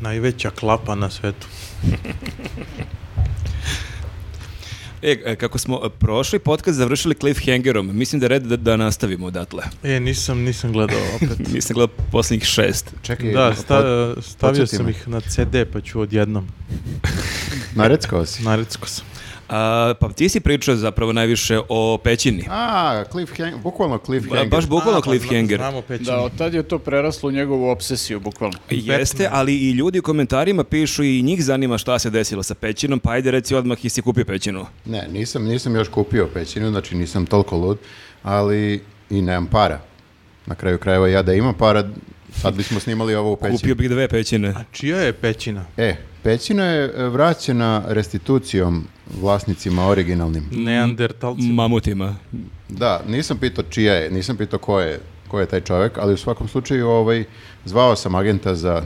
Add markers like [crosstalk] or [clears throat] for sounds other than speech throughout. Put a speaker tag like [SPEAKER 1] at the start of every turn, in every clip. [SPEAKER 1] najveća klapa na svetu.
[SPEAKER 2] E, kako smo prošli podcast završili cliffhangerom, mislim da je red da, da nastavimo odatle.
[SPEAKER 1] E, nisam, nisam
[SPEAKER 3] [laughs]
[SPEAKER 1] gledao opet.
[SPEAKER 2] Nisam gledao posljednjih šest.
[SPEAKER 3] Čekaj,
[SPEAKER 1] da,
[SPEAKER 3] pod-
[SPEAKER 1] sta- stavio
[SPEAKER 3] pa podsjeti
[SPEAKER 1] sam
[SPEAKER 3] me.
[SPEAKER 1] ih na CD pa ću odjednom.
[SPEAKER 3] nareckao si.
[SPEAKER 1] Narecko sam.
[SPEAKER 2] A, pa ti si pričao zapravo najviše o pećini.
[SPEAKER 3] A, cliffhanger, bukvalno cliffhanger.
[SPEAKER 2] Baš bukvalno
[SPEAKER 1] A, pa zna-
[SPEAKER 2] cliffhanger.
[SPEAKER 1] Znamo pećinu.
[SPEAKER 4] Da, od tad je to preraslo u njegovu obsesiju, bukvalno.
[SPEAKER 2] Jeste, ali i ljudi u komentarima pišu i njih zanima šta se desilo sa pećinom, pa ajde reci odmah i si kupio pećinu.
[SPEAKER 3] Ne, nisam, nisam još kupio pećinu, znači nisam toliko lud, ali i nemam para. Na kraju krajeva ja da imam para, sad bismo snimali ovo u pećini.
[SPEAKER 2] Kupio bih dve pećine.
[SPEAKER 1] A čija je pećina?
[SPEAKER 3] E, pećina je e, vraćena restitucijom vlasnicima originalnim.
[SPEAKER 1] Neandertalci.
[SPEAKER 2] Mamutima.
[SPEAKER 3] Da, nisam pitao čija je, nisam pitao ko je, ko je taj čovjek, ali u svakom slučaju ovaj, zvao sam agenta za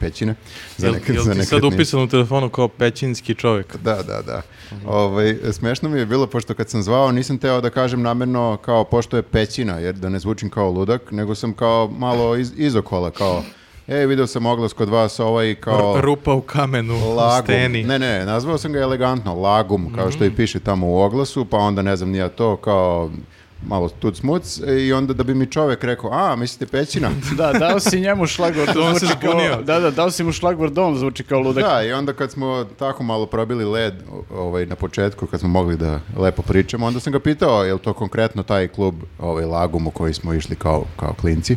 [SPEAKER 3] pećine. Za
[SPEAKER 1] Jel,
[SPEAKER 3] neke-
[SPEAKER 1] jel
[SPEAKER 3] za
[SPEAKER 1] ti sad
[SPEAKER 3] nekretnine.
[SPEAKER 1] upisan u telefonu kao pećinski čovjek?
[SPEAKER 3] Da, da, da. Ovaj, smešno mi je bilo, pošto kad sam zvao, nisam teo da kažem namjerno kao pošto je pećina, jer da ne zvučim kao ludak, nego sam kao malo iz, izokola, kao, e, video sam oglas kod vas, ovaj kao...
[SPEAKER 1] R- Rupa u kamenu, u
[SPEAKER 3] Lagum.
[SPEAKER 1] steni. Mhm.
[SPEAKER 3] Ne, ne, nazvao sam ga elegantno, lagum, kao što i piše tamo u oglasu, pa onda ne znam nija to, kao malo tuc smuc i onda da bi mi čovjek rekao, a, mislite pećina?
[SPEAKER 4] Da, dao si njemu šlagvord,
[SPEAKER 1] On se
[SPEAKER 4] zvuči kao...
[SPEAKER 1] zbunio.
[SPEAKER 4] Da, da, dao si mu šlagvord, on zvuči kao ludak.
[SPEAKER 3] Da, i onda kad smo tako malo probili led o- ovaj, na početku, kad smo mogli da lepo pričamo, onda sam ga pitao, je li to konkretno taj klub ovaj, Lagum u koji smo išli kao, kao klinci?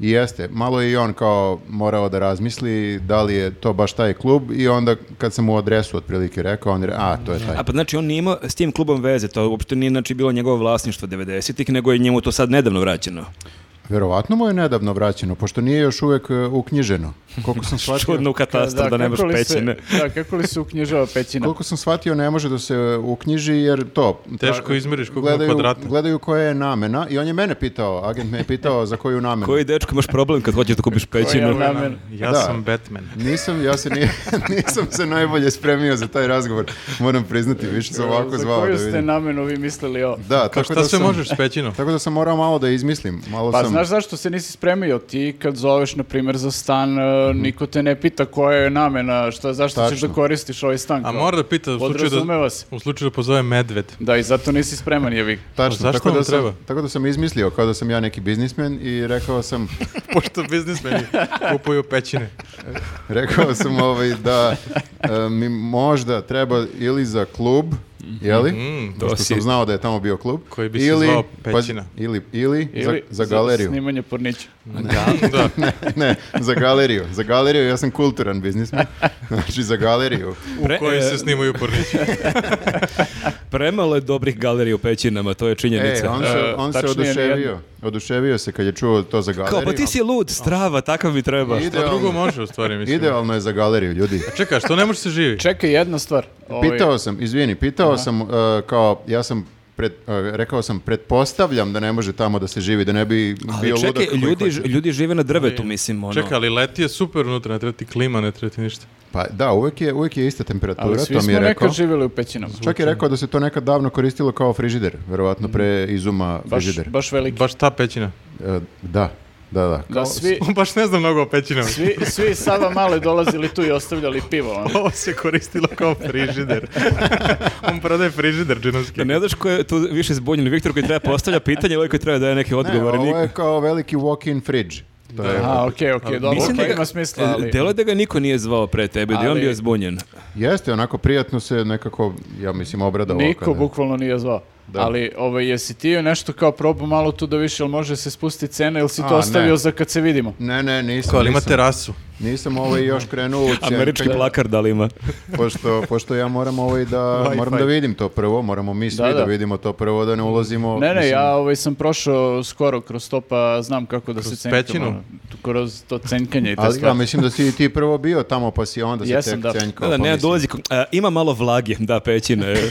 [SPEAKER 3] I jeste, malo je i on kao morao da razmisli da li je to baš taj klub i onda kad sam mu adresu otprilike rekao, on je re- a, to je taj.
[SPEAKER 2] A pa znači on nije imao s tim klubom veze, to uopšte nije znači bilo njegovo vlasništvo 90-ih, nego je njemu to sad nedavno vraćeno.
[SPEAKER 3] Verovatno mu je nedavno vraćeno, pošto nije još uvek e, uknjiženo. Koliko sam shvatio,
[SPEAKER 2] Čudno u katastar da, nemaš
[SPEAKER 4] kako li se-
[SPEAKER 2] pećine.
[SPEAKER 4] Da, kako li se uknjižava pećina?
[SPEAKER 3] koliko sam shvatio ne može da se uknjiži jer to...
[SPEAKER 1] Teško izmiriš koliko ima
[SPEAKER 3] gledaju,
[SPEAKER 1] kvadrata.
[SPEAKER 3] Gledaju koja je namena i on je mene pitao, agent me je pitao za koju namenu.
[SPEAKER 2] Koji dečko imaš problem kad hoćeš da kupiš
[SPEAKER 4] Koja
[SPEAKER 2] pećinu?
[SPEAKER 4] je namena?
[SPEAKER 1] Ja
[SPEAKER 3] Da.
[SPEAKER 1] sam Batman.
[SPEAKER 3] Nisam, ja se
[SPEAKER 1] [laughs]
[SPEAKER 3] nije- nisam se najbolje spremio za taj razgovor. Moram priznati, više sam ovako
[SPEAKER 4] Za
[SPEAKER 3] zvao da
[SPEAKER 4] koju ste
[SPEAKER 3] vidim.
[SPEAKER 4] namenu vi mislili ovo?
[SPEAKER 3] Da,
[SPEAKER 1] Kao
[SPEAKER 3] tako
[SPEAKER 1] šta
[SPEAKER 3] da
[SPEAKER 1] se
[SPEAKER 3] sam,
[SPEAKER 1] možeš s pećinom?
[SPEAKER 3] Tako da sam morao malo da izmislim. Malo
[SPEAKER 4] Pa
[SPEAKER 3] sam...
[SPEAKER 4] znaš zašto se nisi spremio? Ti kad zoveš, na primjer, za stan, e, niko te ne pita koja je namena, šta, zašto ćeš
[SPEAKER 3] Tačno.
[SPEAKER 4] da koristiš ovaj stan.
[SPEAKER 1] A
[SPEAKER 4] kao?
[SPEAKER 1] mora da pita u slučaju da,
[SPEAKER 4] Podrazumeva se.
[SPEAKER 1] u slučaju da pozove medved. [laughs]
[SPEAKER 4] Da, i zato nisi spreman, jevi.
[SPEAKER 3] Tačno,
[SPEAKER 1] A Pa zašto
[SPEAKER 3] tako da
[SPEAKER 1] vam
[SPEAKER 3] sam,
[SPEAKER 1] treba?
[SPEAKER 3] Tako da sam izmislio, kao da sam ja neki biznismen i rekao sam,
[SPEAKER 1] Pošto biznismeni kupuju pećine.
[SPEAKER 2] [laughs]
[SPEAKER 3] Rekao sam ovaj da e, mi možda treba ili za klub,
[SPEAKER 1] Mhm.
[SPEAKER 3] je li?
[SPEAKER 2] to
[SPEAKER 3] Pošto sam
[SPEAKER 2] si-
[SPEAKER 3] znao da je tamo bio klub.
[SPEAKER 1] Koji bi se zvao Pećina.
[SPEAKER 3] pa- ili, ili,
[SPEAKER 4] Ili
[SPEAKER 3] za, za galeriju.
[SPEAKER 4] snimanje pornića.
[SPEAKER 1] da.
[SPEAKER 3] ne, za galeriju. Za galeriju ja sam kulturan biznismen.
[SPEAKER 2] [laughs]
[SPEAKER 3] Znači za galeriju.
[SPEAKER 1] U
[SPEAKER 3] [laughs]
[SPEAKER 2] Pre-
[SPEAKER 1] kojoj
[SPEAKER 2] e,
[SPEAKER 1] se snimaju pornići.
[SPEAKER 2] Premalo je dobrih galerija u pećinama, to je
[SPEAKER 3] E,
[SPEAKER 2] činjenica.
[SPEAKER 3] on se,
[SPEAKER 4] E,
[SPEAKER 3] on se
[SPEAKER 4] tačnije
[SPEAKER 3] oduševio.
[SPEAKER 4] nijedno.
[SPEAKER 3] Oduševio se kad je čuo to za galeriju.
[SPEAKER 2] Kao, pa ti si lud, strava, takav mi treba.
[SPEAKER 3] Ide-
[SPEAKER 1] A Pa drugo
[SPEAKER 3] idealno.
[SPEAKER 1] može u stvari, mislim.
[SPEAKER 3] Idealno je za galeriju, ljudi.
[SPEAKER 1] Čekaj, što ne može se živi?
[SPEAKER 4] Čekaj, jedna stvar. Ovaj,
[SPEAKER 3] Pitao sam, izvini, pitao sam uh, kao, ja sam pred, uh, rekao sam, pretpostavljam da ne može tamo da se živi, da ne bi bio
[SPEAKER 2] Ali
[SPEAKER 3] ludak.
[SPEAKER 2] čekaj,
[SPEAKER 3] koji
[SPEAKER 2] ljudi,
[SPEAKER 3] hoće.
[SPEAKER 2] ljudi žive na drvetu, mislim, ono.
[SPEAKER 1] Čekaj, ali leti je super unutra, ne treba ti klima, ne treba ti ništa.
[SPEAKER 3] Pa da, uvek je, uvek je ista temperatura,
[SPEAKER 4] Ali svi
[SPEAKER 3] to mi
[SPEAKER 4] smo
[SPEAKER 3] je rekao.
[SPEAKER 4] nekad živjeli u pećinama.
[SPEAKER 3] Čak je rekao da se to nekad davno koristilo kao frižider, verovatno pre izuma
[SPEAKER 4] Mhm. Baš,
[SPEAKER 3] frižider.
[SPEAKER 4] baš veliki.
[SPEAKER 1] Baš ta pećina.
[SPEAKER 3] E, da, da, da.
[SPEAKER 4] Da,
[SPEAKER 1] [laughs]
[SPEAKER 4] svi,
[SPEAKER 1] Baš ne znam mnogo o pećinama.
[SPEAKER 4] svi, svi iz Sava male dolazili tu i ostavljali pivo. ono.
[SPEAKER 1] [laughs] Ovo se koristilo kao frižider. [laughs] On prodaje frižider džinovski.
[SPEAKER 2] Da ne znaš ko je tu više zbunjen, Viktor koji treba postavlja pitanje, ili koji treba daje neke odgovore.
[SPEAKER 3] ne, ovo je
[SPEAKER 2] Niko- E,
[SPEAKER 3] kao veliki walk-in fridge. To je,
[SPEAKER 4] Aha, okej, okej, dobro,
[SPEAKER 2] Mislim
[SPEAKER 4] okej,
[SPEAKER 2] da ga- e,
[SPEAKER 4] ima smisla, ali...
[SPEAKER 2] Delo je da ga niko nije zvao pre tebe, da je on
[SPEAKER 4] Ali-
[SPEAKER 2] bio zbunjen.
[SPEAKER 3] Jeste, onako prijatno se nekako, ja mislim, obrada ovo.
[SPEAKER 4] Niko
[SPEAKER 3] kada-
[SPEAKER 4] bukvalno nije zvao.
[SPEAKER 3] Da.
[SPEAKER 4] Ali ovaj, jesi ti nešto kao probao malo tu da više, jel može se spustiti cena ili si
[SPEAKER 3] A,
[SPEAKER 4] to
[SPEAKER 3] ne.
[SPEAKER 4] ostavio za kad se vidimo?
[SPEAKER 3] Ne, ne, nisam.
[SPEAKER 1] Ko, ali ima
[SPEAKER 3] nisam,
[SPEAKER 1] terasu.
[SPEAKER 3] nisam ovaj još krenuo u cen-
[SPEAKER 2] Američki
[SPEAKER 3] čekaj,
[SPEAKER 2] plakar da li ima?
[SPEAKER 3] Pošto, pošto ja moram ovaj
[SPEAKER 4] [laughs]
[SPEAKER 3] da,
[SPEAKER 1] Wi-Fi.
[SPEAKER 3] moram da vidim to prvo, moramo mi svi da,
[SPEAKER 4] Da, da.
[SPEAKER 3] vidimo to prvo, da ne ulazimo.
[SPEAKER 4] Ne, ne,
[SPEAKER 3] mislim,
[SPEAKER 4] ja ovaj, sam prošao skoro kroz to, pa znam kako da se
[SPEAKER 1] Kroz
[SPEAKER 4] cenkam.
[SPEAKER 1] pećinu?
[SPEAKER 4] ono, tu- Kroz to cenkanje i te
[SPEAKER 3] Ali ja
[SPEAKER 4] stvari.
[SPEAKER 3] mislim da si i ti prvo bio tamo, pa si onda se
[SPEAKER 4] Jesam,
[SPEAKER 3] tek
[SPEAKER 4] da.
[SPEAKER 3] cenjkao,
[SPEAKER 2] Da, da,
[SPEAKER 3] pa
[SPEAKER 2] ne,
[SPEAKER 3] mislim-
[SPEAKER 2] dolazi, ko- a, ima malo vlage, da, pećina. je.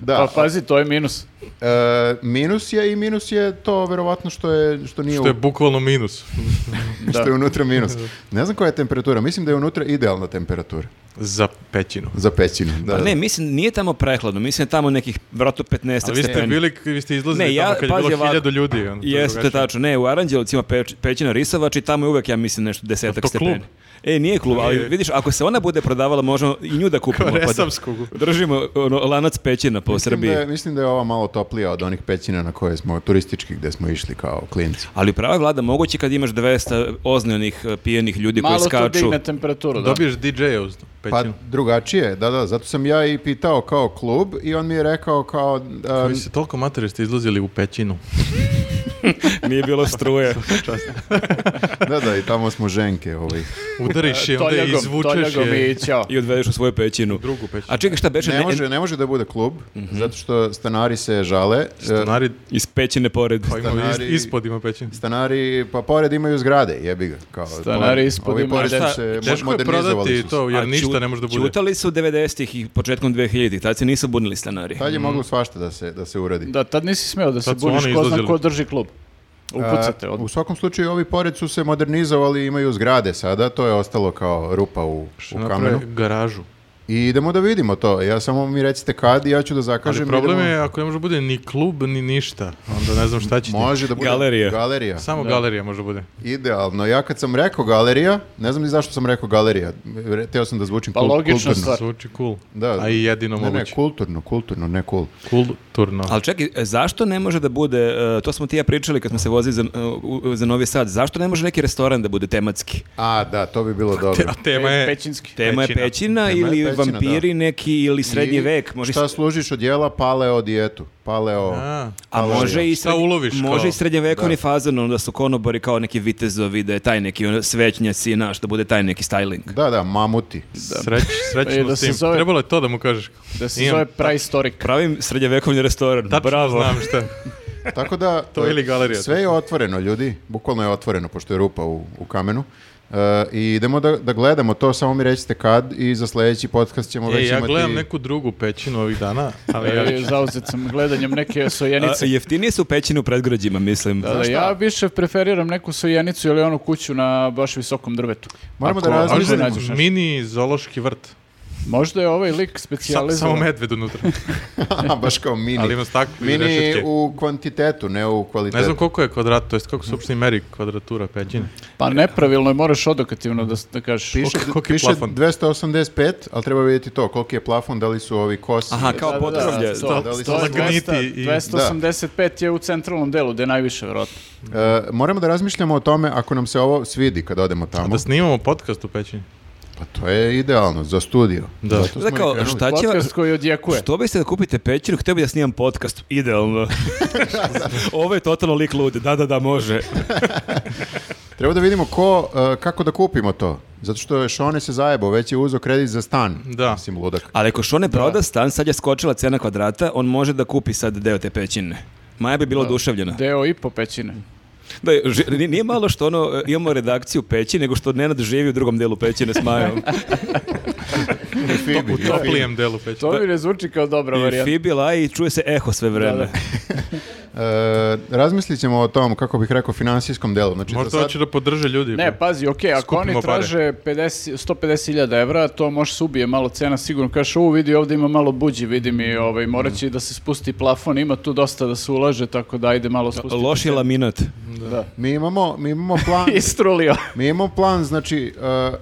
[SPEAKER 3] Da,
[SPEAKER 4] Pa pazi, to je minus.
[SPEAKER 3] E, minus je i minus je to verovatno što je što nije
[SPEAKER 1] Što je bukvalno minus. [laughs]
[SPEAKER 3] [laughs] u- što je unutra minus. Ne znam koja je temperatura, mislim da je unutra idealna temperatura.
[SPEAKER 1] Za
[SPEAKER 3] [laughs]
[SPEAKER 1] pećinu.
[SPEAKER 3] Za pećinu, [laughs] da.
[SPEAKER 2] Pa ne, mislim, nije tamo prehladno, mislim je tamo nekih, vratno 15
[SPEAKER 1] A vi ste
[SPEAKER 2] stepeni.
[SPEAKER 1] bili, vi ste izlazili
[SPEAKER 2] Ne, ja-
[SPEAKER 1] tamo kad je
[SPEAKER 2] pazi
[SPEAKER 1] bilo
[SPEAKER 2] ovako.
[SPEAKER 1] hiljadu ljudi. ono, to je
[SPEAKER 2] Jeste, to je
[SPEAKER 1] drugačije.
[SPEAKER 2] tačno. Ne, u Aranđelovcima peć, pećina Risavač i tamo je uvek, ja mislim, nešto desetak
[SPEAKER 1] Pa to
[SPEAKER 2] stepeni.
[SPEAKER 1] klub?
[SPEAKER 2] E, nije klub, ali
[SPEAKER 1] Nije.
[SPEAKER 2] vidiš, ako se ona bude prodavala, možemo i nju da
[SPEAKER 1] [laughs]
[SPEAKER 2] kupimo.
[SPEAKER 1] Kao
[SPEAKER 2] pa da-
[SPEAKER 1] Resavsku.
[SPEAKER 2] Držimo ono, lanac pećina po
[SPEAKER 3] Mislim da,
[SPEAKER 2] Srbiji.
[SPEAKER 3] je, mislim da je ova malo toplija od onih pećina na koje smo turistički gde smo išli kao klinci.
[SPEAKER 2] Ali prava je vlada moguće kad imaš 200 oznjenih e, pijenih ljudi
[SPEAKER 4] Malo
[SPEAKER 2] koji
[SPEAKER 4] to
[SPEAKER 2] skaču.
[SPEAKER 4] digne temperaturu, da.
[SPEAKER 1] Dobiješ DJ-a uz
[SPEAKER 3] Pa
[SPEAKER 1] pećinu.
[SPEAKER 3] drugačije, da, da, zato sam ja i pitao kao klub i on mi je rekao kao...
[SPEAKER 1] Pa,
[SPEAKER 3] um,
[SPEAKER 1] vi ste toliko materi ste izlazili u pećinu.
[SPEAKER 2] [laughs] Nije bilo struje.
[SPEAKER 3] da, da, i tamo smo
[SPEAKER 1] [laughs]
[SPEAKER 3] ženke. Ovaj.
[SPEAKER 1] Udariš je, onda je
[SPEAKER 4] Toljagom,
[SPEAKER 1] izvučeš
[SPEAKER 4] toljagom i
[SPEAKER 1] je.
[SPEAKER 4] ćao.
[SPEAKER 2] I odvedeš u svoju pećinu.
[SPEAKER 1] Drugu pećinu.
[SPEAKER 2] A čekaj, šta beše?
[SPEAKER 1] Znači,
[SPEAKER 3] Ne
[SPEAKER 2] Ne-
[SPEAKER 3] može, ne može da bude klub, zato što stanari se žale. e,
[SPEAKER 1] Mhm. Stanari,
[SPEAKER 2] Iz pećine pored.
[SPEAKER 1] pa ima
[SPEAKER 3] Stanari-
[SPEAKER 1] is- ispod ima pećinu.
[SPEAKER 3] Stanari, pa pored imaju zgrade, jebi ga. Kao,
[SPEAKER 4] Stanari
[SPEAKER 3] ovi-
[SPEAKER 4] ispod
[SPEAKER 3] ovi
[SPEAKER 4] imaju-
[SPEAKER 3] pored
[SPEAKER 2] Šta,
[SPEAKER 3] su se mo-
[SPEAKER 1] Teško je
[SPEAKER 3] modernizovali
[SPEAKER 1] prodati
[SPEAKER 3] su se.
[SPEAKER 1] to, jer
[SPEAKER 2] A
[SPEAKER 1] ništa
[SPEAKER 2] ću-
[SPEAKER 1] ne može da bude.
[SPEAKER 2] Ćutali su 90-ih i početkom 2000-ih, tad se nisu bunili stanari.
[SPEAKER 3] Tad je
[SPEAKER 1] Mhm.
[SPEAKER 3] moglo svašta da se, da se uradi.
[SPEAKER 4] Da, tad nisi smeo da se
[SPEAKER 1] Sad su
[SPEAKER 4] buniš,
[SPEAKER 1] oni
[SPEAKER 4] ko zna
[SPEAKER 1] izlazili.
[SPEAKER 4] ko drži klub. Upucate
[SPEAKER 3] A,
[SPEAKER 4] odmah.
[SPEAKER 3] U svakom slučaju, ovi pored su se modernizovali i imaju zgrade sada, to je ostalo kao rupa u, u kamenu.
[SPEAKER 1] Naprave garažu.
[SPEAKER 3] I idemo da vidimo to. Ja samo mi recite kad i ja ću da
[SPEAKER 1] Ali
[SPEAKER 3] zakažem.
[SPEAKER 1] problem
[SPEAKER 3] idemo-
[SPEAKER 1] je ako ne može da bude ni klub, ni ništa. Onda ne znam šta će ti.
[SPEAKER 3] Može da bude
[SPEAKER 2] Galerija.
[SPEAKER 3] galerija.
[SPEAKER 1] Samo galerija može da bude.
[SPEAKER 3] Idealno. Ja kad sam rekao galerija, ne znam ni zašto sam rekao galerija. Re- Teo sam da zvučim
[SPEAKER 4] Pa
[SPEAKER 3] kul-
[SPEAKER 4] logično
[SPEAKER 3] kulturno.
[SPEAKER 4] stvar. Da.
[SPEAKER 1] Zvuči cool.
[SPEAKER 3] Da.
[SPEAKER 1] A i jedino
[SPEAKER 3] Ne, ne,
[SPEAKER 1] moguće.
[SPEAKER 3] kulturno, kulturno, ne cool.
[SPEAKER 1] Kulturno.
[SPEAKER 2] Ali čekaj, e, zašto ne može da bude, e, to smo ti i ja pričali kad smo se vozili za, e, u- u- za Novi Sad, zašto ne može neki restoran da bude tematski?
[SPEAKER 3] A, da, to bi
[SPEAKER 1] [laughs]
[SPEAKER 3] bilo dobro.
[SPEAKER 1] A tema E je...
[SPEAKER 4] Pećinski.
[SPEAKER 2] Tema je
[SPEAKER 1] Pećina.
[SPEAKER 2] pećina
[SPEAKER 3] Tema je
[SPEAKER 2] ili
[SPEAKER 3] pećina,
[SPEAKER 2] vampiri neki ili srednji
[SPEAKER 3] I
[SPEAKER 2] vek. Može, i
[SPEAKER 3] Šta
[SPEAKER 2] s-
[SPEAKER 3] služiš od jela? Paleo dijetu. Paleo...
[SPEAKER 1] A,
[SPEAKER 2] a može i,
[SPEAKER 1] Šta
[SPEAKER 2] srednji-
[SPEAKER 1] uloviš kao?
[SPEAKER 2] može i srednjevekovni fazon, onda su konobari kao neki vitezovi, da je taj neki ono, svećnjaci, naš, da bude taj neki styling.
[SPEAKER 3] Da, da, mamuti.
[SPEAKER 1] Sreć,
[SPEAKER 4] E,
[SPEAKER 1] srećno
[SPEAKER 4] da
[SPEAKER 1] s
[SPEAKER 4] se
[SPEAKER 1] tim.
[SPEAKER 4] zove-
[SPEAKER 1] Trebalo je to da mu kažeš.
[SPEAKER 4] Da se
[SPEAKER 1] Imam-
[SPEAKER 4] zove prehistoric.
[SPEAKER 2] Pravim srednjevekovni restoran,
[SPEAKER 1] Tačno
[SPEAKER 2] bravo.
[SPEAKER 1] znam šta.
[SPEAKER 3] Tako da...
[SPEAKER 1] [laughs]
[SPEAKER 3] e,
[SPEAKER 1] To ili galerija.
[SPEAKER 3] Sve je otvoreno, ljudi. Bukvalno je otvoreno, pošto je rupa u, u kamenu. E, I idemo da, da gledamo to, samo mi recite kad i za sljedeći podcast ćemo
[SPEAKER 1] E,
[SPEAKER 3] već
[SPEAKER 1] ja
[SPEAKER 3] imati...
[SPEAKER 1] gledam
[SPEAKER 3] [laughs]
[SPEAKER 1] neku drugu pećinu ovih dana, ali ja
[SPEAKER 4] E, Zauzet sam gledanjem
[SPEAKER 1] [laughs]
[SPEAKER 4] neke
[SPEAKER 2] A,
[SPEAKER 4] sojenice.
[SPEAKER 2] jeftinije su pećine u predgrađima, mislim.
[SPEAKER 4] Da, da, ja više preferiram neku sojenicu ili onu kuću na baš visokom drvetu.
[SPEAKER 3] Moramo
[SPEAKER 4] Ako-
[SPEAKER 3] da
[SPEAKER 4] ako
[SPEAKER 3] razmislimo.
[SPEAKER 4] nađeš nešto.
[SPEAKER 1] mini zoološki vrt.
[SPEAKER 4] Možda je ovaj lik
[SPEAKER 1] Sa, samo
[SPEAKER 4] specijalizovan.
[SPEAKER 1] medved unutra.
[SPEAKER 3] pa, Baš kao mini.
[SPEAKER 1] Ali ima staklo i
[SPEAKER 3] Mini
[SPEAKER 1] rešetke.
[SPEAKER 3] u kvantitetu, ne u kvalitetu.
[SPEAKER 1] Ne znam koliko je kvadrat, to jest kako se uopšte i meri kvadratura pećine.
[SPEAKER 4] Pa nepravilno je, moraš odokativno da, s- da kažeš.
[SPEAKER 3] Piše,
[SPEAKER 1] Koliki- koliki je
[SPEAKER 3] piše
[SPEAKER 1] plafon?
[SPEAKER 3] 285, ali treba vidjeti to, koliki je plafon, da li su ovi kosi.
[SPEAKER 2] Aha, kao
[SPEAKER 4] Da, da, da,
[SPEAKER 2] podrovlje.
[SPEAKER 4] sto-
[SPEAKER 3] Da, da li
[SPEAKER 4] sto-
[SPEAKER 3] se
[SPEAKER 1] zagniti
[SPEAKER 4] 200,
[SPEAKER 1] i-
[SPEAKER 4] 285 je u centralnom delu, gde je najviše, vjerojatno.
[SPEAKER 3] E, moramo da razmišljamo o tome ako nam se ovo svidi kad odemo
[SPEAKER 1] A
[SPEAKER 3] tamo.
[SPEAKER 1] da snimamo podcast u pećini.
[SPEAKER 3] Pa to je idealno, za studio.
[SPEAKER 1] Da.
[SPEAKER 3] Zato smo
[SPEAKER 2] Da
[SPEAKER 3] i
[SPEAKER 2] kao,
[SPEAKER 3] krenuli.
[SPEAKER 2] šta će...
[SPEAKER 4] Podcast koji odjekuje.
[SPEAKER 2] Što biste da kupite pećinu? Htio bi da snimam podcast.
[SPEAKER 3] [laughs]
[SPEAKER 2] Idealno. Ovo je totalno lik lude. Da, da, da, može.
[SPEAKER 3] Treba da vidimo ko, e, kako da kupimo to. Zato što je Šone se zajebao, već je uzeo kredit za stan.
[SPEAKER 1] Da.
[SPEAKER 3] Mislim, ludak.
[SPEAKER 2] Ali ako Šone proda stan, sad je skočila cena kvadrata, on može da kupi sad deo te pećine. Maja bi bila oduševljena.
[SPEAKER 4] Deo i po pećine.
[SPEAKER 2] Da, ži- nije- nije malo što ono, e, imamo redakciju peći, nego što Nenad živi u drugom delu pećine s
[SPEAKER 4] [laughs]
[SPEAKER 2] Majom.
[SPEAKER 3] I Fibi.
[SPEAKER 1] U toplijem delu pećine.
[SPEAKER 4] To mi ne zvuči kao dobra
[SPEAKER 2] I
[SPEAKER 4] varijanta.
[SPEAKER 2] Fibi laje i čuje se eho sve vreme.
[SPEAKER 4] Da, da.
[SPEAKER 3] E, razmislit ćemo o tom, kako bih rekao, finansijskom delu. Znači, za
[SPEAKER 1] Pa, Možda
[SPEAKER 3] sad-
[SPEAKER 1] hoće da podrže ljudi. pa
[SPEAKER 4] Ne, pa, pazi, okej, ako
[SPEAKER 1] Skupimo
[SPEAKER 4] oni
[SPEAKER 1] pare.
[SPEAKER 4] traže 50, 150.000 evra, to može se ubije malo cena, sigurno kažeš, u, vidi, ovdje ima malo buđi, vidi mi, ovaj, morat će i da se spusti plafon, ima tu dosta da se ulaže, tako da ajde malo spusti.
[SPEAKER 2] Loš je laminat.
[SPEAKER 4] Da. [laughs]
[SPEAKER 3] Mi imamo, mi imamo
[SPEAKER 1] [laughs]
[SPEAKER 3] plan...
[SPEAKER 4] Istrulio.
[SPEAKER 3] Mi imamo plan, znači, e,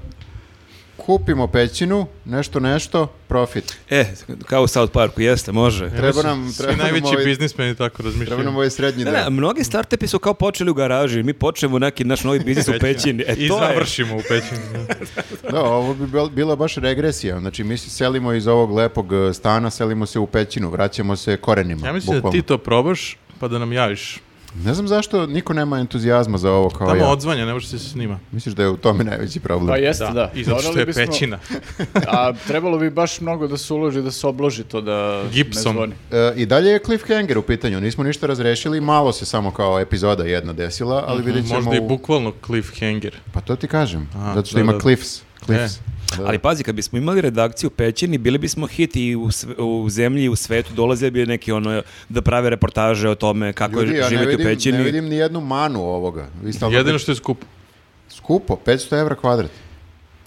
[SPEAKER 3] kupimo pećinu, nešto, nešto, profit.
[SPEAKER 2] E, kao u South Parku, jeste, može.
[SPEAKER 3] Treba nam,
[SPEAKER 1] Svi
[SPEAKER 3] treba nam,
[SPEAKER 1] najveći
[SPEAKER 3] ovaj,
[SPEAKER 1] biznismeni tako
[SPEAKER 3] treba nam
[SPEAKER 1] razmišljaju.
[SPEAKER 3] ovaj srednji
[SPEAKER 2] Da, da,
[SPEAKER 3] deo.
[SPEAKER 2] mnogi startupi su kao počeli u garaži, mi počnemo neki naš novi biznis u pećini. E,
[SPEAKER 1] I
[SPEAKER 2] to je.
[SPEAKER 1] završimo u pećini.
[SPEAKER 3] Da, ovo bi bil- bila baš regresija. Znači, mi se selimo iz ovog lepog e, stana, selimo se u pećinu, vraćamo se korenima.
[SPEAKER 1] Ja mislim da
[SPEAKER 3] bukvalno.
[SPEAKER 1] ti to probaš, pa da nam javiš.
[SPEAKER 3] Ne znam zašto niko nema entuzijazma za ovo kao
[SPEAKER 1] Tamo
[SPEAKER 3] Pa ja.
[SPEAKER 1] odzvanja, ne može se snima.
[SPEAKER 3] Misliš da je u tome najveći problem?
[SPEAKER 4] Pa jeste, da.
[SPEAKER 1] I zato što
[SPEAKER 4] Morali
[SPEAKER 1] je
[SPEAKER 4] bismo-
[SPEAKER 1] pećina.
[SPEAKER 4] A trebalo bi baš mnogo da se uloži, da se obloži to da
[SPEAKER 1] Gipsom.
[SPEAKER 4] ne zvoni.
[SPEAKER 3] E, I dalje je cliffhanger u pitanju. Nismo ništa razrešili, malo se samo kao epizoda jedna desila, ali vidjet ćemo...
[SPEAKER 1] Mhm, Možda i
[SPEAKER 3] u-
[SPEAKER 1] bukvalno cliffhanger.
[SPEAKER 3] Pa to ti kažem,
[SPEAKER 1] Aha,
[SPEAKER 3] zato što
[SPEAKER 1] da,
[SPEAKER 3] ima
[SPEAKER 1] da, da.
[SPEAKER 3] cliffs. cliffs.
[SPEAKER 1] E.
[SPEAKER 3] Da.
[SPEAKER 2] Ali pazi, kad bismo imali redakciju Pećini, bili bismo hit i u, sve- u zemlji i u svetu, dolazili bi neki ono, da prave reportaže o tome kako
[SPEAKER 3] Ljudi,
[SPEAKER 2] je
[SPEAKER 3] ja ne
[SPEAKER 2] živjeti u
[SPEAKER 3] vidim,
[SPEAKER 2] Pećini.
[SPEAKER 3] ne vidim ni jednu manu ovoga. Vi stalno
[SPEAKER 1] Jedino
[SPEAKER 3] pričate-
[SPEAKER 1] što je skupo.
[SPEAKER 3] Skupo, 500 evra kvadrat.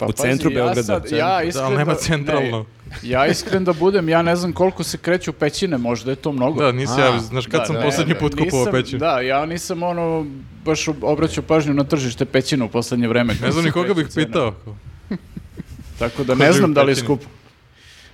[SPEAKER 2] u centru Beograda.
[SPEAKER 4] Pa Ja, sad- ja
[SPEAKER 1] Da,
[SPEAKER 4] iskren
[SPEAKER 1] ali nema
[SPEAKER 4] da-
[SPEAKER 1] centralno.
[SPEAKER 4] ne, ja iskren da budem, ja ne znam koliko se kreću pećine, možda je to mnogo.
[SPEAKER 1] Da, nisi
[SPEAKER 3] A,
[SPEAKER 1] ja, znaš kad
[SPEAKER 4] Da,
[SPEAKER 1] sam
[SPEAKER 4] da,
[SPEAKER 1] posljednji
[SPEAKER 4] da,
[SPEAKER 1] put
[SPEAKER 4] nisam-
[SPEAKER 1] kupovao pećinu.
[SPEAKER 4] Da, ja nisam ono baš ob- obraćao pažnju na tržište pećina u poslednje vreme.
[SPEAKER 1] Ne znam ni
[SPEAKER 4] se
[SPEAKER 1] koga
[SPEAKER 4] kreću
[SPEAKER 1] bih
[SPEAKER 4] cene.
[SPEAKER 1] pitao.
[SPEAKER 4] Tako da
[SPEAKER 1] Ko
[SPEAKER 4] ne
[SPEAKER 1] živi
[SPEAKER 4] znam da li je
[SPEAKER 1] pećini?
[SPEAKER 4] skupo.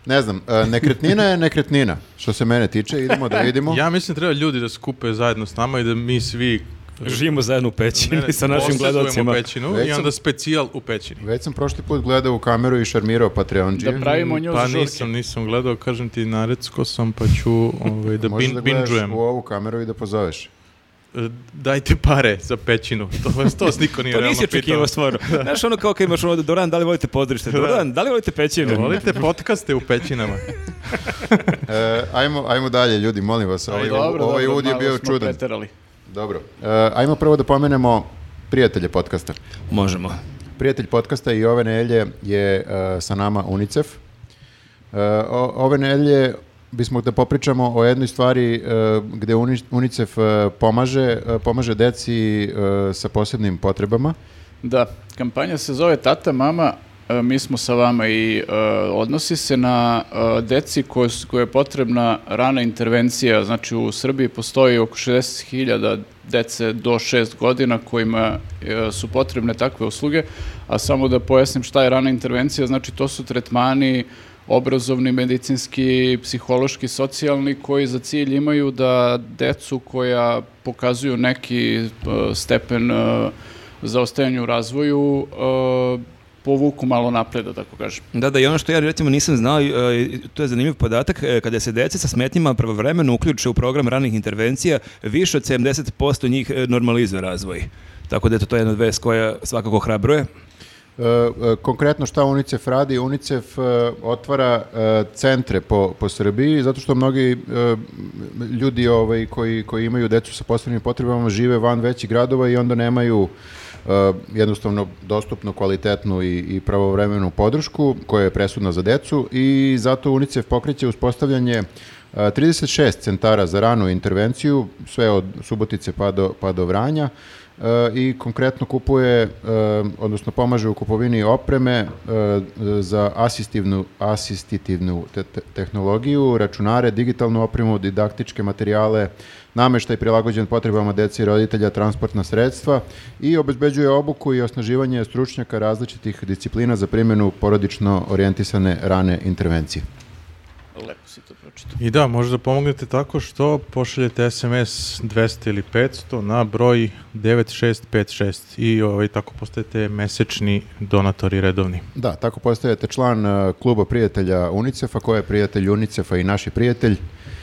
[SPEAKER 3] Ne znam, e, nekretnina je nekretnina. Što se mene tiče, idemo da vidimo.
[SPEAKER 1] [laughs] Ja mislim treba ljudi da skupe zajedno s nama i da mi svi
[SPEAKER 2] [laughs] Živimo zajedno u pećini sa našim
[SPEAKER 1] posjedujemo
[SPEAKER 2] gledalcima.
[SPEAKER 1] pećinu
[SPEAKER 3] Već
[SPEAKER 1] i
[SPEAKER 3] sam-
[SPEAKER 1] onda specijal u pećini.
[SPEAKER 3] Već sam prošli put gledao u kameru i šarmirao Patreonđije.
[SPEAKER 4] Da pravimo nju
[SPEAKER 1] Pa
[SPEAKER 4] za žurke.
[SPEAKER 1] nisam, nisam gledao, kažem ti, narecko sam, pa ću ovaj, da
[SPEAKER 3] [laughs] Možeš
[SPEAKER 1] bin,
[SPEAKER 3] da gledaš
[SPEAKER 1] binđujem.
[SPEAKER 3] u ovu kameru i da pozoveš.
[SPEAKER 1] E, Dajte pare za pećinu, to vas to vas niko nije
[SPEAKER 2] To
[SPEAKER 1] realno
[SPEAKER 2] nisi
[SPEAKER 1] pitao.
[SPEAKER 2] očekivao [laughs] stvarno. Znaš ono kao kad imaš ono, Doran, da li volite podrište? Doran, da li volite pećinu?
[SPEAKER 1] E, Volite podcaste u pećinama?
[SPEAKER 3] E, ajmo, ajmo dalje, ljudi, molim vas. Ovaj,
[SPEAKER 4] Dobro,
[SPEAKER 3] ovaj
[SPEAKER 4] dobro,
[SPEAKER 3] uvod je
[SPEAKER 4] malo
[SPEAKER 3] bio
[SPEAKER 4] smo
[SPEAKER 3] čudan.
[SPEAKER 4] preterali.
[SPEAKER 3] Dobro. E, ajmo prvo da pomenemo prijatelje podcasta.
[SPEAKER 2] Možemo.
[SPEAKER 3] Prijatelj podcasta i ove nelje je e, sa nama UNICEF. E, o- ove nelje bismo da popričamo o jednoj stvari e, gde Uni- UNICEF e, pomaže, e, pomaže deci e, sa posebnim potrebama.
[SPEAKER 4] Da, kampanja se zove Tata, Mama, e, mi smo sa vama i e, odnosi se na e, deci koje, su- koje je potrebna rana intervencija. Znači u Srbiji postoji oko 60.000 dece do 6 godina kojima e, su potrebne takve usluge, a samo da pojasnim šta je rana intervencija, znači to su tretmani obrazovni, medicinski, psihološki, socijalni, koji za cilj imaju da decu koja pokazuju neki e, stepen e, zaostajanju u razvoju e, povuku malo napred, da tako kažem.
[SPEAKER 2] Da, da, i ono što ja recimo nisam znao, e, to je zanimljiv podatak, e, kada se dece sa smetnjima pravovremeno uključe u program ranih intervencija, više od 70% njih e, normalizuje razvoj. Tako da eto, to je jedna vest koja svakako hrabruje.
[SPEAKER 3] E, e, konkretno šta UNICEF radi? UNICEF e, otvara e, centre po, po Srbiji zato što mnogi e, ljudi ovaj, koji, koji imaju decu sa posebnim potrebama žive van većih gradova i onda nemaju e, jednostavno dostupnu, kvalitetnu i, i pravovremenu podršku koja je presudna za decu i zato UNICEF pokreće uspostavljanje e, 36 centara za ranu intervenciju, sve od Subotice pa do, pa do Vranja. E, i konkretno kupuje, e, odnosno pomaže u kupovini opreme e, za asistivnu, asistitivnu te- te- tehnologiju, računare, digitalnu opremu, didaktičke materijale, nameštaj prilagođen potrebama dece i roditelja, transportna sredstva i obezbeđuje obuku i osnaživanje stručnjaka različitih disciplina za primjenu porodično orijentisane rane intervencije.
[SPEAKER 4] Lepo si to pročitao.
[SPEAKER 1] I da, možda pomognete tako što pošaljete SMS 200 ili 500 na broj 9656 i ovaj, tako postajete mesečni donatori redovni.
[SPEAKER 3] Da, tako postajete član e, kluba prijatelja UNICEF-a, koja je prijatelj UNICEF-a i naši prijatelj.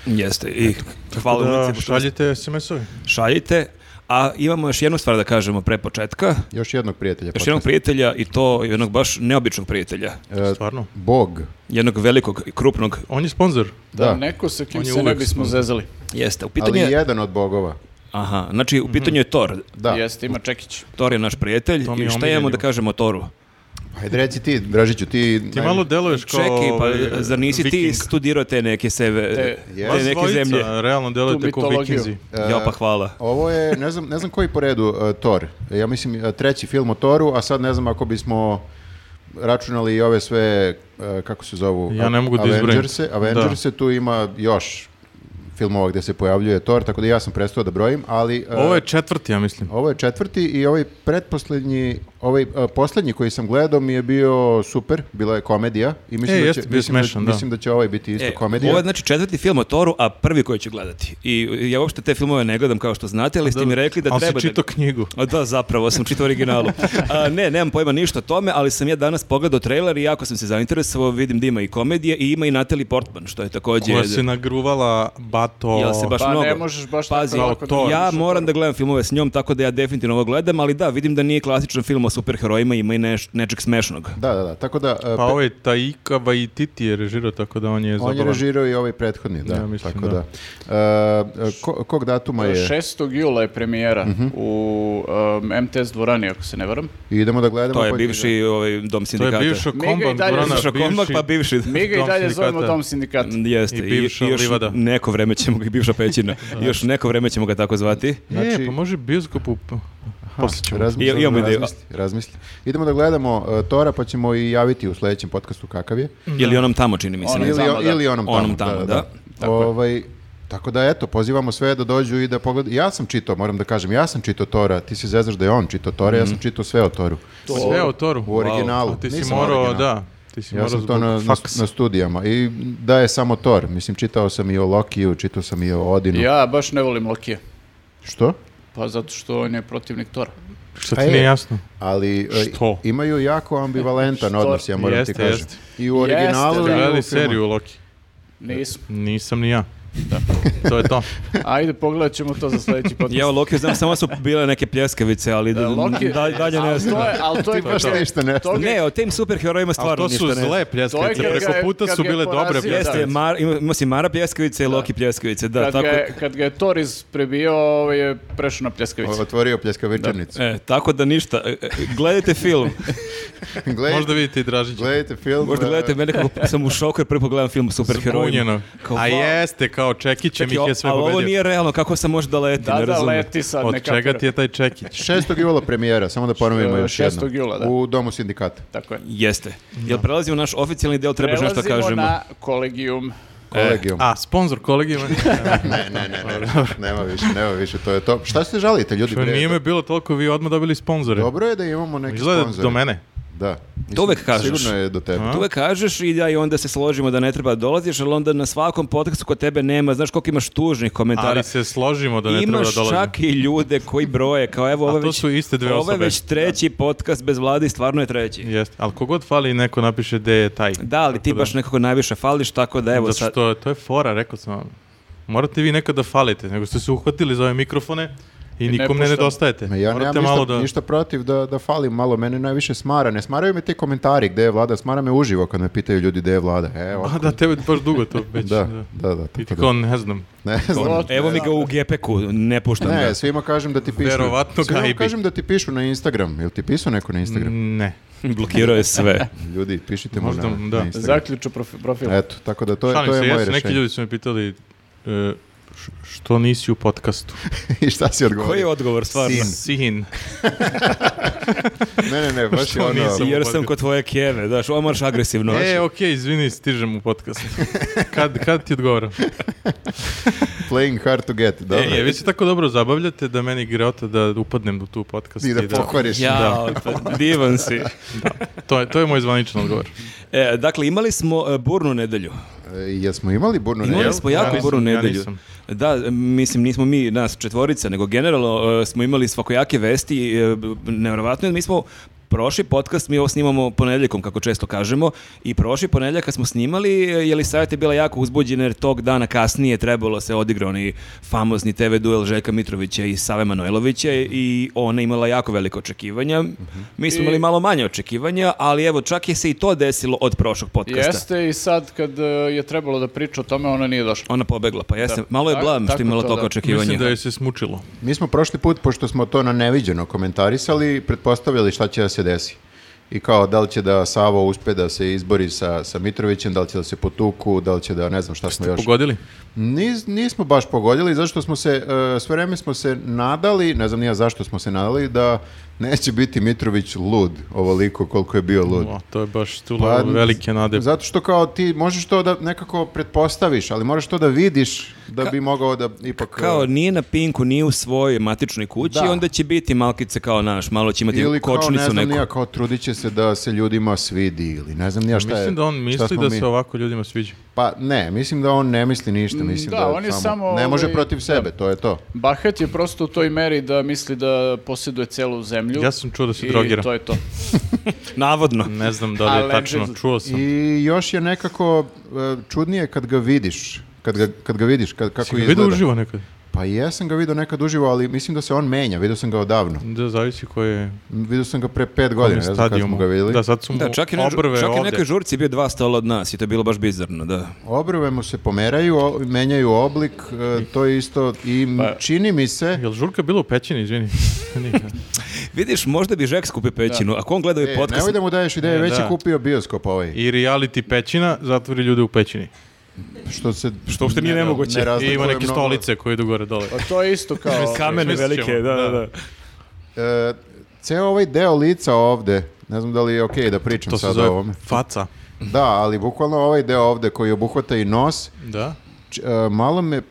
[SPEAKER 2] Jeste, i hvala
[SPEAKER 1] Da,
[SPEAKER 2] Unicefu što nas
[SPEAKER 1] šaljite SMS-ove.
[SPEAKER 2] šaljite. A imamo još jednu stvar da kažemo pre početka.
[SPEAKER 3] Još jednog prijatelja.
[SPEAKER 2] Još jednog
[SPEAKER 3] podcasta.
[SPEAKER 2] prijatelja i to jednog baš neobičnog prijatelja.
[SPEAKER 3] E,
[SPEAKER 1] Stvarno.
[SPEAKER 3] Bog.
[SPEAKER 2] Jednog velikog i krupnog.
[SPEAKER 1] On je sponsor.
[SPEAKER 4] Da,
[SPEAKER 3] Da.
[SPEAKER 4] neko sa kim
[SPEAKER 1] On je
[SPEAKER 4] se ne
[SPEAKER 1] uvek
[SPEAKER 4] bismo
[SPEAKER 1] slobodan.
[SPEAKER 4] zezali.
[SPEAKER 2] Jeste, u
[SPEAKER 3] Ali
[SPEAKER 2] pitanju je...
[SPEAKER 3] jedan od bogova.
[SPEAKER 2] Aha, znači
[SPEAKER 1] Mhm.
[SPEAKER 2] u pitanju je Thor.
[SPEAKER 3] Da.
[SPEAKER 4] Jeste, ima Čekić.
[SPEAKER 2] Thor je naš prijatelj.
[SPEAKER 1] To mi je
[SPEAKER 2] I šta
[SPEAKER 1] omiljeni.
[SPEAKER 2] imamo da kažemo o Thoru?
[SPEAKER 3] Ajde reci ti, Dražiću, ti...
[SPEAKER 1] Ti malo deluješ kao...
[SPEAKER 2] Čekaj, pa
[SPEAKER 1] ovaj,
[SPEAKER 2] zar nisi ti
[SPEAKER 1] viking.
[SPEAKER 2] studirao te neke
[SPEAKER 3] E,
[SPEAKER 2] seve,
[SPEAKER 4] Te-
[SPEAKER 2] te,
[SPEAKER 3] Vas
[SPEAKER 2] neke
[SPEAKER 1] dvojica,
[SPEAKER 2] zemlje?
[SPEAKER 1] realno
[SPEAKER 4] Tu
[SPEAKER 1] delujete kao
[SPEAKER 4] mitologiju.
[SPEAKER 1] vikinzi.
[SPEAKER 2] Ja pa hvala.
[SPEAKER 3] Ovo je, ne znam, ne znam koji po redu, e, Thor. Ja mislim e, treći film o Thoru, a sad ne znam ako bismo računali i ove sve, e, kako se zovu?
[SPEAKER 1] Ja ne mogu da izbrojim.
[SPEAKER 3] Avengerse,
[SPEAKER 1] Da.
[SPEAKER 3] Avengerse, tu ima još filmova gde se pojavljuje Thor, tako da ja sam prestao da brojim, ali... e,
[SPEAKER 1] Ovo je četvrti, ja mislim.
[SPEAKER 3] Ovo je četvrti i ovaj pretposlednji, ovaj e, poslednji koji sam gledao mi je bio super, bila je komedija i mislim,
[SPEAKER 1] E,
[SPEAKER 3] da, će,
[SPEAKER 1] jeste bio
[SPEAKER 3] mislim, da-
[SPEAKER 1] smešan, da.
[SPEAKER 3] mislim da će ovaj biti isto
[SPEAKER 2] E,
[SPEAKER 3] komedija.
[SPEAKER 2] Ovo je znači četvrti film o Thoru, a prvi koji ću gledati. I ja uopšte te filmove ne gledam kao što znate, ali ste mi rekli da
[SPEAKER 1] Ali
[SPEAKER 2] treba
[SPEAKER 1] si
[SPEAKER 2] da...
[SPEAKER 1] čitao knjigu.
[SPEAKER 2] A da, zapravo sam čitao originalu. A, ne, nemam pojma ništa o tome, ali sam ja danas pogledao trailer i jako sam se zainteresovao, vidim da ima i komedije i ima i Natalie Portman, što je takođe...
[SPEAKER 1] Koja se nagruvala bato...
[SPEAKER 2] Jel se baš
[SPEAKER 4] Pa
[SPEAKER 2] mnogo?
[SPEAKER 4] ne možeš baš
[SPEAKER 2] Pazi,
[SPEAKER 4] tako lako da
[SPEAKER 1] to-
[SPEAKER 2] ja
[SPEAKER 4] kažeš.
[SPEAKER 2] moram da gledam filmove s njom, tako da ja definitivno ovo gledam, ali da, vidim da nije klasičan film o superherojima, ima i neš, nečeg smešnog.
[SPEAKER 3] Da, da, da. Tako da e,
[SPEAKER 1] Pa ovaj Taika Waititi je režirao, tako da on je
[SPEAKER 3] On je
[SPEAKER 1] zabavan.
[SPEAKER 3] režirao i ovaj prethodni, da.
[SPEAKER 1] Ja mislim,
[SPEAKER 3] tako da.
[SPEAKER 1] da.
[SPEAKER 3] E, ko- kog datuma je?
[SPEAKER 4] 6. jula je premijera u um, MTS dvorani, ako se ne varam.
[SPEAKER 3] I idemo da gledamo.
[SPEAKER 2] To je
[SPEAKER 3] pa-
[SPEAKER 2] bivši ovaj, dom
[SPEAKER 1] To je
[SPEAKER 2] sindikata. [laughs]
[SPEAKER 1] bivšo
[SPEAKER 4] Mi ga i
[SPEAKER 1] kombat,
[SPEAKER 4] dalje
[SPEAKER 1] Gorana,
[SPEAKER 2] Bivša kombak, pa
[SPEAKER 1] [laughs]
[SPEAKER 2] bivši. [laughs]
[SPEAKER 4] Mi ga i
[SPEAKER 1] Dom
[SPEAKER 4] dalje
[SPEAKER 1] sindikata.
[SPEAKER 4] zovemo Dom sindikata.
[SPEAKER 2] Jeste,
[SPEAKER 1] I bivša
[SPEAKER 2] još
[SPEAKER 1] livada.
[SPEAKER 2] neko
[SPEAKER 1] [laughs]
[SPEAKER 2] vreme ćemo ga, i bivša pećina, još neko vreme ćemo ga tako zvati.
[SPEAKER 1] E,
[SPEAKER 3] Znači-
[SPEAKER 1] pa može bioskop u... Poslije ćemo.
[SPEAKER 3] Razmisli,
[SPEAKER 2] I- imamo ideju.
[SPEAKER 3] razmisli, razmisli. Idemo da gledamo e, Tora, pa ćemo i javiti u sledećem podcastu kakav je.
[SPEAKER 2] Ili onom tamo čini mi se.
[SPEAKER 4] Onom
[SPEAKER 2] ne
[SPEAKER 3] Ili,
[SPEAKER 2] znam.
[SPEAKER 4] tamo, da.
[SPEAKER 3] ili onom Ono tamo.
[SPEAKER 2] Onom tamo, da.
[SPEAKER 4] Tako je.
[SPEAKER 3] Ovaj, tako da eto, pozivamo sve da dođu i da pogledaju. Ja sam čitao, moram da kažem, ja sam čitao Tora, ti si zezaš da je on čitao Tora, ja sam čitao sve o Toru.
[SPEAKER 1] Sve o Toru.
[SPEAKER 3] U originalu.
[SPEAKER 1] A ti si
[SPEAKER 3] Nisam
[SPEAKER 1] morao,
[SPEAKER 3] original.
[SPEAKER 1] da. Ti si
[SPEAKER 3] Ja
[SPEAKER 1] morao
[SPEAKER 3] sam to
[SPEAKER 1] zbog
[SPEAKER 3] na, na,
[SPEAKER 1] faksa.
[SPEAKER 3] na studijama i da je samo Thor. Mislim, čitao sam i o Lokiju, čitao sam i o Odinu.
[SPEAKER 4] Ja baš ne volim Lokije.
[SPEAKER 3] Što?
[SPEAKER 4] Pa zato što on je protivnik Tora.
[SPEAKER 1] Što
[SPEAKER 3] A
[SPEAKER 1] ti
[SPEAKER 3] je.
[SPEAKER 1] nije jasno?
[SPEAKER 3] Ali e,
[SPEAKER 1] Što?
[SPEAKER 3] imaju jako ambivalentan
[SPEAKER 4] Što?
[SPEAKER 3] odnos, ja moram
[SPEAKER 1] Jeste,
[SPEAKER 3] ti kažem.
[SPEAKER 1] jeste.
[SPEAKER 3] I u originalu
[SPEAKER 4] Jeste,
[SPEAKER 3] i u
[SPEAKER 1] Gledali
[SPEAKER 3] filmu.
[SPEAKER 1] seriju Loki.
[SPEAKER 4] Nismo.
[SPEAKER 1] Nisam ni ja. to je
[SPEAKER 2] [laughs]
[SPEAKER 1] to.
[SPEAKER 4] Ajde, pogledat ćemo to za sledeći podcast.
[SPEAKER 2] Pa Ja o Lokiju znam samo da su bile neke pljeskavice, ali da,
[SPEAKER 4] Da, Loki-
[SPEAKER 2] da- dalje ne
[SPEAKER 4] ali to
[SPEAKER 2] znam.
[SPEAKER 4] je, ali to je
[SPEAKER 3] Baš
[SPEAKER 4] kad-
[SPEAKER 3] ništa ne
[SPEAKER 4] toga-
[SPEAKER 2] Ne, o tim superherojima
[SPEAKER 1] Ali
[SPEAKER 2] stvarno
[SPEAKER 1] to
[SPEAKER 2] ništa
[SPEAKER 1] su
[SPEAKER 2] ne znam.
[SPEAKER 1] zle
[SPEAKER 4] To
[SPEAKER 1] pljeskavice.
[SPEAKER 4] je kad
[SPEAKER 1] Preko
[SPEAKER 4] ga je-
[SPEAKER 1] puta
[SPEAKER 4] kad
[SPEAKER 1] su
[SPEAKER 4] ga je
[SPEAKER 1] bile dobre
[SPEAKER 4] porazio, da.
[SPEAKER 1] pljeskavice.
[SPEAKER 2] Jeste, Mar, ima, ima si Mara pljeskavice i Loki pljeskavice, da,
[SPEAKER 4] kad,
[SPEAKER 2] tako,
[SPEAKER 4] ga, je- kad ga je Thor isprebio, ovaj je prešao na
[SPEAKER 3] O-
[SPEAKER 4] pljeskavicu.
[SPEAKER 3] Otvorio pljeskavičarnicu.
[SPEAKER 2] e, tako da ništa. E, e, Gledajte
[SPEAKER 4] [laughs]
[SPEAKER 2] film,
[SPEAKER 3] Gledajte,
[SPEAKER 1] Možda vidite i Dražića.
[SPEAKER 3] gledajte film.
[SPEAKER 2] možda
[SPEAKER 3] e,
[SPEAKER 2] gledajte mene kako sam u šoku jer prvi pogledam film o superherojima.
[SPEAKER 1] Zbunjeno.
[SPEAKER 2] Kao,
[SPEAKER 1] A
[SPEAKER 2] wow.
[SPEAKER 1] jeste, kao Čekićem ih je sve
[SPEAKER 2] ali ovo
[SPEAKER 1] pobedio.
[SPEAKER 2] nije realno, kako sam može da leti,
[SPEAKER 4] Da,
[SPEAKER 2] ne
[SPEAKER 4] da,
[SPEAKER 2] razumem.
[SPEAKER 4] leti sad.
[SPEAKER 1] Od
[SPEAKER 4] ne
[SPEAKER 1] čega
[SPEAKER 4] kapira.
[SPEAKER 1] ti je taj Čekić?
[SPEAKER 3] 6. jula premijera, samo da ponovimo
[SPEAKER 4] E,
[SPEAKER 3] još jednom.
[SPEAKER 4] 6. jula, da.
[SPEAKER 3] U Domu sindikata.
[SPEAKER 4] Tako je.
[SPEAKER 2] Jeste. Jel prelazimo naš oficijalni deo, trebaš nešto da
[SPEAKER 4] Prelazimo
[SPEAKER 2] kažemo.
[SPEAKER 4] na kolegijum.
[SPEAKER 3] Kolegijum.
[SPEAKER 1] E. A, sponsor
[SPEAKER 2] [laughs]
[SPEAKER 1] kolegijima.
[SPEAKER 3] ne, ne, ne, ne, nema više, nema više, to je to. Šta se žalite, ljudi?
[SPEAKER 1] Što
[SPEAKER 3] bre?
[SPEAKER 1] Pa nije me bilo toliko, vi odmah dobili sponzore.
[SPEAKER 3] Dobro je da imamo neki
[SPEAKER 1] Izgleda
[SPEAKER 3] sponzor.
[SPEAKER 1] do mene.
[SPEAKER 3] Da.
[SPEAKER 2] To uvek
[SPEAKER 3] Mislim,
[SPEAKER 2] kažeš.
[SPEAKER 3] Sigurno je do tebe.
[SPEAKER 1] A?
[SPEAKER 2] Tu uvek kažeš i da i onda se složimo da ne treba da dolaziš, ali onda na svakom podcastu kod tebe nema, znaš koliko imaš tužnih komentara.
[SPEAKER 1] Ali se složimo da ne treba da
[SPEAKER 2] E, Imaš
[SPEAKER 1] dolazim.
[SPEAKER 2] čak i ljude koji broje, kao evo ovo je
[SPEAKER 1] to
[SPEAKER 2] već,
[SPEAKER 1] su iste dve
[SPEAKER 2] ovo je
[SPEAKER 1] osobe.
[SPEAKER 2] već treći podcast bez vlade i stvarno je treći.
[SPEAKER 1] Jeste, ali kogod fali neko napiše gde je taj.
[SPEAKER 2] Da, ali ti
[SPEAKER 1] Tako da-
[SPEAKER 2] baš nekako najviše fališ, tako da evo
[SPEAKER 1] Zato
[SPEAKER 2] sad...
[SPEAKER 1] što to je fora, rekao sam vam. Morate vi nekad da falite, nego ste se uhvatili za ove mikrofone i
[SPEAKER 4] ne
[SPEAKER 1] nikom ne,
[SPEAKER 4] puštam.
[SPEAKER 1] nedostajete.
[SPEAKER 3] Ma ja
[SPEAKER 1] Morate
[SPEAKER 3] nemam ništa,
[SPEAKER 1] malo da...
[SPEAKER 3] ništa protiv da, da falim malo, mene najviše smara. Ne smaraju me te komentari gde je vlada, smara me uživo kad me pitaju ljudi gde je vlada.
[SPEAKER 1] [laughs]
[SPEAKER 3] E,
[SPEAKER 1] A
[SPEAKER 3] ovako.
[SPEAKER 1] da, tebe baš dugo to već.
[SPEAKER 3] Da,
[SPEAKER 1] da.
[SPEAKER 3] da, da,
[SPEAKER 1] I ti
[SPEAKER 3] tako da.
[SPEAKER 1] kao, ne znam.
[SPEAKER 3] Ne znam.
[SPEAKER 2] Evo mi ga u gepeku, ne puštam
[SPEAKER 3] Ne,
[SPEAKER 2] ga.
[SPEAKER 3] svima kažem da ti pišu.
[SPEAKER 1] Verovatno
[SPEAKER 3] svima
[SPEAKER 1] gajbi.
[SPEAKER 3] kažem da ti pišu na Instagram. Jel ti pisao neko na Instagram?
[SPEAKER 1] Ne.
[SPEAKER 2] [laughs] Blokirao je
[SPEAKER 3] [laughs]
[SPEAKER 2] sve.
[SPEAKER 3] Ljudi, pišite mu
[SPEAKER 1] Mm. Možda,
[SPEAKER 3] na,
[SPEAKER 1] da.
[SPEAKER 3] na Instagram.
[SPEAKER 4] Zaključu profi- profila.
[SPEAKER 3] Eto, tako da to je,
[SPEAKER 1] Šalim
[SPEAKER 3] to je
[SPEAKER 1] se,
[SPEAKER 3] moje
[SPEAKER 1] jesu, neki
[SPEAKER 3] rešenje.
[SPEAKER 1] ljudi su me pitali e, š- što nisi u
[SPEAKER 3] [laughs]
[SPEAKER 1] podcastu. Pa,
[SPEAKER 3] I šta si odgovorio?
[SPEAKER 2] Koji je odgovor stvarno?
[SPEAKER 3] Sin.
[SPEAKER 1] Sin.
[SPEAKER 3] Ne,
[SPEAKER 1] [laughs]
[SPEAKER 3] ne, ne, baš je
[SPEAKER 1] Što
[SPEAKER 3] ono...
[SPEAKER 1] nisam?
[SPEAKER 2] Jer sam kod tvoje keve, daš, ovo moraš agresivno.
[SPEAKER 1] E, okej, izvini, stižem u
[SPEAKER 3] [laughs]
[SPEAKER 1] podcast. Kad, kad ti odgovaram?
[SPEAKER 3] Playing hard to get, dobro.
[SPEAKER 1] E, vi se tako dobro zabavljate da meni greota da upadnem u tu podcast.
[SPEAKER 3] Ti
[SPEAKER 1] i
[SPEAKER 3] da pokvariš.
[SPEAKER 2] Jao, pa [laughs] divan si.
[SPEAKER 1] To je, to je moj zvaničan
[SPEAKER 3] [laughs]
[SPEAKER 1] odgovor.
[SPEAKER 2] E, dakle, imali smo e, burnu nedelju.
[SPEAKER 3] E, jesmo imali burnu nedelju?
[SPEAKER 2] Imali smo jako
[SPEAKER 1] nisam,
[SPEAKER 2] burnu
[SPEAKER 1] ja
[SPEAKER 2] nedelju.
[SPEAKER 1] nisam.
[SPEAKER 2] da, e, mislim, nismo mi nas četvorica, nego generalno e, smo imali svakojake vesti. E, b- nevjerovatno je, mi smo prošli podcast, mi ovo snimamo ponedjeljkom, kako često kažemo, i prošli ponedjeljak kad smo snimali, e, Jelisaveta je bila jako uzbuđena jer tog dana kasnije trebalo se odigra onaj famozni TV duel Željka Mitrovića i Save Manojlovića i ona je imala jako velike očekivanja. Mi smo
[SPEAKER 4] I-
[SPEAKER 2] imali malo manje očekivanja, ali evo, čak je se i to desilo od prošlog podcasta.
[SPEAKER 4] Jeste i sad kad e, je trebalo da priča o tome, ona nije došla.
[SPEAKER 2] Ona pobegla, pa jeste.
[SPEAKER 4] Da.
[SPEAKER 2] Malo je
[SPEAKER 4] Tako-
[SPEAKER 2] blam što
[SPEAKER 4] tako
[SPEAKER 2] je imala
[SPEAKER 4] to,
[SPEAKER 2] toliko
[SPEAKER 4] da.
[SPEAKER 2] očekivanja.
[SPEAKER 1] Mislim da je se smučilo.
[SPEAKER 3] Mi smo prošli put, pošto smo to na neviđeno komentarisali, pretpostavljali šta će da se desi. I kao, da li će da Savo uspe da se izbori sa, sa Mitrovićem, da li će da se potuku, da li će da, ne znam šta smo još.
[SPEAKER 1] Pogodili?
[SPEAKER 3] Niz- nismo baš pogodili, zašto smo se, e, sve vreme smo se nadali, ne znam nija zašto smo se nadali, da neće biti Mitrović lud, ovoliko koliko je bio lud.
[SPEAKER 1] O, to je baš tu
[SPEAKER 3] Pa,
[SPEAKER 1] velike nade.
[SPEAKER 3] Zato što kao ti možeš to da nekako pretpostaviš, ali moraš to da vidiš da bi mogao da ipak...
[SPEAKER 2] Kao
[SPEAKER 3] e,
[SPEAKER 2] nije na Pinku, nije u svojoj matičnoj kući,
[SPEAKER 3] Da.
[SPEAKER 2] onda će biti malkice kao naš, malo će imati
[SPEAKER 3] ili kao, ne
[SPEAKER 2] kočnicu
[SPEAKER 3] znam
[SPEAKER 2] neku.
[SPEAKER 3] ni ja, kao trudit će se da se ljudima svidi ili ne znam nija šta je.
[SPEAKER 1] Mislim da on
[SPEAKER 3] šta
[SPEAKER 1] misli
[SPEAKER 3] smo
[SPEAKER 1] da se
[SPEAKER 3] mi.
[SPEAKER 1] Mm, ovako ljudima sviđa.
[SPEAKER 3] Pa ne, mislim da on ne misli ništa, mislim
[SPEAKER 4] da,
[SPEAKER 3] da,
[SPEAKER 4] on je samo,
[SPEAKER 3] ne može
[SPEAKER 4] ovaj,
[SPEAKER 3] protiv
[SPEAKER 4] da.
[SPEAKER 3] sebe, to je to.
[SPEAKER 4] Bahat je prosto u toj meri da misli da posjeduje celu zemlju.
[SPEAKER 1] Ja sam čuo da se
[SPEAKER 4] I
[SPEAKER 1] drogira.
[SPEAKER 4] to je to.
[SPEAKER 2] Navodno.
[SPEAKER 1] Ne znam da li je
[SPEAKER 4] Allegedly.
[SPEAKER 1] tačno, čuo sam.
[SPEAKER 3] I još je nekako e, čudnije kad ga vidiš, kad ga, kad ga vidiš, kad, kako
[SPEAKER 1] Si ga
[SPEAKER 3] izgleda.
[SPEAKER 1] vidio uživo nekad?
[SPEAKER 3] Pa jesam ga vidio nekad uživo, ali mislim da se on menja, vidio sam ga odavno.
[SPEAKER 1] Da, zavisi ko je
[SPEAKER 3] Vidio sam ga pre pet godina, ne znam kad smo
[SPEAKER 1] stadijumu.
[SPEAKER 3] ga vidjeli.
[SPEAKER 1] Da, sad su mu
[SPEAKER 3] Mm,
[SPEAKER 2] Da, čak i na,
[SPEAKER 1] obrve
[SPEAKER 2] čak i
[SPEAKER 1] ovde.
[SPEAKER 2] nekoj žurci je bio dva stola od nas i to je bilo baš bizarno, da.
[SPEAKER 3] Obrve mu se pomeraju, o- menjaju oblik, e, to je isto i m-
[SPEAKER 4] Pa-
[SPEAKER 3] čini mi se...
[SPEAKER 1] Jel žurka bila u pećini, izvini? [laughs] Nije.
[SPEAKER 2] Vidiš, možda bi Žeks kupio pećinu, ako on gleda ovaj
[SPEAKER 3] E,
[SPEAKER 2] podcast...
[SPEAKER 3] nemoj da mu daješ ideje,
[SPEAKER 1] E,
[SPEAKER 3] već je
[SPEAKER 1] da.
[SPEAKER 3] kupio bioskop ovaj.
[SPEAKER 1] I reality pećina zatvori ljude u pećini.
[SPEAKER 3] Što se...
[SPEAKER 2] Što uopšte nije
[SPEAKER 3] ne-
[SPEAKER 2] nemoguće. Pa,
[SPEAKER 3] ne
[SPEAKER 1] I
[SPEAKER 3] razlikuje
[SPEAKER 1] ima neke
[SPEAKER 3] mnogo.
[SPEAKER 1] [laughs] stolice koje idu gore dole.
[SPEAKER 4] Pa to je isto kao...
[SPEAKER 1] Kamene velike, da, da, da.
[SPEAKER 3] e, ceo ovaj deo lica ovde, ne znam da li je okej da pričam
[SPEAKER 1] To se
[SPEAKER 3] sad
[SPEAKER 1] zove
[SPEAKER 3] o ovome.
[SPEAKER 1] faca.
[SPEAKER 3] Da, ali bukvalno ovaj deo ovde koji obuhvata i nos,
[SPEAKER 1] Da?
[SPEAKER 3] č- e, malo me, e,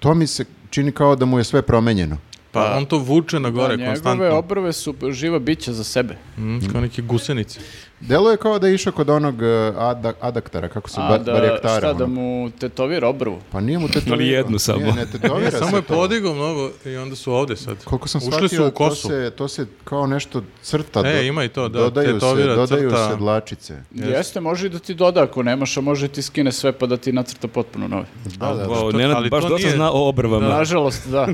[SPEAKER 3] to mi se čini kao da mu je sve promenjeno.
[SPEAKER 1] Pa on to vuče na gore
[SPEAKER 4] njegove
[SPEAKER 1] konstantno.
[SPEAKER 4] obrve su živa bića za sebe.
[SPEAKER 1] Mm, kao neke gusenice.
[SPEAKER 3] Delo je kao da je išao kod onog e, ada, adaktara, kako se
[SPEAKER 4] A
[SPEAKER 3] ba,
[SPEAKER 4] da,
[SPEAKER 3] barjaktara,
[SPEAKER 4] šta da
[SPEAKER 3] ono.
[SPEAKER 4] mu tetovira obrvu?
[SPEAKER 3] Pa nije mu
[SPEAKER 2] [laughs]
[SPEAKER 3] tetovira.
[SPEAKER 2] Ali jednu samo.
[SPEAKER 3] Nije, ne tetovira se
[SPEAKER 1] E, Samo je
[SPEAKER 3] to.
[SPEAKER 1] podigao mnogo i onda su ovde sad.
[SPEAKER 3] Koliko sam
[SPEAKER 1] Ušli
[SPEAKER 3] shvatio,
[SPEAKER 1] su u
[SPEAKER 3] to,
[SPEAKER 1] kosu.
[SPEAKER 3] se, to se kao nešto crta.
[SPEAKER 1] E,
[SPEAKER 3] do-
[SPEAKER 1] ima i to, da,
[SPEAKER 3] Dodaju, se,
[SPEAKER 1] tetovira,
[SPEAKER 3] dodaju
[SPEAKER 1] crta.
[SPEAKER 3] se dlačice.
[SPEAKER 4] Jeste, može i da ti doda ako nemaš, a može i ti skine sve pa da ti nacrta potpuno nove.
[SPEAKER 3] Da, da, da.
[SPEAKER 2] Wow,
[SPEAKER 1] to-
[SPEAKER 2] Nenad
[SPEAKER 1] ali
[SPEAKER 2] baš
[SPEAKER 1] to
[SPEAKER 2] dosta
[SPEAKER 1] nije-
[SPEAKER 2] zna o obrvama.
[SPEAKER 4] Nažalost, da.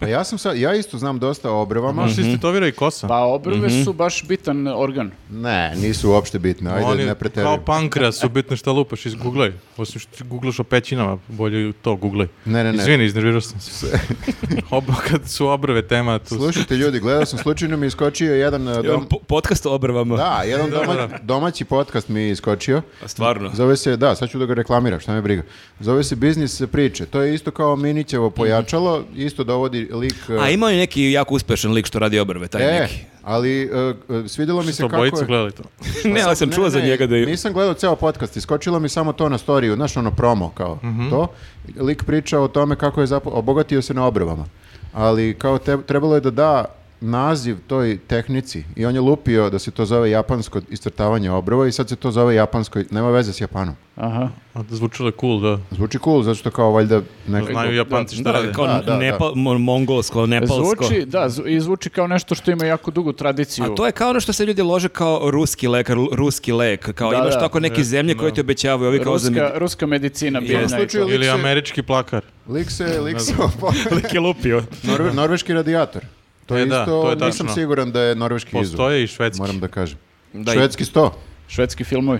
[SPEAKER 3] Pa ja sam sad, ja isto znam dosta o obrvama.
[SPEAKER 1] Možda se istetovira i kosa.
[SPEAKER 4] Pa obrve
[SPEAKER 1] Mhm.
[SPEAKER 4] su baš bitan organ.
[SPEAKER 3] Ne, nisu uopšte bitne, ajde
[SPEAKER 1] Oni
[SPEAKER 3] ne
[SPEAKER 1] kao
[SPEAKER 3] preterujem.
[SPEAKER 1] pankreas su bitno šta lupaš, izguglaj. Osim što ti guglaš o pećinama, bolje to guglaj.
[SPEAKER 3] Ne, ne, ne.
[SPEAKER 1] Izvini, iznervirao sam se. [laughs] Oba, kad su obrve tema, tu
[SPEAKER 3] Slušajte ljudi, gledao sam slučajno mi je iskočio jedan e,
[SPEAKER 2] Imam
[SPEAKER 3] dom...
[SPEAKER 2] po- podcast o obrvama.
[SPEAKER 3] Da, jedan doma-
[SPEAKER 1] da.
[SPEAKER 3] domaći podcast mi je iskočio.
[SPEAKER 2] A Stvarno.
[SPEAKER 3] Zove se, da, sad ću da ga reklamiram, šta me briga. Zove se Biznis priče. To je isto kao Minićevo pojačalo, isto dovodi lik... e,
[SPEAKER 2] A imao je neki jako uspešan lik što radi obrve, taj
[SPEAKER 3] E,
[SPEAKER 2] neki. [laughs]
[SPEAKER 3] ali e, e, svidjelo mi se
[SPEAKER 1] su
[SPEAKER 3] kako je...
[SPEAKER 1] obojicu gledali to.
[SPEAKER 2] ne, ali sam
[SPEAKER 3] Pa Ne,
[SPEAKER 2] čuo
[SPEAKER 3] ne,
[SPEAKER 2] za
[SPEAKER 3] ne,
[SPEAKER 2] njega da je...
[SPEAKER 3] Nisam gledao ceo podcast, iskočilo mi samo to na storiju, znaš ono promo kao
[SPEAKER 1] Mhm.
[SPEAKER 3] to. Lik priča o tome kako je zapo- obogatio se na obrvama. Ali kao te- trebalo je da da naziv toj tehnici i on je lupio da se to zove japansko iscrtavanje obrva i sad se to zove japansko, nema veze s Japanom.
[SPEAKER 4] Aha.
[SPEAKER 1] A Zvučilo je cool, da.
[SPEAKER 3] Zvuči cool, zato što kao valjda neko...
[SPEAKER 1] Znaju Japanci šta
[SPEAKER 2] Da,
[SPEAKER 1] rade.
[SPEAKER 2] kao
[SPEAKER 3] Da, da,
[SPEAKER 2] Nepa- mo- mongolsko, nepalsko.
[SPEAKER 4] E, Zvuči, da, zvu- i zvuči kao nešto što ima jako dugu tradiciju.
[SPEAKER 2] A to je kao ono što se ljudi lože kao ruski lekar, lu- ruski lek, kao
[SPEAKER 4] Da,
[SPEAKER 2] imaš
[SPEAKER 4] da.
[SPEAKER 2] tako neke zemlje koje ti obećavaju, ovi kao za
[SPEAKER 4] ruska, ruska medicina biljna i
[SPEAKER 3] slučaju-
[SPEAKER 4] to.
[SPEAKER 3] lik
[SPEAKER 1] Ili
[SPEAKER 3] se-
[SPEAKER 1] američki plakar.
[SPEAKER 3] Lik se, [laughs] lik se obo-
[SPEAKER 2] Lik je lupio.
[SPEAKER 3] Norve- norveški radijator. To je
[SPEAKER 1] E, da,
[SPEAKER 3] isto,
[SPEAKER 1] to je
[SPEAKER 3] nisam
[SPEAKER 1] tačno.
[SPEAKER 3] siguran da je norveški
[SPEAKER 1] [laughs]
[SPEAKER 3] izum.
[SPEAKER 1] Postoje i švedski.
[SPEAKER 3] Moram da kažem.
[SPEAKER 2] Da, i-
[SPEAKER 3] Švedski sto.
[SPEAKER 4] Švedski filmovi.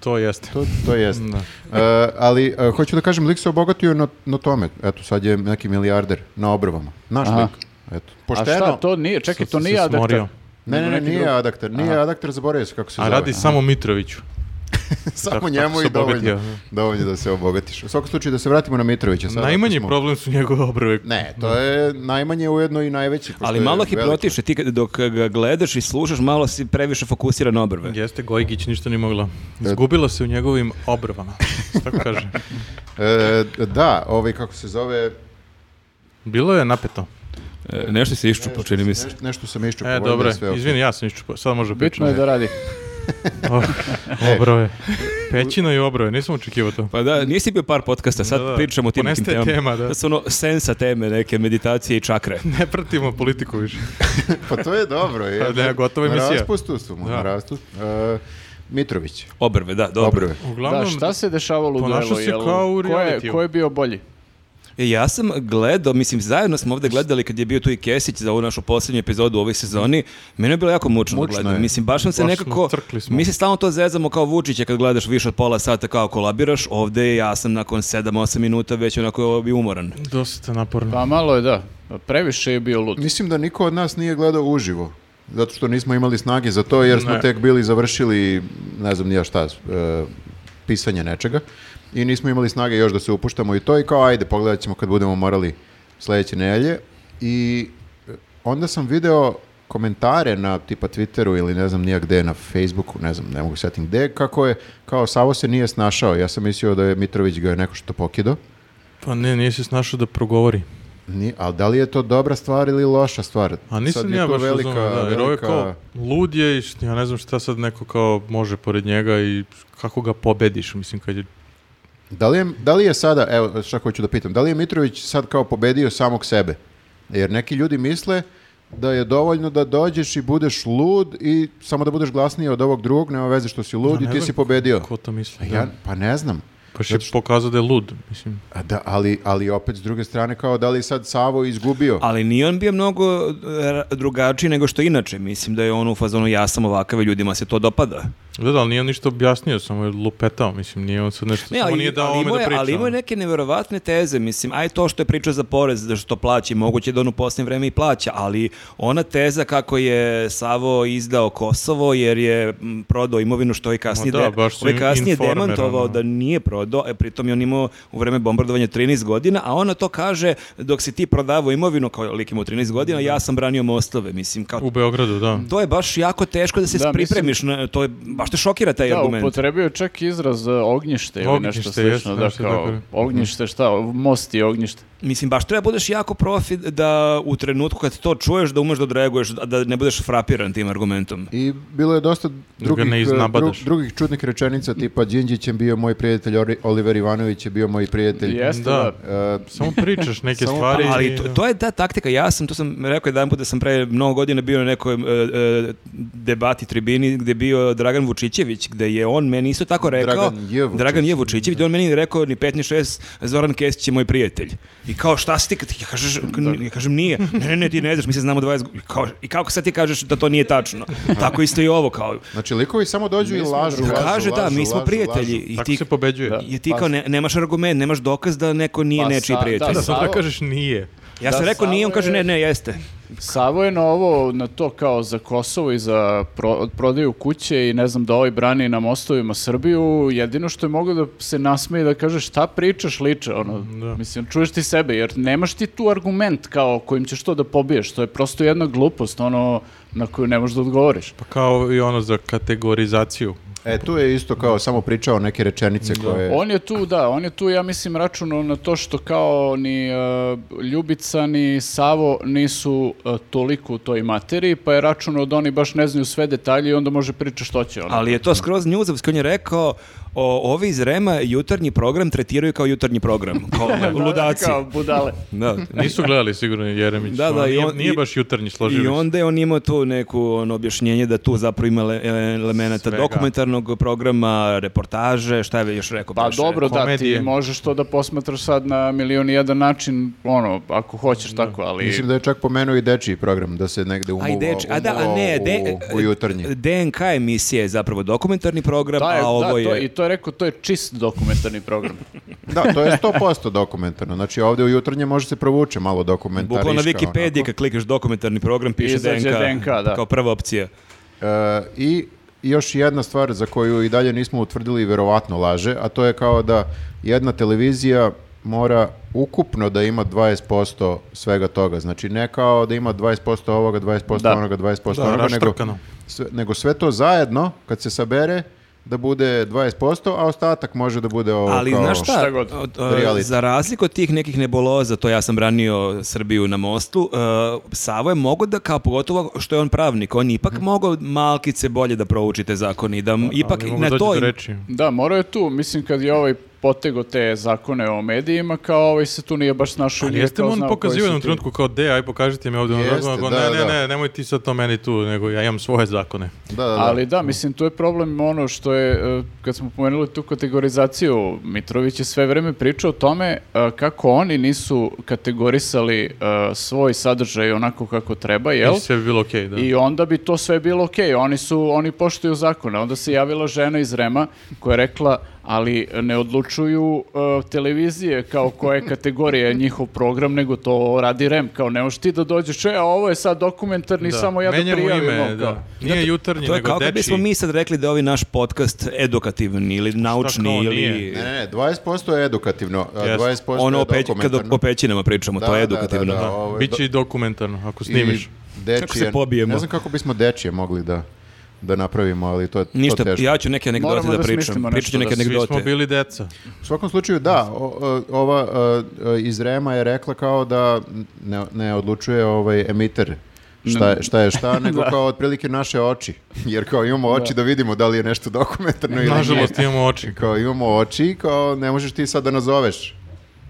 [SPEAKER 1] To jeste.
[SPEAKER 3] To, to jest. E, ali e, hoću da kažem, lik se obogatio na, na tome. Eto, sad je neki milijarder na obrvama. Naš
[SPEAKER 4] Aha.
[SPEAKER 3] lik. Eto.
[SPEAKER 4] A
[SPEAKER 3] Pošteno.
[SPEAKER 4] šta, to nije, čekaj,
[SPEAKER 1] Sad
[SPEAKER 4] to
[SPEAKER 1] sam se
[SPEAKER 4] nije adaptar.
[SPEAKER 1] smorio.
[SPEAKER 3] Ne, ne, ne,
[SPEAKER 4] Neki
[SPEAKER 3] nije
[SPEAKER 4] drugi.
[SPEAKER 3] adaktar. Nije adaktar, zaboravio se kako se
[SPEAKER 1] A
[SPEAKER 3] zove.
[SPEAKER 1] radi
[SPEAKER 3] [laughs]
[SPEAKER 1] samo Mitroviću.
[SPEAKER 3] Samo
[SPEAKER 1] tako
[SPEAKER 3] njemu
[SPEAKER 1] se
[SPEAKER 3] i dovoljno,
[SPEAKER 1] obogatio.
[SPEAKER 3] dovoljno da se obogatiš. U svakom slučaju da se vratimo na Mitrovića. Sad,
[SPEAKER 1] Najmanji
[SPEAKER 3] ako smo-
[SPEAKER 1] problem su njegove obrve.
[SPEAKER 3] Ne, to je najmanje ujedno i najveći. pošto
[SPEAKER 2] Ali
[SPEAKER 3] je
[SPEAKER 2] malo
[SPEAKER 3] veliki.
[SPEAKER 2] hipnotiše, ti kad- dok ga gledaš i slušaš, malo si previše fokusiran na obrve.
[SPEAKER 1] Jeste, Gojgić ništa ni mogla. Izgubila se u njegovim obrvama. Tako
[SPEAKER 3] [laughs]
[SPEAKER 1] kaže.
[SPEAKER 3] E, da, ovaj kako se zove,
[SPEAKER 1] Bilo je napeto.
[SPEAKER 2] E, Nešto se iščupo, čini mi se.
[SPEAKER 3] nešto, nešto sam iščupo.
[SPEAKER 1] E,
[SPEAKER 3] valjda je
[SPEAKER 1] dobro, je.
[SPEAKER 3] sve okej.
[SPEAKER 1] izvini, ja sam iščupao. Sad može
[SPEAKER 4] Bitno
[SPEAKER 1] pričati.
[SPEAKER 4] je da radi.
[SPEAKER 3] E.
[SPEAKER 1] Obrove. Pećina i obrove, nisam očekivao to.
[SPEAKER 2] Pa da, nisi bio par podcasta, sad
[SPEAKER 1] Da, da.
[SPEAKER 2] pričamo o tim nekim
[SPEAKER 1] Ponestaje
[SPEAKER 2] temama.
[SPEAKER 1] tema, da.
[SPEAKER 2] su ono sensa teme, neke meditacije i čakre.
[SPEAKER 1] Ne pratimo politiku više.
[SPEAKER 3] Pa to je
[SPEAKER 1] [laughs]
[SPEAKER 3] dobro. Je.
[SPEAKER 1] Pa ne, gotova
[SPEAKER 3] Na
[SPEAKER 1] emisija.
[SPEAKER 3] raspustu su mu,
[SPEAKER 1] Da.
[SPEAKER 3] na rastu. E, Mitrović.
[SPEAKER 2] Obrve, da, dobro.
[SPEAKER 3] Dobro je.
[SPEAKER 1] Uglavnom,
[SPEAKER 4] Da, šta se dešavalo u
[SPEAKER 1] Ponašao
[SPEAKER 4] duelu?
[SPEAKER 1] se
[SPEAKER 4] jel-
[SPEAKER 1] kao u
[SPEAKER 4] ko je,
[SPEAKER 1] realitiju.
[SPEAKER 4] ko je bio bolji?
[SPEAKER 2] E, Ja sam gledao, mislim, zajedno smo ovdje gledali kad je bio tu i Kesić za ovu našu posljednju epizodu u ovoj sezoni. Mene je bilo jako mučno, da
[SPEAKER 3] Mučno
[SPEAKER 2] gledam.
[SPEAKER 3] je.
[SPEAKER 2] Mislim, baš sam se
[SPEAKER 1] Baš smo,
[SPEAKER 2] nekako...
[SPEAKER 1] crkli smo.
[SPEAKER 2] Mi se stalno to zezamo kao Vučića kad gledaš više od pola sata kao kolabiraš. Ovdje ja sam nakon 7-8 minuta već onako i umoran.
[SPEAKER 1] Dosta naporno.
[SPEAKER 4] Pa malo je, da. Previše je bio lud.
[SPEAKER 3] Mislim da niko od nas nije gledao uživo. Zato što nismo imali snage za to, jer smo
[SPEAKER 1] Ne.
[SPEAKER 3] tek bili završili, ne znam nija šta, e, pisanje nečega. I nismo imali snage još da se upuštamo i to. I kao, ajde, pogledat ćemo kad budemo morali sledeće nelje. I e, onda sam video komentare na tipa Twitteru ili ne znam nija gde, na Facebooku, ne znam, ne mogu setim gde, kako je, kao Savo se nije snašao. Ja sam mislio da je Mitrović ga je neko što pokidao.
[SPEAKER 1] Pa ne, nije se snašao da progovori.
[SPEAKER 3] Ni, ali da li je to dobra stvar ili loša stvar?
[SPEAKER 1] A
[SPEAKER 3] Sad
[SPEAKER 1] nisam
[SPEAKER 3] je
[SPEAKER 1] ja
[SPEAKER 3] to
[SPEAKER 1] baš
[SPEAKER 3] velika,
[SPEAKER 1] velika, da, jer ovo je
[SPEAKER 3] velika-
[SPEAKER 1] kao lud je i št- ja ne znam šta sad neko kao može pored njega i kako ga pobediš, mislim, kad je...
[SPEAKER 3] Da li, je, da li je sada, evo šta hoću da pitam, da li je Mitrović sad kao pobedio samog sebe? Jer neki ljudi misle da je dovoljno da dođeš i budeš lud i samo da budeš glasniji od ovog drugog, nema veze što si
[SPEAKER 1] Ja
[SPEAKER 3] lud
[SPEAKER 1] ne
[SPEAKER 3] i ti
[SPEAKER 1] znam
[SPEAKER 3] si pobedio.
[SPEAKER 1] Ko to misli?
[SPEAKER 3] Ja,
[SPEAKER 1] da.
[SPEAKER 3] pa ne znam.
[SPEAKER 1] Baš je pokazao da je lud, mislim.
[SPEAKER 3] A da, ali, ali opet s druge strane kao da li je sad Savo izgubio?
[SPEAKER 2] Ali nije on bio eh, mnogo e, drugačiji nego što inače. Mislim da je on u fazonu ja sam ovakav i ljudima se to dopada.
[SPEAKER 1] Da, da, ali nije on ništa objasnio, samo je lupetao, mislim, nije on sad nešto,
[SPEAKER 2] Ne,
[SPEAKER 1] Pa samo
[SPEAKER 2] ali-
[SPEAKER 1] nije dao
[SPEAKER 2] ali
[SPEAKER 1] ome
[SPEAKER 2] imao
[SPEAKER 1] da
[SPEAKER 2] je-
[SPEAKER 1] priča.
[SPEAKER 2] Ali imao je
[SPEAKER 1] ono.
[SPEAKER 2] neke neverovatne teze, mislim, aj to što je pričao za porez, da što plaći, moguće da on u posljednje vreme i plaća, ali ona teza kako je Savo izdao Kosovo jer je m, prodao imovinu što je kasnije,
[SPEAKER 1] Ma da,
[SPEAKER 2] de-
[SPEAKER 1] baš su
[SPEAKER 2] što je kasnije
[SPEAKER 1] informer,
[SPEAKER 2] demantovao
[SPEAKER 1] ono.
[SPEAKER 2] da nije prodao, e, pritom je on imao u vreme bombardovanja 13 godina, a ona to kaže dok si ti prodavao imovinu, kao lik ima 13 godina, ja sam branio mostove, mislim, kao
[SPEAKER 1] U Beogradu,
[SPEAKER 2] [laughs]
[SPEAKER 1] da.
[SPEAKER 2] to je baš jako teško da se
[SPEAKER 4] Da,
[SPEAKER 2] pripremiš, na, to je, baš te šokira taj
[SPEAKER 4] Da,
[SPEAKER 2] argument.
[SPEAKER 4] upotrebio je čak izraz e, ognjište ili
[SPEAKER 1] Ognjište,
[SPEAKER 4] nešto
[SPEAKER 1] jeste,
[SPEAKER 4] slično. Da,
[SPEAKER 1] nešto
[SPEAKER 4] kao,
[SPEAKER 1] tako. Mhm.
[SPEAKER 4] ognjište, šta, most i ognjište.
[SPEAKER 2] Mislim, baš treba budeš jako profi da u trenutku kad to čuješ da umeš da odreaguješ, da- da ne budeš frapiran tim argumentom.
[SPEAKER 3] I bilo je dosta
[SPEAKER 1] ga
[SPEAKER 3] drugih,
[SPEAKER 1] ne
[SPEAKER 3] eh,
[SPEAKER 1] iznabadaš.
[SPEAKER 3] dru- drugih čudnih rečenica, tipa Đinđić je bio moj prijatelj, Ori- Oliver Ivanović je bio moj prijatelj.
[SPEAKER 4] Jeste,
[SPEAKER 1] Da.
[SPEAKER 4] da.
[SPEAKER 3] Eh,
[SPEAKER 1] Samo pričaš neke
[SPEAKER 3] Samo
[SPEAKER 1] stvari.
[SPEAKER 2] Ali
[SPEAKER 1] i-
[SPEAKER 2] to, to je ta taktika. Ja sam, to sam rekao jedan put da sam pre mnogo godina bio na nekoj e, e, debati, tribini gdje je bio Dragan Vučićević, gdje je on meni isto tako rekao.
[SPEAKER 3] Dragan J. Vučićević.
[SPEAKER 2] Dragan J. Vučićević, gdje on meni rekao ni pet ni šest, Zoran Kesić je moj prijatelj. I kao šta si ti, kad- ja, kažeš, ja kažem nije. Ne, ne, ne, ti ne znaš, mi se znamo 20 godina. I, kao, I kako sad ti kažeš da to nije
[SPEAKER 3] [laughs]
[SPEAKER 2] tačno? Tako isto i ovo kao.
[SPEAKER 3] Znači, likovi samo dođu i
[SPEAKER 4] Mi smo-
[SPEAKER 3] lažu, lažu,
[SPEAKER 2] Kaže da,
[SPEAKER 3] lažu,
[SPEAKER 2] mi smo
[SPEAKER 3] lažu,
[SPEAKER 2] prijatelji.
[SPEAKER 3] lažu.
[SPEAKER 2] I
[SPEAKER 1] Tako
[SPEAKER 2] ti,
[SPEAKER 1] se pobeđuje.
[SPEAKER 4] Da.
[SPEAKER 2] I ti kao ne- nemaš argument, nemaš dokaz da neko nije
[SPEAKER 4] Pa
[SPEAKER 2] nečiji
[SPEAKER 4] sa-
[SPEAKER 2] prijatelj.
[SPEAKER 1] Da,
[SPEAKER 4] da,
[SPEAKER 1] sad
[SPEAKER 4] Savo-
[SPEAKER 1] da kažeš nije.
[SPEAKER 2] ja sam
[SPEAKER 4] da,
[SPEAKER 2] rekao nije, on
[SPEAKER 4] Savo
[SPEAKER 2] kaže
[SPEAKER 4] je-
[SPEAKER 2] ne, ne, jeste.
[SPEAKER 4] Savo je na ovo, na to kao za Kosovo i za pro, prodaju kuće i ne znam da ovaj brani na mostovima Srbiju, jedino što je moglo da se nasmeje i da kaže šta pričaš liče, ono,
[SPEAKER 1] da.
[SPEAKER 4] mislim, čuješ ti sebe, jer nemaš ti tu argument kao kojim ćeš to da pobiješ, to je prosto jedna glupost, ono, na koju ne možeš da odgovoriš.
[SPEAKER 1] Pa kao i ono za kategorizaciju.
[SPEAKER 3] E, tu je isto kao samo pričao neke rečenice koje...
[SPEAKER 4] On je tu, da, on je tu, ja mislim, računao na to što kao ni e, Ljubica, ni Savo nisu e, toliko u toj materiji, pa je računao da oni baš ne znaju sve detalje i onda može pričati što će. Ono.
[SPEAKER 2] Ali je to skroz njuzovski, on je rekao o, ovi iz Rema jutarnji program tretiraju kao jutarnji program, kao ludaci.
[SPEAKER 4] Kao budale.
[SPEAKER 2] Da.
[SPEAKER 1] Nisu gledali sigurno Jeremić.
[SPEAKER 2] Da, da,
[SPEAKER 1] ono,
[SPEAKER 2] i
[SPEAKER 1] nije,
[SPEAKER 2] on-
[SPEAKER 1] nije
[SPEAKER 2] i-
[SPEAKER 1] baš jutarnji
[SPEAKER 2] I
[SPEAKER 1] složili se.
[SPEAKER 2] onda je on imao tu neku ono, objašnjenje da tu zapravo ima le- elemenata
[SPEAKER 1] Svega.
[SPEAKER 2] dokumentarnog programa, reportaže, šta je još rekao?
[SPEAKER 4] Pa
[SPEAKER 2] baš e, je
[SPEAKER 4] dobro, da,
[SPEAKER 1] komedije.
[SPEAKER 4] ti možeš to da posmatraš sad na milion i jedan način, ono, ako hoćeš tako, ali...
[SPEAKER 3] Mislim da je čak pomenuo i dečiji program, da se negde
[SPEAKER 2] Aj,
[SPEAKER 3] umuvao,
[SPEAKER 2] deč, a da, a ne, de- e,
[SPEAKER 3] u, u jutarnji.
[SPEAKER 2] DNK emisija je zapravo dokumentarni program,
[SPEAKER 4] Da, je,
[SPEAKER 2] a pa ovo
[SPEAKER 4] da,
[SPEAKER 2] je...
[SPEAKER 4] to, i to je rekao, to je čist dokumentarni program.
[SPEAKER 3] Da, to je 100% dokumentarno. Znači, ovdje u jutarnje može se provuče malo dokumentariška.
[SPEAKER 2] Bukvalno na
[SPEAKER 3] onako.
[SPEAKER 2] Wikipediji kad klikaš dokumentarni program piše
[SPEAKER 4] Izađe
[SPEAKER 2] DNK,
[SPEAKER 4] DNK, da.
[SPEAKER 2] kao prva opcija.
[SPEAKER 3] E, I još jedna stvar za koju i dalje nismo utvrdili i verovatno laže, a to je kao da jedna televizija mora ukupno da ima 20% svega toga. Znači ne kao da ima 20% ovoga, 20%
[SPEAKER 4] Da.
[SPEAKER 3] onoga, 20%
[SPEAKER 1] Da,
[SPEAKER 3] onoga, nego
[SPEAKER 1] raštrkano.
[SPEAKER 3] sve, nego sve to zajedno kad se sabere da bude 20%, a ostatak može da bude ovo
[SPEAKER 2] Ali
[SPEAKER 3] kao...
[SPEAKER 2] znaš šta,
[SPEAKER 4] šta god.
[SPEAKER 2] od-
[SPEAKER 3] Reality.
[SPEAKER 2] za razliku od tih nekih nebuloza, to ja sam branio Srbiju na mostu, e, Savo je mogo da, kao pogotovo što je on pravnik, on je ipak
[SPEAKER 3] Mhm.
[SPEAKER 2] mogao malkice bolje da prouči te zakone i da m- ipak
[SPEAKER 1] Pa, Ali mogu
[SPEAKER 2] na
[SPEAKER 1] doći
[SPEAKER 2] to...
[SPEAKER 1] do
[SPEAKER 2] im-
[SPEAKER 1] reči.
[SPEAKER 4] da, morao je tu, mislim, kad je ovaj potego te zakone o medijima, kao ovaj se tu nije baš snašao.
[SPEAKER 1] Ali
[SPEAKER 4] nije
[SPEAKER 1] jeste
[SPEAKER 4] kao
[SPEAKER 1] mu on
[SPEAKER 4] znao koji
[SPEAKER 1] pokazivao u
[SPEAKER 4] su
[SPEAKER 1] jednom
[SPEAKER 4] ti-
[SPEAKER 1] trenutku kao de, aj pokažite mi ovdje. ono,
[SPEAKER 3] Jeste,
[SPEAKER 1] ono, ne,
[SPEAKER 3] da,
[SPEAKER 1] ne,
[SPEAKER 3] da.
[SPEAKER 1] ne, nemoj ti sad to meni tu, nego ja imam svoje zakone.
[SPEAKER 3] Da, da, da.
[SPEAKER 4] Ali da, mislim, tu je problem ono što je, e, kad smo pomenuli tu kategorizaciju, Mitrović je sve vreme pričao o tome e, kako oni nisu kategorisali e, svoj sadržaj onako kako treba, jel?
[SPEAKER 1] I sve bi bilo okej, da.
[SPEAKER 4] I onda bi to sve bilo okej, oni su, oni poštuju zakone. Onda se javila žena iz Rema koja je rekla, ali ne odlučuju e, televizije kao koje kategorije je njihov program, nego to radi Rem. Kao ne možeš ti da dođeš, e, a ovo je sad dokumentarni,
[SPEAKER 1] Da.
[SPEAKER 4] samo ja da
[SPEAKER 1] Menjamo
[SPEAKER 4] prijavim. ovo,
[SPEAKER 1] ime,
[SPEAKER 4] kao.
[SPEAKER 1] da. Nije jutarnji,
[SPEAKER 2] To je
[SPEAKER 1] nego
[SPEAKER 2] kao kad bismo
[SPEAKER 1] dečiji.
[SPEAKER 2] mi sad rekli da je ovaj naš podcast edukativni ili naučni
[SPEAKER 1] kao
[SPEAKER 2] ili...
[SPEAKER 1] nije?
[SPEAKER 3] Ne, ne, ne, 20% je edukativno, a
[SPEAKER 1] Jeste.
[SPEAKER 3] 20%
[SPEAKER 2] Ono
[SPEAKER 3] je
[SPEAKER 2] o peć- kad
[SPEAKER 3] dokumentarno.
[SPEAKER 2] o pećinama pričamo, to je
[SPEAKER 3] Da, da, da,
[SPEAKER 2] edukativno.
[SPEAKER 3] da,
[SPEAKER 1] Da,
[SPEAKER 3] ovo je ovaj, do-
[SPEAKER 1] Biće i dokumentarno, ako snimiš.
[SPEAKER 3] I dečije,
[SPEAKER 2] Kako se pobijemo?
[SPEAKER 3] Ne znam kako bismo dečije mogli da, da napravimo, ali to je to
[SPEAKER 2] Ništa,
[SPEAKER 3] teško.
[SPEAKER 2] ja ću neke anegdote
[SPEAKER 4] Moramo
[SPEAKER 2] da,
[SPEAKER 4] da
[SPEAKER 2] pričam.
[SPEAKER 4] smislimo
[SPEAKER 2] Pričat ću
[SPEAKER 4] nešto
[SPEAKER 2] neke
[SPEAKER 4] da
[SPEAKER 1] Svi
[SPEAKER 2] anegdote.
[SPEAKER 1] smo bili deca.
[SPEAKER 3] U svakom slučaju, da, o- o- ova e, e, iz Rema je rekla kao da ne, ne odlučuje ovaj emiter Šta, je- šta je
[SPEAKER 4] [laughs]
[SPEAKER 3] šta, nego kao otprilike naše oči. Jer kao imamo oči da, vidimo da li je nešto dokumentarno ili nije.
[SPEAKER 1] Nažalost imamo oči.
[SPEAKER 3] Kao imamo oči, kao ne možeš ti sad da nazoveš.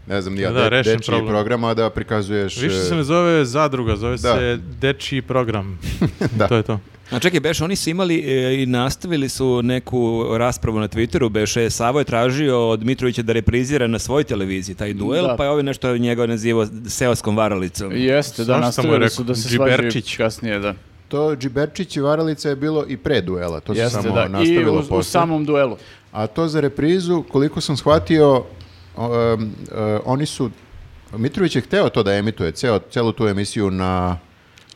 [SPEAKER 3] Ne znam, nija,
[SPEAKER 1] Da,
[SPEAKER 3] de,
[SPEAKER 1] rešen
[SPEAKER 3] dečiji
[SPEAKER 1] problem.
[SPEAKER 3] programa da prikazuješ...
[SPEAKER 1] Više se
[SPEAKER 3] e,
[SPEAKER 1] ne zove zadruga, zove
[SPEAKER 3] Da.
[SPEAKER 1] se dečiji program.
[SPEAKER 3] [laughs] Da.
[SPEAKER 1] To je to.
[SPEAKER 2] A čekaj, Beš, oni su imali e, i nastavili su neku raspravu na Twitteru, Beše, Savo je tražio od Mitrovića da reprizira na svojoj televiziji taj duel,
[SPEAKER 4] Da.
[SPEAKER 2] pa je ovaj nešto njega nazivao seoskom varalicom.
[SPEAKER 4] Jeste, da,
[SPEAKER 1] Svašta mu je
[SPEAKER 4] nastavili
[SPEAKER 1] rekao,
[SPEAKER 4] su da se svađaju
[SPEAKER 1] Džiberčić.
[SPEAKER 4] kasnije, da.
[SPEAKER 3] to Džiberčić i Varalica je bilo i pre duela, to se
[SPEAKER 4] Jeste,
[SPEAKER 3] samo
[SPEAKER 4] da. I
[SPEAKER 3] nastavilo
[SPEAKER 4] u,
[SPEAKER 3] posle.
[SPEAKER 4] u samom duelu.
[SPEAKER 3] A to za reprizu, koliko sam shvatio, o, em, e, oni su, Mitrović je hteo to da emituje, ceo, celu tu emisiju na,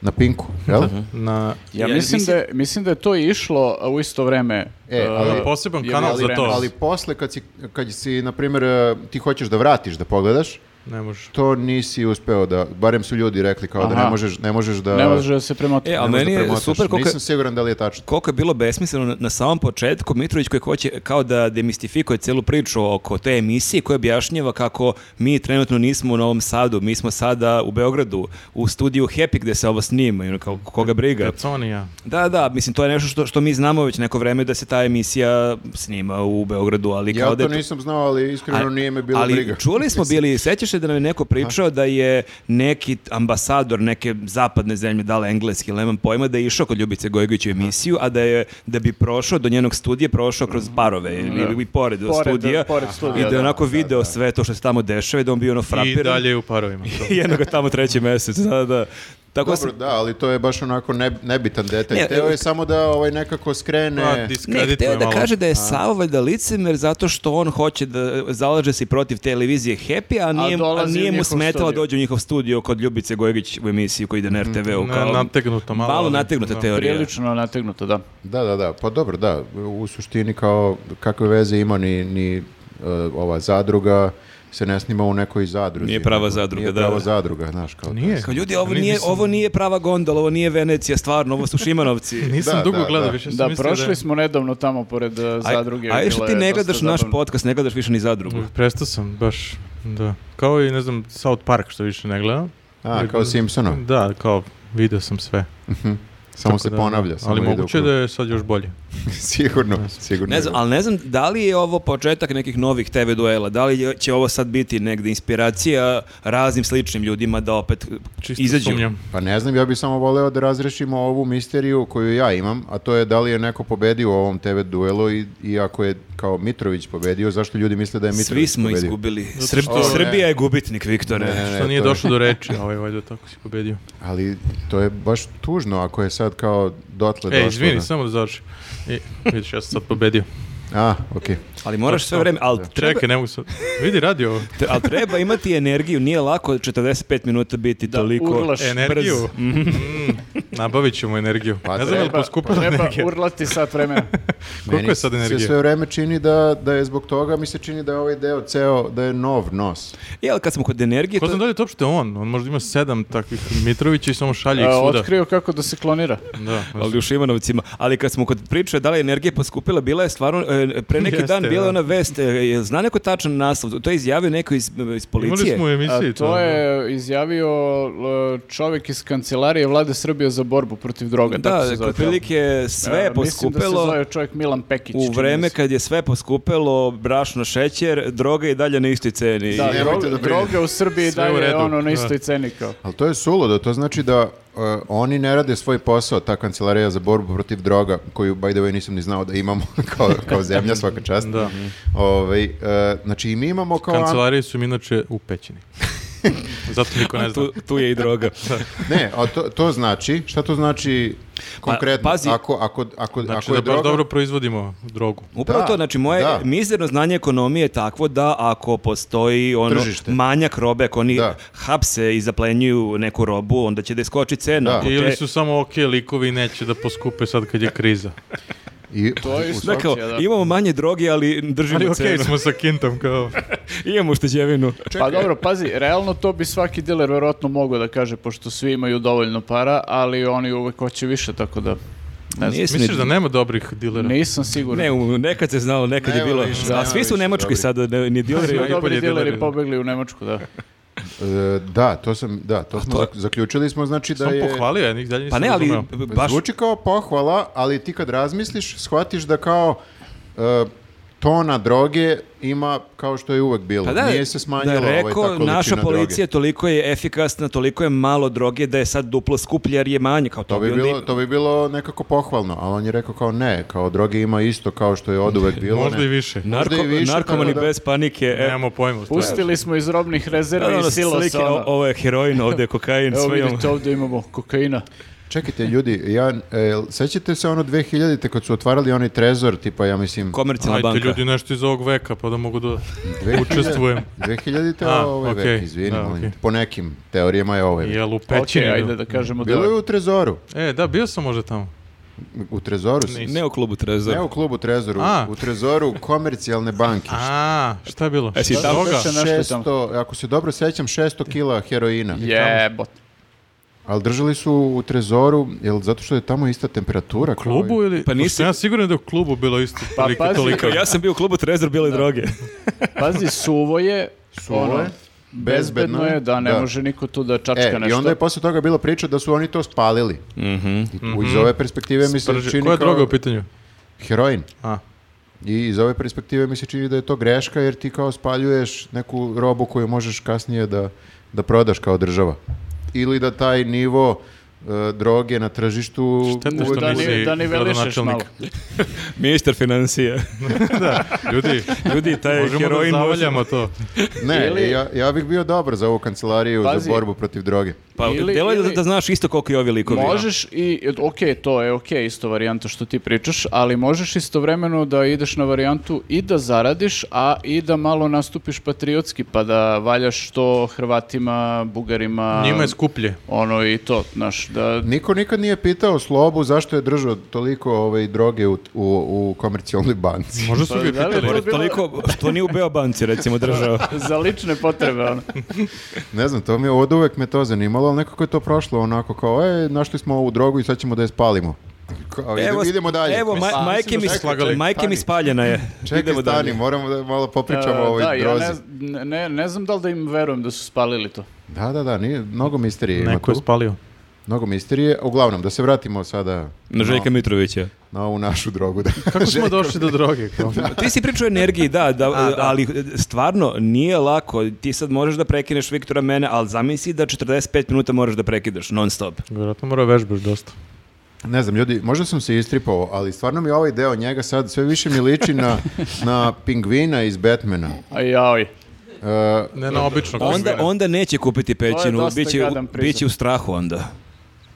[SPEAKER 3] na Pinku, jel?
[SPEAKER 2] Mhm.
[SPEAKER 1] Na,
[SPEAKER 4] Ja,
[SPEAKER 2] Ja
[SPEAKER 4] mislim,
[SPEAKER 2] mislim-
[SPEAKER 4] da je, mislim da je to išlo a, u isto vreme.
[SPEAKER 3] E,
[SPEAKER 4] e,
[SPEAKER 3] ali-
[SPEAKER 1] na poseban
[SPEAKER 4] je
[SPEAKER 1] kanal
[SPEAKER 4] bilo
[SPEAKER 1] za to.
[SPEAKER 4] vremena.
[SPEAKER 3] Ali posle, kad si, kad si na primjer, e, ti hoćeš da vratiš, da pogledaš,
[SPEAKER 1] Ne možeš.
[SPEAKER 3] to nisi uspeo da, barem su ljudi rekli kao da ne
[SPEAKER 4] Aha.
[SPEAKER 3] možeš, ne možeš da...
[SPEAKER 4] ne može da se premotiti.
[SPEAKER 2] E, ali
[SPEAKER 3] ne možeš da
[SPEAKER 2] meni je
[SPEAKER 3] premotaš.
[SPEAKER 2] super koliko je-
[SPEAKER 3] Nisam siguran da li je tačno.
[SPEAKER 2] koliko je bilo besmisleno na- na samom početku Mitrović koji hoće kao da demistifikuje celu priču oko te emisije koja objašnjava kako mi trenutno nismo u Novom Sadu, mi smo sada u Beogradu u studiju Happy gde se ovo snima, i ono kao koga briga.
[SPEAKER 1] Peconija.
[SPEAKER 2] Da, da, mislim to je nešto što, što mi znamo već neko vreme da se ta emisija snima u Beogradu, ali kao
[SPEAKER 3] Ja
[SPEAKER 2] da je
[SPEAKER 3] to
[SPEAKER 2] to-
[SPEAKER 3] nisam znao, ali iskreno
[SPEAKER 2] A-
[SPEAKER 3] nije me bilo
[SPEAKER 2] ali
[SPEAKER 3] briga.
[SPEAKER 2] čuli smo bili, sećaš se da nam je neko pričao da je neki ambasador neke zapadne zemlje, da li engleski, ili nemam pojma, da je išao kod Ljubice Gojgović u emisiju, a da je, da bi prošao do njenog studija, prošao kroz barove ili, ili pored,
[SPEAKER 4] Pored,
[SPEAKER 2] studija,
[SPEAKER 4] pored studija,
[SPEAKER 2] i da je
[SPEAKER 4] da,
[SPEAKER 2] onako video sve to što se tamo dešava i da on bio ono
[SPEAKER 1] I
[SPEAKER 2] frapiran.
[SPEAKER 1] dalje u parovima. to.
[SPEAKER 2] [laughs]
[SPEAKER 3] [laughs]
[SPEAKER 2] I jedno ga tamo treći mesec, da, da. Tako da
[SPEAKER 3] Dobro,
[SPEAKER 2] sam-
[SPEAKER 3] da, ali to je baš onako neb- nebitan detalj.
[SPEAKER 2] Ne,
[SPEAKER 3] Teo je
[SPEAKER 2] e,
[SPEAKER 3] samo da ovaj nekako
[SPEAKER 1] Pa,
[SPEAKER 3] skrene...
[SPEAKER 2] Ne,
[SPEAKER 1] diskredituje
[SPEAKER 2] hteo da
[SPEAKER 1] malo.
[SPEAKER 2] kaže da je Savo valjda licemer zato što on hoće da zalaže se i protiv televizije Happy, a nije, a
[SPEAKER 4] dolazi u
[SPEAKER 2] nije mu
[SPEAKER 4] njihov
[SPEAKER 2] smetalo
[SPEAKER 4] studio.
[SPEAKER 2] dođe u njihov studio kod Ljubice Gojgić u emisiju koji ide na RTV-u.
[SPEAKER 1] Mm, Ne, nategnuto malo,
[SPEAKER 2] Malo
[SPEAKER 1] ali-
[SPEAKER 2] nategnuta
[SPEAKER 1] da.
[SPEAKER 2] teorija.
[SPEAKER 4] Prilično nategnuto, da.
[SPEAKER 3] Da, da, da, pa dobro, da, u suštini kao kakve veze ima ni, ni e, ova zadruga se ne snima u nekoj zadruzi.
[SPEAKER 2] Nije prava
[SPEAKER 3] nego-
[SPEAKER 2] zadruga,
[SPEAKER 3] nije
[SPEAKER 2] da,
[SPEAKER 3] prava
[SPEAKER 2] da.
[SPEAKER 3] zadruga, znaš, kao
[SPEAKER 1] Nije.
[SPEAKER 2] E, Kao ljudi, ovo
[SPEAKER 1] Ni-
[SPEAKER 2] nije,
[SPEAKER 1] nisam-
[SPEAKER 2] ovo nije prava gondola, ovo nije Venecija, stvarno, ovo su
[SPEAKER 1] [laughs]
[SPEAKER 2] Šimanovci.
[SPEAKER 1] Nisam
[SPEAKER 3] Da,
[SPEAKER 1] dugo
[SPEAKER 3] da,
[SPEAKER 1] gledao,
[SPEAKER 3] da.
[SPEAKER 1] više sam
[SPEAKER 4] Da,
[SPEAKER 1] mislio
[SPEAKER 4] prošli
[SPEAKER 1] da je-
[SPEAKER 4] smo nedavno tamo pored uh,
[SPEAKER 2] A,
[SPEAKER 4] zadruge.
[SPEAKER 2] a još
[SPEAKER 4] bilo
[SPEAKER 2] ti
[SPEAKER 4] je
[SPEAKER 2] ne
[SPEAKER 4] dosta
[SPEAKER 2] gledaš naš
[SPEAKER 4] zabavno.
[SPEAKER 2] podcast, ne gledaš više ni zadrugu.
[SPEAKER 1] Prestao sam, baš, da. Kao i, ne znam, South Park što više ne gledam.
[SPEAKER 3] A, kao Simpsonov,
[SPEAKER 1] Da, kao, video sam sve.
[SPEAKER 3] samo
[SPEAKER 1] Tako
[SPEAKER 3] se
[SPEAKER 1] da,
[SPEAKER 3] ponavlja. Samo
[SPEAKER 1] Ali
[SPEAKER 3] ide u
[SPEAKER 1] moguće
[SPEAKER 3] krug.
[SPEAKER 1] da je sad još bolje.
[SPEAKER 3] [laughs] sigurno, sigurno.
[SPEAKER 2] Ne znam, ali ne znam da li je ovo početak nekih novih TV duela, da li je- će ovo sad biti negde inspiracija raznim sličnim ljudima da opet
[SPEAKER 1] Čisto
[SPEAKER 2] izađu.
[SPEAKER 1] sumnjam.
[SPEAKER 3] Pa ne znam, ja bih samo voleo da razrešimo ovu misteriju koju ja imam, a to je da li je neko pobedio u ovom TV duelu i, i ako je kao Mitrović pobedio, zašto ljudi misle da
[SPEAKER 1] E,
[SPEAKER 3] je Mitrović
[SPEAKER 2] Svi smo
[SPEAKER 3] pobedio?
[SPEAKER 2] izgubili.
[SPEAKER 1] što-
[SPEAKER 2] Srb-
[SPEAKER 3] O, ne.
[SPEAKER 2] Srbija je gubitnik, Viktore.
[SPEAKER 3] Ne, ne, ne,
[SPEAKER 1] Što nije
[SPEAKER 3] to je-
[SPEAKER 1] došlo do reči, a ovaj valjda tako si pobedio.
[SPEAKER 3] Ali to je baš tužno ako je sad kao dotle
[SPEAKER 1] E,
[SPEAKER 3] Pa došlo.
[SPEAKER 1] izvini,
[SPEAKER 3] da-
[SPEAKER 1] samo da završim. I, vidiš, ja sam sad pobedio.
[SPEAKER 3] A, okej.
[SPEAKER 2] Ali moraš sve vreme, ali treba,
[SPEAKER 1] Čekaj, ne mogu sad. Vidi, radi ovo.
[SPEAKER 2] te- ali treba imati energiju, nije lako 45 minuta biti
[SPEAKER 4] Da,
[SPEAKER 2] toliko
[SPEAKER 4] urlaš.
[SPEAKER 1] Energiju.
[SPEAKER 2] brz.
[SPEAKER 1] Mm, nabavit ćemo energiju.
[SPEAKER 3] Pa
[SPEAKER 1] ne znam je li
[SPEAKER 4] Treba-
[SPEAKER 1] poskupila energija.
[SPEAKER 4] Treba urlati sat vremena.
[SPEAKER 1] Koliko
[SPEAKER 3] Meni
[SPEAKER 1] je sad
[SPEAKER 3] Se
[SPEAKER 1] energije?
[SPEAKER 3] sve vreme čini da, da je zbog toga, mi se čini da je ovaj deo ceo, da je nov nos.
[SPEAKER 2] I, ali E, kad smo kod energije,
[SPEAKER 1] Ko
[SPEAKER 2] to,
[SPEAKER 1] znam da li je to uopšte on? On možda ima sedam takvih Mitrovića i samo šalje ih
[SPEAKER 4] E,
[SPEAKER 1] svuda.
[SPEAKER 4] Otkrio kako da se klonira.
[SPEAKER 1] Da,
[SPEAKER 2] ali u Šimanovcima, ali kad smo kod priče da li je energija poskupila, bila je stvarno, e, pre neki
[SPEAKER 1] Jeste,
[SPEAKER 2] dan bila je
[SPEAKER 1] da.
[SPEAKER 2] ona vest, e, jel zna neko tačan naslov, to je izjavio neko iz, iz
[SPEAKER 1] Imali
[SPEAKER 2] policije.
[SPEAKER 1] smo u emisiji
[SPEAKER 4] A, to je izjavio l, čovjek iz kancelarije vlade Srbije za borbu protiv droga. tako se
[SPEAKER 2] Da,
[SPEAKER 4] zove.
[SPEAKER 2] otprilike sve je
[SPEAKER 4] E, Mislim da se
[SPEAKER 2] poskupilo.
[SPEAKER 4] zove čovjek Milan Pekić.
[SPEAKER 2] U
[SPEAKER 4] čini mi
[SPEAKER 2] vreme
[SPEAKER 4] se.
[SPEAKER 2] kad je sve poskupelo, brašno, šećer, droga i dalje na istoj ceni.
[SPEAKER 4] Da,
[SPEAKER 3] Nemojte
[SPEAKER 4] drog-
[SPEAKER 3] da brinete.
[SPEAKER 4] droga u Srbiji
[SPEAKER 1] Sve u
[SPEAKER 4] dalje je
[SPEAKER 1] redu.
[SPEAKER 4] ono na
[SPEAKER 1] Da.
[SPEAKER 4] istoj ceni kao.
[SPEAKER 3] Ali to je suludo, to znači da e, oni ne rade svoj posao, ta kancelarija za borbu protiv droga, koju, by the way, nisam ni znao da imamo [laughs] kao, kao zemlja, svaka čast.
[SPEAKER 1] Da.
[SPEAKER 3] Ovaj, e, znači i mi imamo kao...
[SPEAKER 1] Kancelarije su mi inače u pećini. Zato niko ne zna.
[SPEAKER 2] tu, tu je i droga.
[SPEAKER 3] Ne, a to, to znači, šta to znači konkretno?
[SPEAKER 2] pazi.
[SPEAKER 3] ako, ako, ako,
[SPEAKER 1] Pa, Znači
[SPEAKER 3] ako
[SPEAKER 1] da
[SPEAKER 3] je
[SPEAKER 1] baš
[SPEAKER 3] droga-
[SPEAKER 1] dobro proizvodimo drogu.
[SPEAKER 2] Upravo
[SPEAKER 3] Da,
[SPEAKER 2] to, znači moje
[SPEAKER 3] da.
[SPEAKER 2] mizerno znanje ekonomije je takvo da ako postoji ono
[SPEAKER 3] Tržište.
[SPEAKER 2] manjak robe, ako oni
[SPEAKER 3] Da.
[SPEAKER 2] hapse i zaplenjuju neku robu, onda će da iskoči cena.
[SPEAKER 3] Da.
[SPEAKER 2] Ako
[SPEAKER 1] Ili
[SPEAKER 2] te-
[SPEAKER 1] su samo ok likovi i neće da poskupe sad kad je kriza.
[SPEAKER 3] I,
[SPEAKER 4] To je
[SPEAKER 3] u
[SPEAKER 4] isto.
[SPEAKER 2] Da, kao,
[SPEAKER 4] Opcija, da.
[SPEAKER 2] imamo manje droge, ali držimo
[SPEAKER 1] Ali ok,
[SPEAKER 2] cenu.
[SPEAKER 1] smo sa kintom kao...
[SPEAKER 2] [laughs] Imamo ušteđevinu.
[SPEAKER 4] Pa dobro, pazi, realno to bi svaki diler verovatno mogao da kaže, pošto svi imaju dovoljno para, ali oni uvek hoće više, tako da ne znam.
[SPEAKER 2] Nije
[SPEAKER 1] Misliš da nema dobrih dilera?
[SPEAKER 4] Nisam siguran.
[SPEAKER 2] Ne, u- nekad se znalo, nekad je
[SPEAKER 3] Nema
[SPEAKER 2] bilo.
[SPEAKER 3] više,
[SPEAKER 2] a
[SPEAKER 3] nema
[SPEAKER 2] svi su
[SPEAKER 3] više
[SPEAKER 2] nemački
[SPEAKER 3] dobrih.
[SPEAKER 2] sada, ne, ni dileri.
[SPEAKER 1] Svi
[SPEAKER 4] Svi
[SPEAKER 1] najbolji
[SPEAKER 4] dobri
[SPEAKER 1] dileri,
[SPEAKER 4] dileri
[SPEAKER 1] da.
[SPEAKER 4] pobegli u Nemačku,
[SPEAKER 2] [laughs]
[SPEAKER 4] da.
[SPEAKER 3] E, da, to sam, da, to smo zak- zaključili smo, znači da
[SPEAKER 1] Sam
[SPEAKER 3] je...
[SPEAKER 1] pohvalio, ja njih dalje
[SPEAKER 2] Pa
[SPEAKER 1] nisam
[SPEAKER 2] ne, ali
[SPEAKER 1] razumeo.
[SPEAKER 2] baš...
[SPEAKER 3] Zvuči kao pohvala, ali ti kad razmisliš, shvatiš da kao e, tona droge ima kao što je uvek bilo.
[SPEAKER 2] Pa da,
[SPEAKER 3] Nije se smanjila
[SPEAKER 2] da je
[SPEAKER 3] ovaj, ta
[SPEAKER 2] rekao,
[SPEAKER 3] količina
[SPEAKER 2] naša policija
[SPEAKER 3] droge.
[SPEAKER 2] toliko je efikasna, toliko je malo droge da je sad duplo skuplje jer je manje. Kao to,
[SPEAKER 3] To bi,
[SPEAKER 2] onda-
[SPEAKER 3] bilo, to bi bilo nekako pohvalno, ali on je rekao kao ne, kao droge ima isto kao što je od uvek bilo.
[SPEAKER 1] Možda
[SPEAKER 3] ne.
[SPEAKER 1] i više.
[SPEAKER 3] možda i
[SPEAKER 2] Narko-
[SPEAKER 3] više,
[SPEAKER 2] narkomani
[SPEAKER 3] tako da-
[SPEAKER 2] bez panike. e,
[SPEAKER 1] Nemamo pojma. u stvari.
[SPEAKER 4] Pustili smo iz robnih
[SPEAKER 2] da, da,
[SPEAKER 4] rezervi
[SPEAKER 2] ono,
[SPEAKER 4] i silosa.
[SPEAKER 2] slike, o-
[SPEAKER 4] ono.
[SPEAKER 2] ovo je heroin, ovdje je kokain,
[SPEAKER 4] Evo
[SPEAKER 2] sve imamo.
[SPEAKER 4] vidite, ovdje imamo kokaina.
[SPEAKER 3] Čekajte, ljudi, ja, e, sećate se ono 2000-te kad su otvarali onaj trezor, tipa, ja mislim...
[SPEAKER 2] Komercijalna
[SPEAKER 1] Ajde
[SPEAKER 2] banka.
[SPEAKER 1] ljudi nešto iz ovog veka pa da mogu da
[SPEAKER 3] 2000
[SPEAKER 1] učestvujem.
[SPEAKER 3] 2000-te
[SPEAKER 1] A,
[SPEAKER 3] ovaj
[SPEAKER 1] okej,
[SPEAKER 3] vek, izvini,
[SPEAKER 1] da,
[SPEAKER 3] molim
[SPEAKER 1] okej.
[SPEAKER 3] te. Po nekim teorijama je ovaj vek.
[SPEAKER 1] Jel u
[SPEAKER 4] Ok,
[SPEAKER 1] pećini?
[SPEAKER 4] ajde dakle. da kažemo
[SPEAKER 3] Bilo je
[SPEAKER 4] da...
[SPEAKER 3] u trezoru.
[SPEAKER 1] E, da, bio sam možda tamo.
[SPEAKER 3] U trezoru si.
[SPEAKER 2] Ne u klubu Trezor.
[SPEAKER 3] Ne u klubu Trezoru,
[SPEAKER 1] A.
[SPEAKER 3] u Trezoru komercijalne banke.
[SPEAKER 1] A, šta je bilo?
[SPEAKER 2] E, si
[SPEAKER 1] Šta-
[SPEAKER 2] tamo?
[SPEAKER 1] toga?
[SPEAKER 4] Šta- nešto tamo.
[SPEAKER 3] 600, ako se dobro sećam, 600 kila heroina.
[SPEAKER 4] Jebot.
[SPEAKER 3] Ali držali su u Trezoru, jel zato što je tamo ista temperatura? kao i-
[SPEAKER 1] klubu ili?
[SPEAKER 2] Pa
[SPEAKER 1] Pa
[SPEAKER 2] nisi-
[SPEAKER 1] Ja sigurno da je u klubu bilo isto
[SPEAKER 4] Pa
[SPEAKER 1] toliko,
[SPEAKER 4] pazi,
[SPEAKER 1] toliko.
[SPEAKER 2] Ja sam bio u klubu Trezor bile droge.
[SPEAKER 4] Pazi, suvo je,
[SPEAKER 3] Suvo
[SPEAKER 4] ono,
[SPEAKER 3] je,
[SPEAKER 4] bezbedno je, da ne
[SPEAKER 3] da.
[SPEAKER 4] može niko tu da čačka
[SPEAKER 3] E,
[SPEAKER 4] nešto.
[SPEAKER 3] i onda je posle toga bila priča da su oni to spalili. I- Iz ove perspektive mi se
[SPEAKER 1] Prži-
[SPEAKER 3] čini
[SPEAKER 1] Mhm. Koja je
[SPEAKER 3] kao
[SPEAKER 1] droga u pitanju?
[SPEAKER 3] heroin.
[SPEAKER 1] A, [laughs]
[SPEAKER 3] I iz ove perspektive mi se čini da je to greška jer ti kao spaljuješ neku robu koju možeš kasnije da, da prodaš kao država. Ili da taj nivo e, droge na tržištu
[SPEAKER 1] šteta
[SPEAKER 3] uvek
[SPEAKER 1] što
[SPEAKER 4] Da ni-
[SPEAKER 1] nisi
[SPEAKER 4] da nivelišeš malo.
[SPEAKER 1] gradonačelnik.
[SPEAKER 2] Ministar financija.
[SPEAKER 1] Ljudi,
[SPEAKER 2] Ljudi, taj
[SPEAKER 1] možemo da
[SPEAKER 2] heroin može...
[SPEAKER 1] zavaljamo to.
[SPEAKER 3] Ne,
[SPEAKER 4] Ili-
[SPEAKER 3] ja, ja bih bio dobar za ovu kancelariju
[SPEAKER 4] Pazi.
[SPEAKER 3] za borbu protiv droge.
[SPEAKER 2] Pa
[SPEAKER 4] Ili-
[SPEAKER 2] delo je da,
[SPEAKER 4] ili-
[SPEAKER 2] da znaš isto koliko i ovi likovi.
[SPEAKER 4] Možeš i, ok, to je ok, isto varijanta što ti pričaš, ali možeš istovremeno da ideš na varijantu i da zaradiš, a i da malo nastupiš patriotski, pa da valjaš to Hrvatima, Bugarima,
[SPEAKER 1] Njima je skuplje.
[SPEAKER 4] ono i to, znaš,
[SPEAKER 3] [laughs]
[SPEAKER 4] da...
[SPEAKER 3] Niko nikad nije pitao Slobu zašto je držao toliko ovaj, droge u, u, u komercijalnoj banci. [laughs]
[SPEAKER 1] Možda su
[SPEAKER 4] Pa,
[SPEAKER 1] ga i
[SPEAKER 4] da li je
[SPEAKER 1] pitali.
[SPEAKER 4] to
[SPEAKER 2] Pored
[SPEAKER 4] bilo-
[SPEAKER 2] toliko što nije u Beobanci recimo
[SPEAKER 3] [laughs]
[SPEAKER 2] držao.
[SPEAKER 4] za lične potrebe, ono.
[SPEAKER 3] Ne znam, to mi je od uvek me to zanimalo, ali nekako je to prošlo onako kao, e, našli smo ovu drogu i sad ćemo da je spalimo. Kao, idemo, Pa idemo dalje.
[SPEAKER 2] Evo, ma-
[SPEAKER 1] mislim
[SPEAKER 2] majke,
[SPEAKER 1] da
[SPEAKER 2] mi,
[SPEAKER 1] su slagali.
[SPEAKER 2] majke mi
[SPEAKER 3] Stani.
[SPEAKER 2] spaljena je.
[SPEAKER 3] Čekaj,
[SPEAKER 2] Idemo dalje.
[SPEAKER 3] stani, moramo da malo popričamo
[SPEAKER 4] E,
[SPEAKER 3] o ovoj
[SPEAKER 4] da, ja
[SPEAKER 3] drozi.
[SPEAKER 4] ne, z- ne, ne znam da li da im verujem da su spalili to.
[SPEAKER 3] Da, da, da, nije, mnogo misterije ima
[SPEAKER 1] Neko je
[SPEAKER 3] tu.
[SPEAKER 1] spalio.
[SPEAKER 3] Mnogo misterije. Uglavnom, da se vratimo sada
[SPEAKER 2] Na Željka Mitrovića.
[SPEAKER 3] na ovu našu drogu. Da.
[SPEAKER 1] Kako smo došli do droge? kao?
[SPEAKER 2] Ti si pričao o energiji, da, da, ali e, stvarno nije lako. Ti sad možeš da prekineš Viktora mene, ali zamisli da 45 minuta moraš da prekidaš non stop.
[SPEAKER 1] Vjerojatno mora vežbaš dosta.
[SPEAKER 3] Ne znam, ljudi, možda sam se istripao, ali stvarno mi ovaj deo njega sad sve više mi liči na, na pingvina iz Batmana.
[SPEAKER 4] A jaoj.
[SPEAKER 3] E,
[SPEAKER 1] Ne na obično.
[SPEAKER 2] Onda, onda neće kupiti
[SPEAKER 4] To je
[SPEAKER 2] pećinu,
[SPEAKER 4] dosta
[SPEAKER 2] bit će,
[SPEAKER 4] gadan prizor.
[SPEAKER 2] bit će u strahu onda.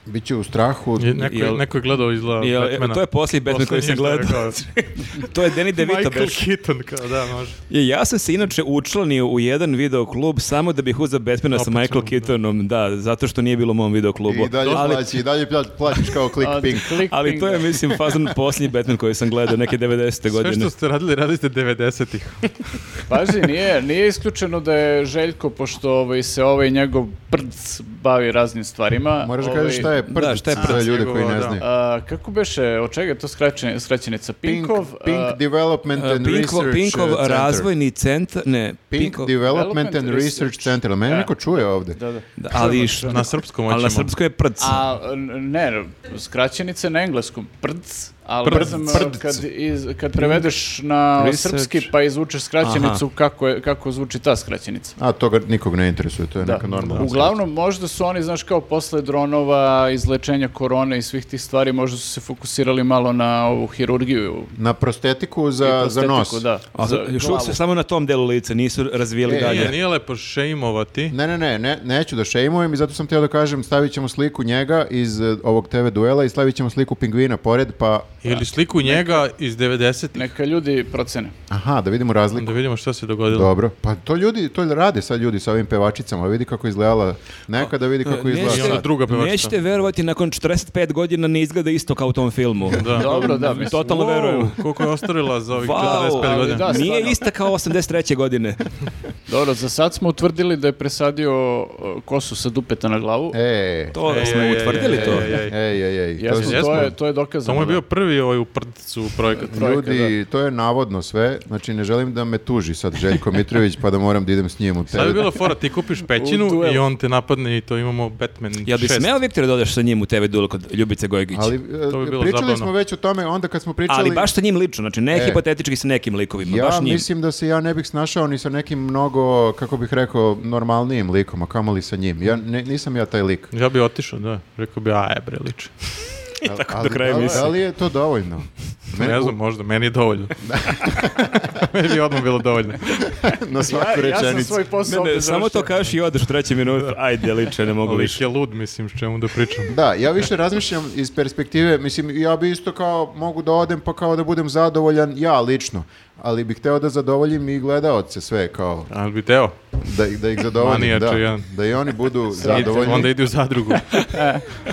[SPEAKER 3] Biće u strahu.
[SPEAKER 1] Neko, je-
[SPEAKER 2] Jel-
[SPEAKER 1] neko je gledao izgleda
[SPEAKER 2] Jel-
[SPEAKER 1] Batmana.
[SPEAKER 2] to je posljednji Batman koji sam
[SPEAKER 1] Posljednji što je
[SPEAKER 2] [laughs] gledao. To je Danny
[SPEAKER 1] rekao.
[SPEAKER 2] DeVito
[SPEAKER 1] Michael
[SPEAKER 2] baš.
[SPEAKER 1] Keaton, kao da, može.
[SPEAKER 2] I Ja sam se inače učlanio u jedan videoklub samo da bih uzeo Batmana sa
[SPEAKER 1] Opet
[SPEAKER 2] Michael
[SPEAKER 1] sam, da.
[SPEAKER 2] Keatonom, da, zato što nije bilo u mom videoklubu.
[SPEAKER 3] I dalje,
[SPEAKER 2] ali,
[SPEAKER 3] plaći, i dalje pla- plaćaš kao
[SPEAKER 4] A,
[SPEAKER 3] clickpink.
[SPEAKER 4] klik
[SPEAKER 2] ali
[SPEAKER 4] ping.
[SPEAKER 2] to je, mislim, fazan posljednji Batman koji sam gledao, neke 90.
[SPEAKER 1] Sve
[SPEAKER 2] godine.
[SPEAKER 1] što ste radili, radili ste
[SPEAKER 2] [laughs]
[SPEAKER 1] 90-ih.
[SPEAKER 4] Pazi, nije, nije isključeno da je Željko, pošto ovaj, se ovaj njegov prc bavi raznim stvarima.
[SPEAKER 3] Moraš da
[SPEAKER 4] ovaj,
[SPEAKER 3] kažeš šta je prd,
[SPEAKER 2] Da, šta je
[SPEAKER 3] za
[SPEAKER 2] prd,
[SPEAKER 3] ljude koji
[SPEAKER 1] njegovo,
[SPEAKER 3] ne
[SPEAKER 1] da.
[SPEAKER 3] znaju.
[SPEAKER 4] a, kako beše, od čega je to skraćen, skraćenica?
[SPEAKER 3] Pink,
[SPEAKER 4] Pinkov?
[SPEAKER 3] Pink
[SPEAKER 4] a,
[SPEAKER 3] Development
[SPEAKER 2] Uh,
[SPEAKER 3] and
[SPEAKER 2] Pinkov,
[SPEAKER 3] Research
[SPEAKER 2] Pinkov
[SPEAKER 3] Center.
[SPEAKER 2] razvojni centar, ne,
[SPEAKER 3] Pink
[SPEAKER 2] Pinkov,
[SPEAKER 3] Development and Research Center. Mene
[SPEAKER 4] Da.
[SPEAKER 3] neko čuje ovde.
[SPEAKER 4] da, da.
[SPEAKER 2] da, ali š-
[SPEAKER 1] Na srpskom hoćemo.
[SPEAKER 2] ali na srpskoj je prc.
[SPEAKER 4] A, n- ne, skraćenice na engleskom, prc, ali
[SPEAKER 2] Prd,
[SPEAKER 4] ne znam,
[SPEAKER 3] prdc.
[SPEAKER 4] kad, iz, kad prevedeš na
[SPEAKER 2] Research.
[SPEAKER 4] srpski pa izvučeš skraćenicu, kako, je, kako zvuči ta skraćenica.
[SPEAKER 3] A toga nikog ne interesuje, to je
[SPEAKER 4] Da.
[SPEAKER 3] neka normalna.
[SPEAKER 4] Uglavnom, možda su oni, znaš, kao posle dronova, izlečenja korone i svih tih stvari, možda su se fokusirali malo na ovu hirurgiju.
[SPEAKER 3] Na prostetiku
[SPEAKER 4] i
[SPEAKER 3] za, za
[SPEAKER 4] prostetiku,
[SPEAKER 3] nos.
[SPEAKER 4] Da,
[SPEAKER 2] A,
[SPEAKER 4] za
[SPEAKER 2] još uvijek
[SPEAKER 4] glavu.
[SPEAKER 2] su samo na tom delu lica, nisu razvijeli
[SPEAKER 3] E,
[SPEAKER 1] Nije,
[SPEAKER 2] dalje.
[SPEAKER 1] nije lepo šejmovati.
[SPEAKER 3] Ne, ne, ne, ne, neću da šejmujem i zato sam htio da kažem stavit ćemo sliku njega iz eh, ovog TV duela i stavit ćemo sliku pingvina pored, pa
[SPEAKER 1] Ili sliku njega iz 90-ih.
[SPEAKER 4] Neka ljudi procene.
[SPEAKER 3] aha, da vidimo razliku.
[SPEAKER 1] Da vidimo šta se dogodilo.
[SPEAKER 3] Dobro, pa to ljudi, to rade sad ljudi sa ovim pevačicama, vidi kako izgledala nekada,
[SPEAKER 1] Pa,
[SPEAKER 3] vidi kako
[SPEAKER 2] Nećete-
[SPEAKER 1] I ona
[SPEAKER 3] izgleda.
[SPEAKER 1] druga pevačica.
[SPEAKER 2] Nećete verovati, nakon 45 godina ne izgleda isto kao u tom [laughs] filmu.
[SPEAKER 1] Da.
[SPEAKER 4] Dobro, da, mislim.
[SPEAKER 2] Totalno
[SPEAKER 1] Wow,
[SPEAKER 2] verujem.
[SPEAKER 1] [laughs] Koliko je ostarila za ovih
[SPEAKER 2] Wow,
[SPEAKER 1] 45
[SPEAKER 4] ali
[SPEAKER 1] godina.
[SPEAKER 4] da,
[SPEAKER 2] Nije
[SPEAKER 4] stvarno.
[SPEAKER 2] ista kao 83. [laughs] godine.
[SPEAKER 4] Dobro, za sad smo utvrdili da je presadio e, kosu sa dupeta na glavu.
[SPEAKER 3] E,
[SPEAKER 2] To
[SPEAKER 1] Ej,
[SPEAKER 2] smo
[SPEAKER 1] ej,
[SPEAKER 2] utvrdili
[SPEAKER 1] ej,
[SPEAKER 2] to.
[SPEAKER 1] ej, ej.
[SPEAKER 3] ej, ej, ej. to
[SPEAKER 4] Jesmo,
[SPEAKER 3] su-
[SPEAKER 4] to,
[SPEAKER 1] jesmo.
[SPEAKER 4] je, to je dokazano.
[SPEAKER 1] Samo je
[SPEAKER 4] da.
[SPEAKER 1] bio prvi ovaj u prdcu projekat.
[SPEAKER 4] trojka,
[SPEAKER 3] Ljudi, to je navodno sve, znači ne želim da me tuži sad Željko Mitrović pa da moram da idem s njim u
[SPEAKER 1] Sad bi
[SPEAKER 3] TV.
[SPEAKER 1] bilo fora, ti kupiš
[SPEAKER 4] U
[SPEAKER 1] pećinu
[SPEAKER 4] duel.
[SPEAKER 1] i on te napadne i to imamo Batman 6.
[SPEAKER 2] Jel bi smeo Viktor da odeš sa njim u TV duel kod Ljubice Gojgić?
[SPEAKER 3] Ali
[SPEAKER 2] Ali,
[SPEAKER 3] eh,
[SPEAKER 1] To bi bilo
[SPEAKER 3] pričali
[SPEAKER 1] zabavno.
[SPEAKER 3] smo već o tome onda kad smo pričali...
[SPEAKER 2] baš sa njim lično, znači ne
[SPEAKER 3] E.
[SPEAKER 2] hipotetički sa nekim likovima,
[SPEAKER 3] Ja
[SPEAKER 2] baš njim.
[SPEAKER 3] mislim da se ja ne bih snašao ni sa nekim mnogo, kako bih rekao, normalnijim likom, a kamoli sa njim. Ja ne- nisam ja taj lik.
[SPEAKER 1] Ja bi otišao, da. Rekao bi, a je bre, liče.
[SPEAKER 3] Tako
[SPEAKER 2] do kraja
[SPEAKER 3] da, li-
[SPEAKER 2] misli.
[SPEAKER 3] Da li je to dovoljno?
[SPEAKER 1] Ne znam, možda, meni je
[SPEAKER 4] [laughs]
[SPEAKER 1] dovoljno. [laughs] meni bi odmah bilo dovoljno.
[SPEAKER 3] na svaku
[SPEAKER 4] Ja, ja
[SPEAKER 3] rečenicu.
[SPEAKER 4] sam svoj posao
[SPEAKER 2] Ne,
[SPEAKER 4] ovdje
[SPEAKER 2] ne, samo to
[SPEAKER 4] završio.
[SPEAKER 2] kažeš i odeš u treći minut, [laughs] ajde liče, ne mogu
[SPEAKER 1] Ali
[SPEAKER 2] više.
[SPEAKER 1] je lud, mislim, s čemu da pričam.
[SPEAKER 3] Da, ja više razmišljam iz perspektive, mislim, ja bi isto kao, mogu da odem pa kao da budem zadovoljan, ja lično, ali bih hteo da zadovoljim i gledaoce sve, kao,
[SPEAKER 1] Ali bi teo.
[SPEAKER 3] da, ih- da ih zadovoljim,
[SPEAKER 1] Manijače
[SPEAKER 3] da,
[SPEAKER 1] jedan.
[SPEAKER 3] da i oni budu zadovoljni.
[SPEAKER 1] Onda idi u
[SPEAKER 4] [laughs]
[SPEAKER 1] zadrugu.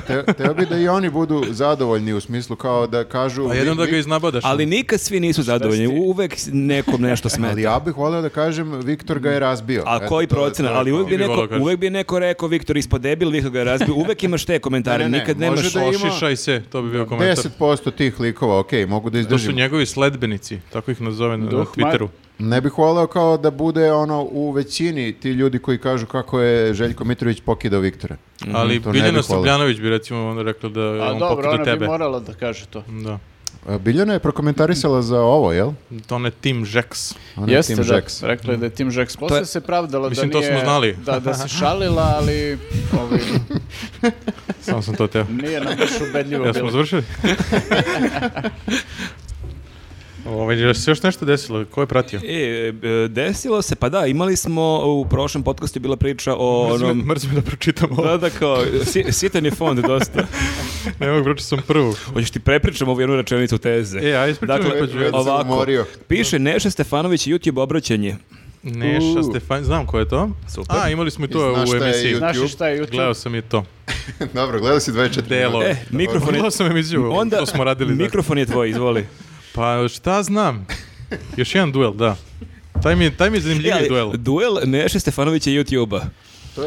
[SPEAKER 3] Te, teo bi da i oni budu zadovoljni u smislu kao da kažu...
[SPEAKER 1] A jednom
[SPEAKER 3] mi-
[SPEAKER 1] da ga
[SPEAKER 3] mi-
[SPEAKER 1] iznabadaš.
[SPEAKER 2] Ali nikad svi nisu zadovoljni,
[SPEAKER 4] si ti?
[SPEAKER 2] uvek nekom nešto smeta.
[SPEAKER 3] Ali ja bih volio da kažem, Viktor ga je razbio.
[SPEAKER 2] A
[SPEAKER 3] Eto,
[SPEAKER 2] koji
[SPEAKER 3] to je-
[SPEAKER 2] procenat?
[SPEAKER 3] to je
[SPEAKER 2] Ali
[SPEAKER 3] to.
[SPEAKER 2] uvek bi,
[SPEAKER 1] Ili
[SPEAKER 2] neko,
[SPEAKER 1] volio kažeš.
[SPEAKER 2] uvek bi neko rekao Viktor ispod debil, Viktor ga je razbio. Uvek imaš te komentare,
[SPEAKER 3] Ne, ne, ne,
[SPEAKER 2] nikad
[SPEAKER 3] može
[SPEAKER 2] nemaš.
[SPEAKER 3] da ima-
[SPEAKER 1] Ošišaj se, to bi bio komentar.
[SPEAKER 3] 10% tih likova, ok, mogu da
[SPEAKER 1] To su
[SPEAKER 3] izdržim.
[SPEAKER 1] njegovi sledbenici, tako ih nazove na, na
[SPEAKER 4] Duh, ma-
[SPEAKER 1] Twitteru.
[SPEAKER 3] Ne bih voleo kao da bude ono u većini ti ljudi koji kažu kako je Željko Mitrović pokidao Viktora.
[SPEAKER 2] Mhm.
[SPEAKER 1] Ali
[SPEAKER 3] to ne bih
[SPEAKER 1] Biljana
[SPEAKER 3] voleo.
[SPEAKER 1] Srbljanović bi recimo onda rekla da je
[SPEAKER 4] A
[SPEAKER 1] on
[SPEAKER 4] dobro,
[SPEAKER 1] pokida
[SPEAKER 4] ona bi
[SPEAKER 1] tebe.
[SPEAKER 4] morala da kaže to.
[SPEAKER 1] Da.
[SPEAKER 3] A Biljana je prokomentarisala za ovo, jel?
[SPEAKER 1] To ne Tim Žeks.
[SPEAKER 3] Ona je
[SPEAKER 4] Jeste,
[SPEAKER 3] Team
[SPEAKER 4] da, Pa,
[SPEAKER 3] Jax.
[SPEAKER 4] rekla je da je Tim Jax. Posle
[SPEAKER 2] je-
[SPEAKER 4] se pravdala
[SPEAKER 1] Mislim,
[SPEAKER 4] da
[SPEAKER 1] to
[SPEAKER 4] nije...
[SPEAKER 1] smo znali.
[SPEAKER 4] Da, da se šalila, ali ovaj,
[SPEAKER 1] Samo sam to
[SPEAKER 4] [laughs]
[SPEAKER 1] teo.
[SPEAKER 4] nije nam baš ubedljivo
[SPEAKER 1] Ja smo
[SPEAKER 4] bilo.
[SPEAKER 1] završili? [laughs] Ovaj, je li se još nešto desilo? Ko je pratio?
[SPEAKER 2] E, e, desilo se, pa da, imali smo u prošlom podcastu je bila priča o
[SPEAKER 1] Mrzim
[SPEAKER 2] onom...
[SPEAKER 1] me- mrzim me da pročitam ovo.
[SPEAKER 2] Da, da, kao, si- sitan je fond dosta.
[SPEAKER 1] Ne mogu, pročitao sam prvu.
[SPEAKER 2] Hoćeš ti prepričam ovu jednu rečenicu teze.
[SPEAKER 1] E, aj ispričaj
[SPEAKER 2] Dakle,
[SPEAKER 1] mi, pa ću ja-
[SPEAKER 3] se umorio. [laughs]
[SPEAKER 2] piše Neša Stefanović YouTube obraćanje.
[SPEAKER 1] Neša
[SPEAKER 4] U.
[SPEAKER 1] Stefan, znam ko je to.
[SPEAKER 2] Super.
[SPEAKER 1] A, imali smo i to
[SPEAKER 3] I
[SPEAKER 1] u
[SPEAKER 3] znaš šta je
[SPEAKER 1] emisiji.
[SPEAKER 3] YouTube?
[SPEAKER 4] Znaš i šta je YouTube?
[SPEAKER 1] Gledao sam i to.
[SPEAKER 3] Dobro, gledao si 24
[SPEAKER 1] Delo.
[SPEAKER 2] E, mikrofon je...
[SPEAKER 1] Gledao sam emisiju,
[SPEAKER 2] Onda,
[SPEAKER 1] to smo radili. da.
[SPEAKER 2] mikrofon je tvoj, izvoli.
[SPEAKER 1] Pa šta znam? Još jedan duel, da. Taj mi, je- taj mi je zanimljiviji
[SPEAKER 2] E, ali
[SPEAKER 1] duel.
[SPEAKER 2] Duel Neše Stefanovića i YouTube-a.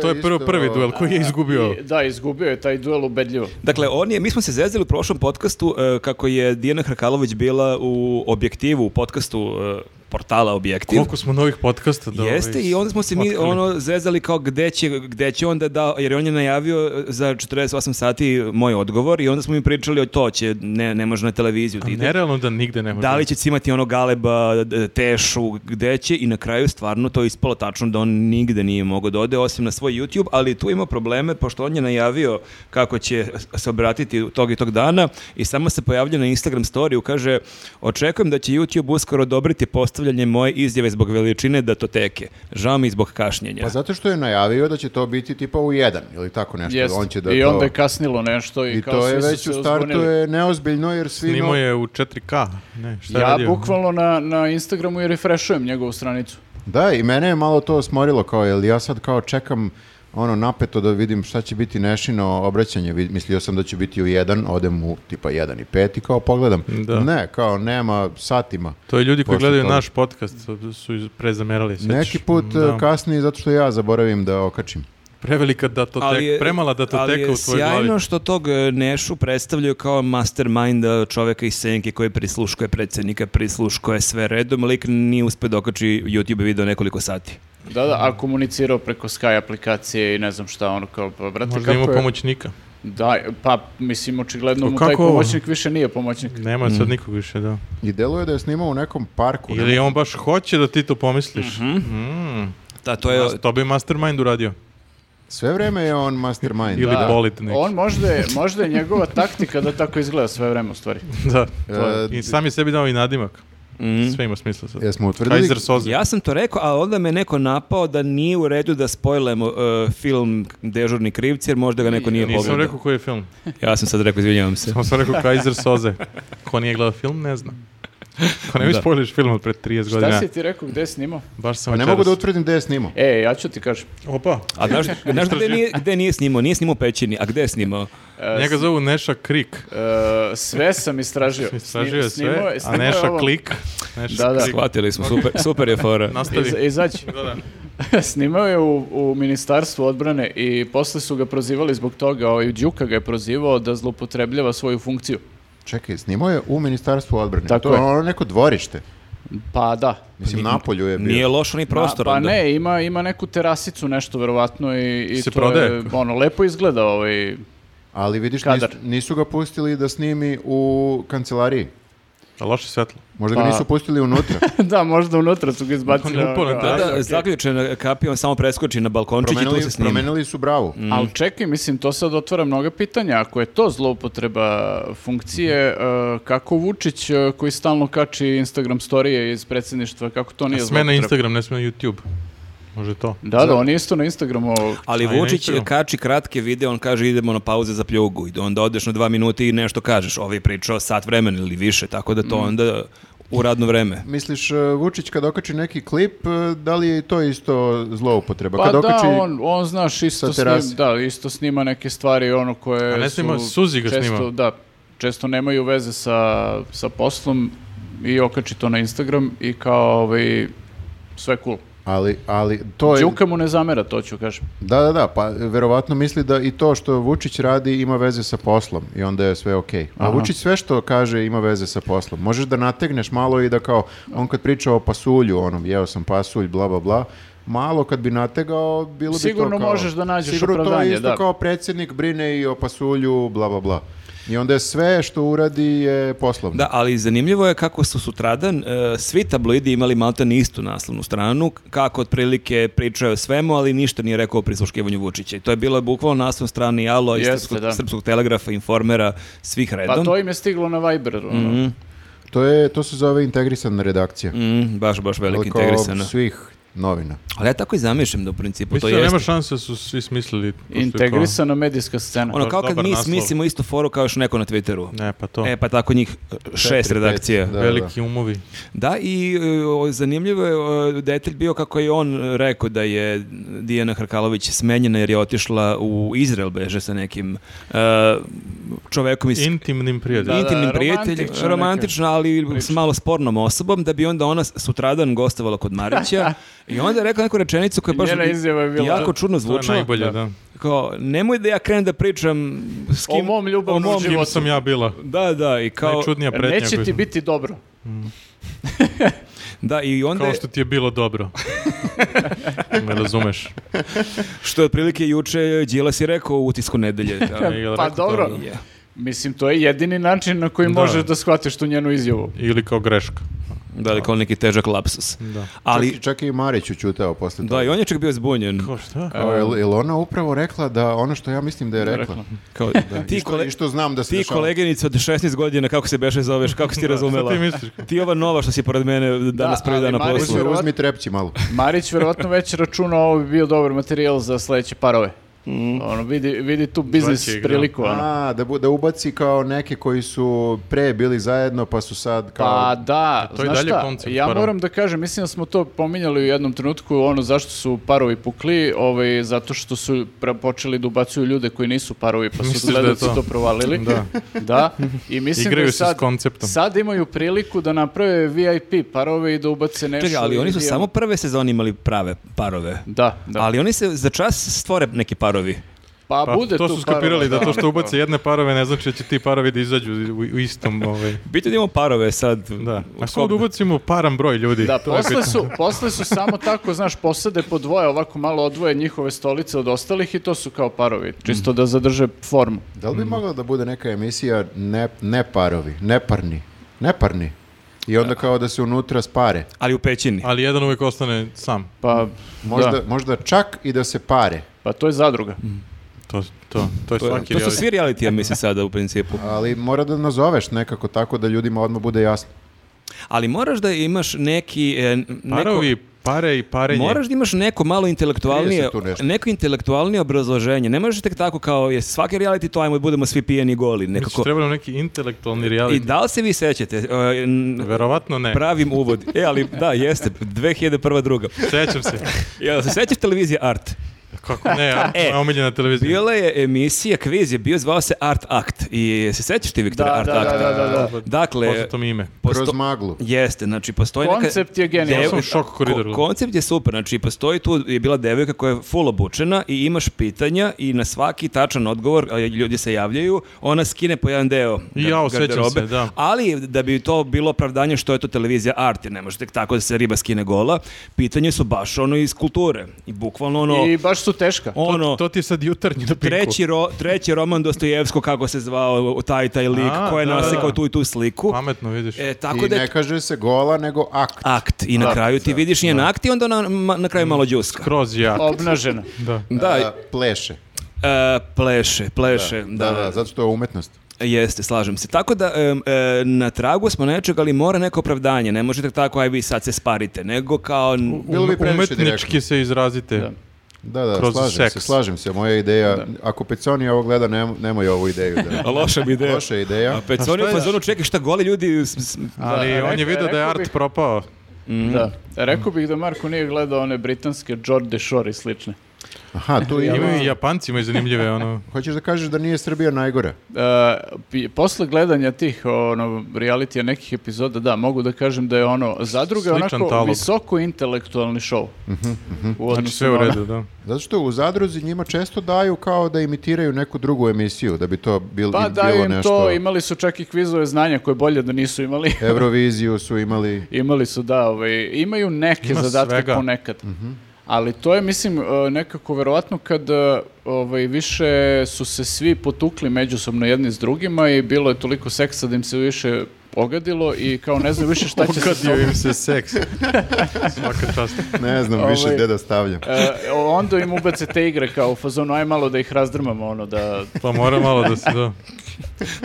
[SPEAKER 1] To je prvo
[SPEAKER 3] isto-
[SPEAKER 1] prvi duel koji je izgubio.
[SPEAKER 4] I- Da, izgubio je taj duel ubedljivo.
[SPEAKER 2] Dakle, on je, mi smo se zezili u prošlom podcastu e, kako je Dijana Hrkalović bila u objektivu, u podcastu e, portala Objektiv.
[SPEAKER 1] Koliko smo novih podcasta da
[SPEAKER 2] Jeste
[SPEAKER 1] ovaj,
[SPEAKER 2] i onda smo se mi
[SPEAKER 1] otkrili.
[SPEAKER 2] ono zezali kao gde će, gde će onda da, jer on je najavio e, za 48 sati moj odgovor i onda smo mi pričali o to će, ne, ne može na televiziju.
[SPEAKER 1] A
[SPEAKER 2] da ide.
[SPEAKER 1] Pa nerealno da nigde ne može.
[SPEAKER 2] Da li će cimati ono Galeba, d- Tešu, gde će i na kraju stvarno to je ispalo tačno da on nigde nije mogao da ode osim na svoj YouTube, ali tu ima probleme pošto on je najavio kako će se obratiti tog i tog dana i samo se pojavlja na Instagram storiju, kaže očekujem da će YouTube uskoro odobriti postavljanje moje izjave zbog veličine datoteke. Žao mi zbog kašnjenja.
[SPEAKER 3] Pa zato što je najavio da će to biti tipa u jedan ili tako nešto.
[SPEAKER 4] Jeste.
[SPEAKER 3] On će da
[SPEAKER 4] I
[SPEAKER 3] to-
[SPEAKER 4] onda je kasnilo nešto i,
[SPEAKER 3] I
[SPEAKER 4] kao
[SPEAKER 3] to
[SPEAKER 4] svi
[SPEAKER 3] je
[SPEAKER 4] su
[SPEAKER 3] već
[SPEAKER 4] se
[SPEAKER 3] u startu
[SPEAKER 4] uzbunili.
[SPEAKER 3] je neozbiljno jer svi...
[SPEAKER 1] Snimo
[SPEAKER 3] no-
[SPEAKER 1] je u 4K. Ne, šta je
[SPEAKER 4] Ja
[SPEAKER 1] radio?
[SPEAKER 4] bukvalno na, na Instagramu i refreshujem njegovu stranicu.
[SPEAKER 3] Da, i mene je malo to smorilo kao, jel ja sad kao čekam ono napeto da vidim šta će biti nešino obraćanje. Vi- Mislio sam da će biti u jedan, odem u tipa jedan i pet i kao pogledam.
[SPEAKER 1] Da.
[SPEAKER 3] Ne, kao nema satima.
[SPEAKER 1] To je ljudi koji
[SPEAKER 3] Pošto
[SPEAKER 1] gledaju
[SPEAKER 3] toga.
[SPEAKER 1] naš podcast su- su iz- prezamerali. sećaš?
[SPEAKER 3] Neki put e,
[SPEAKER 1] Da.
[SPEAKER 3] kasni kasnije zato što ja zaboravim da okačim.
[SPEAKER 1] Prevelika datoteka,
[SPEAKER 2] je-
[SPEAKER 1] premala
[SPEAKER 2] ali
[SPEAKER 1] datoteka
[SPEAKER 2] je
[SPEAKER 1] u tvojoj
[SPEAKER 2] sjajno
[SPEAKER 1] glavi.
[SPEAKER 2] što tog e, Nešu predstavljaju kao masterminda čoveka iz Senke koji prisluškuje predsjednika, prisluškuje sve redom, lik nije uspio da okači YouTube video nekoliko sati.
[SPEAKER 4] Da, da, a komunicirao preko Sky aplikacije i ne znam šta, ono kao, pa, brate,
[SPEAKER 1] Možda ima
[SPEAKER 4] kako je-
[SPEAKER 1] pomoćnika.
[SPEAKER 4] Da, pa, mislim, očigledno
[SPEAKER 1] O,
[SPEAKER 4] mu taj
[SPEAKER 1] kako ovo?
[SPEAKER 4] pomoćnik više nije pomoćnik.
[SPEAKER 1] Nema
[SPEAKER 3] Mm.
[SPEAKER 1] sad nikog više, da.
[SPEAKER 3] I deluje da je snimao u nekom parku.
[SPEAKER 1] Ili on baš hoće da ti to pomisliš. Mm.
[SPEAKER 2] Da, Mhm. to je...
[SPEAKER 1] To bi Mastermind uradio. [laughs]
[SPEAKER 3] Sve vreme je on mastermind.
[SPEAKER 1] Ili
[SPEAKER 4] Da.
[SPEAKER 1] bolit neki.
[SPEAKER 4] On možda je, možda je njegova taktika da tako izgleda sve vreme u stvari.
[SPEAKER 1] Da. to je.
[SPEAKER 3] E,
[SPEAKER 1] I sam je sebi dao i nadimak.
[SPEAKER 2] Mhm.
[SPEAKER 1] Sve ima smisla sad.
[SPEAKER 3] Jesmo utvrdili-
[SPEAKER 1] Kaiser Soze.
[SPEAKER 2] Ja sam to rekao, a onda me neko napao da nije u redu da spojlemo e, film Dežurni krivci, jer možda ga neko nije
[SPEAKER 1] Nisam
[SPEAKER 2] pogledao.
[SPEAKER 1] rekao koji je film.
[SPEAKER 2] Ja sam sad rekao, izvinjavam se.
[SPEAKER 1] Samo sam rekao Kaiser Soze. Ko nije gledao film, ne zna. Ko ne mi spojliš film od pred 30
[SPEAKER 4] Šta
[SPEAKER 1] godina.
[SPEAKER 4] si ti rekao, gde je snimao?
[SPEAKER 1] Baš sam
[SPEAKER 3] Pa ne
[SPEAKER 1] večeras-
[SPEAKER 3] mogu da utvrdim gde je snimao.
[SPEAKER 4] E, ja ću ti kažem.
[SPEAKER 1] Opa.
[SPEAKER 2] A znaš, znaš gde, nije, gde nije snimao? Nije snimao u pećini, a gde je snimao?
[SPEAKER 4] E,
[SPEAKER 1] Njega zovu Neša Krik.
[SPEAKER 4] e, sve sam istražio.
[SPEAKER 1] [laughs] Istražio je
[SPEAKER 4] Sni- snimao
[SPEAKER 1] sve, a
[SPEAKER 4] snimao je
[SPEAKER 1] Neša
[SPEAKER 4] ovo.
[SPEAKER 1] Klik. Neša
[SPEAKER 4] Da, da.
[SPEAKER 1] Klik.
[SPEAKER 2] Shvatili smo, super, super je fora.
[SPEAKER 1] Nastavi.
[SPEAKER 4] Iz- izaći. [laughs]
[SPEAKER 1] Da, da.
[SPEAKER 4] Snimao je u, u Ministarstvu odbrane i posle su ga prozivali zbog toga. Ovaj, Đuka ga je prozivao da zloupotrebljava svoju funkciju.
[SPEAKER 3] Čekaj, snimao je u Ministarstvu odbrane.
[SPEAKER 4] Tako
[SPEAKER 3] to je
[SPEAKER 4] je.
[SPEAKER 3] ono neko dvorište.
[SPEAKER 4] Pa da.
[SPEAKER 3] Mislim, napolju je bio.
[SPEAKER 2] Nije loš ni prostor.
[SPEAKER 4] Pa, pa
[SPEAKER 2] onda.
[SPEAKER 4] ne, ima, ima neku terasicu nešto verovatno i, i
[SPEAKER 1] Se
[SPEAKER 4] to je
[SPEAKER 1] prodaje.
[SPEAKER 4] ono, lepo izgleda ovaj, [laughs]
[SPEAKER 3] Ali vidiš, nis-
[SPEAKER 4] Kadar.
[SPEAKER 3] nisu ga pustili da snimi u kancelariji.
[SPEAKER 1] A loše svetlo.
[SPEAKER 3] Možda ga
[SPEAKER 4] Pa-
[SPEAKER 3] nisu pustili
[SPEAKER 4] [laughs]
[SPEAKER 3] unutra.
[SPEAKER 4] da, možda unutra su ga izbacili.
[SPEAKER 1] Ne, upao na
[SPEAKER 4] ono,
[SPEAKER 1] terenu.
[SPEAKER 4] a-
[SPEAKER 1] Pa, Da,
[SPEAKER 2] Da,
[SPEAKER 1] okej.
[SPEAKER 2] zaključena kapija, on samo preskoči na balkončić i tu
[SPEAKER 3] promenili,
[SPEAKER 2] se snima.
[SPEAKER 3] promenili su bravu.
[SPEAKER 4] Ali čekaj, mislim, to sad otvara mnoga pitanja. Ako je to zloupotreba funkcije, e, kako Vučić e, koji stalno kači Instagram storije iz predsjedništva, kako to nije
[SPEAKER 1] A Sme na
[SPEAKER 4] zloupotreba?
[SPEAKER 1] Instagram, ne sme na YouTube. Može to.
[SPEAKER 4] Da, da, on je isto na Instagramu.
[SPEAKER 2] Ali
[SPEAKER 1] A i na
[SPEAKER 2] Vučić
[SPEAKER 1] Instagramu.
[SPEAKER 2] kači kratke videe, on kaže idemo na pauze za pljugu i onda odeš na dva minuta i nešto kažeš. Ovaj je pričao sat vremena ili više, tako da to
[SPEAKER 4] Mm.
[SPEAKER 2] onda u radno vreme.
[SPEAKER 3] Misliš, e, Vučić kad okači neki klip, e, da li je i to isto zloupotreba?
[SPEAKER 4] Pa
[SPEAKER 3] kad
[SPEAKER 4] da,
[SPEAKER 3] okači,
[SPEAKER 4] on, on znaš, isto,
[SPEAKER 3] sa
[SPEAKER 4] snim,
[SPEAKER 3] terase.
[SPEAKER 4] da, isto snima neke stvari ono koje
[SPEAKER 1] A ne
[SPEAKER 4] su
[SPEAKER 1] snima, Suzi ga
[SPEAKER 4] često,
[SPEAKER 1] snima.
[SPEAKER 4] Da, često nemaju veze sa, sa poslom i okači to na Instagram i kao ovaj, sve cool.
[SPEAKER 3] ali, ali to je...
[SPEAKER 4] Đuka mu ne zamera, to ću kažem.
[SPEAKER 3] Da, da, da, pa e, verovatno misli da i to što Vučić radi ima veze sa poslom i onda je sve okej. A
[SPEAKER 4] Aha.
[SPEAKER 3] Vučić sve što kaže ima veze sa poslom. Možeš da nategneš malo i da kao, on kad priča o pasulju, onom, jeo sam pasulj, bla, bla, bla, malo kad bi nategao, bilo bi
[SPEAKER 4] Sigurno
[SPEAKER 3] to kao...
[SPEAKER 4] možeš da nađeš
[SPEAKER 3] sigurno to
[SPEAKER 4] opravdanje,
[SPEAKER 3] je isto
[SPEAKER 4] da.
[SPEAKER 3] kao predsjednik brine i o pasulju, bla, bla, bla. I onda je sve što uradi je poslovno.
[SPEAKER 2] Da, ali zanimljivo je kako su sutradan e, svi tabloidi imali malta istu naslovnu stranu, k- kako otprilike pričaju o svemu, ali ništa nije rekao o prisluškivanju Vučića. I to je bilo bukvalno naslov strani Alo, iz
[SPEAKER 4] Jeste,
[SPEAKER 2] srpskog,
[SPEAKER 4] da.
[SPEAKER 2] Srpskog telegrafa, informera, svih redom.
[SPEAKER 4] Pa to im je stiglo na Viber. ono.
[SPEAKER 3] To, je, to se zove integrisana redakcija.
[SPEAKER 2] Mm, baš, baš veliki
[SPEAKER 3] Veliko
[SPEAKER 2] integrisana.
[SPEAKER 3] svih novina.
[SPEAKER 2] Ali ja tako i zamišljam da u principu
[SPEAKER 1] Mislim
[SPEAKER 2] to
[SPEAKER 1] da nema
[SPEAKER 2] jeste.
[SPEAKER 1] šanse da su svi smislili. pošto je to-
[SPEAKER 4] Integrisana medijska scena.
[SPEAKER 2] Ono,
[SPEAKER 1] baš
[SPEAKER 2] kao kad
[SPEAKER 1] dobar
[SPEAKER 2] mi
[SPEAKER 1] naslov.
[SPEAKER 2] smislimo istu foru kao još neko na Twitteru.
[SPEAKER 1] Ne, pa to.
[SPEAKER 2] E, pa tako njih e, šest
[SPEAKER 3] Četiri, pet,
[SPEAKER 2] redakcija.
[SPEAKER 3] da.
[SPEAKER 1] Veliki umovi.
[SPEAKER 2] Da, i e, o, zanimljivo je o, detalj bio kako je on rekao da je Dijana Hrkalović smenjena jer je otišla u Izrael beže sa nekim e, čovekom iz
[SPEAKER 1] Intimnim prijateljima.
[SPEAKER 4] Da, da,
[SPEAKER 2] intimnim
[SPEAKER 4] romantično
[SPEAKER 2] prijateljem,
[SPEAKER 4] neka
[SPEAKER 2] romantično, ali s
[SPEAKER 4] priča.
[SPEAKER 2] malo spornom osobom, da bi onda ona sutradan gostovala kod [laughs] Marića i onda je rekla neku rečenicu koja je baš
[SPEAKER 4] Njena izjava je bila-
[SPEAKER 2] jako čudno
[SPEAKER 1] To je
[SPEAKER 2] zvučala.
[SPEAKER 1] najbolje, da.
[SPEAKER 2] Kao, nemoj da ja krenem da pričam s kim...
[SPEAKER 4] O mom ljubavnom
[SPEAKER 2] o mom-
[SPEAKER 1] S kim sam ja bila?
[SPEAKER 2] Da, da, i kao...
[SPEAKER 1] Najčudnija pretnja.
[SPEAKER 4] Neće
[SPEAKER 1] koju
[SPEAKER 4] ti
[SPEAKER 1] sam-
[SPEAKER 4] biti dobro.
[SPEAKER 2] Da, i onda...
[SPEAKER 1] Kao što ti je bilo dobro. Me razumeš.
[SPEAKER 2] Što je otprilike juče Đilas je rekao u utisku nedelje.
[SPEAKER 1] Ja bih
[SPEAKER 2] Da,
[SPEAKER 1] rekao
[SPEAKER 4] pa
[SPEAKER 1] to.
[SPEAKER 4] dobro.
[SPEAKER 2] Je.
[SPEAKER 4] Mislim, to je jedini način na koji
[SPEAKER 1] Da.
[SPEAKER 4] možeš da shvatiš tu njenu izjavu.
[SPEAKER 1] Ili kao greška.
[SPEAKER 2] da li kao neki težak lapsus.
[SPEAKER 1] Da.
[SPEAKER 2] Ali,
[SPEAKER 3] Čak, i- čak je i Marić učutao posle toga.
[SPEAKER 2] da, i on je čak bio zbunjen.
[SPEAKER 1] Kao šta?
[SPEAKER 3] Evo, jel, jel ona upravo rekla da ono što ja mislim da je rekla?
[SPEAKER 2] Kao,
[SPEAKER 3] I
[SPEAKER 2] ti,
[SPEAKER 3] što-
[SPEAKER 2] kole,
[SPEAKER 3] I što znam da se
[SPEAKER 2] ti
[SPEAKER 3] dešava.
[SPEAKER 2] koleginice od 16 godina, kako se beše zoveš, kako si ti
[SPEAKER 1] [laughs]
[SPEAKER 2] razumela?
[SPEAKER 1] ti misliš?
[SPEAKER 2] Ti ova nova što si pored mene danas
[SPEAKER 4] Da,
[SPEAKER 2] prvi
[SPEAKER 4] ali
[SPEAKER 2] dan na
[SPEAKER 4] Marić-
[SPEAKER 2] poslu.
[SPEAKER 3] Uzmi, uzmi trepći malo.
[SPEAKER 4] Marić verovatno već računa ovo bi bio dobar materijal za sledeće parove.
[SPEAKER 2] Mhm.
[SPEAKER 4] Ono, vidi, vidi tu biznis
[SPEAKER 1] Zvaće ih, Znači, da.
[SPEAKER 4] priliku. Ono.
[SPEAKER 3] A, da, bu- da ubaci kao neke koji su pre bili zajedno pa su sad kao...
[SPEAKER 4] Pa da,
[SPEAKER 1] to je
[SPEAKER 4] znaš
[SPEAKER 1] dalje
[SPEAKER 4] šta,
[SPEAKER 1] koncept
[SPEAKER 4] ja
[SPEAKER 1] parova.
[SPEAKER 4] moram da kažem, mislim da smo to pominjali u jednom trenutku, ono zašto su parovi pukli, ovaj, zato što su pra- počeli da ubacuju ljude koji nisu parovi, pa su
[SPEAKER 1] Misliš da je
[SPEAKER 4] gledalci
[SPEAKER 1] to?
[SPEAKER 4] to provalili.
[SPEAKER 1] Da.
[SPEAKER 4] [laughs] Da, i mislim da
[SPEAKER 1] Igraju
[SPEAKER 4] je
[SPEAKER 1] se s
[SPEAKER 4] sad,
[SPEAKER 1] konceptom.
[SPEAKER 4] sad imaju priliku da naprave VIP parove i da ubace nešto.
[SPEAKER 2] Čekaj, ali oni su
[SPEAKER 4] i-
[SPEAKER 2] samo prve sezone imali prave parove.
[SPEAKER 4] Da, da.
[SPEAKER 2] Ali oni se za čas stvore neki parovi.
[SPEAKER 4] pa,
[SPEAKER 1] Pa,
[SPEAKER 4] bude
[SPEAKER 1] to
[SPEAKER 4] tu
[SPEAKER 1] su skapirali
[SPEAKER 4] parova,
[SPEAKER 1] da to
[SPEAKER 4] ono,
[SPEAKER 1] što ubace jedne parove ne znači da će ti parovi da izađu u, u istom ovaj.
[SPEAKER 2] Bitno da imamo parove sad.
[SPEAKER 1] Da. A
[SPEAKER 2] Svog-
[SPEAKER 1] sad ubacimo paran broj ljudi.
[SPEAKER 4] Da,
[SPEAKER 1] to je
[SPEAKER 4] posle
[SPEAKER 1] bitno.
[SPEAKER 4] su, posle su samo tako, znaš, posade po dvoje, ovako malo odvoje njihove stolice od ostalih i to su kao
[SPEAKER 1] Mhm.
[SPEAKER 4] parovi, čisto da zadrže formu.
[SPEAKER 3] Da li bi mogla da bude neka emisija ne, ne parovi, neparni, neparni? I onda kao da se unutra spare.
[SPEAKER 2] Ali u pećini.
[SPEAKER 1] Ali jedan uvijek ostane sam.
[SPEAKER 4] Pa,
[SPEAKER 3] Možda,
[SPEAKER 4] da,
[SPEAKER 3] možda čak i da se pare.
[SPEAKER 4] pa to je zadruga.
[SPEAKER 1] Mhm. To, to, to je
[SPEAKER 2] To, je-
[SPEAKER 1] svaki
[SPEAKER 2] to su
[SPEAKER 1] reality.
[SPEAKER 2] svi reality, ja mislim sada u principu.
[SPEAKER 3] Ali mora da nazoveš nekako tako da ljudima odmah bude jasno.
[SPEAKER 2] Ali moraš da imaš neki... e, n- neko-
[SPEAKER 1] Parovi, pare i parenje.
[SPEAKER 2] Moraš da imaš neko malo
[SPEAKER 3] Krije
[SPEAKER 2] intelektualnije,
[SPEAKER 3] se tu nešto.
[SPEAKER 2] neko intelektualnije obrazloženje. Ne možeš tek tako kao je svaki reality to ajmo i budemo svi pijeni i goli.
[SPEAKER 1] Mislim,
[SPEAKER 2] Nekako.
[SPEAKER 1] treba nam neki intelektualni
[SPEAKER 2] I
[SPEAKER 1] reality.
[SPEAKER 2] da li se vi sećate? e, n-
[SPEAKER 1] Verovatno ne.
[SPEAKER 2] pravim uvod. E, ali da, jeste. 2001. druga.
[SPEAKER 1] Sećam
[SPEAKER 2] [laughs]
[SPEAKER 1] se.
[SPEAKER 2] Jel se sećaš televizije Art?
[SPEAKER 1] Kako ne, a,
[SPEAKER 2] E,
[SPEAKER 1] moja omiljena televizija.
[SPEAKER 2] Bila je emisija, kviz je bio, zvao se Art Act. I se sećaš ti, Viktor,
[SPEAKER 4] Da,
[SPEAKER 2] Art
[SPEAKER 4] da,
[SPEAKER 2] Act?
[SPEAKER 4] da, da, da, da.
[SPEAKER 2] Dakle,
[SPEAKER 1] Poznato mi ime.
[SPEAKER 2] posto-
[SPEAKER 3] Kroz maglu.
[SPEAKER 2] Jeste, znači postoji neka-
[SPEAKER 4] Koncept je genijalan.
[SPEAKER 2] Dev-
[SPEAKER 1] Ja sam u šoku koridoru.
[SPEAKER 2] Ko- koncept je super, znači postoji tu, je bila devojka koja je full obučena i imaš pitanja i na svaki tačan odgovor, a ljudi se javljaju, ona skine po jedan deo
[SPEAKER 1] I
[SPEAKER 2] ga-
[SPEAKER 1] ja osjećam
[SPEAKER 2] garderobe.
[SPEAKER 1] se, da.
[SPEAKER 2] Ali da bi to bilo opravdanje što je to televizija art, jer ne može tek tako da se riba skine gola, pitanje su baš ono iz kulture. I bukvalno ono...
[SPEAKER 4] I baš su su teška.
[SPEAKER 2] Ono,
[SPEAKER 1] to ti je sad jutarnji na pinku.
[SPEAKER 2] treći, ro, treći roman Dostojevsko, kako se zvao taj taj lik,
[SPEAKER 1] A,
[SPEAKER 2] ko je
[SPEAKER 1] da,
[SPEAKER 2] nasikao
[SPEAKER 1] da.
[SPEAKER 2] tu i tu sliku.
[SPEAKER 1] Pametno vidiš.
[SPEAKER 2] E, tako
[SPEAKER 3] I
[SPEAKER 2] da je
[SPEAKER 3] ne kaže se gola, nego akt.
[SPEAKER 2] akt i na
[SPEAKER 4] Da,
[SPEAKER 2] kraju ti vidiš njen akt i onda ona ma- na kraju malo đuska.
[SPEAKER 1] Kroz jak.
[SPEAKER 4] Obnažena.
[SPEAKER 1] Mm. Da.
[SPEAKER 3] A,
[SPEAKER 2] Da,
[SPEAKER 3] pleše.
[SPEAKER 2] e, pleše, pleše,
[SPEAKER 3] Da, da, zato što je umetnost.
[SPEAKER 2] Jeste, slažem se. Tako da em, e, na tragu smo nečega, ali mora neko opravdanje. Ne možete tako aj vi sad se sparite, nego kao n-
[SPEAKER 3] Bilo bi previše direktno.
[SPEAKER 1] Umetnički se izrazite.
[SPEAKER 4] Da.
[SPEAKER 3] Da, da,
[SPEAKER 1] Kroz
[SPEAKER 3] slažem
[SPEAKER 1] seks.
[SPEAKER 3] se, slažem se. Moja ideja, ako Peconi ovo gleda, nemo- nemoj ovu ideju.
[SPEAKER 1] [laughs]
[SPEAKER 3] Da.
[SPEAKER 2] loša bi ideja.
[SPEAKER 3] Loša ideja.
[SPEAKER 2] A Peconi u fazonu čekaj šta goli ljudi s- s-
[SPEAKER 1] Ali
[SPEAKER 4] Da,
[SPEAKER 1] on je
[SPEAKER 4] rekao-
[SPEAKER 1] vidio da je
[SPEAKER 4] rekao
[SPEAKER 1] art
[SPEAKER 4] bih-
[SPEAKER 1] propao. Mhm.
[SPEAKER 4] Da. Rekao bih da Marko nije gledao one britanske George Shore i slične.
[SPEAKER 3] Aha, tu ima...
[SPEAKER 1] Imaju i Japanci imaju zanimljive, ono...
[SPEAKER 3] Hoćeš da kažeš da nije Srbija najgora?
[SPEAKER 4] E, pi- posle gledanja tih ono, realitija nekih epizoda, da, mogu da kažem da je ono, zadruga je
[SPEAKER 1] Sličan
[SPEAKER 4] onako
[SPEAKER 1] talog.
[SPEAKER 4] visoko intelektualni šou. U
[SPEAKER 1] Znači
[SPEAKER 4] odnosu
[SPEAKER 1] sve u
[SPEAKER 4] na ono-
[SPEAKER 1] redu, da.
[SPEAKER 3] Zato što u Zadruzi njima često daju kao da imitiraju neku drugu emisiju, da bi to bil,
[SPEAKER 4] Pa
[SPEAKER 3] im bilo
[SPEAKER 4] daju im
[SPEAKER 3] nešto...
[SPEAKER 4] to, imali su čak i kvizove znanja koje bolje da nisu imali. [laughs]
[SPEAKER 3] Euroviziju su imali...
[SPEAKER 4] Imali su, da, ovaj, imaju neke
[SPEAKER 1] Ima
[SPEAKER 4] zadatke
[SPEAKER 1] svega.
[SPEAKER 4] ponekad. Ali to je, mislim, e, nekako verovatno kad e, ovaj, više su se svi potukli međusobno jedni s drugima i bilo je toliko seksa da im se više ogadilo i kao ne znam više šta će se... s tobom.
[SPEAKER 1] im se seks. Svaka čast.
[SPEAKER 3] Ne
[SPEAKER 1] [laughs]
[SPEAKER 3] znam više
[SPEAKER 4] Ovaj-
[SPEAKER 3] gde da stavljam.
[SPEAKER 4] E, onda im ubace te igre kao u fazonu, aj malo da ih razdrmamo, ono, da... [laughs]
[SPEAKER 1] Pa mora malo da se da.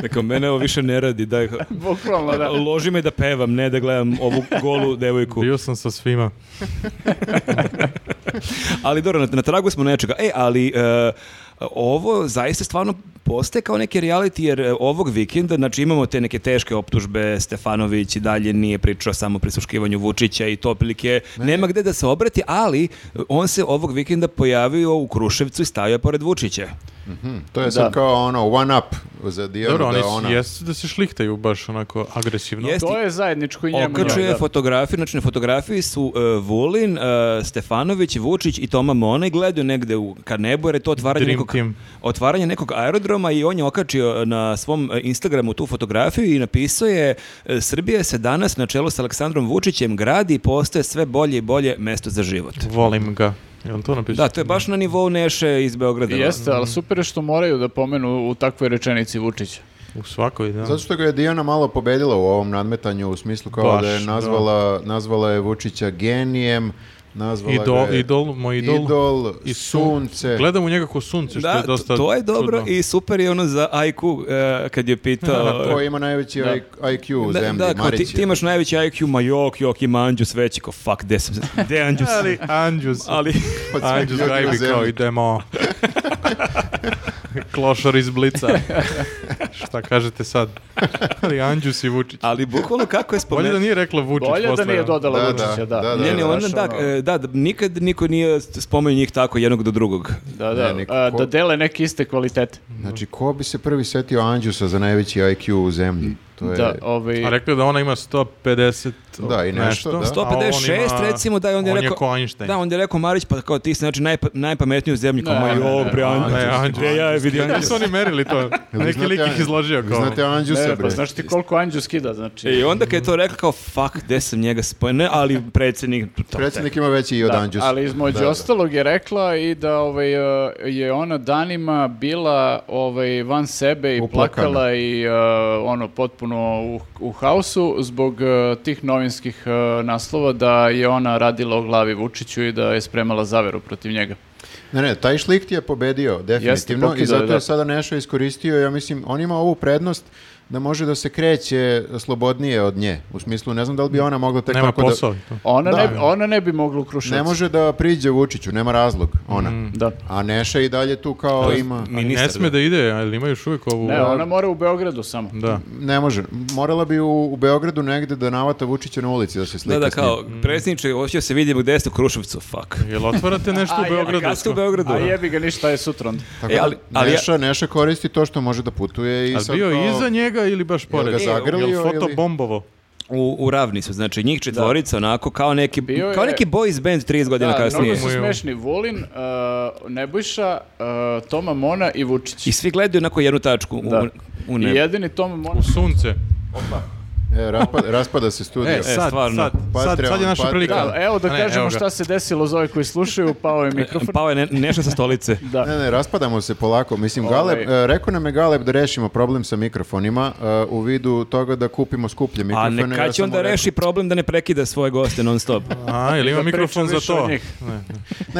[SPEAKER 2] Dakle, mene ovo više ne radi, daj,
[SPEAKER 4] Bukvalno, da.
[SPEAKER 2] loži me da pevam, ne da gledam ovu golu devojku.
[SPEAKER 1] Bio sam sa svima.
[SPEAKER 2] Ali dobro, na, na tragu smo nečega. E, ali e, ovo zaista stvarno postaje kao neki reality, jer e, ovog vikenda, znači imamo te neke teške optužbe, Stefanović i dalje nije pričao samo o prisluškivanju Vučića i to otprilike nema gde da se obrati, ali on se ovog vikenda pojavio u Kruševcu i stavio je pored Vučića.
[SPEAKER 3] To je sad
[SPEAKER 4] Da.
[SPEAKER 3] kao ono one up za Dijanu
[SPEAKER 1] Dobro, oni
[SPEAKER 3] da
[SPEAKER 1] su-
[SPEAKER 3] ona...
[SPEAKER 1] jesu da se šlihtaju baš onako agresivno.
[SPEAKER 2] Jeste.
[SPEAKER 4] To je zajedničko i njemu.
[SPEAKER 2] Okačio
[SPEAKER 4] njoj,
[SPEAKER 2] je
[SPEAKER 4] da.
[SPEAKER 2] fotografiju, znači na fotografiji su e, Vulin, e, Stefanović, Vučić i Toma Mona i gledaju negde u ka nebu jer je to otvaranje
[SPEAKER 1] Dream
[SPEAKER 2] pa nekog,
[SPEAKER 1] team.
[SPEAKER 2] otvaranje nekog aerodroma i on je okačio na svom e, Instagramu tu fotografiju i napisao je e, Srbija se danas na čelu s Aleksandrom Vučićem gradi i postaje sve bolje i bolje mesto za život.
[SPEAKER 1] Volim ga. Je on to napisao?
[SPEAKER 2] Da, to je baš na nivou Neše iz Beograda.
[SPEAKER 4] Jeste, ali super je što moraju da pomenu u takvoj rečenici Vučića.
[SPEAKER 1] U svakoj, da.
[SPEAKER 3] Zato što ga je Dijana malo pobedila u ovom nadmetanju u smislu kao
[SPEAKER 1] Baš,
[SPEAKER 3] da je nazvala, nazvala je Vučića genijem, nazvala
[SPEAKER 1] Idol,
[SPEAKER 3] ga je
[SPEAKER 1] idol, moj idol.
[SPEAKER 3] idol,
[SPEAKER 1] I
[SPEAKER 3] sunce.
[SPEAKER 1] Gledam u njega ko sunce, što
[SPEAKER 2] Da,
[SPEAKER 1] je dosta
[SPEAKER 2] to je dobro
[SPEAKER 1] čudno.
[SPEAKER 2] i super je ono za IQ e, kad je
[SPEAKER 1] [laughs]
[SPEAKER 2] pitao...
[SPEAKER 3] Ko ima najveći
[SPEAKER 4] Da.
[SPEAKER 3] IQ u
[SPEAKER 2] Da,
[SPEAKER 3] zemlji,
[SPEAKER 2] da, kao ti,
[SPEAKER 3] Marić
[SPEAKER 2] ti
[SPEAKER 3] je.
[SPEAKER 2] imaš najveći IQ, ma jok, jok, ima Anđus veći, kao fuck, gde sam, gde
[SPEAKER 1] [laughs]
[SPEAKER 2] Anđus?
[SPEAKER 1] Ali
[SPEAKER 2] [laughs]
[SPEAKER 1] Anđus.
[SPEAKER 2] ali,
[SPEAKER 3] Od svih
[SPEAKER 1] Anđus
[SPEAKER 3] ljudi u
[SPEAKER 1] gajbi kao
[SPEAKER 3] zemlji.
[SPEAKER 1] idemo. Klošar iz Blica. Šta kažete sad? Ali Anđus i Vučić.
[SPEAKER 2] ali bukvalno kako
[SPEAKER 1] Bolje da
[SPEAKER 2] je spomenuo...
[SPEAKER 1] nije rekla Vučić
[SPEAKER 4] pa Bolje da
[SPEAKER 1] posle,
[SPEAKER 4] nije
[SPEAKER 1] ono.
[SPEAKER 4] dodala
[SPEAKER 3] Da, da,
[SPEAKER 4] Vučića, da.
[SPEAKER 3] da, da,
[SPEAKER 2] Ne,
[SPEAKER 3] da.
[SPEAKER 2] ne, onda,
[SPEAKER 4] Znaš,
[SPEAKER 2] da,
[SPEAKER 4] ono-
[SPEAKER 2] e, da, da, nikad niko nije spomenuo njih tako jednog do drugog.
[SPEAKER 4] Da, da,
[SPEAKER 3] Ne, neko-
[SPEAKER 4] a,
[SPEAKER 3] ko-
[SPEAKER 4] da dele neke iste kvalitete.
[SPEAKER 3] Znači, ko bi se prvi setio Anđusa za najveći IQ u zemlji? To je...
[SPEAKER 4] Da, ovaj,
[SPEAKER 1] A rekli da ona ima 150
[SPEAKER 3] Da, i nešto, da.
[SPEAKER 1] Pa, a on
[SPEAKER 2] 156
[SPEAKER 1] ima-
[SPEAKER 2] recimo, da, i onda je
[SPEAKER 1] on
[SPEAKER 2] rekao...
[SPEAKER 1] je ko Einstein.
[SPEAKER 2] Da, onda je rekao Marić, pa kao ti si znači najpa, najpametniji u zemlji, kao
[SPEAKER 4] Ne,
[SPEAKER 2] ma
[SPEAKER 4] ne, ne,
[SPEAKER 2] jok, bre,
[SPEAKER 1] A,
[SPEAKER 2] Anđus,
[SPEAKER 1] ne, Anđus.
[SPEAKER 2] gde ja je vidio
[SPEAKER 1] Kako
[SPEAKER 2] Anđus.
[SPEAKER 1] su oni merili to?
[SPEAKER 3] [laughs] Jel vi
[SPEAKER 1] Neki
[SPEAKER 3] znate
[SPEAKER 1] lik ih
[SPEAKER 3] Anđ-
[SPEAKER 1] izložio
[SPEAKER 3] vi
[SPEAKER 1] kao...
[SPEAKER 3] Znate Anđusa,
[SPEAKER 4] ne,
[SPEAKER 3] bre?
[SPEAKER 4] pa znaš ti koliko Anđus kida,
[SPEAKER 3] E,
[SPEAKER 4] znači.
[SPEAKER 2] I onda kad je to rekao kao, fuck, gde sam njega spomenuo, ne, ali predsjednik... to-
[SPEAKER 3] Predsjednik ima veći i od
[SPEAKER 4] Da,
[SPEAKER 3] Anđusa.
[SPEAKER 4] ali između
[SPEAKER 3] Da, da.
[SPEAKER 4] ostalog je rekla i da ovaj, e, je ona danima bila ovaj, van sebe i
[SPEAKER 3] Uplakana.
[SPEAKER 4] plakala i e, ono potpuno u, u haosu zbog e, tih novinskih e, naslova da je ona radila o glavi Vučiću i da je spremala zaveru protiv njega.
[SPEAKER 3] Ne, ne, taj šlikt je pobedio, definitivno, i
[SPEAKER 4] pokidao je,
[SPEAKER 3] zato
[SPEAKER 4] da.
[SPEAKER 3] je sada Nešo iskoristio, ja mislim, on ima ovu prednost da može da se kreće slobodnije od nje. U smislu, ne znam da li bi ona mogla tek
[SPEAKER 1] Nema
[SPEAKER 3] tako
[SPEAKER 1] posao.
[SPEAKER 3] da...
[SPEAKER 4] Ona,
[SPEAKER 3] Da.
[SPEAKER 4] ne, bi- ona ne bi mogla u Kruševac.
[SPEAKER 3] Ne može da priđe Vučiću, nema razlog, ona.
[SPEAKER 1] Mm.
[SPEAKER 4] Da.
[SPEAKER 3] A Neša i dalje tu kao Pa ima...
[SPEAKER 2] Ministar,
[SPEAKER 1] ne sme da ide, ali ima još uvijek ovu...
[SPEAKER 4] Ne, ona mora u Beogradu samo.
[SPEAKER 1] Da.
[SPEAKER 3] Ne može. Morala bi u, u Beogradu negde da navata Vučića na ulici da se slika
[SPEAKER 2] Da, da,
[SPEAKER 3] s njim.
[SPEAKER 2] kao, predsjedniče, hoće se vidimo gdje ste u Kruševcu, fuck.
[SPEAKER 1] Jel otvarate nešto
[SPEAKER 4] A,
[SPEAKER 1] u
[SPEAKER 4] je-
[SPEAKER 1] Beogradu?
[SPEAKER 2] Kad ste u Beogradu?
[SPEAKER 4] A jebi ga ništa je sutra onda.
[SPEAKER 3] Tako
[SPEAKER 2] E,
[SPEAKER 3] da
[SPEAKER 2] ali- ali ja-
[SPEAKER 3] Neša, Neša koristi to što može da putuje i
[SPEAKER 1] Ali
[SPEAKER 3] sad
[SPEAKER 1] bio
[SPEAKER 3] kao-
[SPEAKER 1] iza njega ili baš pored?
[SPEAKER 3] ga zagrlio
[SPEAKER 1] Jel foto
[SPEAKER 3] ili-
[SPEAKER 1] bombovo?
[SPEAKER 2] U, u ravni su, znači njih četvorica, onako kao neki,
[SPEAKER 4] Bio je-
[SPEAKER 2] kao neki boys band 30 godina
[SPEAKER 4] Da,
[SPEAKER 2] kasnije.
[SPEAKER 4] mnogo su
[SPEAKER 1] Mu je-
[SPEAKER 4] smešni. Vulin, uh, Nebojša, uh, Toma Mona i Vučić.
[SPEAKER 2] I svi gledaju onako jednu tačku u,
[SPEAKER 4] Da.
[SPEAKER 2] u
[SPEAKER 4] I
[SPEAKER 2] nebo.
[SPEAKER 4] jedini Toma Mona...
[SPEAKER 1] U sunce.
[SPEAKER 3] E, raspa-
[SPEAKER 1] [laughs]
[SPEAKER 3] raspada se studio.
[SPEAKER 1] E, sad,
[SPEAKER 2] stvarno.
[SPEAKER 1] sad, sad, sad je naša
[SPEAKER 3] Patreon,
[SPEAKER 1] prilika.
[SPEAKER 3] Patreon.
[SPEAKER 4] Da, evo da
[SPEAKER 1] A Pa, ne,
[SPEAKER 4] kažemo
[SPEAKER 1] evo ga.
[SPEAKER 4] šta se desilo za ove koji slušaju, pao je mikrofon.
[SPEAKER 2] Pao je ne- nešto sa stolice.
[SPEAKER 4] Da.
[SPEAKER 3] Ne, ne, raspadamo se polako. Mislim, Galeb,
[SPEAKER 4] Ovaj.
[SPEAKER 3] e, rekao nam je Galeb da rešimo problem sa mikrofonima e, u vidu toga da kupimo skuplje
[SPEAKER 2] A
[SPEAKER 3] mikrofone.
[SPEAKER 2] neka
[SPEAKER 3] ja
[SPEAKER 2] će
[SPEAKER 3] sam mu
[SPEAKER 2] onda
[SPEAKER 3] rekao-
[SPEAKER 2] reši problem da ne prekida svoje goste non stop.
[SPEAKER 1] A, jel ima
[SPEAKER 4] Da pričam
[SPEAKER 1] mikrofon za
[SPEAKER 4] više
[SPEAKER 1] to?
[SPEAKER 4] od njih.
[SPEAKER 1] Ne.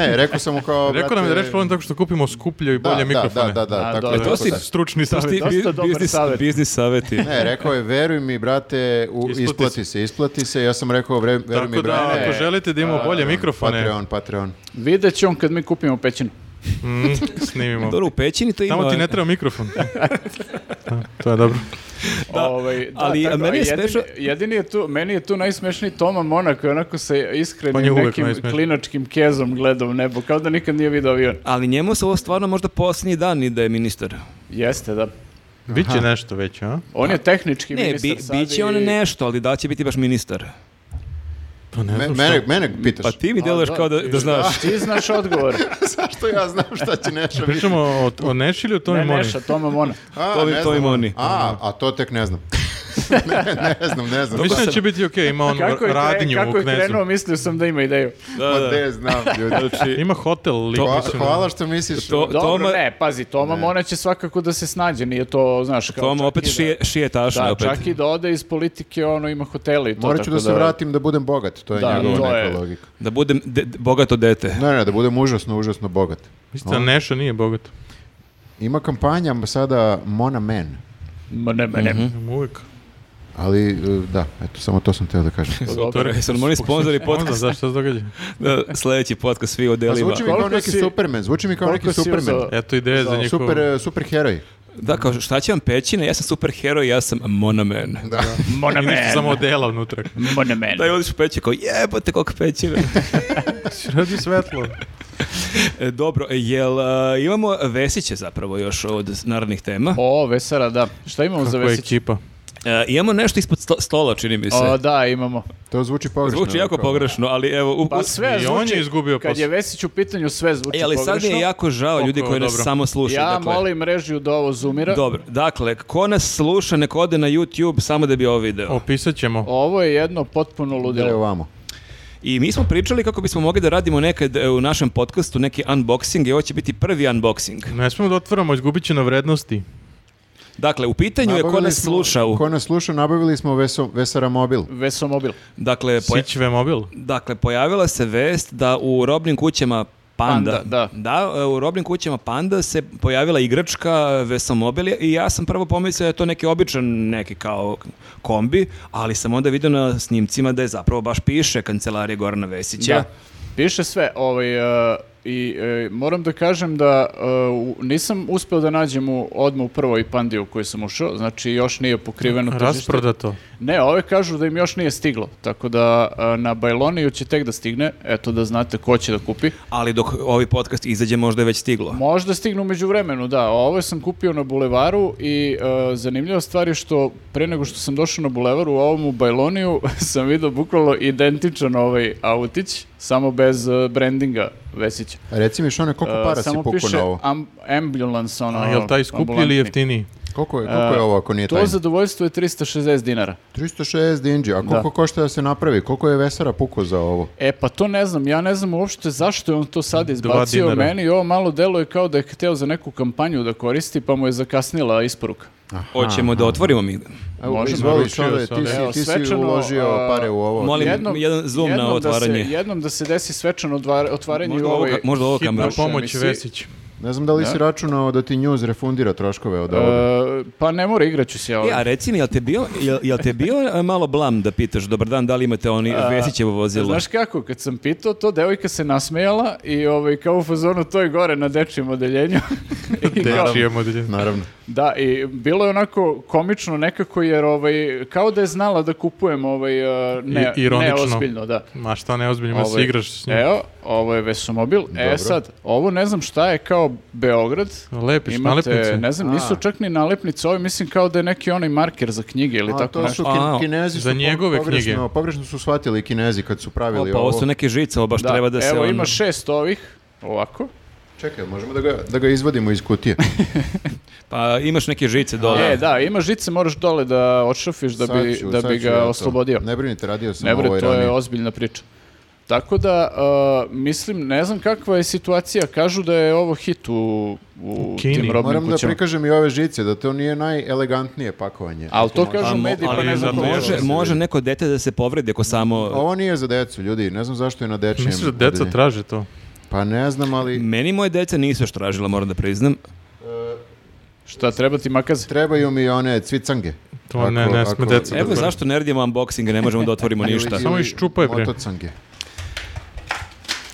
[SPEAKER 3] Ne, rekao sam mu kao...
[SPEAKER 1] [laughs] Rekao nam je da reši problem tako što kupimo skuplje i
[SPEAKER 3] da,
[SPEAKER 1] bolje mikrofone. E,
[SPEAKER 3] Da, da, da,
[SPEAKER 4] A,
[SPEAKER 3] tako
[SPEAKER 4] dobro.
[SPEAKER 2] To
[SPEAKER 3] je, tako
[SPEAKER 2] si-
[SPEAKER 3] da.
[SPEAKER 1] Stručni savjet.
[SPEAKER 2] Ti
[SPEAKER 4] dosta dobar
[SPEAKER 2] biznis,
[SPEAKER 4] savjet.
[SPEAKER 2] biznis savjeti.
[SPEAKER 3] Ne, rekao je, veruj mi, brate, u,
[SPEAKER 1] Isplati
[SPEAKER 3] isplati,
[SPEAKER 1] se.
[SPEAKER 3] se, isplati se. Ja sam rekao, "Vre- veruj mi,
[SPEAKER 1] Tako
[SPEAKER 3] brate.
[SPEAKER 1] da, ako želite da imamo bolje
[SPEAKER 2] Pa
[SPEAKER 1] mikrofone,
[SPEAKER 3] Patreon, Patreon.
[SPEAKER 4] Vidjet će on kad mi kupimo pećinu.
[SPEAKER 1] mm, snimimo.
[SPEAKER 2] Dobro, u pećini to ima.
[SPEAKER 1] Tamo ti ne treba mikrofon. Da, to je dobro.
[SPEAKER 4] Ovaj, da,
[SPEAKER 2] ali, a meni je
[SPEAKER 4] jedini,
[SPEAKER 2] smešno-
[SPEAKER 4] jedini je tu, meni je tu najsmešniji Toma Mona koji onako sa
[SPEAKER 1] On je
[SPEAKER 4] iskrenim
[SPEAKER 1] uvek
[SPEAKER 4] nekim
[SPEAKER 1] najsmešniji.
[SPEAKER 4] klinačkim kezom gleda u nebo, kao da nikad nije vidio avion.
[SPEAKER 2] Ali njemu se ovo stvarno možda posljednji dan i da je ministar.
[SPEAKER 4] Jeste, da.
[SPEAKER 1] Biće nešto već, a?
[SPEAKER 4] On je tehnički
[SPEAKER 2] Ne,
[SPEAKER 4] ministar
[SPEAKER 2] bi,
[SPEAKER 4] sad
[SPEAKER 2] bit će
[SPEAKER 4] i-
[SPEAKER 2] on nešto, ali da li će biti baš ministar.
[SPEAKER 1] Pa ne
[SPEAKER 3] Me-
[SPEAKER 1] znam
[SPEAKER 3] mene, mene pitaš. [laughs]
[SPEAKER 2] Pa ti mi djeluješ
[SPEAKER 4] da,
[SPEAKER 2] kao da, da [laughs] znaš.
[SPEAKER 4] Ti znaš odgovor.
[SPEAKER 3] Zašto ja znam šta će
[SPEAKER 2] [laughs]
[SPEAKER 3] Neša biti?
[SPEAKER 1] Pričamo o, o Nešilju, to
[SPEAKER 4] ne,
[SPEAKER 1] mi mori.
[SPEAKER 4] Neša, Toma Mona.
[SPEAKER 3] A,
[SPEAKER 2] To bi-
[SPEAKER 3] ne
[SPEAKER 2] to bi
[SPEAKER 3] znam.
[SPEAKER 2] Moni.
[SPEAKER 3] A, a to tek ne
[SPEAKER 2] [laughs]
[SPEAKER 3] znam. [laughs] ne, ne znam, ne znam.
[SPEAKER 1] Mislim da će biti okej, ima on
[SPEAKER 4] [laughs] Kako je, kre-
[SPEAKER 1] radnju
[SPEAKER 4] kako
[SPEAKER 1] u
[SPEAKER 4] je krenuo,
[SPEAKER 1] Knezu.
[SPEAKER 4] mislio sam da ima ideju.
[SPEAKER 2] Da,
[SPEAKER 3] Pa
[SPEAKER 2] da.
[SPEAKER 3] de,
[SPEAKER 2] [laughs]
[SPEAKER 3] znam, ljudi.
[SPEAKER 2] Znači,
[SPEAKER 1] [laughs] Ima hotel ono. lik,
[SPEAKER 3] Hva-
[SPEAKER 1] mislim.
[SPEAKER 3] hvala što misliš.
[SPEAKER 2] ono, to,
[SPEAKER 4] Dobro,
[SPEAKER 2] Toma,
[SPEAKER 4] ne, pazi, Toma Mona će svakako da se snađe, nije to, znaš, kao...
[SPEAKER 2] Toma
[SPEAKER 4] čak
[SPEAKER 2] opet
[SPEAKER 4] i da-
[SPEAKER 2] šije, šije tašne.
[SPEAKER 4] Da,
[SPEAKER 2] opet.
[SPEAKER 4] čak i da ode iz politike, ono, ima hotele i to.
[SPEAKER 3] Morat ću
[SPEAKER 4] tako
[SPEAKER 3] da se vratim da budem bogat, to je
[SPEAKER 4] Da,
[SPEAKER 3] njegova
[SPEAKER 4] to
[SPEAKER 3] neka
[SPEAKER 4] je.
[SPEAKER 3] logika.
[SPEAKER 2] Da budem de- de- bogato dete.
[SPEAKER 3] Ne, ne, da budem užasno, užasno bogat.
[SPEAKER 1] Mislim da Neša nije bogat.
[SPEAKER 3] Ima kampanja sada Mona Man,
[SPEAKER 4] Ma ne, ma ne.
[SPEAKER 1] Ima Uvijek.
[SPEAKER 3] ali e, da, eto, samo to sam teo da
[SPEAKER 2] [laughs]
[SPEAKER 3] kažem. Pa
[SPEAKER 4] Dobro.
[SPEAKER 2] Jesu li oni sponzori
[SPEAKER 1] Onda,
[SPEAKER 2] podcast?
[SPEAKER 1] zašto se događa?
[SPEAKER 2] Da, sledeći podcast svi o
[SPEAKER 3] Pa
[SPEAKER 2] delima.
[SPEAKER 3] zvuči mi kao
[SPEAKER 4] Koliko
[SPEAKER 3] neki
[SPEAKER 4] si-
[SPEAKER 3] Superman, zvuči mi kao neki
[SPEAKER 4] koliko si
[SPEAKER 3] Superman.
[SPEAKER 4] uzeo?
[SPEAKER 1] Eto ideje za njihovo...
[SPEAKER 3] Super, e, super heroj.
[SPEAKER 2] Da, kao šta će vam pećine, ja sam super heroj, ja sam monoman. Da.
[SPEAKER 1] I ništa samo odela unutra.
[SPEAKER 4] Monomen.
[SPEAKER 2] Da je odiš u peći kao jebote koliko [laughs] pećine.
[SPEAKER 1] Radi svetlo.
[SPEAKER 2] E, Dobro, e, jel a, imamo Vesiće zapravo još od narodnih tema?
[SPEAKER 4] O, Vesara, da. Šta imamo za
[SPEAKER 1] Kako je
[SPEAKER 4] Vesića?
[SPEAKER 1] ekipa?
[SPEAKER 2] E, imamo nešto ispod sto- stola, čini mi se.
[SPEAKER 4] O, da, imamo.
[SPEAKER 3] To zvuči pogrešno.
[SPEAKER 2] Zvuči jako
[SPEAKER 3] kao-
[SPEAKER 2] pogrešno, ali evo... u-
[SPEAKER 4] Pa sve
[SPEAKER 1] I
[SPEAKER 4] zvuči,
[SPEAKER 1] on je izgubio
[SPEAKER 4] kad je
[SPEAKER 1] posao.
[SPEAKER 4] Vesić u pitanju, sve zvuči
[SPEAKER 2] E, ali sad
[SPEAKER 4] pogrešno.
[SPEAKER 2] mi je jako žao ljudi
[SPEAKER 1] Oko,
[SPEAKER 2] koji nas
[SPEAKER 1] dobro.
[SPEAKER 2] samo slušaju.
[SPEAKER 4] Ja
[SPEAKER 2] dakle.
[SPEAKER 4] molim režiju da ovo zoomira.
[SPEAKER 2] Dobro, dakle, ko nas sluša, nek ode na YouTube samo da bi ovo video.
[SPEAKER 1] Opisat ćemo.
[SPEAKER 4] Ovo je jedno potpuno
[SPEAKER 3] Da je
[SPEAKER 4] ludilo.
[SPEAKER 3] ovamo.
[SPEAKER 2] I mi smo pričali kako bismo mogli da radimo nekad e, u našem podcastu neki unboxing i ovo će biti prvi unboxing.
[SPEAKER 1] Ne smemo da otvaramo, izgubit će na vrednosti.
[SPEAKER 2] Dakle, u pitanju je ko
[SPEAKER 3] Nabavili
[SPEAKER 2] nas
[SPEAKER 3] smo-
[SPEAKER 2] sluša. u-
[SPEAKER 3] Ko nas sluša, nabavili smo Veso- Vesara mobil.
[SPEAKER 4] Vesomobil.
[SPEAKER 2] Dakle, poja-
[SPEAKER 1] Sićve mobil.
[SPEAKER 2] dakle, pojavila se vest da u robnim kućama Panda,
[SPEAKER 4] Panda, da.
[SPEAKER 2] e, u robnim kućama Panda se pojavila igračka Vesomobil i ja sam prvo pomislio da je to neki običan neki kao kombi, ali sam onda vidio na snimcima da je zapravo baš piše kancelarija Gorana Vesića.
[SPEAKER 4] Da. Piše sve, ovaj, e, i e, moram da kažem da e, u- nisam uspeo da nađem u, odmah u prvoj pandiju koju sam ušao, znači još nije pokriveno tržište.
[SPEAKER 1] Rasprodato.
[SPEAKER 4] Ne, ove kažu da im još nije stiglo, tako da e, na Bajloniju će tek da stigne, eto da znate ko će da kupi.
[SPEAKER 2] Ali dok ovaj podcast izađe možda je već stiglo.
[SPEAKER 4] Možda stignu među vremenu, da. Ovo sam kupio na bulevaru i e, zanimljiva stvar je što pre nego što sam došao na bulevaru u ovom u Bajloniju [laughs] sam vidio bukvalno identičan ovaj autić, samo bez e, brandinga Vesića.
[SPEAKER 3] A Reci mi, Šone, koliko
[SPEAKER 4] E,
[SPEAKER 3] para si
[SPEAKER 4] samo
[SPEAKER 3] pukao
[SPEAKER 4] piše
[SPEAKER 3] na ovo?
[SPEAKER 4] am- ambulance, ono,
[SPEAKER 1] A jel taj skuplji ili
[SPEAKER 4] ambulantni.
[SPEAKER 1] jeftiniji?
[SPEAKER 3] Koliko je, koliko je ovo ako nije
[SPEAKER 4] E, To
[SPEAKER 3] tajna?
[SPEAKER 4] zadovoljstvo je 360 dinara.
[SPEAKER 3] 360 dinđi, a koliko
[SPEAKER 4] Da.
[SPEAKER 3] košta da se napravi? Koliko je Vesara pukao za ovo?
[SPEAKER 4] E pa to ne znam, ja ne znam uopšte zašto je on to sad izbacio
[SPEAKER 1] dinara.
[SPEAKER 4] meni i ovo malo deluje kao da je hteo za neku kampanju da koristi pa mu je zakasnila isporuka.
[SPEAKER 2] Hoćemo da otvorimo mi.
[SPEAKER 3] Evo,
[SPEAKER 4] Možda
[SPEAKER 3] izvoli,
[SPEAKER 1] naručio
[SPEAKER 3] Šone, ti,
[SPEAKER 1] sam,
[SPEAKER 3] si,
[SPEAKER 4] evo,
[SPEAKER 3] ti si
[SPEAKER 4] svečano,
[SPEAKER 3] uložio
[SPEAKER 4] a,
[SPEAKER 3] pare u ovo.
[SPEAKER 2] Molim jedan zoom na
[SPEAKER 4] Pa jednom
[SPEAKER 2] otvaranje.
[SPEAKER 4] Da se, jednom da se desi svečano odvar- otvaranje
[SPEAKER 2] Možda
[SPEAKER 4] u
[SPEAKER 2] ovo,
[SPEAKER 4] ovoj...
[SPEAKER 2] ka- možda ovo
[SPEAKER 1] Hitna
[SPEAKER 2] kamera.
[SPEAKER 4] naša
[SPEAKER 1] pomoć
[SPEAKER 4] emisija.
[SPEAKER 1] Vesić.
[SPEAKER 3] Ne znam da li si računao da ti News refundira troškove od ovoga.
[SPEAKER 4] E, pa ne mora, igraću se ja
[SPEAKER 2] E, a
[SPEAKER 4] ovdje.
[SPEAKER 2] reci mi, jel te bio, jel, jel te bio e, malo blam da pitaš, dobar dan, da li imate oni Vesićevo vozilo?
[SPEAKER 4] Znaš kako, kad sam pitao to, devojka se nasmejala i ovaj, kao u fazonu to je gore na dečijem odeljenju. [laughs] I kao-
[SPEAKER 1] Dečije modelje.
[SPEAKER 3] Naravno.
[SPEAKER 4] Da, i bilo je onako komično nekako jer ovaj, kao da je znala da kupujem ovaj, e, ne,
[SPEAKER 1] I- ironično.
[SPEAKER 4] neozbiljno, da.
[SPEAKER 1] Ma šta neozbiljno, ma
[SPEAKER 4] Ovo
[SPEAKER 2] Ovaj,
[SPEAKER 1] se
[SPEAKER 4] je-
[SPEAKER 1] igraš s njim.
[SPEAKER 2] e,
[SPEAKER 4] Evo, ovo je Vesomobil. E
[SPEAKER 3] Dobro.
[SPEAKER 4] sad, ovo ne znam šta je kao Beograd.
[SPEAKER 1] Lepiš nalepnice.
[SPEAKER 4] Ne znam,
[SPEAKER 3] A.
[SPEAKER 4] nisu čak ni nalepnice. Ovo je, mislim kao da je neki onaj marker za knjige ili
[SPEAKER 3] A
[SPEAKER 4] tako
[SPEAKER 3] to
[SPEAKER 4] nešto.
[SPEAKER 3] su
[SPEAKER 2] nešto.
[SPEAKER 3] kin-
[SPEAKER 2] A,
[SPEAKER 3] kinezi
[SPEAKER 1] za
[SPEAKER 3] su po-
[SPEAKER 1] njegove
[SPEAKER 3] pogrešno,
[SPEAKER 1] knjige.
[SPEAKER 3] Pogrešno su shvatili kinezi kad su pravili
[SPEAKER 2] Opa, Pa, ovo
[SPEAKER 3] ovo.
[SPEAKER 2] su neke žice, ovo baš treba da se... ono-
[SPEAKER 4] evo
[SPEAKER 2] on-
[SPEAKER 4] ima šest ovih, ovako.
[SPEAKER 3] Čekaj, možemo da ga, da ga izvadimo iz kutije?
[SPEAKER 2] Pa imaš neke žice dole.
[SPEAKER 4] E, da, ima žice, moraš dole da odšrafiš da
[SPEAKER 3] Sad
[SPEAKER 4] bi,
[SPEAKER 3] ću-
[SPEAKER 4] da
[SPEAKER 3] sad
[SPEAKER 4] bi
[SPEAKER 3] ću ja
[SPEAKER 4] ga
[SPEAKER 3] to.
[SPEAKER 4] oslobodio.
[SPEAKER 3] Ne brinite, radio sam
[SPEAKER 4] Ne
[SPEAKER 3] ovo
[SPEAKER 4] bre,
[SPEAKER 3] ovaj
[SPEAKER 4] to je
[SPEAKER 3] ranije.
[SPEAKER 4] ozbiljna priča. Tako da, uh, mislim, ne znam kakva je situacija. Kažu da je ovo hit u, u
[SPEAKER 1] Kini.
[SPEAKER 4] tim robnim
[SPEAKER 3] Moram da
[SPEAKER 4] kućama.
[SPEAKER 3] prikažem i ove žice, da to nije najelegantnije pakovanje.
[SPEAKER 4] Ali to kažu
[SPEAKER 2] mo-
[SPEAKER 4] mediji, pa
[SPEAKER 2] ali
[SPEAKER 4] ne znam
[SPEAKER 1] zato
[SPEAKER 4] ko
[SPEAKER 1] je-
[SPEAKER 2] može,
[SPEAKER 4] može. Ovaj-
[SPEAKER 2] može neko dete da se povredi ako samo...
[SPEAKER 3] Ovo nije za decu, ljudi, ne znam zašto je na dečijem.
[SPEAKER 1] Misliš da deca
[SPEAKER 3] odeljenju.
[SPEAKER 1] traže to?
[SPEAKER 3] Pa ne znam, ali
[SPEAKER 2] Meni moje dece nisu još tražila, moram da priznam.
[SPEAKER 4] Šta, treba ti makaze?
[SPEAKER 3] trebaju mi one cvicange.
[SPEAKER 1] To
[SPEAKER 3] Ako-
[SPEAKER 1] ne, ne sme
[SPEAKER 3] ako-
[SPEAKER 1] deca da
[SPEAKER 2] Evo
[SPEAKER 1] traže.
[SPEAKER 2] zašto ne radimo unboxing, ne možemo da
[SPEAKER 4] [laughs]
[SPEAKER 2] otvorimo ništa.
[SPEAKER 3] Ili-
[SPEAKER 1] Samo
[SPEAKER 3] ili
[SPEAKER 1] iščupaj, bre.
[SPEAKER 3] Motocange.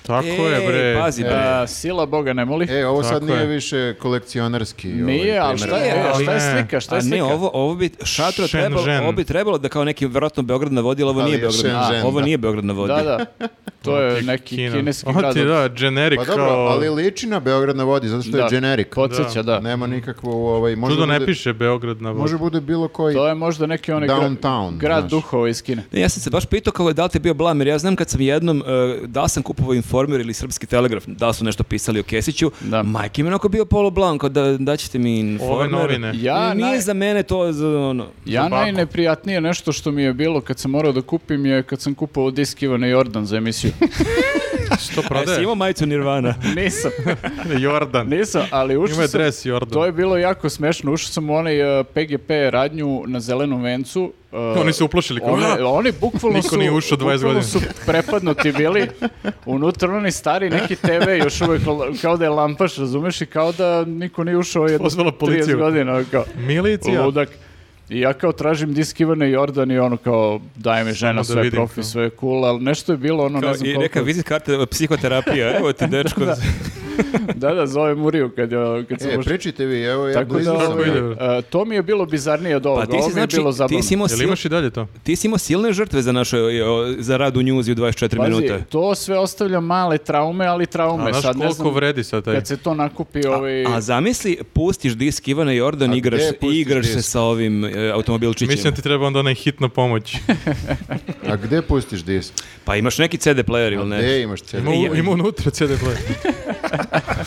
[SPEAKER 1] Tako je, bre.
[SPEAKER 2] Ej, E, pazi, bre.
[SPEAKER 4] A, sila Boga ne moli.
[SPEAKER 3] E, ovo
[SPEAKER 1] Tako
[SPEAKER 3] sad nije
[SPEAKER 1] je.
[SPEAKER 3] više kolekcionarski. ovaj,
[SPEAKER 4] Nije, ali
[SPEAKER 3] primer.
[SPEAKER 4] šta je,
[SPEAKER 2] primjer.
[SPEAKER 4] e, šta je
[SPEAKER 1] Ne.
[SPEAKER 4] slika? Šta
[SPEAKER 2] A
[SPEAKER 4] je slika?
[SPEAKER 2] ne, ovo, ovo bi šatro
[SPEAKER 1] Shenzhen.
[SPEAKER 2] trebalo, ovo bi trebalo da kao neki vjerojatno Beograd na vodi, ali ovo
[SPEAKER 3] Ali
[SPEAKER 2] nije
[SPEAKER 3] je
[SPEAKER 2] Beograd. na-
[SPEAKER 3] Shenzhen,
[SPEAKER 2] ovo
[SPEAKER 3] da.
[SPEAKER 2] nije Beograd na vodi.
[SPEAKER 4] Da, da. To je neki
[SPEAKER 1] Kina.
[SPEAKER 4] kineski
[SPEAKER 1] Ovo
[SPEAKER 4] grad.
[SPEAKER 1] ti da, generic
[SPEAKER 3] Pa dobro,
[SPEAKER 1] kao...
[SPEAKER 3] ali liči na Beograd na vodi, zato što
[SPEAKER 4] Da,
[SPEAKER 3] je generic.
[SPEAKER 4] Podsjeća, da.
[SPEAKER 3] Nema nikakvo... Ovaj, možda
[SPEAKER 1] Čudo ne
[SPEAKER 3] bude-
[SPEAKER 1] piše Beograd na vodi.
[SPEAKER 3] Može bude bilo koji...
[SPEAKER 4] To je možda neki onaj gra-
[SPEAKER 3] Downtown,
[SPEAKER 4] grad
[SPEAKER 3] znaš.
[SPEAKER 4] duhova iz Kine.
[SPEAKER 2] Ne, E, Ja sam se baš pitao kao da li ti je bio blam, jer ja znam kad sam jednom, e, da li sam kupovao Informer ili Srpski telegraf, da li su nešto pisali o Kesiću,
[SPEAKER 4] Da.
[SPEAKER 2] majke mi je onako bio polo blam, kao da, da ćete mi Informer.
[SPEAKER 1] novine.
[SPEAKER 4] Ja
[SPEAKER 2] Nije
[SPEAKER 4] naj-
[SPEAKER 2] za mene to, za, ono,
[SPEAKER 4] Ja
[SPEAKER 1] Zabako.
[SPEAKER 4] najneprijatnije nešto što mi je bilo kad sam morao da kupim je kad sam kupao disk Ivana Jordan za emisiju. [laughs]
[SPEAKER 1] [laughs] To
[SPEAKER 2] a jesi
[SPEAKER 1] prodaje.
[SPEAKER 2] E, imao majicu Nirvana?
[SPEAKER 4] nisam,
[SPEAKER 1] [laughs] Jordan.
[SPEAKER 4] nisam, ali ušao
[SPEAKER 1] Ima je
[SPEAKER 4] sam-
[SPEAKER 1] dres Jordan.
[SPEAKER 4] To je bilo jako smešno. Ušao sam u onaj uh, PGP radnju na zelenom vencu. uh,
[SPEAKER 1] Oni se uplošili kao,
[SPEAKER 4] Oni,
[SPEAKER 1] "A!"
[SPEAKER 4] oni
[SPEAKER 1] [laughs]
[SPEAKER 4] bukvalno
[SPEAKER 1] Niko
[SPEAKER 4] su,
[SPEAKER 1] nije ušao 20
[SPEAKER 4] bukvalno
[SPEAKER 1] godina.
[SPEAKER 4] su prepadnuti bili. Unutra oni stari neki TV još uvek l- kao da je lampaš, razumeš? I kao da niko nije ušao jedno
[SPEAKER 1] Pozvala
[SPEAKER 4] 30
[SPEAKER 1] policiju.
[SPEAKER 4] godina. ono Kao,
[SPEAKER 1] Milicija.
[SPEAKER 4] ludak. I ja kao tražim disk Ivane Jordan i ono kao daj mi žena
[SPEAKER 1] da
[SPEAKER 4] sve
[SPEAKER 1] vidim
[SPEAKER 4] profi,
[SPEAKER 1] kao.
[SPEAKER 4] sve je cool, ali nešto je bilo ono ne
[SPEAKER 2] Kao,
[SPEAKER 4] znam
[SPEAKER 2] I
[SPEAKER 4] koliko.
[SPEAKER 2] neka vizit karta psihoterapija, evo ti dečko.
[SPEAKER 4] Da, da, zove Muriju kad, je- kad sam
[SPEAKER 3] E,
[SPEAKER 4] ušao.
[SPEAKER 3] pričajte vi, evo ja
[SPEAKER 4] Tako
[SPEAKER 3] blizu
[SPEAKER 4] da,
[SPEAKER 3] sam.
[SPEAKER 4] ovaj,
[SPEAKER 1] ide.
[SPEAKER 4] e, to mi je bilo bizarnije od ovoga,
[SPEAKER 2] Pa ti
[SPEAKER 4] ovo
[SPEAKER 2] si,
[SPEAKER 4] mi je
[SPEAKER 2] znači,
[SPEAKER 4] bilo zabavno.
[SPEAKER 2] ti si, imao
[SPEAKER 1] Jel
[SPEAKER 2] sil-
[SPEAKER 1] imaš i dalje to?
[SPEAKER 2] ti si imao silne žrtve za, naše, e, o, za rad u njuzi u 24
[SPEAKER 4] Pazi,
[SPEAKER 2] minuta.
[SPEAKER 4] to sve ostavlja male traume, ali
[SPEAKER 1] A
[SPEAKER 4] traume.
[SPEAKER 1] znaš
[SPEAKER 4] Sad ne
[SPEAKER 1] koliko
[SPEAKER 4] znam,
[SPEAKER 1] vredi sad taj?
[SPEAKER 4] kad se to nakupi ovaj...
[SPEAKER 2] A zamisli, pustiš disk Ivana Jordan,
[SPEAKER 3] A
[SPEAKER 2] igraš,
[SPEAKER 3] gde pustiš
[SPEAKER 2] igraš se
[SPEAKER 3] disk?
[SPEAKER 2] sa ovim e, automobilčićima.
[SPEAKER 1] Mislim da ti treba onda onaj hitna pomoć.
[SPEAKER 3] A gde pustiš disk?
[SPEAKER 2] Pa imaš neki CD player ili ne?
[SPEAKER 3] Gde imaš CD?
[SPEAKER 1] Ima, u- ima unutra CD player.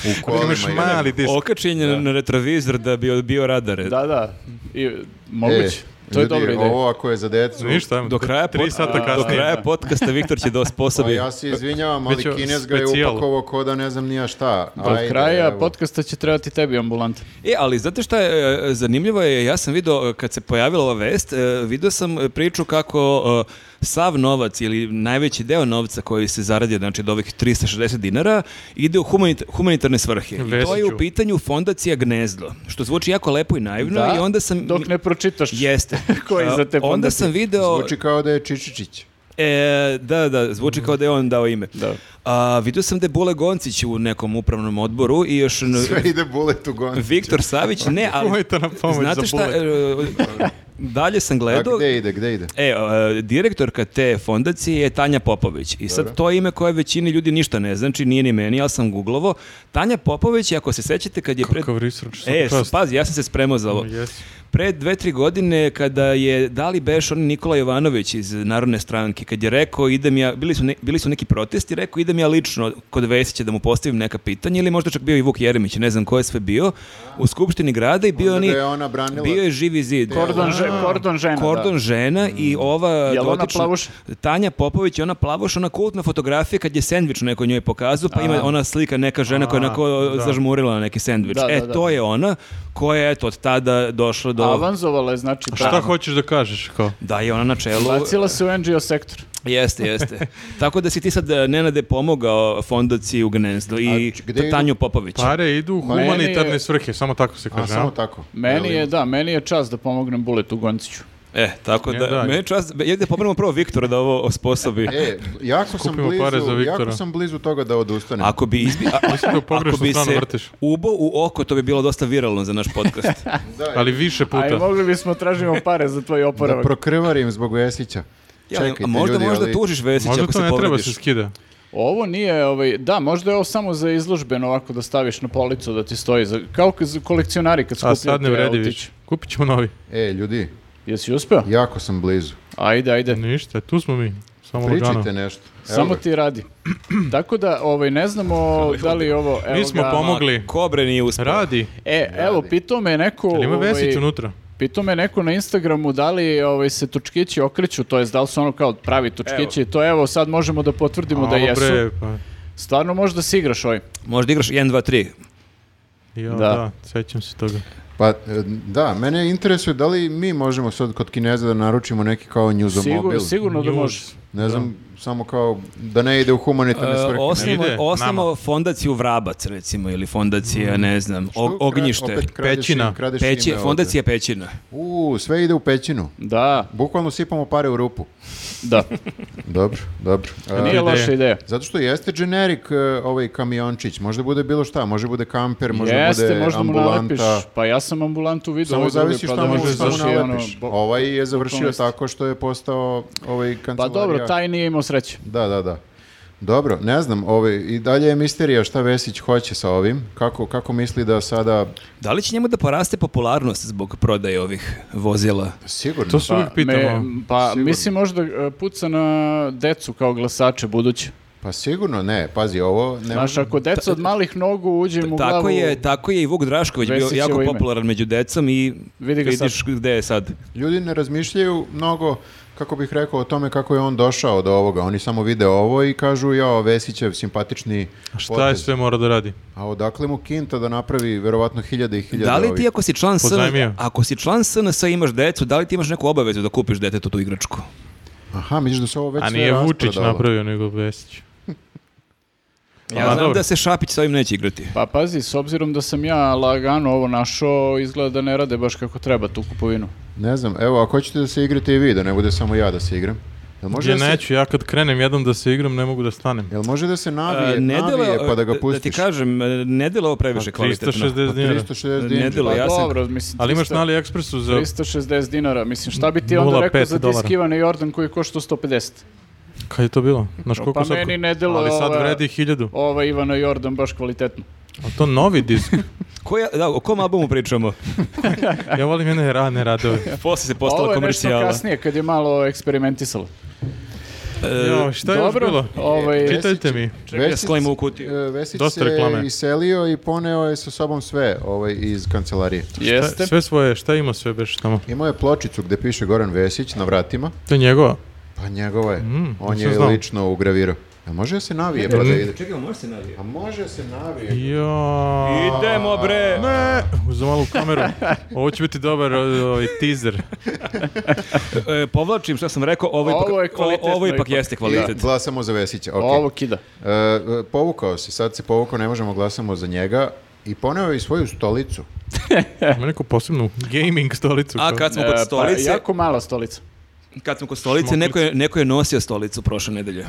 [SPEAKER 3] U
[SPEAKER 1] Imaš
[SPEAKER 3] kolima. je.
[SPEAKER 1] mali disk.
[SPEAKER 2] Okačen je na retrovizor da bi odbio radare.
[SPEAKER 4] Da, da, I,
[SPEAKER 3] E,
[SPEAKER 4] moguće. to je
[SPEAKER 3] ljudi,
[SPEAKER 4] dobra ideja.
[SPEAKER 3] Ovo ako je za decu...
[SPEAKER 1] Ništa,
[SPEAKER 2] Do kraja,
[SPEAKER 1] tri
[SPEAKER 2] pod-
[SPEAKER 1] sata
[SPEAKER 2] do
[SPEAKER 1] kasnije.
[SPEAKER 2] kraja
[SPEAKER 1] [laughs]
[SPEAKER 2] podcasta Viktor će da
[SPEAKER 3] Pa
[SPEAKER 2] osposobi.
[SPEAKER 3] ja se izvinjavam, ali
[SPEAKER 1] Biće
[SPEAKER 3] Kinez ga je
[SPEAKER 1] specijal.
[SPEAKER 3] upakovao ko da ne znam nija šta.
[SPEAKER 4] Do
[SPEAKER 3] Ajde,
[SPEAKER 4] kraja
[SPEAKER 3] evo.
[SPEAKER 4] podcasta će trebati tebi ambulanta.
[SPEAKER 2] E, ali znate šta je, e, zanimljivo je, ja sam vidio e, kad se pojavila ova vest, e, vidio sam e, priču kako e, sav novac ili najveći deo novca koji se zaradi, znači od ovih 360 dinara, ide u humanit- humanitarne svrhe. I to je
[SPEAKER 1] Vesiću.
[SPEAKER 2] u pitanju fondacija Gnezdo, što zvuči jako lepo i naivno
[SPEAKER 4] Da,
[SPEAKER 2] i onda sam...
[SPEAKER 4] Dok ne pročitaš
[SPEAKER 2] [laughs]
[SPEAKER 4] [laughs]
[SPEAKER 2] Jeste.
[SPEAKER 4] Ko je
[SPEAKER 2] A,
[SPEAKER 4] za te
[SPEAKER 2] Onda
[SPEAKER 4] fondati?
[SPEAKER 2] sam video...
[SPEAKER 3] Zvuči kao da je Čičičić.
[SPEAKER 2] E, da, da, zvuči kao da je on dao ime.
[SPEAKER 4] Da.
[SPEAKER 2] A, vidio sam da je Bule Goncić u nekom upravnom odboru i još... n-
[SPEAKER 3] Sve ide bulet u goncu.
[SPEAKER 2] Viktor Savić, ne, ali...
[SPEAKER 1] Umojte na pomoć
[SPEAKER 2] Znate
[SPEAKER 1] za
[SPEAKER 2] šta,
[SPEAKER 1] bullet.
[SPEAKER 2] e, dalje sam
[SPEAKER 3] A
[SPEAKER 2] gledao...
[SPEAKER 3] gde ide, gde ide?
[SPEAKER 2] E, e, direktorka te fondacije je Tanja Popović. I sad to je ime koje većini ljudi ništa ne znači, nije ni meni, ja sam googlovo. Tanja Popović, ako se sećate, kad je... pred-
[SPEAKER 1] Kakav research, svaka
[SPEAKER 2] E,
[SPEAKER 1] čast.
[SPEAKER 2] pazi, ja sam se spremao za ovo.
[SPEAKER 1] Jesi.
[SPEAKER 2] Pre dve, tri godine kada je, da li beš on Nikola Jovanović iz Narodne stranke, kad je rekao idem ja, bili su, ne- bili su neki protesti, rekao idem ja lično kod Vesića da mu postavim neka pitanja ili možda čak bio i Vuk Jeremić, ne znam ko je sve bio, u Skupštini grada i bio,
[SPEAKER 3] Onda
[SPEAKER 2] oni,
[SPEAKER 3] ga je ona branila.
[SPEAKER 2] bio je živi zid.
[SPEAKER 4] Kordon, že, kordon žena,
[SPEAKER 2] Kordon
[SPEAKER 4] da. Mm.
[SPEAKER 2] žena i ova
[SPEAKER 4] Jel ona
[SPEAKER 2] dotična-
[SPEAKER 4] plavuša?
[SPEAKER 2] Tanja Popović, ona plavuš, ona kultna fotografija kad je sendvič neko njoj pokazao, pa ima ona slika neka žena koja je onako
[SPEAKER 1] da.
[SPEAKER 2] zažmurila na neki sendvič.
[SPEAKER 4] Da,
[SPEAKER 2] e,
[SPEAKER 4] da, da.
[SPEAKER 2] to je ona koja je eto, od tada došla do...
[SPEAKER 4] Avanzovala je, znači,
[SPEAKER 1] Šta
[SPEAKER 4] ta-
[SPEAKER 1] hoćeš da kažeš kao?
[SPEAKER 2] Da je ona na čelu.
[SPEAKER 4] Bacila se u NGO sektor.
[SPEAKER 2] Jeste,
[SPEAKER 4] [laughs]
[SPEAKER 2] jeste. Tako da si ti sad e, Nenade pomogao fondaciji u Gnezdu i
[SPEAKER 3] A č- gde idu?
[SPEAKER 2] Tanju Popović.
[SPEAKER 4] Pa-
[SPEAKER 1] Pare idu u
[SPEAKER 4] Meni je-
[SPEAKER 1] humanitarne svrhe, samo tako se
[SPEAKER 3] A,
[SPEAKER 1] kaže.
[SPEAKER 3] samo
[SPEAKER 1] a?
[SPEAKER 3] tako.
[SPEAKER 4] Meni
[SPEAKER 3] Jel
[SPEAKER 4] je,
[SPEAKER 3] ima?
[SPEAKER 4] da, meni je čast da pomognem Buletu Gonciću.
[SPEAKER 2] E, tako
[SPEAKER 1] Ne,
[SPEAKER 2] da,
[SPEAKER 1] da.
[SPEAKER 2] meni je čast, ja da pomeramo prvo Viktora da ovo
[SPEAKER 4] Pa-
[SPEAKER 2] osposobi.
[SPEAKER 3] E, jako sam,
[SPEAKER 1] Skupimo pare za
[SPEAKER 3] blizu, jako
[SPEAKER 1] Viktora.
[SPEAKER 3] sam blizu toga da odustanem.
[SPEAKER 2] Ako bi, izbi, a-
[SPEAKER 1] Mislim da u
[SPEAKER 2] ako
[SPEAKER 1] pogrešnu
[SPEAKER 2] bi
[SPEAKER 1] stranu
[SPEAKER 2] se
[SPEAKER 1] vrtiš.
[SPEAKER 2] ubo u oko, to bi bilo dosta viralno za naš podcast.
[SPEAKER 3] [laughs] Da,
[SPEAKER 1] Ali više
[SPEAKER 4] A i
[SPEAKER 1] puta.
[SPEAKER 4] mogli bismo tražimo pare za tvoj
[SPEAKER 3] da
[SPEAKER 4] oporavak.
[SPEAKER 3] prokrvarim zbog Vesića.
[SPEAKER 2] Ja, ali
[SPEAKER 3] Čekajte,
[SPEAKER 2] možda
[SPEAKER 3] ljudi,
[SPEAKER 2] možda
[SPEAKER 3] ali-
[SPEAKER 2] tužiš Vesića
[SPEAKER 1] Možda
[SPEAKER 2] ako se
[SPEAKER 1] to ne treba se
[SPEAKER 2] povrediš.
[SPEAKER 1] skida.
[SPEAKER 4] Ovo nije, ovaj, da, možda je ovo samo za izložbeno ovako da staviš na policu da ti stoji, za, kao k- za kolekcionari kad skupljate
[SPEAKER 1] A sad ne vredi
[SPEAKER 4] autić.
[SPEAKER 1] više. Kupit ćemo novi.
[SPEAKER 3] E, ljudi,
[SPEAKER 4] Jesi uspeo?
[SPEAKER 3] jako sam blizu.
[SPEAKER 4] Ajde, ajde.
[SPEAKER 1] Ništa, tu smo mi. samo lagano.
[SPEAKER 3] Pričajte nešto. Evo
[SPEAKER 4] Samo
[SPEAKER 3] ga.
[SPEAKER 4] ti radi. [clears throat] Tako da, ovaj, ne znamo da li je ovo... evo
[SPEAKER 1] Mi smo
[SPEAKER 4] ga-
[SPEAKER 1] pomogli.
[SPEAKER 2] Kobre nije uspio.
[SPEAKER 1] Radi.
[SPEAKER 4] E, evo, pitao me neko...
[SPEAKER 1] Ali ima
[SPEAKER 4] ovaj,
[SPEAKER 1] Vesić unutra.
[SPEAKER 4] Pitao me neko na Instagramu da li ovaj, se točkići okreću, to jest da li su ono kao pravi točkići, to evo sad možemo da potvrdimo da
[SPEAKER 1] Alo,
[SPEAKER 4] jesu.
[SPEAKER 1] bre, pa,
[SPEAKER 4] Stvarno možda si igraš ovaj.
[SPEAKER 2] Možda igraš 1, 2, 3.
[SPEAKER 1] ja,
[SPEAKER 4] Da.
[SPEAKER 1] da. sećam se toga.
[SPEAKER 3] Pa, e, da, mene interesuje da li mi možemo sad kod Kineza da naručimo neki kao newzomobil.
[SPEAKER 4] Sigur, sigurno da
[SPEAKER 1] News.
[SPEAKER 4] može.
[SPEAKER 3] Ne znam, samo kao da ne ide u
[SPEAKER 2] E,
[SPEAKER 3] humanitarne svrhe. ne?
[SPEAKER 1] osnovno
[SPEAKER 2] Osnimo,
[SPEAKER 1] ide
[SPEAKER 2] osnimo fondaciju Vrabac, recimo, ili fondacija, ne znam,
[SPEAKER 3] Mm. Što
[SPEAKER 2] og-
[SPEAKER 3] kra-
[SPEAKER 2] ognjište.
[SPEAKER 3] opet kradeš
[SPEAKER 1] Pećina.
[SPEAKER 3] im- kradeš
[SPEAKER 2] Peći,
[SPEAKER 3] ime ovde.
[SPEAKER 2] fondacija Pećina.
[SPEAKER 3] U, sve ide u pećinu.
[SPEAKER 4] Da,
[SPEAKER 3] Bukvalno sipamo pare u rupu.
[SPEAKER 4] da.
[SPEAKER 3] Dobro, dobro. A,
[SPEAKER 4] Nije
[SPEAKER 1] ideja.
[SPEAKER 4] loša ideja.
[SPEAKER 3] zato što jeste generik e, ovaj kamiončić. Možda bude bilo šta. Može bude kamper, možda
[SPEAKER 4] Jeste,
[SPEAKER 3] bude
[SPEAKER 4] možda mu nalepiš.
[SPEAKER 3] ambulanta.
[SPEAKER 4] Pa ja sam ambulantu vidio.
[SPEAKER 3] Samo
[SPEAKER 4] ovaj drugi,
[SPEAKER 3] zavisi
[SPEAKER 4] pa
[SPEAKER 3] šta
[SPEAKER 4] da
[SPEAKER 3] mu,
[SPEAKER 1] može
[SPEAKER 3] šta mu
[SPEAKER 4] baš i ono,
[SPEAKER 3] nalepiš.
[SPEAKER 1] Pa,
[SPEAKER 4] bo-
[SPEAKER 3] Ovaj je završio
[SPEAKER 4] bukvalno
[SPEAKER 3] tako što je postao ovaj
[SPEAKER 4] Pa
[SPEAKER 3] kancelarija.
[SPEAKER 4] dobro, taj nije imao sreće.
[SPEAKER 3] Da, da, da. Dobro, ne znam, ovaj, i dalje je misterija šta Vesić hoće sa ovim, kako, kako misli da sada,
[SPEAKER 2] Da li će njemu da poraste popularnost zbog prodaje ovih vozila?
[SPEAKER 3] sigurno,
[SPEAKER 1] To se uvijek pitamo.
[SPEAKER 4] me- pa mislim možda e, puca na decu kao glasače buduće.
[SPEAKER 3] pa sigurno ne, pazi, ovo ne
[SPEAKER 4] Znaš, ako deca od malih nogu uđe im u
[SPEAKER 2] tako
[SPEAKER 4] glavu,
[SPEAKER 2] je, tako je i Vuk Drašković bio
[SPEAKER 4] Vesićevo
[SPEAKER 2] jako
[SPEAKER 4] ime.
[SPEAKER 2] popularan među decom i
[SPEAKER 4] Vidi ga
[SPEAKER 2] vidiš gde je sad.
[SPEAKER 3] ljudi ne razmišljaju mnogo, kako bih rekao, o tome kako je on došao do ovoga, oni samo vide ovo i kažu, jao, Vesićev simpatični
[SPEAKER 1] Šta je
[SPEAKER 3] potez."
[SPEAKER 1] sve mora da radi?
[SPEAKER 3] a odakle mu kinta da napravi verovatno hiljade i hiljade
[SPEAKER 2] Da li
[SPEAKER 3] ovih?
[SPEAKER 2] ti ako si član SNS,
[SPEAKER 1] Pozajmio.
[SPEAKER 2] ako si član SNS i imaš decu, da li ti imaš neku obavezu da kupiš detetu tu igračku?
[SPEAKER 3] Aha, misliš da se ovo već
[SPEAKER 1] A
[SPEAKER 3] sve
[SPEAKER 1] nije Vučić
[SPEAKER 3] rasprodalo?
[SPEAKER 1] napravio, nego Vesić.
[SPEAKER 2] Ja
[SPEAKER 1] Ma,
[SPEAKER 2] znam
[SPEAKER 1] dobro.
[SPEAKER 2] da se Šapić sa ovim neće igrati.
[SPEAKER 4] Pa pazi, s obzirom da sam ja lagano ovo našao, izgleda da ne rade baš kako treba tu kupovinu.
[SPEAKER 3] Ne znam, evo, ako hoćete da se igrate i vi, da ne bude samo ja da se igram. Jel može,
[SPEAKER 1] Ja
[SPEAKER 3] da se,
[SPEAKER 1] neću, ja kad krenem jednom da se igram, ne mogu da stanem.
[SPEAKER 3] jel može da se navije,
[SPEAKER 2] A, E, ne delo-
[SPEAKER 3] navije pa da ga
[SPEAKER 2] Da ti
[SPEAKER 3] pustiš? Pa
[SPEAKER 2] kažem, e, ne delo ovo previše
[SPEAKER 1] Pa,
[SPEAKER 2] kvalitetno.
[SPEAKER 1] 360 dinara.
[SPEAKER 3] 360
[SPEAKER 2] Ne
[SPEAKER 3] dinara.
[SPEAKER 2] delo,
[SPEAKER 4] Pa
[SPEAKER 2] ja sam...
[SPEAKER 4] dobro, mislim,
[SPEAKER 1] Ali imaš
[SPEAKER 4] 300
[SPEAKER 1] na AliExpressu za...
[SPEAKER 4] 360 dinara, mislim, šta bi ti onda
[SPEAKER 1] 0,5
[SPEAKER 4] rekao za
[SPEAKER 1] dolara.
[SPEAKER 4] diskivane Jordan koji košta 150?
[SPEAKER 1] Kad je to bilo? Znaš
[SPEAKER 4] No,
[SPEAKER 1] koliko
[SPEAKER 4] pa
[SPEAKER 1] sad-
[SPEAKER 4] meni ne ovaj- deluje
[SPEAKER 1] Ali sad
[SPEAKER 4] ova-
[SPEAKER 1] vredi hiljadu.
[SPEAKER 4] Ova Ivana Jordan baš kvalitetno.
[SPEAKER 1] A to novi disk.
[SPEAKER 2] Koja, da, o kom albumu
[SPEAKER 4] [laughs]
[SPEAKER 2] pričamo?
[SPEAKER 1] Ja volim jedne rane radove.
[SPEAKER 2] Posle se
[SPEAKER 4] Ovo
[SPEAKER 2] postala
[SPEAKER 4] je nešto
[SPEAKER 2] komercijala.
[SPEAKER 4] kasnije kad je malo eksperimentisalo.
[SPEAKER 2] E,
[SPEAKER 1] Jo, šta je još
[SPEAKER 4] Dobro,
[SPEAKER 1] bilo?
[SPEAKER 4] ovaj,
[SPEAKER 3] Čita-
[SPEAKER 1] Čitajte mi.
[SPEAKER 2] Čekaj, ja
[SPEAKER 3] Vesić-
[SPEAKER 2] sklonimo u kutiju.
[SPEAKER 3] E, Vesić
[SPEAKER 1] Dosta
[SPEAKER 3] se
[SPEAKER 1] reklame.
[SPEAKER 3] iselio i poneo je sa sobom sve ovaj, iz kancelarije.
[SPEAKER 4] jeste.
[SPEAKER 1] Sve svoje, šta ima sve beš tamo?
[SPEAKER 3] Imao je pločicu gde piše Goran Vesić na vratima,
[SPEAKER 1] To je njegova.
[SPEAKER 3] pa njegova je.
[SPEAKER 2] Mm,
[SPEAKER 3] On
[SPEAKER 1] nisam
[SPEAKER 3] je
[SPEAKER 1] znao.
[SPEAKER 3] lično ugravirao. Jel može da se navije pa da ide?
[SPEAKER 2] Čekaj, može se navijati?
[SPEAKER 3] A može da se navije.
[SPEAKER 1] Jo.
[SPEAKER 2] Idemo bre!
[SPEAKER 1] Ne, uz E, malu kameru. Ovo će biti dobar o- ovaj teaser.
[SPEAKER 2] E, povlačim što sam rekao, ovo ipak,
[SPEAKER 4] Ovo je kvalitetno
[SPEAKER 2] o- ovo ipak
[SPEAKER 4] ipak.
[SPEAKER 2] jeste
[SPEAKER 3] Da,
[SPEAKER 2] kvalitet.
[SPEAKER 3] glasamo za Vesića, okej.
[SPEAKER 4] Ovo kida.
[SPEAKER 3] E, e, povukao se, sad se povukao, ne možemo glasamo za njega. I poneo je i svoju stolicu.
[SPEAKER 1] Ima neku posebnu gaming stolicu.
[SPEAKER 2] A
[SPEAKER 1] kao-
[SPEAKER 2] kad smo
[SPEAKER 4] E, pa,
[SPEAKER 2] kod stolice,
[SPEAKER 4] jako mala stolica.
[SPEAKER 2] kad smo kod stolice, neko je, neko je nosio stolicu prošle nedelje.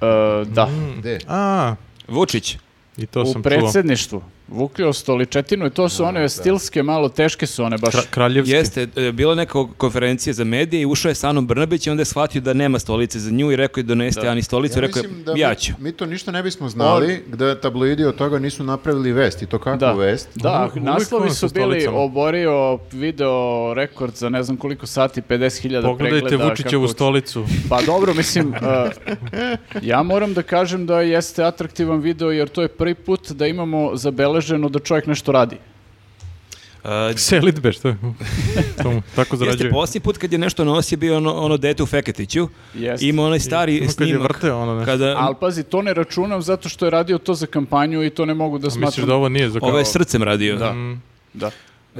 [SPEAKER 4] E, da.
[SPEAKER 3] Gde?
[SPEAKER 1] A,
[SPEAKER 2] Vučić.
[SPEAKER 1] i Mm, to
[SPEAKER 4] u
[SPEAKER 1] sam čuo.
[SPEAKER 4] predsjedništvu. Vukljao stoličetinu i to su one stilske, malo teške su one baš.
[SPEAKER 1] Kra- kraljevski.
[SPEAKER 2] Jeste, e, bila je neka konferencija za medije i ušao je sa Anom Brnabić i onda je shvatio da nema stolice za nju i rekao je donesite Ani stolicu, rekao je
[SPEAKER 3] mislim da
[SPEAKER 2] ja
[SPEAKER 3] mi-
[SPEAKER 2] ću.
[SPEAKER 3] Mi, to ništa ne bismo znali da tabloidi od toga nisu napravili vest i to kakvu
[SPEAKER 4] Da.
[SPEAKER 3] vest.
[SPEAKER 4] Da,
[SPEAKER 1] Uvijek- uvijek
[SPEAKER 4] naslovi
[SPEAKER 1] ono
[SPEAKER 4] su
[SPEAKER 1] sa
[SPEAKER 4] bili
[SPEAKER 1] stolicama.
[SPEAKER 4] oborio video rekord za ne znam koliko sati, 50.000 pregleda.
[SPEAKER 1] Pogledajte Vučićevu
[SPEAKER 4] kako-
[SPEAKER 1] stolicu.
[SPEAKER 4] Pa dobro, mislim, eh, ja moram da kažem da jeste atraktivan video jer to je prvi put da imamo zabeleženo da čovjek nešto radi.
[SPEAKER 2] E,
[SPEAKER 1] Selitbe, što je? To mu tako
[SPEAKER 2] Jeste
[SPEAKER 1] zarađuje.
[SPEAKER 2] posljednji put kad je nešto nosio bio ono, ono dete u Feketiću.
[SPEAKER 4] Jeste.
[SPEAKER 2] Ima onaj stari
[SPEAKER 1] Ono kad je
[SPEAKER 2] snimak.
[SPEAKER 1] vrteo ono nešto.
[SPEAKER 2] kada
[SPEAKER 4] Ali pazi, to ne računam zato što je radio to za kampanju i to ne mogu da
[SPEAKER 1] Misliš
[SPEAKER 4] smatram. [laughs]
[SPEAKER 1] da ovo nije za kao...
[SPEAKER 2] ovo je srcem radio.
[SPEAKER 4] Da.
[SPEAKER 1] Mm.
[SPEAKER 4] Da.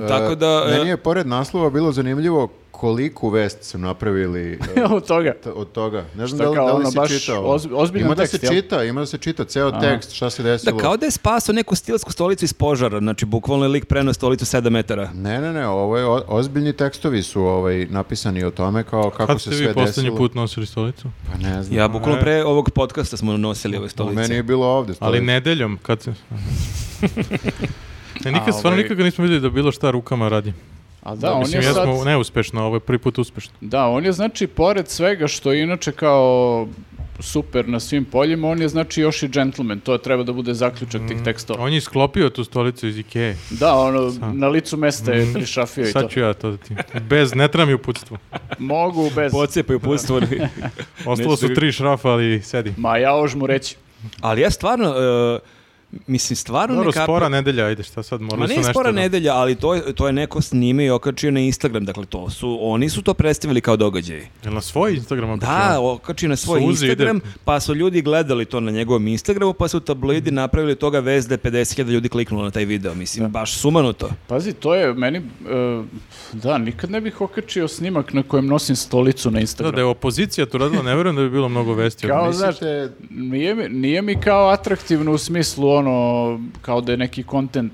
[SPEAKER 2] Tako da...
[SPEAKER 3] E,
[SPEAKER 2] e,
[SPEAKER 3] Meni je pored naslova bilo zanimljivo koliku vest su napravili e,
[SPEAKER 4] Od toga.
[SPEAKER 3] t- od toga. Ne znam
[SPEAKER 4] Šta
[SPEAKER 3] da li,
[SPEAKER 4] kao
[SPEAKER 3] da li
[SPEAKER 4] ono
[SPEAKER 3] si
[SPEAKER 4] baš
[SPEAKER 3] čitao.
[SPEAKER 4] oz- ozbiljan
[SPEAKER 3] ima da se
[SPEAKER 4] tekst, jel?
[SPEAKER 3] čita, ima da se čita ceo tekst, šta se
[SPEAKER 2] Da,
[SPEAKER 3] desilo.
[SPEAKER 2] kao da je spasao neku stilsku stolicu iz požara, znači bukvalno je lik prenao stolicu 7 metara.
[SPEAKER 3] Ne, ne, ne, ovo je o- ozbiljni tekstovi su ovaj napisani o tome kao kako
[SPEAKER 1] Kad ste
[SPEAKER 3] se sve
[SPEAKER 1] vi
[SPEAKER 3] desilo.
[SPEAKER 1] poslednji put nosili stolicu?
[SPEAKER 3] Pa ne znam.
[SPEAKER 2] Ja bukvalno pre ovog podcasta smo nosili ove
[SPEAKER 3] U
[SPEAKER 2] stolice.
[SPEAKER 3] meni je bilo ovde.
[SPEAKER 1] Ali
[SPEAKER 3] stolica.
[SPEAKER 1] nedeljom, kad
[SPEAKER 4] [laughs]
[SPEAKER 1] se... Ne, nikad, stvarno
[SPEAKER 4] ovaj-
[SPEAKER 1] nikad ga nismo vidjeli da bilo šta rukama radi.
[SPEAKER 4] A da, on
[SPEAKER 1] Mislim,
[SPEAKER 4] je
[SPEAKER 1] ja
[SPEAKER 4] sad...
[SPEAKER 1] smo neuspešno, ovo je prvi put uspešno.
[SPEAKER 4] Da, on je znači pored svega što je inače kao super na svim poljima, on je znači još i gentleman, to treba da bude zaključak tih tekstova.
[SPEAKER 1] Mm. On je isklopio tu stolicu iz Ikea.
[SPEAKER 4] Da, ono, na licu mesta je prišafio i to.
[SPEAKER 1] Mm. Sad ću ja to da ti. Bez, ne treba mi uputstvo.
[SPEAKER 4] Mogu bez...
[SPEAKER 2] Pocepaju pustvo.
[SPEAKER 1] [laughs] Ostalo su tri šrafa, ali sedi.
[SPEAKER 4] Ma ja ož mu reći.
[SPEAKER 2] Ali ja stvarno, e, mislim, stvarno
[SPEAKER 1] Dobro,
[SPEAKER 2] ne kapiram-
[SPEAKER 1] spora nedelja, ajde, šta sad
[SPEAKER 2] Ma
[SPEAKER 1] morali su
[SPEAKER 2] nije
[SPEAKER 1] nešto
[SPEAKER 2] spora
[SPEAKER 1] da-
[SPEAKER 2] nedelja, ali to je, to je neko snimio i okačio na Instagram. Dakle, to su, oni su to predstavili kao događaj.
[SPEAKER 1] Jel na svoj Instagram
[SPEAKER 2] Da,
[SPEAKER 1] okačio?
[SPEAKER 2] okačio na svoj
[SPEAKER 1] Suzi ide.
[SPEAKER 2] Instagram, pa su ljudi gledali to na njegovom Instagramu, pa su tabloidi napravili od toga vez da je 50.000 ljudi kliknulo na taj video. Mislim, baš sumanuto.
[SPEAKER 4] Pazi, to je meni... e, da, nikad ne bih okačio snimak na kojem nosim stolicu na
[SPEAKER 1] Da,
[SPEAKER 4] Instagramu.
[SPEAKER 1] da je opozicija to radila, ne vjerujem da bi bilo mnogo vesti. o
[SPEAKER 4] Kao,
[SPEAKER 1] tome.
[SPEAKER 4] znaš,
[SPEAKER 3] Mislite-
[SPEAKER 4] nije, mi- nije mi kao atraktivno u smislu ono, kao da je neki kontent.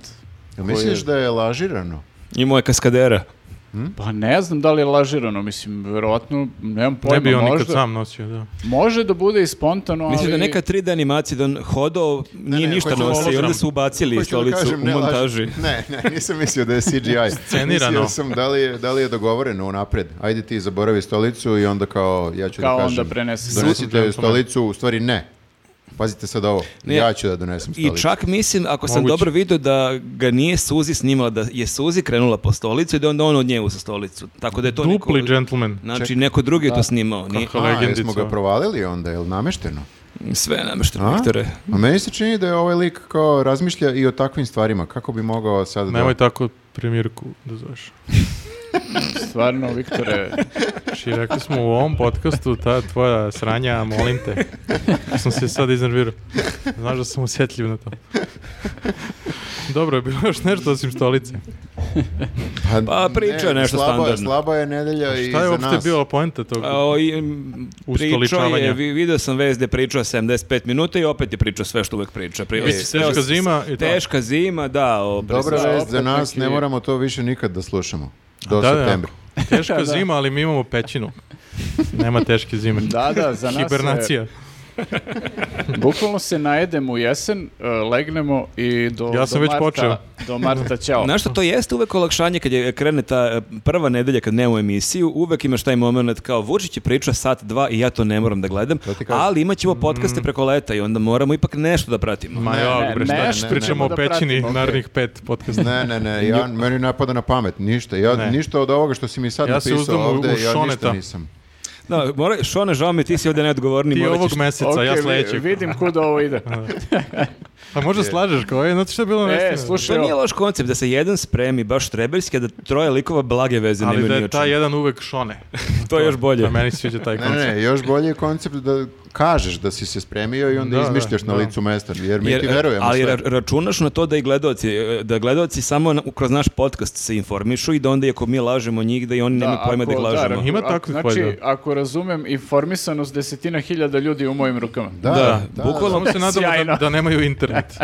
[SPEAKER 3] Jel misliš da je lažirano?
[SPEAKER 2] Imao je kaskadera.
[SPEAKER 1] Hm?
[SPEAKER 4] Pa ne znam da li je lažirano, mislim, verovatno, nemam pojma,
[SPEAKER 1] Ne bi on nikad
[SPEAKER 4] možda,
[SPEAKER 1] sam nosio, da.
[SPEAKER 4] može da bude i spontano,
[SPEAKER 2] Mislim da
[SPEAKER 4] ali...
[SPEAKER 2] neka 3D animacija da on hodao, nije
[SPEAKER 3] ne,
[SPEAKER 2] ništa
[SPEAKER 3] hoću da
[SPEAKER 2] nosio i onda
[SPEAKER 1] hologram.
[SPEAKER 2] su ubacili
[SPEAKER 3] Hoću da
[SPEAKER 2] stolicu
[SPEAKER 3] kažem,
[SPEAKER 2] u
[SPEAKER 3] ne laž-
[SPEAKER 2] montaži.
[SPEAKER 3] [laughs] Ne, ne, nisam mislio da je
[SPEAKER 2] [laughs]
[SPEAKER 3] CGI.
[SPEAKER 1] Scenirano.
[SPEAKER 3] Mislio sam da li je, da li je dogovoreno unapred. Ajde ti zaboravi stolicu i onda kao ja ću
[SPEAKER 4] Kao
[SPEAKER 3] da
[SPEAKER 4] onda
[SPEAKER 3] kažem.
[SPEAKER 4] prenesi.
[SPEAKER 3] Donesite
[SPEAKER 1] Donesem
[SPEAKER 3] stolicu, u stvari ne. Pazite sad ovo.
[SPEAKER 2] Ne.
[SPEAKER 3] Ja ću da donesem
[SPEAKER 2] I
[SPEAKER 3] stolicu.
[SPEAKER 2] čak mislim, ako sam
[SPEAKER 1] Moguće.
[SPEAKER 2] dobro vidio, da ga nije Suzi snimala, da je Suzi krenula po stolicu i da je onda on od nje uzeo stolicu. Tako da je to
[SPEAKER 1] Dupli
[SPEAKER 2] neko...
[SPEAKER 1] gentleman.
[SPEAKER 2] Znači, neko drugi je to snimao. Nije,
[SPEAKER 1] Kako
[SPEAKER 3] A,
[SPEAKER 1] legendica.
[SPEAKER 3] jesmo ga provalili onda, je li namešteno?
[SPEAKER 2] sve je namešteno,
[SPEAKER 3] A?
[SPEAKER 2] Viktore.
[SPEAKER 3] A meni se čini da je ovaj lik kao razmišlja i o takvim stvarima. Kako bi mogao sad da...
[SPEAKER 1] Nemoj tako premijerku da zoveš.
[SPEAKER 4] Stvarno, Viktore,
[SPEAKER 1] Znači, rekli smo u ovom podcastu, ta tvoja sranja, molim te. Sam se sad iznervirao. Znaš da sam osjetljiv na to. Dobro, je bilo još nešto osim stolice.
[SPEAKER 2] Pa priča je nešto
[SPEAKER 3] slaba,
[SPEAKER 2] standardno.
[SPEAKER 3] Slaba je nedelja i
[SPEAKER 1] Šta je
[SPEAKER 3] za
[SPEAKER 1] uopšte
[SPEAKER 3] nas.
[SPEAKER 1] bila poenta tog?
[SPEAKER 2] A, o, i, m, Pričao
[SPEAKER 1] Ustoličavanja.
[SPEAKER 2] je, vi- video sam vez gde je pričao 75 minuta i opet je pričao sve što uvek priča. Pri,
[SPEAKER 1] Mislim,
[SPEAKER 2] sve-
[SPEAKER 1] teška zima i to.
[SPEAKER 2] Teška zima, da. O,
[SPEAKER 3] Dobra
[SPEAKER 4] Da,
[SPEAKER 3] vest
[SPEAKER 4] opet
[SPEAKER 3] za nas,
[SPEAKER 4] neki-
[SPEAKER 3] ne moramo to više nikad da slušamo. Do
[SPEAKER 1] Da, da.
[SPEAKER 3] septembra.
[SPEAKER 1] Teška zima, ali mi imamo pećinu. Nema teške zime.
[SPEAKER 4] da, da, za nas je-
[SPEAKER 1] Hibernacija.
[SPEAKER 4] Bukvalno se najedemo u jesen, e, legnemo i do,
[SPEAKER 1] Ja sam
[SPEAKER 4] do
[SPEAKER 1] već
[SPEAKER 4] marta,
[SPEAKER 1] počeo.
[SPEAKER 4] do marta ćao.
[SPEAKER 2] Znaš što, to jeste uvek olakšanje kad je krene ta e, prva nedelja kad nemamo emisiju, uvek imaš taj moment kao Vučić je pričao sat, dva i ja to ne moram da gledam,
[SPEAKER 3] To ti kažem.
[SPEAKER 2] ali imat ćemo podcaste preko leta i onda moramo ipak nešto da pratimo.
[SPEAKER 1] Ma
[SPEAKER 3] Ne,
[SPEAKER 1] ja,
[SPEAKER 4] ne,
[SPEAKER 1] bre, šta
[SPEAKER 4] nešto
[SPEAKER 1] pričamo
[SPEAKER 4] ćemo
[SPEAKER 1] o
[SPEAKER 4] da
[SPEAKER 1] pećini
[SPEAKER 4] pratimo, okej.
[SPEAKER 1] narednih pet podcasta.
[SPEAKER 3] Ne, ne,
[SPEAKER 1] [laughs]
[SPEAKER 3] ne, ja, meni napada na pamet, ništa. Ja,
[SPEAKER 1] Ne.
[SPEAKER 3] Ništa od ovoga što si mi sad
[SPEAKER 1] Ja se
[SPEAKER 3] napisao
[SPEAKER 1] uzdam u- u
[SPEAKER 3] ovde, ja ništa
[SPEAKER 1] Šoneta.
[SPEAKER 3] nisam.
[SPEAKER 2] Da, mora, Šone, žao mi, je, ti si ovdje neodgovorni.
[SPEAKER 1] Ti
[SPEAKER 2] morat ćeš-
[SPEAKER 1] ovog meseca,
[SPEAKER 4] Ok,
[SPEAKER 1] ja
[SPEAKER 4] vi-
[SPEAKER 1] sledećeg.
[SPEAKER 4] Vidim kuda
[SPEAKER 1] [laughs]
[SPEAKER 4] ovo ide.
[SPEAKER 1] A možda slažeš kao je, znate šta je bilo nešto?
[SPEAKER 4] e, slušaj,
[SPEAKER 2] To nije
[SPEAKER 4] ovo.
[SPEAKER 2] loš koncept da se jedan spremi baš štreberski, a da troje likova blage veze
[SPEAKER 1] Ali
[SPEAKER 2] nemaju
[SPEAKER 1] da
[SPEAKER 2] ni o
[SPEAKER 1] je taj
[SPEAKER 2] čemu.
[SPEAKER 1] jedan uvek šone.
[SPEAKER 2] To je još bolje.
[SPEAKER 1] Da meni se sviđa taj
[SPEAKER 3] Ne,
[SPEAKER 1] koncept.
[SPEAKER 3] ne, ne, još bolji je koncept da kažeš da si se spremio i onda
[SPEAKER 1] Da,
[SPEAKER 3] izmišljaš
[SPEAKER 1] da,
[SPEAKER 3] na
[SPEAKER 1] da.
[SPEAKER 3] licu mesta, jer mi
[SPEAKER 2] Jer,
[SPEAKER 3] ti
[SPEAKER 2] e,
[SPEAKER 3] verujemo
[SPEAKER 2] ali
[SPEAKER 3] sve.
[SPEAKER 2] ra- računaš na to da i gledaoci, e, da gledaoci samo na- kroz naš podcast se informišu i da onda ako mi lažemo njih da i oni nemaju pojma da ih
[SPEAKER 4] ako-
[SPEAKER 2] lažemo.
[SPEAKER 4] ra-
[SPEAKER 1] Ima
[SPEAKER 4] ako-
[SPEAKER 1] takvih
[SPEAKER 4] Znači,
[SPEAKER 1] valjda.
[SPEAKER 4] ako razumem, informisanost desetina hiljada ljudi u mojim rukama.
[SPEAKER 3] Da,
[SPEAKER 2] da,
[SPEAKER 3] da,
[SPEAKER 2] bukvalno
[SPEAKER 1] Samo se nadamo
[SPEAKER 4] Sjajno.
[SPEAKER 1] da, da nemaju
[SPEAKER 4] [laughs]
[SPEAKER 1] internet.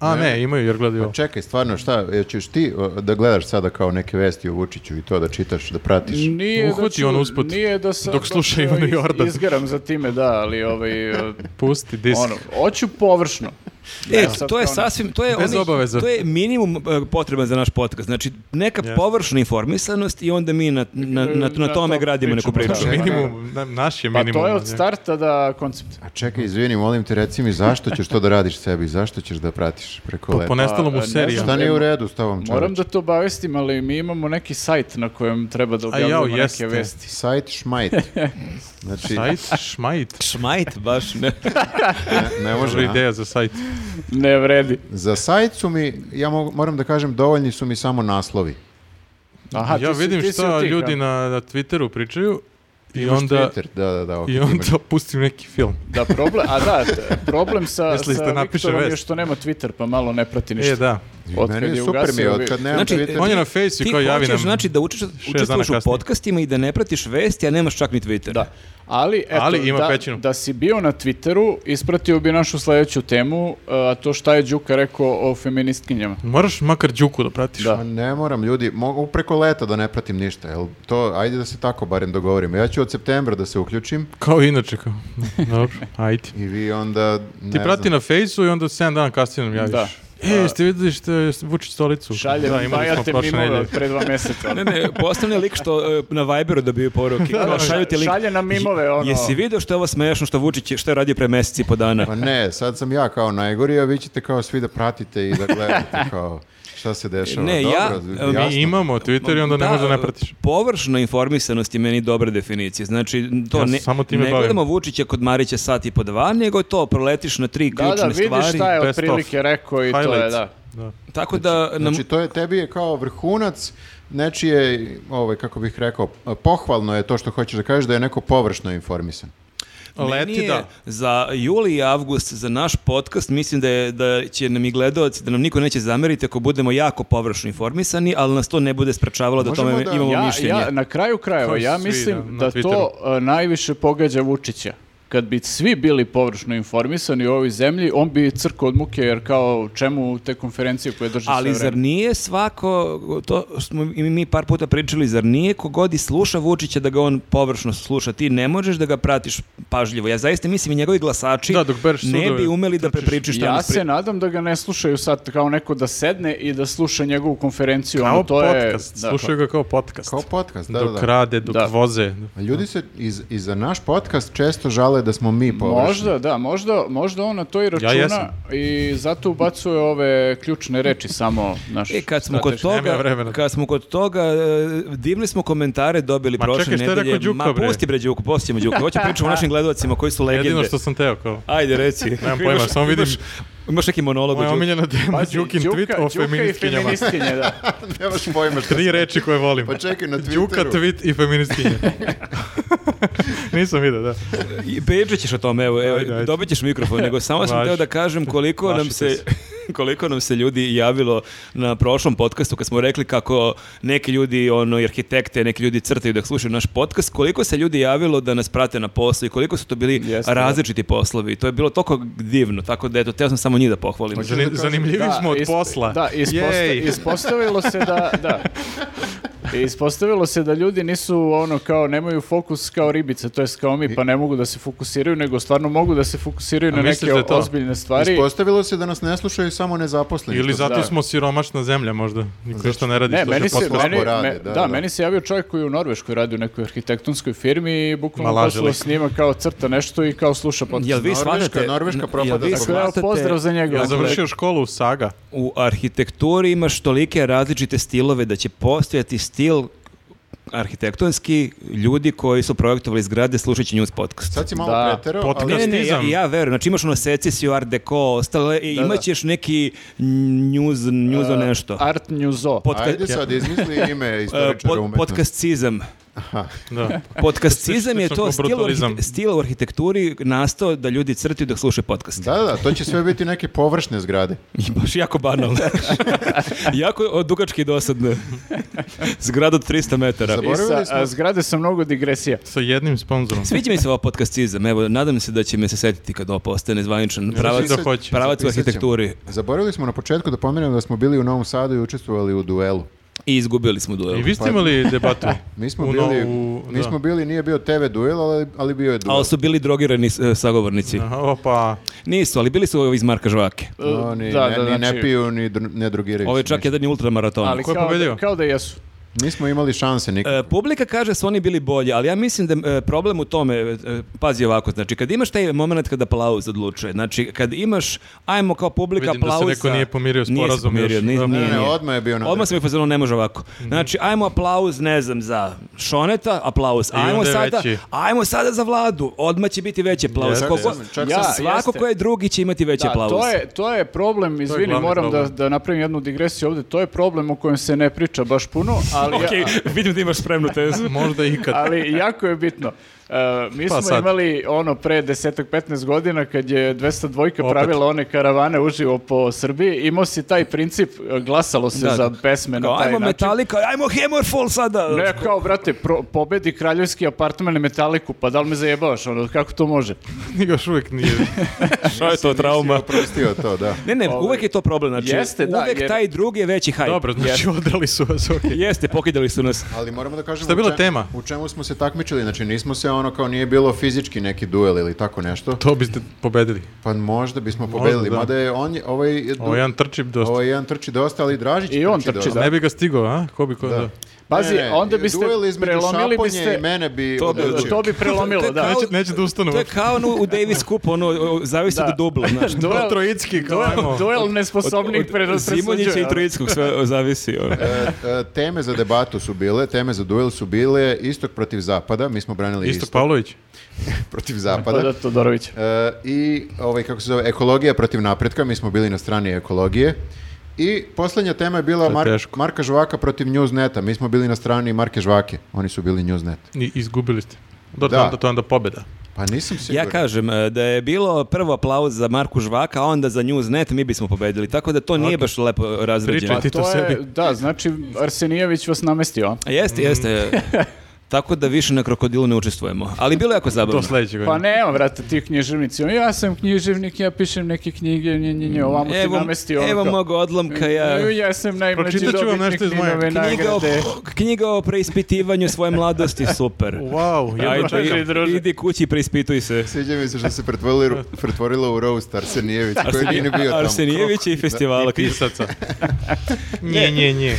[SPEAKER 1] A ne, imaju jer gledaju. ovo.
[SPEAKER 3] Čekaj, stvarno, šta, jel ćeš ti o, da gledaš sada kao neke vesti o Vučiću i to da čitaš, da pratiš?
[SPEAKER 1] Mm.
[SPEAKER 4] Nije
[SPEAKER 1] Uhvati
[SPEAKER 4] da ću-
[SPEAKER 1] on usput,
[SPEAKER 4] Nije da sam,
[SPEAKER 1] dok sluša
[SPEAKER 4] da ću
[SPEAKER 1] Ivana
[SPEAKER 4] iz-
[SPEAKER 1] Jordan.
[SPEAKER 4] Izgaram za time, da, ali
[SPEAKER 1] [laughs]
[SPEAKER 4] ovaj, e,
[SPEAKER 1] Pusti disk.
[SPEAKER 4] ono, hoću površno. Pa
[SPEAKER 2] E,
[SPEAKER 4] Ne, sad
[SPEAKER 2] to je
[SPEAKER 4] kao ne.
[SPEAKER 2] sasvim, to je,
[SPEAKER 1] ono. Bez
[SPEAKER 2] onaj-
[SPEAKER 1] obaveza.
[SPEAKER 2] to je minimum e, potreban za naš podcast. Znači, neka
[SPEAKER 1] Jeste.
[SPEAKER 2] površna informisanost i onda mi na, na, na, na
[SPEAKER 4] Na
[SPEAKER 2] tome
[SPEAKER 4] tom
[SPEAKER 2] gradimo neku
[SPEAKER 4] pričamo,
[SPEAKER 2] priču.
[SPEAKER 4] da.
[SPEAKER 1] Znači, Minimum, na- naš je
[SPEAKER 4] Pa
[SPEAKER 1] minimum.
[SPEAKER 4] to je
[SPEAKER 1] ne.
[SPEAKER 4] od starta da koncept.
[SPEAKER 3] A čekaj, izvini, molim te, reci mi zašto ćeš to da radiš sebi, zašto ćeš da pratiš preko
[SPEAKER 1] Po,
[SPEAKER 3] leta?
[SPEAKER 1] ponestalo
[SPEAKER 4] A,
[SPEAKER 1] mu
[SPEAKER 4] ne
[SPEAKER 1] serija.
[SPEAKER 4] znam.
[SPEAKER 3] Šta nije u redu s tobom,
[SPEAKER 4] Moram
[SPEAKER 3] čovječe?
[SPEAKER 4] da to obavestim, ali mi imamo neki sajt na kojem treba da
[SPEAKER 1] A jao,
[SPEAKER 4] objavljamo neke
[SPEAKER 1] jeste.
[SPEAKER 4] vesti.
[SPEAKER 3] Sajt
[SPEAKER 1] [laughs]
[SPEAKER 3] šmajt. Znači,
[SPEAKER 1] Sajt, šmajt.
[SPEAKER 2] Šmajt,
[SPEAKER 1] [laughs]
[SPEAKER 2] baš ne.
[SPEAKER 3] ne, ne
[SPEAKER 1] Možda
[SPEAKER 3] može, a?
[SPEAKER 1] ideja za sajt.
[SPEAKER 4] Ne vredi.
[SPEAKER 3] Za sajt su mi, ja mo- moram da kažem, dovoljni su mi samo naslovi.
[SPEAKER 4] Aha,
[SPEAKER 1] ja
[SPEAKER 4] ti si-
[SPEAKER 1] vidim
[SPEAKER 4] ti si
[SPEAKER 1] šta
[SPEAKER 4] od tih,
[SPEAKER 1] ljudi
[SPEAKER 4] a?
[SPEAKER 1] na, na Twitteru pričaju i
[SPEAKER 3] Imaš
[SPEAKER 1] onda,
[SPEAKER 3] Twitter, da, da, da. ok,
[SPEAKER 1] i
[SPEAKER 3] imaš.
[SPEAKER 1] onda [laughs] pustim neki film.
[SPEAKER 4] Da, problem, a da, t- problem sa,
[SPEAKER 1] [laughs] Mislili ste
[SPEAKER 4] sa
[SPEAKER 1] napiše
[SPEAKER 4] Viktorom je
[SPEAKER 1] vest.
[SPEAKER 4] što nema Twitter, pa malo ne prati ništa.
[SPEAKER 1] E, da.
[SPEAKER 4] Od
[SPEAKER 3] Meni
[SPEAKER 4] kad
[SPEAKER 3] je
[SPEAKER 4] je
[SPEAKER 3] super mi, je,
[SPEAKER 4] ugasio
[SPEAKER 3] od
[SPEAKER 4] vi-
[SPEAKER 3] kad nemam
[SPEAKER 2] Znači,
[SPEAKER 3] Twitter.
[SPEAKER 1] On je na fejsu
[SPEAKER 2] Ti
[SPEAKER 1] i kao javi
[SPEAKER 2] hoćeš,
[SPEAKER 1] nam.
[SPEAKER 2] znači, da učiš,
[SPEAKER 1] dana
[SPEAKER 2] učestvuješ u
[SPEAKER 1] kasnije.
[SPEAKER 2] podcastima i da ne pratiš vesti, a nemaš čak ni Twitter.
[SPEAKER 4] Da. Ali, eto,
[SPEAKER 1] Ali ima
[SPEAKER 4] da,
[SPEAKER 1] pećinu.
[SPEAKER 4] da si bio na Twitteru, ispratio bi našu sledeću temu, e, a to šta je Đuka rekao o feministkinjama.
[SPEAKER 1] Moraš makar Đuku da pratiš.
[SPEAKER 4] Da.
[SPEAKER 3] Ma ne moram, ljudi, mogu preko leta da ne pratim ništa, jel to, ajde da se tako barem dogovorimo. Ja ću od septembra da se uključim
[SPEAKER 1] Kao inače. Kao. [laughs] Dobro, ajde.
[SPEAKER 3] i vi onda, ne
[SPEAKER 1] Ti prati
[SPEAKER 3] znam.
[SPEAKER 1] na fejsu i onda 7 dana kasnije nam javiš.
[SPEAKER 4] Da.
[SPEAKER 1] E, jeste vidjeli što je Vučić stolicu?
[SPEAKER 4] Šaljem, da,
[SPEAKER 1] imali smo
[SPEAKER 4] bajate
[SPEAKER 1] prošle
[SPEAKER 4] mimove
[SPEAKER 1] nedelje.
[SPEAKER 4] od pre dva meseca.
[SPEAKER 2] Ne, ne, postavlja lik što e, na Viberu dobiju poruke. Kao, šalju ti link.
[SPEAKER 4] Šalje nam mimove, ono.
[SPEAKER 2] Jesi vidio što je ovo smešno, što Vučić, je- što je radio pre meseci i po dana?
[SPEAKER 3] Pa ne, sad sam ja kao najgori, a vi ćete kao svi da pratite i da gledate kao šta se dešava.
[SPEAKER 2] Ne,
[SPEAKER 3] Dobro,
[SPEAKER 2] ja-
[SPEAKER 3] jasno.
[SPEAKER 1] Mi imamo Twitter i onda ne možeš da ne pratiš.
[SPEAKER 2] Površna informisanost je meni dobra definicija. Znači, to
[SPEAKER 1] Ja se
[SPEAKER 2] ne,
[SPEAKER 1] samo time
[SPEAKER 2] ne
[SPEAKER 1] bavim.
[SPEAKER 2] gledamo Vučića kod Marića sat i po dva, nego to proletiš na tri
[SPEAKER 4] Da,
[SPEAKER 2] ključne
[SPEAKER 4] da, vidiš
[SPEAKER 2] stvari.
[SPEAKER 4] šta je
[SPEAKER 1] best of.
[SPEAKER 4] otprilike rekao i to je,
[SPEAKER 1] Highlights.
[SPEAKER 4] da.
[SPEAKER 1] Da.
[SPEAKER 2] Tako da... nam-
[SPEAKER 3] Znači, to je tebi je kao vrhunac nečije, ovaj, kako bih rekao, pohvalno je to što hoćeš da kažeš da je neko površno informisan.
[SPEAKER 1] Leti,
[SPEAKER 2] Meni je
[SPEAKER 1] da.
[SPEAKER 2] Za juli i avgust, za naš podcast, mislim da, je, da će nam i gledalci, da nam niko neće zameriti ako budemo jako površno informisani, ali nas to ne bude sprečavalo da o
[SPEAKER 3] Možemo
[SPEAKER 2] tome
[SPEAKER 3] da-
[SPEAKER 2] imamo
[SPEAKER 4] Ja,
[SPEAKER 2] mišljenje.
[SPEAKER 4] ja, na kraju krajeva,
[SPEAKER 1] Kao
[SPEAKER 4] ja
[SPEAKER 1] svi
[SPEAKER 4] mislim
[SPEAKER 1] na- na
[SPEAKER 4] da to e, najviše pogađa Vučića. Kad bi svi bili površno informisani u ovoj zemlji, on bi crkao od muke, jer kao čemu te konferencije koje drže sve
[SPEAKER 2] Ali
[SPEAKER 4] vreme?
[SPEAKER 2] zar nije svako, to smo i mi par puta pričali, zar nije kogod i sluša Vučića da ga on površno sluša, ti ne možeš da ga pratiš pažljivo. Ja zaista mislim i njegovi glasači
[SPEAKER 1] Da, dok bereš
[SPEAKER 2] ne bi
[SPEAKER 1] sudove,
[SPEAKER 2] umeli da
[SPEAKER 1] trčiš.
[SPEAKER 2] prepričiš šta
[SPEAKER 4] Ja
[SPEAKER 2] nas pri-
[SPEAKER 4] se nadam da ga ne slušaju sad kao neko da sedne i da sluša njegovu konferenciju.
[SPEAKER 1] Kao
[SPEAKER 4] ono, to
[SPEAKER 1] podcast,
[SPEAKER 4] je, da,
[SPEAKER 1] slušaju ga kao podcast.
[SPEAKER 3] Kao podcast, da, da,
[SPEAKER 1] dok
[SPEAKER 3] da.
[SPEAKER 1] rade, dok
[SPEAKER 4] Da.
[SPEAKER 1] voze.
[SPEAKER 3] A Ljudi se iz, i za naš podcast često žale da smo mi površni.
[SPEAKER 4] Možda, da, možda, možda on na to i računa
[SPEAKER 1] jesam.
[SPEAKER 4] i zato ubacuje ove ključne reči samo naš.
[SPEAKER 2] E, kad smo kod
[SPEAKER 1] Strateški, nema
[SPEAKER 2] toga,
[SPEAKER 1] vremena.
[SPEAKER 2] kad smo kod toga, e, divne smo komentare dobili
[SPEAKER 1] Ma
[SPEAKER 2] prošle
[SPEAKER 1] čekaj, šta je
[SPEAKER 2] nedelje.
[SPEAKER 1] rekao Đuka,
[SPEAKER 2] Ma
[SPEAKER 1] bre?
[SPEAKER 2] pusti bre Đuku, postimo Đuku. Hoću pričati
[SPEAKER 1] [laughs]
[SPEAKER 2] o našim gledalcima koji su legende.
[SPEAKER 1] Jedino što sam teo, kao.
[SPEAKER 2] Ajde, reci.
[SPEAKER 1] Nemam pojma,
[SPEAKER 2] Imaš-
[SPEAKER 1] samo vidim-
[SPEAKER 2] Imaš, imaš neki monolog o
[SPEAKER 1] Moja
[SPEAKER 2] Đuki.
[SPEAKER 1] omiljena tema,
[SPEAKER 4] Pazi,
[SPEAKER 1] Pa, Đukin
[SPEAKER 4] Đuka-
[SPEAKER 1] tweet o
[SPEAKER 4] Đuka i
[SPEAKER 1] feministkinjama.
[SPEAKER 4] feministkinje, da.
[SPEAKER 3] [laughs] Nemaš
[SPEAKER 1] [laughs]
[SPEAKER 3] pojma šta
[SPEAKER 1] Tri reči koje volim.
[SPEAKER 3] Pa čekaj, na
[SPEAKER 1] Đuka,
[SPEAKER 3] Twitteru.
[SPEAKER 1] tweet i feministkinje. [laughs] Nisam vidio, da.
[SPEAKER 2] I Pričat ćeš o tome, evo, evo
[SPEAKER 1] Ajde, ajde.
[SPEAKER 2] dobit ćeš mikrofon, nego samo sam
[SPEAKER 1] Važi.
[SPEAKER 2] teo da kažem koliko nam
[SPEAKER 1] Plašite
[SPEAKER 2] se [laughs] koliko nam se ljudi javilo na prošlom podcastu kad smo rekli kako neki ljudi ono i arhitekte, neki ljudi crtaju da slušaju naš podcast, koliko se ljudi javilo da nas prate na poslu i koliko su to bili
[SPEAKER 4] Jeste, da.
[SPEAKER 2] različiti poslovi. To je bilo toliko divno, tako da eto, teo sam samo njih da pohvalim.
[SPEAKER 1] Zani- zanimljivi
[SPEAKER 4] Da,
[SPEAKER 1] smo od
[SPEAKER 4] isp-
[SPEAKER 1] posla.
[SPEAKER 4] Da, isposta-
[SPEAKER 1] Jej. [laughs]
[SPEAKER 4] ispostavilo se da, da. Ispostavilo se da ljudi nisu ono kao nemaju fokus kao ribice, to jest kao mi, pa ne mogu da se fokusiraju, nego stvarno mogu da se fokusiraju
[SPEAKER 1] A
[SPEAKER 4] na
[SPEAKER 1] misliš
[SPEAKER 4] neke
[SPEAKER 1] da je to?
[SPEAKER 4] ozbiljne stvari.
[SPEAKER 3] Ispostavilo se da nas ne slušaju samo nezaposleni.
[SPEAKER 1] Ili
[SPEAKER 3] što
[SPEAKER 1] zato
[SPEAKER 4] Da.
[SPEAKER 1] smo siromašna zemlja možda. Niko ništa ne radi.
[SPEAKER 4] Ne,
[SPEAKER 1] sluša
[SPEAKER 4] meni se,
[SPEAKER 1] podcast.
[SPEAKER 4] meni,
[SPEAKER 3] rade,
[SPEAKER 4] me-
[SPEAKER 3] da,
[SPEAKER 4] da,
[SPEAKER 3] da.
[SPEAKER 4] meni se javio čovjek koji je u Norveškoj radi u nekoj arhitektonskoj firmi i
[SPEAKER 1] Ma,
[SPEAKER 4] bukvalno
[SPEAKER 1] laže
[SPEAKER 4] poslao
[SPEAKER 1] lik.
[SPEAKER 4] s njima kao crta nešto i kao sluša podcast. Dakle,
[SPEAKER 2] Jel vi
[SPEAKER 3] Norveška-
[SPEAKER 2] shvatate,
[SPEAKER 3] Norveška
[SPEAKER 2] jel
[SPEAKER 3] propada
[SPEAKER 2] vi
[SPEAKER 3] zbog-
[SPEAKER 4] Evo,
[SPEAKER 2] shvatate-
[SPEAKER 4] pozdrav za njega.
[SPEAKER 1] Ja
[SPEAKER 4] Dakle,
[SPEAKER 1] završio školu u Saga.
[SPEAKER 2] u arhitekturi imaš tolike različite stilove da će postojati stil arhitektonski ljudi koji su projektovali zgrade slušajući news podcast.
[SPEAKER 3] Sad si malo
[SPEAKER 4] Da.
[SPEAKER 3] preterao,
[SPEAKER 1] Podcast.
[SPEAKER 2] Ne,
[SPEAKER 3] ali
[SPEAKER 2] ne, ne, ja,
[SPEAKER 1] Stizam.
[SPEAKER 2] ja verujem. Znači imaš ono secesiju, art deco, ostale, i imat ćeš neki news, news o nešto.
[SPEAKER 4] Art Newso.
[SPEAKER 2] Podka-
[SPEAKER 3] ajde sad izmisli ime
[SPEAKER 2] e,
[SPEAKER 3] istoričara
[SPEAKER 2] pod,
[SPEAKER 3] umetnosti.
[SPEAKER 2] podcastcizam.
[SPEAKER 1] Da.
[SPEAKER 2] [laughs] Podcastcizam je
[SPEAKER 1] Slično
[SPEAKER 2] to
[SPEAKER 1] kao
[SPEAKER 2] stil, u
[SPEAKER 1] brutalizam.
[SPEAKER 2] arhite- stil u arhitekturi nastao da ljudi crtaju dok slušaju podcast.
[SPEAKER 3] Da, da, da, to će sve biti neke površne zgrade.
[SPEAKER 2] I baš jako
[SPEAKER 3] [laughs]
[SPEAKER 2] banalno. jako o, dugački i dosadno. Zgrada od 300 metara.
[SPEAKER 4] I sa
[SPEAKER 3] Zaboravili smo-
[SPEAKER 4] a, zgrade sa mnogo digresija.
[SPEAKER 1] Sa jednim sponzorom.
[SPEAKER 2] Sviđa mi se ova podcastizam, evo, nadam se da će me se setiti kad ovo postane zvaničan pravac,
[SPEAKER 1] da hoće.
[SPEAKER 2] pravac u
[SPEAKER 3] Znači, Zapisat ćemo.
[SPEAKER 2] arhitekturi.
[SPEAKER 3] Zaboravili smo na početku da pomenem da smo bili u Novom Sadu i učestvovali u duelu.
[SPEAKER 2] I izgubili smo duel.
[SPEAKER 1] I vi ste imali debatu?
[SPEAKER 3] Mi smo
[SPEAKER 1] U
[SPEAKER 3] bili,
[SPEAKER 1] novu- da.
[SPEAKER 3] nismo bili, nije bio TV duel, ali, ali bio je duel.
[SPEAKER 2] Ali su bili drogirani e, sagovornici.
[SPEAKER 1] Aha, Opa,
[SPEAKER 2] Nisu, ali bili su ovi iz Marka Žvake.
[SPEAKER 3] Oni
[SPEAKER 4] Da,
[SPEAKER 3] ne, ni
[SPEAKER 4] da, znači- Ovaj
[SPEAKER 3] ne piju, ni dr- ne drogiraju.
[SPEAKER 2] Ovo je
[SPEAKER 3] se
[SPEAKER 2] čak
[SPEAKER 3] ništa.
[SPEAKER 2] jedan i ultramaraton.
[SPEAKER 4] Ali
[SPEAKER 1] Ko je
[SPEAKER 4] kao,
[SPEAKER 1] pobedio?
[SPEAKER 4] da, kao da jesu.
[SPEAKER 3] Nismo imali šanse nikad.
[SPEAKER 2] E, publika kaže su oni bili bolji, ali ja mislim da e, problem u tome, e, e, pazi ovako, znači kad imaš taj moment kad aplauz odlučuje, znači kad imaš, ajmo kao publika
[SPEAKER 1] Vidim da se
[SPEAKER 2] aplauza...
[SPEAKER 1] neko nije pomirio s
[SPEAKER 2] Nije se
[SPEAKER 1] porazom
[SPEAKER 2] pomirio,
[SPEAKER 1] još.
[SPEAKER 2] nije-
[SPEAKER 1] Da.
[SPEAKER 2] nije,
[SPEAKER 3] Ne, ne,
[SPEAKER 2] nije.
[SPEAKER 3] odmah je bio na
[SPEAKER 2] Odmah sam ih pozvao, ne može ovako.
[SPEAKER 4] Mhm.
[SPEAKER 2] Znači, ajmo aplauz, ne znam, za Šoneta, aplauz. Ajmo
[SPEAKER 1] onda je
[SPEAKER 2] sada,
[SPEAKER 1] veći.
[SPEAKER 2] ajmo sada za vladu. Odmah će biti veći aplauz.
[SPEAKER 1] Jeste,
[SPEAKER 2] Koliko-
[SPEAKER 3] jeste. Čak
[SPEAKER 4] Ja,
[SPEAKER 3] sam-
[SPEAKER 2] Svako
[SPEAKER 4] jeste.
[SPEAKER 2] ko je drugi će imati veći
[SPEAKER 4] Da,
[SPEAKER 2] aplauz.
[SPEAKER 4] to je, to je problem, izvini,
[SPEAKER 1] glavni
[SPEAKER 4] moram da,
[SPEAKER 1] problem.
[SPEAKER 4] da napravim jednu digresiju ovdje, to je problem o kojem se ne priča baš puno, ali, ja-
[SPEAKER 2] Ok, [laughs] vidim da imaš spremnu tezu.
[SPEAKER 1] možda ikad.
[SPEAKER 4] ali jako je bitno. E, mi
[SPEAKER 1] Pa
[SPEAKER 4] smo
[SPEAKER 1] sad.
[SPEAKER 4] imali ono pre 10-15 godina kad je 202 pravila one karavane uživo po Srbiji, imao si taj princip, e, glasalo se
[SPEAKER 2] Da,
[SPEAKER 4] za pesme [laughs] na
[SPEAKER 2] Kao,
[SPEAKER 4] taj
[SPEAKER 2] ajmo
[SPEAKER 4] način.
[SPEAKER 2] Metallica, ajmo Hammerfall sada. Znači,
[SPEAKER 4] Ne, kao, brate, pro, pobedi kraljevski apartman i metaliku, pa da li me zajebavaš, ono, kako to može?
[SPEAKER 1] [laughs] Još uvijek nije.
[SPEAKER 2] Šta je to trauma?
[SPEAKER 3] Prostio to, da.
[SPEAKER 2] Ne, ne, uvek je to problem, znači
[SPEAKER 4] ovaj- Jeste, da,
[SPEAKER 2] uvek
[SPEAKER 4] jer-
[SPEAKER 2] taj drugi je veći hype.
[SPEAKER 1] Dobro, znači odrali su vas, okej.
[SPEAKER 2] Jeste, pokidali su nas.
[SPEAKER 3] Ali moramo da kažemo
[SPEAKER 1] Šta je
[SPEAKER 3] u
[SPEAKER 1] bila
[SPEAKER 3] čem-
[SPEAKER 1] tema?
[SPEAKER 3] u čemu smo se takmičili, znači nismo se ono kao nije bilo fizički neki duel ili tako nešto.
[SPEAKER 1] To biste pobedili.
[SPEAKER 3] Pa možda bismo pobedili,
[SPEAKER 1] da.
[SPEAKER 3] mada je on, je- ovaj, je du-
[SPEAKER 1] Ovo jedan trči dosta.
[SPEAKER 3] ovaj jedan trči dosta, ali Dražić
[SPEAKER 4] I on trči,
[SPEAKER 3] dosta.
[SPEAKER 4] da.
[SPEAKER 1] Ne bi ga stigao, a? Ko bi ko da.
[SPEAKER 4] Pazi,
[SPEAKER 3] Ne, ne,
[SPEAKER 4] onda biste
[SPEAKER 3] duel između
[SPEAKER 4] prelomili
[SPEAKER 3] Šaponje i
[SPEAKER 4] biste...
[SPEAKER 3] mene bi
[SPEAKER 2] To bi-
[SPEAKER 3] udario.
[SPEAKER 4] To bi
[SPEAKER 2] To
[SPEAKER 4] prelomilo,
[SPEAKER 2] je
[SPEAKER 4] da.
[SPEAKER 1] Neće, neće da ustanu.
[SPEAKER 2] To je kao ono u Davis Cupu, ono, o, zavisi
[SPEAKER 4] Da.
[SPEAKER 2] od dubla,
[SPEAKER 4] [laughs]
[SPEAKER 2] znaš. Od-
[SPEAKER 4] Duel,
[SPEAKER 1] Trojicki, kao ajmo.
[SPEAKER 4] duel, duel
[SPEAKER 2] od
[SPEAKER 4] nesposobnih
[SPEAKER 2] Simonjića
[SPEAKER 4] predostrađuje.
[SPEAKER 2] i Trojickog sve o, zavisi.
[SPEAKER 4] [laughs]
[SPEAKER 2] ono.
[SPEAKER 3] E, e, teme za debatu su bile, teme za duel su bile istok protiv zapada, mi smo branili
[SPEAKER 1] Isto
[SPEAKER 3] istok
[SPEAKER 1] Pavlović.
[SPEAKER 3] protiv
[SPEAKER 4] Pa
[SPEAKER 3] zapada.
[SPEAKER 4] da, Todorović.
[SPEAKER 3] E, I ovaj, kako se zove, ekologija protiv napretka, mi smo bili na strani ekologije. I posljednja tema je bila
[SPEAKER 1] je
[SPEAKER 3] Mar-
[SPEAKER 1] teško.
[SPEAKER 3] Marka Žvaka protiv Newsneta. Mi smo bili na strani Marke Žvake. Oni su bili Newsnet.
[SPEAKER 1] I izgubili ste. Dobro,
[SPEAKER 3] Da.
[SPEAKER 1] onda to je onda pobeda.
[SPEAKER 3] Pa nisam siguran.
[SPEAKER 2] Ja kažem e, da je bilo prvo aplauz za Marku Žvaka, a onda za Newsnet mi bismo pobedili. Tako da to nije baš lepo razređeno.
[SPEAKER 1] Pričajte. Ti to
[SPEAKER 4] Pa To je,
[SPEAKER 1] sebi.
[SPEAKER 4] da, znači Arsenijević vas namestio. a?
[SPEAKER 2] A Jeste, jeste. Tako da više na krokodilu ne učestvujemo. Ali bilo je jako zabavno.
[SPEAKER 1] Do sledećeg.
[SPEAKER 4] Pa nema, brate, ti književnici. Ja sam književnik, ja pišem neke knjige, nje, nje, nje, ovamo ti
[SPEAKER 2] Evo,
[SPEAKER 4] namestio. ono
[SPEAKER 2] evo
[SPEAKER 4] kao,
[SPEAKER 2] mog odlomka, ja...
[SPEAKER 4] "E, Ja sam najmlađi
[SPEAKER 1] Pročitat ću vam
[SPEAKER 4] dobitnik
[SPEAKER 1] nešto iz moje
[SPEAKER 4] Ninove
[SPEAKER 2] Knjiga o,
[SPEAKER 4] nagrade.
[SPEAKER 2] knjiga o preispitivanju svoje mladosti, super.
[SPEAKER 1] Wow, jedno
[SPEAKER 2] Ajde,
[SPEAKER 4] čekaj, druže.
[SPEAKER 2] idi kući, preispituj se.
[SPEAKER 3] Sviđa mi se što se pretvorilo, pretvorilo u roast Arsenijević, koji nije ni bio tamo.
[SPEAKER 2] Arsenijević i festivala.
[SPEAKER 1] pisaca. nje, nje, nje.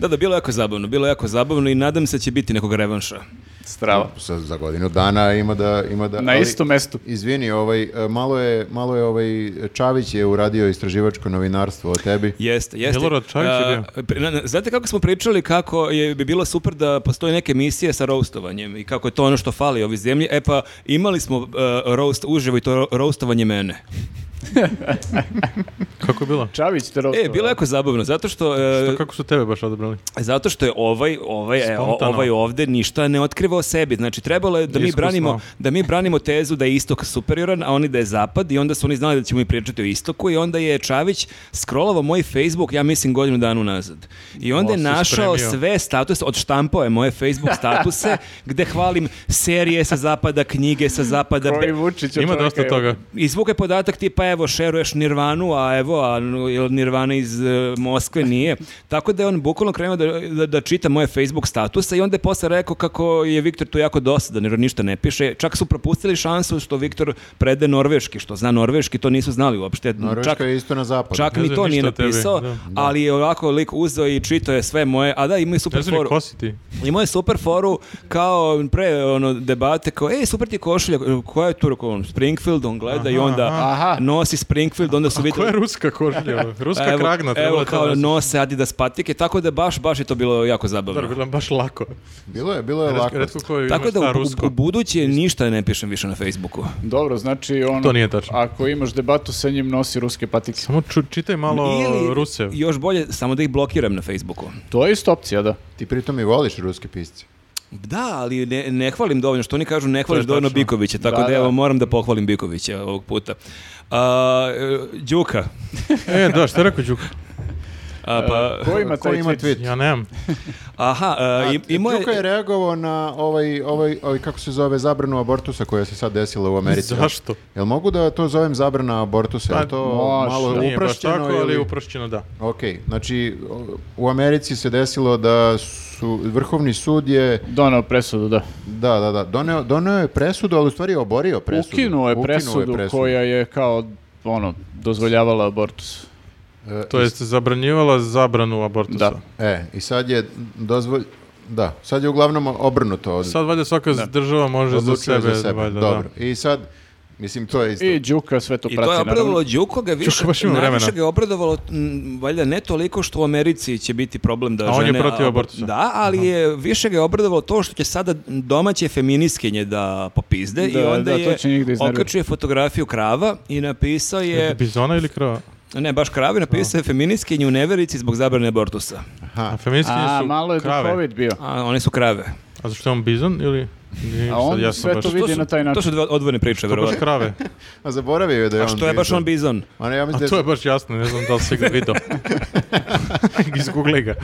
[SPEAKER 2] Da, da, bilo je jako zabavno, bilo je jako zabavno i nadam se da će biti nekog revanša.
[SPEAKER 4] Strava.
[SPEAKER 3] Sa- za godinu dana ima da... Ima da
[SPEAKER 4] Na
[SPEAKER 3] ali-
[SPEAKER 4] istom mestu.
[SPEAKER 3] Izvini, ovaj, e, malo je, malo je ovaj, Čavić je uradio istraživačko novinarstvo o tebi.
[SPEAKER 2] Jeste, jeste.
[SPEAKER 1] Milorad Čavić je
[SPEAKER 2] A, pri- na- na- Znate kako smo pričali kako je, bi bilo super da postoje neke emisije sa roastovanjem i kako je to ono što fali ovi zemlji. E pa imali smo uh, roast uživo i to ro- roastovanje mene.
[SPEAKER 1] Kako je bilo?
[SPEAKER 4] Čavić te rotovao.
[SPEAKER 2] E, bilo je jako zabavno, zato što... e,
[SPEAKER 1] Što, kako su tebe baš odabrali?
[SPEAKER 2] Zato što je ovaj, ovaj, e, o-
[SPEAKER 1] Spontano.
[SPEAKER 2] ovaj ovde ništa ne otkriva o sebi. Znači, trebalo je da mi,
[SPEAKER 1] Iskusno.
[SPEAKER 2] branimo, da mi branimo tezu da je istok superioran, a oni da je zapad i onda su oni znali da ćemo mi pričati o istoku i onda je Čavić scrollovao moj Facebook, ja mislim, godinu danu nazad. I onda
[SPEAKER 1] O,
[SPEAKER 2] je
[SPEAKER 1] si
[SPEAKER 2] našao
[SPEAKER 1] spremio.
[SPEAKER 2] sve statuse, odštampao je moje Facebook
[SPEAKER 1] [laughs]
[SPEAKER 2] statuse gde hvalim serije sa zapada, knjige sa zapada,
[SPEAKER 4] Koji
[SPEAKER 2] be-
[SPEAKER 4] Vučić od
[SPEAKER 1] Ima
[SPEAKER 4] čovjeka
[SPEAKER 1] dosta
[SPEAKER 4] je-
[SPEAKER 1] toga.
[SPEAKER 2] Izvuka je podatak tipa evo šeruješ Nirvanu, a evo a, n- jel Nirvana iz e, Moskve nije. Tako da je on bukvalno krenuo da, da, da čita moje Facebook statuse i onda je posle rekao kako je Viktor tu jako dosadan jer on ništa ne piše. Čak su propustili šansu što Viktor prede norveški, što zna norveški, to nisu znali uopšte.
[SPEAKER 3] Norveška
[SPEAKER 2] čak,
[SPEAKER 3] je isto na zapadu.
[SPEAKER 2] čak
[SPEAKER 1] Ne
[SPEAKER 2] ni
[SPEAKER 1] znam
[SPEAKER 2] to
[SPEAKER 1] ništa
[SPEAKER 2] nije
[SPEAKER 1] o tebi,
[SPEAKER 2] napisao,
[SPEAKER 1] da.
[SPEAKER 2] ali je ovako lik uzeo i čitao je sve moje, a da imaju
[SPEAKER 1] Ne
[SPEAKER 2] super
[SPEAKER 1] znam ni
[SPEAKER 2] foru.
[SPEAKER 1] ko si ti.
[SPEAKER 2] Imao je super foru kao pre ono debate kao ej super ti košulja koja je tu on Springfield on gleda i
[SPEAKER 1] Aha,
[SPEAKER 2] onda
[SPEAKER 4] aha.
[SPEAKER 2] nosi Springfield onda su
[SPEAKER 1] Koja je
[SPEAKER 2] videli
[SPEAKER 1] ruska košlja? Ruska
[SPEAKER 2] evo,
[SPEAKER 1] kragna. trebalo
[SPEAKER 2] evo
[SPEAKER 1] je to
[SPEAKER 2] kao
[SPEAKER 1] da se-
[SPEAKER 2] nose Adidas patike tako da baš baš je to bilo jako zabavno
[SPEAKER 1] Dobro, bilo je baš lako.
[SPEAKER 3] Bilo je, bilo je
[SPEAKER 1] Ret-
[SPEAKER 3] lako.
[SPEAKER 1] Retko ko je
[SPEAKER 2] tako
[SPEAKER 1] ima šta
[SPEAKER 2] da u,
[SPEAKER 1] rusko.
[SPEAKER 2] u buduće ništa ne pišem više na Facebooku
[SPEAKER 4] Dobro, znači ono...
[SPEAKER 1] To nije tačno.
[SPEAKER 4] Ako imaš debatu sa njim, nosi ruske patike.
[SPEAKER 1] Samo ču, čitaj malo
[SPEAKER 2] Ili,
[SPEAKER 1] Rusev.
[SPEAKER 2] još bolje samo da ih blokiram na Facebooku
[SPEAKER 4] To je isto opcija, da.
[SPEAKER 3] Ti pritom i voliš ruske pisce.
[SPEAKER 2] da ali ne, ne hvalim dovoljno što oni kažu ne hvališ dovoljno
[SPEAKER 1] tačno.
[SPEAKER 2] Bikovića tako da,
[SPEAKER 4] Da, da.
[SPEAKER 2] evo moram da pohvalim Bikovića ovog puta A, e, Đuka
[SPEAKER 1] E, da, šta je rekao Đuka?
[SPEAKER 2] A,
[SPEAKER 1] E,
[SPEAKER 2] pa,
[SPEAKER 1] [laughs]
[SPEAKER 4] Ko ima
[SPEAKER 3] Ko
[SPEAKER 4] taj
[SPEAKER 3] ima
[SPEAKER 4] tweet?
[SPEAKER 3] tweet?
[SPEAKER 1] Ja nemam.
[SPEAKER 2] Aha, e, i, imao
[SPEAKER 3] Đuka je reagovao na ovaj, ovaj, ovaj, kako se zove, zabranu abortusa koja se sad desila u Americi.
[SPEAKER 1] Zašto?
[SPEAKER 3] Jel mogu da to zovem zabrana abortusa?
[SPEAKER 1] Pa,
[SPEAKER 3] Jel to
[SPEAKER 4] može,
[SPEAKER 3] malo
[SPEAKER 1] Nije baš
[SPEAKER 3] uprošćeno?
[SPEAKER 1] tako,
[SPEAKER 3] ili-
[SPEAKER 1] ali uprošćeno da.
[SPEAKER 3] Ok, znači o- u Americi se desilo da su, Vrhovni sud je,
[SPEAKER 4] Donao presudu, da.
[SPEAKER 3] da, da, da, doneo, doneo je presudu, ali u stvari je oborio presudu.
[SPEAKER 4] Ukinuo je presudu, koja je kao ono, dozvoljavala abortus.
[SPEAKER 3] E,
[SPEAKER 1] To jest zabranjivala zabranu abortusa.
[SPEAKER 4] Da.
[SPEAKER 3] E, i sad je dozvolj... Da, sad je uglavnom obrnuto. Od...
[SPEAKER 1] Sad valjda svaka država može za
[SPEAKER 3] odlučuje
[SPEAKER 1] sebe, valjda,
[SPEAKER 3] Dobro.
[SPEAKER 1] da.
[SPEAKER 3] I sad, mislim, to je isto.
[SPEAKER 4] I Đuka sve to
[SPEAKER 2] I to
[SPEAKER 4] prati,
[SPEAKER 2] je
[SPEAKER 4] naravno.
[SPEAKER 2] obradovalo Đuko ga više,
[SPEAKER 1] Đuka baš ima vremena.
[SPEAKER 2] najviše ga je obradovalo, m, valjda ne toliko što u Americi će biti problem da
[SPEAKER 1] A on je
[SPEAKER 2] žene...
[SPEAKER 1] protiv
[SPEAKER 2] abor-
[SPEAKER 1] abortusa.
[SPEAKER 2] Da, ali je, više ga je obradovalo to što će sada domaće feminiskinje da popizde i
[SPEAKER 4] Da,
[SPEAKER 2] onda
[SPEAKER 4] da, to
[SPEAKER 2] je
[SPEAKER 4] će njih da iznervira.
[SPEAKER 2] okačio je fotografiju krava i napisao je,
[SPEAKER 1] Bizona ili krava?
[SPEAKER 2] ne baš kravi, napisao je feminiskinje u neverici zbog zabrane abortusa.
[SPEAKER 1] A feministkinje
[SPEAKER 4] A,
[SPEAKER 1] su
[SPEAKER 4] malo je
[SPEAKER 1] krave.
[SPEAKER 4] duhovit bio.
[SPEAKER 2] A one su krave.
[SPEAKER 1] A zašto je on bizon ili... Nije,
[SPEAKER 4] A on
[SPEAKER 1] sad ja sam
[SPEAKER 4] sve
[SPEAKER 1] baš...
[SPEAKER 4] to vidi
[SPEAKER 2] su,
[SPEAKER 4] na taj način.
[SPEAKER 2] To su dve odvojne priče,
[SPEAKER 1] To baš
[SPEAKER 2] verovatno.
[SPEAKER 3] [laughs]
[SPEAKER 1] krave.
[SPEAKER 3] A zaboravio je da je
[SPEAKER 2] A
[SPEAKER 3] on
[SPEAKER 2] što je baš
[SPEAKER 3] bizon.
[SPEAKER 2] on bizon?
[SPEAKER 3] Ma ne, ja mislim da
[SPEAKER 1] A
[SPEAKER 3] je-
[SPEAKER 1] to je baš jasno, ne znam da li si ga
[SPEAKER 3] [laughs]
[SPEAKER 1] vidio. Izgugli ga.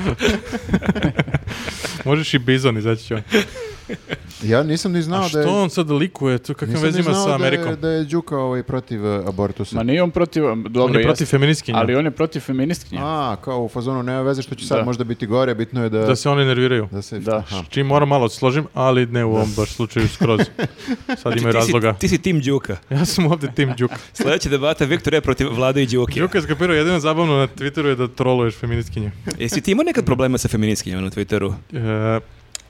[SPEAKER 1] Možeš i bizon izaći će on.
[SPEAKER 3] Ja nisam ni znao
[SPEAKER 1] A
[SPEAKER 3] da je...
[SPEAKER 1] što on sad likuje, to kakve
[SPEAKER 3] nisam
[SPEAKER 1] veze
[SPEAKER 3] ni
[SPEAKER 1] ima
[SPEAKER 3] znao
[SPEAKER 1] sa
[SPEAKER 3] Da
[SPEAKER 1] Amerikom?
[SPEAKER 3] je, da je Đuka ovaj, protiv eh, abortusa.
[SPEAKER 4] Ma nije on protiv, dobro
[SPEAKER 1] On je
[SPEAKER 4] jeste,
[SPEAKER 1] protiv feministkinja,
[SPEAKER 4] Ali on je protiv feministkinja.
[SPEAKER 3] A, kao u fazonu nema veze što će sad
[SPEAKER 4] Da.
[SPEAKER 3] možda biti gore, bitno je da...
[SPEAKER 1] da se oni nerviraju.
[SPEAKER 3] da se-
[SPEAKER 4] Da.
[SPEAKER 3] aha.
[SPEAKER 1] S Čim moram malo da se složim, ali ne u ovom baš slučaju skroz. Sad imaju
[SPEAKER 2] Znači, ti si-
[SPEAKER 1] razloga.
[SPEAKER 2] Ti si tim Đuka.
[SPEAKER 1] Ja sam ovdje tim
[SPEAKER 2] [laughs]
[SPEAKER 1] Đuka.
[SPEAKER 2] Sljedeća debata Viktor je protiv Vlade i Đuke.
[SPEAKER 1] Đuka je skapirao jedino zabavno na Twitteru je da troluješ feministkinje.
[SPEAKER 2] Jesi ti imao nekad problema sa feministkinjama na Twitteru?
[SPEAKER 1] E,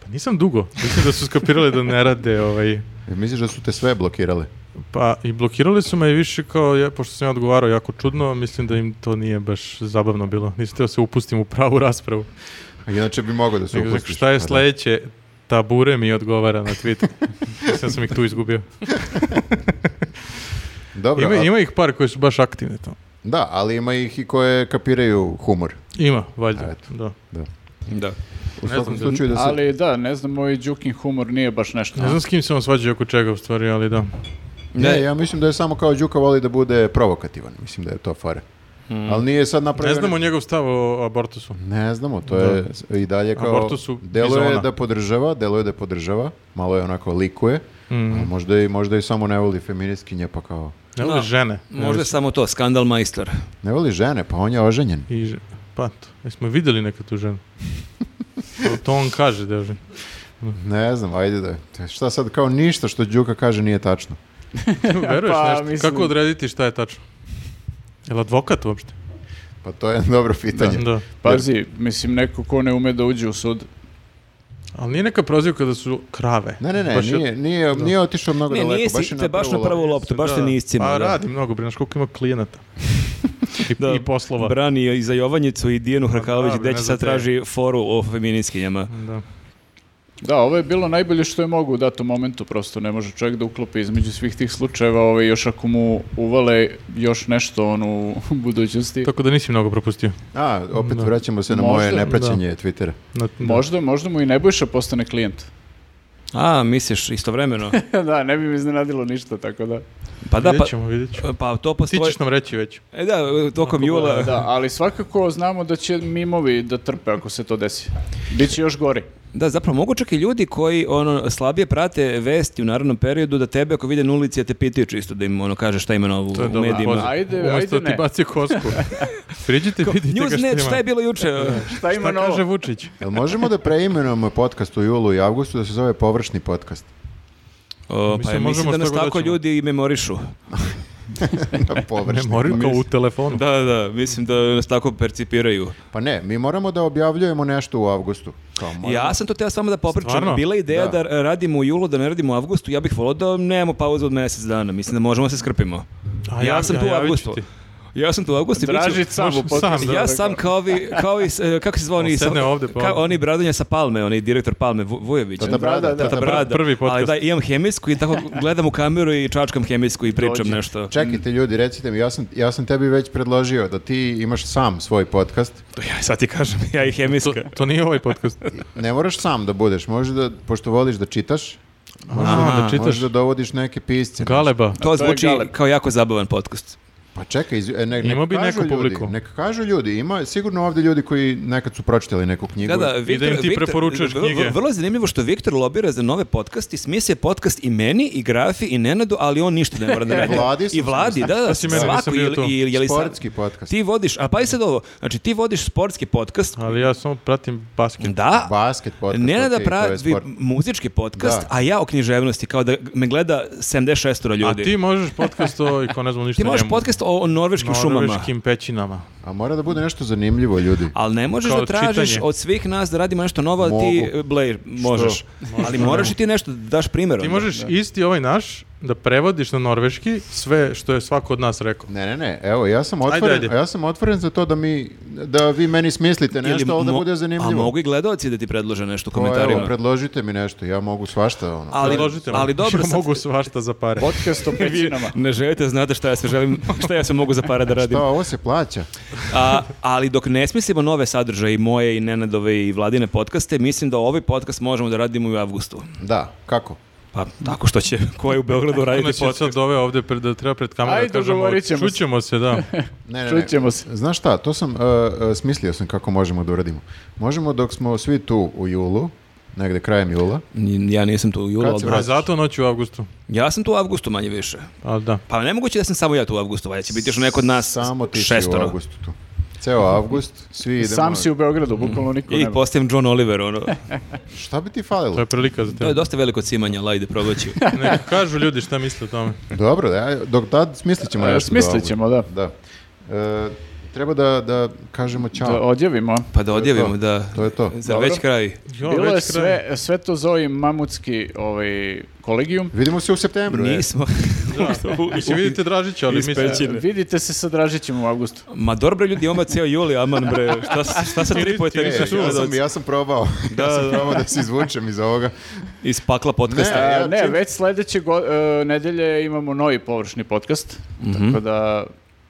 [SPEAKER 1] pa nisam dugo. Mislim da su skapirali da ne rade ovaj...
[SPEAKER 3] Jel Misliš da su te sve blokirale?
[SPEAKER 1] Pa i blokirali su me i više kao, ja, pošto sam ja odgovarao jako čudno, mislim da im to nije baš zabavno bilo. Nisam htio da se upustim u pravu raspravu.
[SPEAKER 3] A Inače bi mogao da se
[SPEAKER 1] Nego,
[SPEAKER 3] upustiš.
[SPEAKER 1] šta
[SPEAKER 3] Pa
[SPEAKER 1] je
[SPEAKER 3] da.
[SPEAKER 1] sledeće? Tabure mi odgovara na
[SPEAKER 3] [laughs]
[SPEAKER 1] Twitteru. Mislim da sam ih tu izgubio.
[SPEAKER 3] Dobro,
[SPEAKER 1] Ima,
[SPEAKER 3] a-
[SPEAKER 1] ima ih par koje su baš aktivne tamo.
[SPEAKER 3] da, ali ima ih i koje kapiraju humor.
[SPEAKER 1] Ima, valjda.
[SPEAKER 3] Eto.
[SPEAKER 1] Da.
[SPEAKER 2] Da.
[SPEAKER 3] U
[SPEAKER 1] Ne
[SPEAKER 3] svakom
[SPEAKER 1] znam,
[SPEAKER 3] slučaju da se...
[SPEAKER 4] Ali da, ne znam, ovaj Đukin humor nije baš nešto.
[SPEAKER 1] Ne znam s kim se on svađa i oko čega u stvari, ali da.
[SPEAKER 3] Ne, ja mislim da je samo kao Đuka voli da bude provokativan. Mislim da je to fora. Ali nije sad napravio...
[SPEAKER 1] Hmm. Ne znamo njegov stav o abortusu. Mm.
[SPEAKER 3] Ne znamo, to je s- i dalje kao...
[SPEAKER 1] Abortusu
[SPEAKER 3] Delo je
[SPEAKER 1] bizona.
[SPEAKER 3] da podržava, delo je da podržava, malo je onako likuje, a
[SPEAKER 1] Hmm.
[SPEAKER 3] možda i, možda i samo ne voli feministkinje, pa kao...
[SPEAKER 1] Ne vole
[SPEAKER 2] Da.
[SPEAKER 1] žene.
[SPEAKER 2] Možda je samo to, skandal majstor.
[SPEAKER 3] Ne voli žene, pa on je oženjen.
[SPEAKER 1] I ž- Pa, to. Jesmo vidjeli neka tu
[SPEAKER 2] [laughs]
[SPEAKER 1] ženu? To, to on kaže, da je žena.
[SPEAKER 3] Ne znam, ajde da... te- Šta sad, kao ništa što Đuka kaže nije tačno.
[SPEAKER 1] [laughs] Veruješ
[SPEAKER 4] Pa,
[SPEAKER 1] nešto?
[SPEAKER 4] mislim-
[SPEAKER 1] Kako odrediti šta je tačno? Jel advokat uopšte?
[SPEAKER 3] Pa to je [laughs] dobro pitanje.
[SPEAKER 1] Da.
[SPEAKER 4] Pazi, mislim, neko ko ne ume da uđe u sud.
[SPEAKER 1] Ali nije neka prozivka da su krave.
[SPEAKER 3] Ne, ne, ne,
[SPEAKER 1] Baš je-
[SPEAKER 3] nije, nije, nije otišao mnogo
[SPEAKER 2] Ne,
[SPEAKER 3] daleko.
[SPEAKER 2] nije
[SPEAKER 3] baš
[SPEAKER 2] si,
[SPEAKER 3] je
[SPEAKER 2] te baš na
[SPEAKER 3] napravilo-
[SPEAKER 2] prvu loptu, baš te
[SPEAKER 1] Da.
[SPEAKER 2] nisi cimao,
[SPEAKER 1] Pa
[SPEAKER 2] da.
[SPEAKER 1] radi mnogo, brinaš koliko ima
[SPEAKER 2] [laughs]
[SPEAKER 1] klijenata. I,
[SPEAKER 2] Da.
[SPEAKER 1] i poslova.
[SPEAKER 2] Brani i za Jovanjicu i Dijanu Hrkalović,
[SPEAKER 1] da, bre,
[SPEAKER 2] gde
[SPEAKER 1] ne
[SPEAKER 2] će
[SPEAKER 1] znam
[SPEAKER 2] sad
[SPEAKER 1] te.
[SPEAKER 2] traži foru o feministkinjama.
[SPEAKER 1] Da.
[SPEAKER 4] Da, ovo je bilo najbolje što je mogu u datom momentu, prosto ne može čovjek da uklopi između svih tih slučajeva, ovaj, još ako mu uvale još nešto on u [laughs] budućnosti.
[SPEAKER 1] Tako da nisi mnogo propustio.
[SPEAKER 3] A, opet
[SPEAKER 1] Da.
[SPEAKER 3] vraćamo se na
[SPEAKER 4] Možda,
[SPEAKER 3] moje nepraćenje Twittera.
[SPEAKER 1] Na,
[SPEAKER 4] Možda, možda mu i Nebojša postane klijent.
[SPEAKER 2] A, misliš, istovremeno?
[SPEAKER 4] [laughs] da, ne bi mi iznenadilo ništa, tako da.
[SPEAKER 2] Pa da,
[SPEAKER 1] vidjet
[SPEAKER 2] pa,
[SPEAKER 1] ćemo, vidjet ćemo.
[SPEAKER 2] pa to
[SPEAKER 1] Ti
[SPEAKER 2] postoji...
[SPEAKER 1] ćeš nam reći već.
[SPEAKER 2] E da, tokom jula...
[SPEAKER 4] Da, ali svakako znamo da će mimovi da trpe ako se to desi. Biće još gori.
[SPEAKER 2] Da, zapravo mogu čak i ljudi koji ono slabije prate vesti u narodnom periodu da tebe ako vide na ulici ja te pitaju čisto da im ono kaže šta ima novo
[SPEAKER 1] To je
[SPEAKER 2] u
[SPEAKER 1] dobar
[SPEAKER 2] medijima.
[SPEAKER 1] poziv.
[SPEAKER 4] Ajde,
[SPEAKER 1] Umesto
[SPEAKER 4] ajde
[SPEAKER 1] ti
[SPEAKER 4] ne.
[SPEAKER 1] baci
[SPEAKER 4] [laughs]
[SPEAKER 1] kosku. Priđite,
[SPEAKER 2] Kao,
[SPEAKER 1] vidite ga šta
[SPEAKER 2] Newsnet,
[SPEAKER 1] ima.
[SPEAKER 2] šta je bilo juče?
[SPEAKER 4] Šta ima
[SPEAKER 1] Šta
[SPEAKER 4] novo?
[SPEAKER 1] kaže Vučić?
[SPEAKER 3] Jel možemo da preimenujemo podcast u julu i avgustu da se zove površni podcast?
[SPEAKER 1] [laughs]
[SPEAKER 2] O, pa
[SPEAKER 1] Mislim,
[SPEAKER 2] ja mislim
[SPEAKER 1] možemo
[SPEAKER 2] da nas
[SPEAKER 1] šta god
[SPEAKER 2] tako
[SPEAKER 1] hoćemo.
[SPEAKER 2] ljudi i memorišu.
[SPEAKER 1] Ne
[SPEAKER 3] površni. Pa
[SPEAKER 1] moraju kao u telefonu.
[SPEAKER 2] Da, da, mislim da nas tako percipiraju.
[SPEAKER 3] Pa ne, mi moramo da objavljujemo nešto u avgustu. Kao moramo.
[SPEAKER 2] Ja sam to teo s vama da popričam.
[SPEAKER 1] Stvarno?
[SPEAKER 2] Bila je ideja
[SPEAKER 3] Da.
[SPEAKER 2] da. radimo u julu, da ne radimo u avgustu. Ja bih volio da nemamo pauzu od mjesec dana. Mislim da možemo da se skrpimo.
[SPEAKER 1] A
[SPEAKER 2] ja,
[SPEAKER 1] ja-
[SPEAKER 2] sam
[SPEAKER 1] a
[SPEAKER 2] tu u
[SPEAKER 1] ja vidit ću
[SPEAKER 2] avgustu.
[SPEAKER 1] ti.
[SPEAKER 2] Ja sam tu u avgustu. i bit ću-
[SPEAKER 4] Dražić sam u
[SPEAKER 1] Možda sam,
[SPEAKER 4] podcastu.
[SPEAKER 1] da.
[SPEAKER 2] Ja sam kao vi, kao i, s- e, kako se zvao oni,
[SPEAKER 1] On sedne
[SPEAKER 2] sa-
[SPEAKER 1] ovde, pa
[SPEAKER 2] ka-
[SPEAKER 1] on-
[SPEAKER 2] oni Bradonja sa Palme, onaj direktor Palme, Vu- Vujović.
[SPEAKER 3] Tata Brada,
[SPEAKER 4] Da, da,
[SPEAKER 3] Tata
[SPEAKER 2] Ta
[SPEAKER 1] Pr-
[SPEAKER 2] brada.
[SPEAKER 1] prvi podcast.
[SPEAKER 2] Ali da, imam hemijsku i tako gledam u kameru i čačkam hemijsku i pričam
[SPEAKER 4] Dođi.
[SPEAKER 2] nešto.
[SPEAKER 3] Čekajte ljudi, recite mi, ja sam, ja sam tebi već predložio da ti imaš sam svoj podcast.
[SPEAKER 2] Ja sad ti kažem, [laughs] ja i
[SPEAKER 1] To,
[SPEAKER 2] hemijska.
[SPEAKER 1] to nije ovaj podcast.
[SPEAKER 3] Ne moraš sam da budeš, možeš da, pošto voliš da čitaš,
[SPEAKER 1] A, da čitaš
[SPEAKER 3] možeš da dovodiš neke pisce.
[SPEAKER 1] Galeba.
[SPEAKER 2] To
[SPEAKER 4] je
[SPEAKER 2] zvuči
[SPEAKER 4] Galeb.
[SPEAKER 2] kao jako zabavan podcast.
[SPEAKER 3] Pa čekaj, iz- e, ne,
[SPEAKER 1] Imao
[SPEAKER 3] neka
[SPEAKER 1] bi
[SPEAKER 3] kažu
[SPEAKER 1] neku
[SPEAKER 3] ljudi,
[SPEAKER 1] publiku.
[SPEAKER 3] Neka kažu ljudi, ima sigurno ovdje ljudi koji nekad su pročitali neku knjigu.
[SPEAKER 2] Da, da, Viktor,
[SPEAKER 1] I da im ti
[SPEAKER 2] Viktor-
[SPEAKER 1] preporučuješ
[SPEAKER 2] v- v-
[SPEAKER 1] knjige.
[SPEAKER 2] Vrlo je zanimljivo što Viktor lobira za nove podcaste, smisje podcast i meni, i Grafi, i Nenadu, ali on ništa ne mora
[SPEAKER 3] [laughs]
[SPEAKER 2] da radi.
[SPEAKER 3] Vladi sam
[SPEAKER 2] I Vladi, da, da,
[SPEAKER 1] si meni, nisam
[SPEAKER 2] svaku.
[SPEAKER 1] bio
[SPEAKER 2] ili-
[SPEAKER 1] tu.
[SPEAKER 2] ili- ili sad-
[SPEAKER 3] Sportski podcast.
[SPEAKER 2] Ti vodiš, a pa i sad ovo, znači ti vodiš sportski podcast,
[SPEAKER 1] Ali ja samo pratim basket.
[SPEAKER 2] da,
[SPEAKER 3] Basket podcast.
[SPEAKER 2] Nenada
[SPEAKER 3] okej, to je
[SPEAKER 2] pravi
[SPEAKER 3] sport.
[SPEAKER 2] muzički podcast,
[SPEAKER 3] Da.
[SPEAKER 2] a ja o književnosti, kao da me gleda 76
[SPEAKER 1] A
[SPEAKER 2] ljudi.
[SPEAKER 1] ti možeš podcast o i ko ne znam ništa
[SPEAKER 2] Ti možeš
[SPEAKER 1] njemu.
[SPEAKER 2] podcast o, o norveškim šumama,
[SPEAKER 1] Norveškim pećinama.
[SPEAKER 3] A mora da bude nešto zanimljivo, ljudi.
[SPEAKER 2] ali ne možeš
[SPEAKER 1] Kao
[SPEAKER 2] da tražiš
[SPEAKER 1] čitanje.
[SPEAKER 2] od svih nas da radimo nešto novo, a ti,
[SPEAKER 3] Mogu.
[SPEAKER 2] Blair, možeš. Ali moraš i ti nešto da daš primjer.
[SPEAKER 1] Ti
[SPEAKER 2] onda.
[SPEAKER 1] možeš isti ovaj naš da prevodiš na norveški sve što je svako od nas rekao.
[SPEAKER 3] Ne, ne, ne, evo, ja sam otvoren,
[SPEAKER 1] ajde.
[SPEAKER 3] ja sam otvoren za to da mi, da vi meni smislite
[SPEAKER 2] Ili
[SPEAKER 3] nešto, ali da
[SPEAKER 2] mo-
[SPEAKER 3] bude
[SPEAKER 2] A
[SPEAKER 3] zanimljivo.
[SPEAKER 2] mogu i gledalci da ti predlože nešto u
[SPEAKER 3] Pa,
[SPEAKER 2] komentarima.
[SPEAKER 3] Evo, predložite mi nešto, ja mogu svašta, ono.
[SPEAKER 2] ali,
[SPEAKER 1] Pa Predložite mu.
[SPEAKER 2] ali dobro,
[SPEAKER 1] [laughs] ja
[SPEAKER 2] sad-
[SPEAKER 1] mogu svašta za pare.
[SPEAKER 4] Podcast o pećinama.
[SPEAKER 2] Ne želite, znate šta ja sve
[SPEAKER 1] [laughs]
[SPEAKER 2] želim, šta ja sve mogu za para da radim.
[SPEAKER 3] Šta, ovo se plaća?
[SPEAKER 2] A, ali dok ne smislimo nove sadržaje i moje i Nenadove i Vladine podcaste, mislim da ovaj podcast možemo da radimo i u avgustu.
[SPEAKER 3] Da, kako?
[SPEAKER 2] Pa tako što će ko je u Beogradu raditi
[SPEAKER 1] Ona E, će
[SPEAKER 2] podcast.
[SPEAKER 1] sad doveo ovdje pred, da treba pred kamerom
[SPEAKER 4] Ajde,
[SPEAKER 1] da kažemo,
[SPEAKER 4] dogovorit ćemo se.
[SPEAKER 1] čućemo se,
[SPEAKER 2] [laughs]
[SPEAKER 1] da.
[SPEAKER 3] Ne, ne, ne.
[SPEAKER 4] Čućemo se.
[SPEAKER 3] Znaš šta, to sam, e, e, smislio sam kako možemo da uradimo. Možemo dok smo svi tu u julu, negde krajem jula.
[SPEAKER 2] N- Ja nisam tu u julu,
[SPEAKER 3] Kad
[SPEAKER 2] ali
[SPEAKER 3] se
[SPEAKER 1] A
[SPEAKER 3] vraćaš?
[SPEAKER 1] zato noć u avgustu.
[SPEAKER 2] ja sam tu u avgustu manje više.
[SPEAKER 1] Ali da.
[SPEAKER 2] Pa nemoguće da sam samo ja tu u avgustu, valjda će biti još neko od nas
[SPEAKER 3] Samo ti si u
[SPEAKER 2] šestoro.
[SPEAKER 3] augustu tu. Ceo avgust, svi idemo.
[SPEAKER 4] Sam si u Beogradu, bukvalno niko
[SPEAKER 2] I
[SPEAKER 4] nema.
[SPEAKER 2] postajem John Oliver, ono.
[SPEAKER 3] Šta bi ti
[SPEAKER 1] To
[SPEAKER 3] falilo?
[SPEAKER 1] je prilika za
[SPEAKER 2] To je
[SPEAKER 1] tebe.
[SPEAKER 2] dosta veliko cimanje, ali ajde, probat
[SPEAKER 3] [laughs]
[SPEAKER 2] ću.
[SPEAKER 1] Neka kažu ljudi šta misle o tome.
[SPEAKER 3] Dobro, da, dok tad smislit ćemo
[SPEAKER 4] E,
[SPEAKER 3] nešto. do
[SPEAKER 4] smislit
[SPEAKER 3] avgusta.
[SPEAKER 4] ćemo, da.
[SPEAKER 3] Da. E, treba da, da kažemo ćao.
[SPEAKER 4] Da odjavimo.
[SPEAKER 2] Pa da odjavimo,
[SPEAKER 3] to.
[SPEAKER 2] da.
[SPEAKER 3] To je to.
[SPEAKER 2] Za
[SPEAKER 3] Dobro.
[SPEAKER 2] već kraj.
[SPEAKER 1] Jo,
[SPEAKER 4] Bilo
[SPEAKER 1] već
[SPEAKER 4] je
[SPEAKER 1] kraj.
[SPEAKER 4] sve, sve to zove mamutski ovaj, kolegijum.
[SPEAKER 3] Vidimo se u septembru. e.
[SPEAKER 2] Nismo. [laughs]
[SPEAKER 1] Da. Mislim, vidite Dražića, ali mislim...
[SPEAKER 2] Ispeći. Čine.
[SPEAKER 4] Vidite se sa Dražićem u avgustu.
[SPEAKER 2] Ma dobro bre, ljudi, ima ceo juli, aman bre. Šta,
[SPEAKER 3] [laughs]
[SPEAKER 2] šta sad tripujete?
[SPEAKER 1] Ti
[SPEAKER 3] E,
[SPEAKER 1] nisi
[SPEAKER 2] više,
[SPEAKER 1] čuo,
[SPEAKER 3] ja, sam,
[SPEAKER 2] gledalci?
[SPEAKER 3] ja sam probao. [laughs] ja sam probao da se izvučem iz ovoga.
[SPEAKER 2] Iz pakla podcasta.
[SPEAKER 3] Ne,
[SPEAKER 4] E,
[SPEAKER 3] ja
[SPEAKER 4] ne,
[SPEAKER 3] čim-
[SPEAKER 4] već sledeće go, e, nedelje imamo novi površni podcast, tako da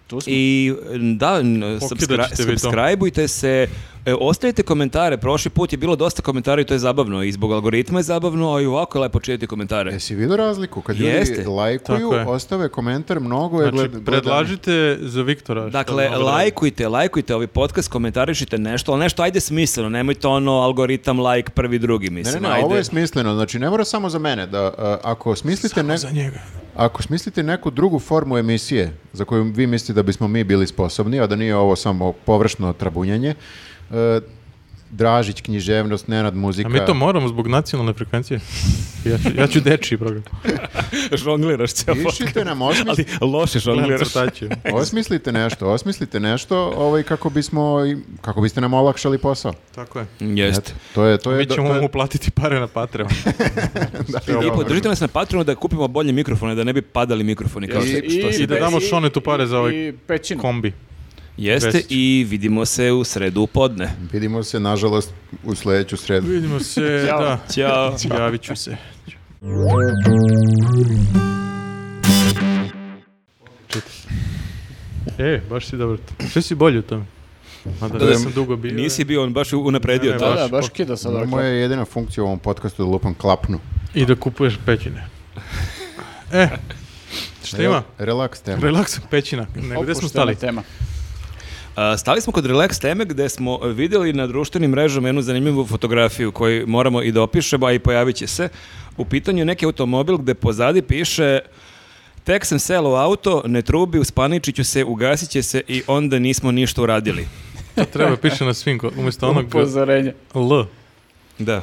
[SPEAKER 4] tu smo.
[SPEAKER 2] I n- da, n- subscri-
[SPEAKER 1] ćete vi to.
[SPEAKER 2] subscribeujte se, e, ostavite komentare, prošli put je bilo dosta komentara i to je zabavno, i zbog algoritma je zabavno, a i ovako je lepo čitati komentare.
[SPEAKER 3] Jesi vidio razliku? Kad ljudi
[SPEAKER 2] Jeste.
[SPEAKER 3] lajkuju,
[SPEAKER 1] Tako je.
[SPEAKER 3] ostave komentar, mnogo je gled-
[SPEAKER 1] Znači,
[SPEAKER 3] gledano.
[SPEAKER 1] predlažite za Viktora. šta bi
[SPEAKER 2] Dakle,
[SPEAKER 1] mogao da radi.
[SPEAKER 2] lajkujte, lajkujte ovaj podcast, komentarišite nešto, ali nešto ajde smisleno, nemojte ono algoritam, like, prvi, drugi,
[SPEAKER 3] Ne, ne,
[SPEAKER 2] mislim,
[SPEAKER 3] ne,
[SPEAKER 2] ajde.
[SPEAKER 3] ovo je smisleno. Znači, ne mora samo za mene. Da, a, ako, smislite ne-
[SPEAKER 1] Za njega.
[SPEAKER 3] ako smislite neku drugu formu emisije za koju vi mislite da bismo mi bili sposobni, a da nije ovo samo površno trabunjanje, e, Dražić, književnost, Nenad, muzika.
[SPEAKER 1] A mi to moramo zbog nacionalne frekvencije. Ja ću, ja ću dečiji program.
[SPEAKER 2] [laughs] žongliraš cijelo
[SPEAKER 1] [laughs]
[SPEAKER 3] Pišite nam, osmislite.
[SPEAKER 2] Ali loše
[SPEAKER 1] Gledam
[SPEAKER 2] žongliraš.
[SPEAKER 1] crtaće.
[SPEAKER 3] Osmislite nešto, osmislite nešto, ovaj kako bismo i- kako biste nam olakšali posao.
[SPEAKER 1] Tako je.
[SPEAKER 2] Jeste.
[SPEAKER 3] To je to je
[SPEAKER 1] Mi
[SPEAKER 3] do-
[SPEAKER 1] ćemo
[SPEAKER 3] to je-
[SPEAKER 1] mu platiti pare na Patreon.
[SPEAKER 2] I podržite nas na Patreonu da kupimo bolje mikrofone, da ne bi padali mikrofoni kao
[SPEAKER 1] Jeste.
[SPEAKER 2] što- što se
[SPEAKER 1] i da
[SPEAKER 2] desi.
[SPEAKER 1] damo Šonetu pare za ovaj
[SPEAKER 4] i pećinu.
[SPEAKER 1] Kombi.
[SPEAKER 2] Jeste
[SPEAKER 1] Vesić.
[SPEAKER 2] i vidimo se u sredu u podne.
[SPEAKER 3] Vidimo se nažalost u sledeću sredu.
[SPEAKER 1] Vidimo se,
[SPEAKER 4] Ćao.
[SPEAKER 1] da.
[SPEAKER 2] Ćao.
[SPEAKER 1] Javit ću se. Čitaj. E, baš si dobro. Sve si bolji u tome. Mada
[SPEAKER 2] Da,
[SPEAKER 1] nisam dugo bio. e,
[SPEAKER 2] Nisi bio on baš unapredio
[SPEAKER 1] Ne, ne,
[SPEAKER 2] to.
[SPEAKER 4] Da, da,
[SPEAKER 1] baš-
[SPEAKER 4] baš kida sad.
[SPEAKER 1] dakle.
[SPEAKER 4] ovako.
[SPEAKER 3] Moja je jedina funkcija u ovom podcastu je da lupam klapnu.
[SPEAKER 1] I da kupuješ pećine. E, šta ima?
[SPEAKER 3] Re- Relaks tema.
[SPEAKER 1] Relaks, pećina. Ne, gde smo
[SPEAKER 4] Opuštena
[SPEAKER 1] stali?
[SPEAKER 4] Tema.
[SPEAKER 2] A, stali smo kod relax teme gde smo vidjeli na društvenim mrežama jednu zanimljivu fotografiju koju moramo i da opišemo, a i pojavit će se. U pitanju je neki automobil gde pozadi piše Tek sam selo u auto, ne trubi, uspaničit ću se, ugasit će se i onda nismo ništa uradili.
[SPEAKER 1] To treba piše na svim, ko- umjesto onog
[SPEAKER 4] Upozorenje.
[SPEAKER 1] L.
[SPEAKER 2] Da.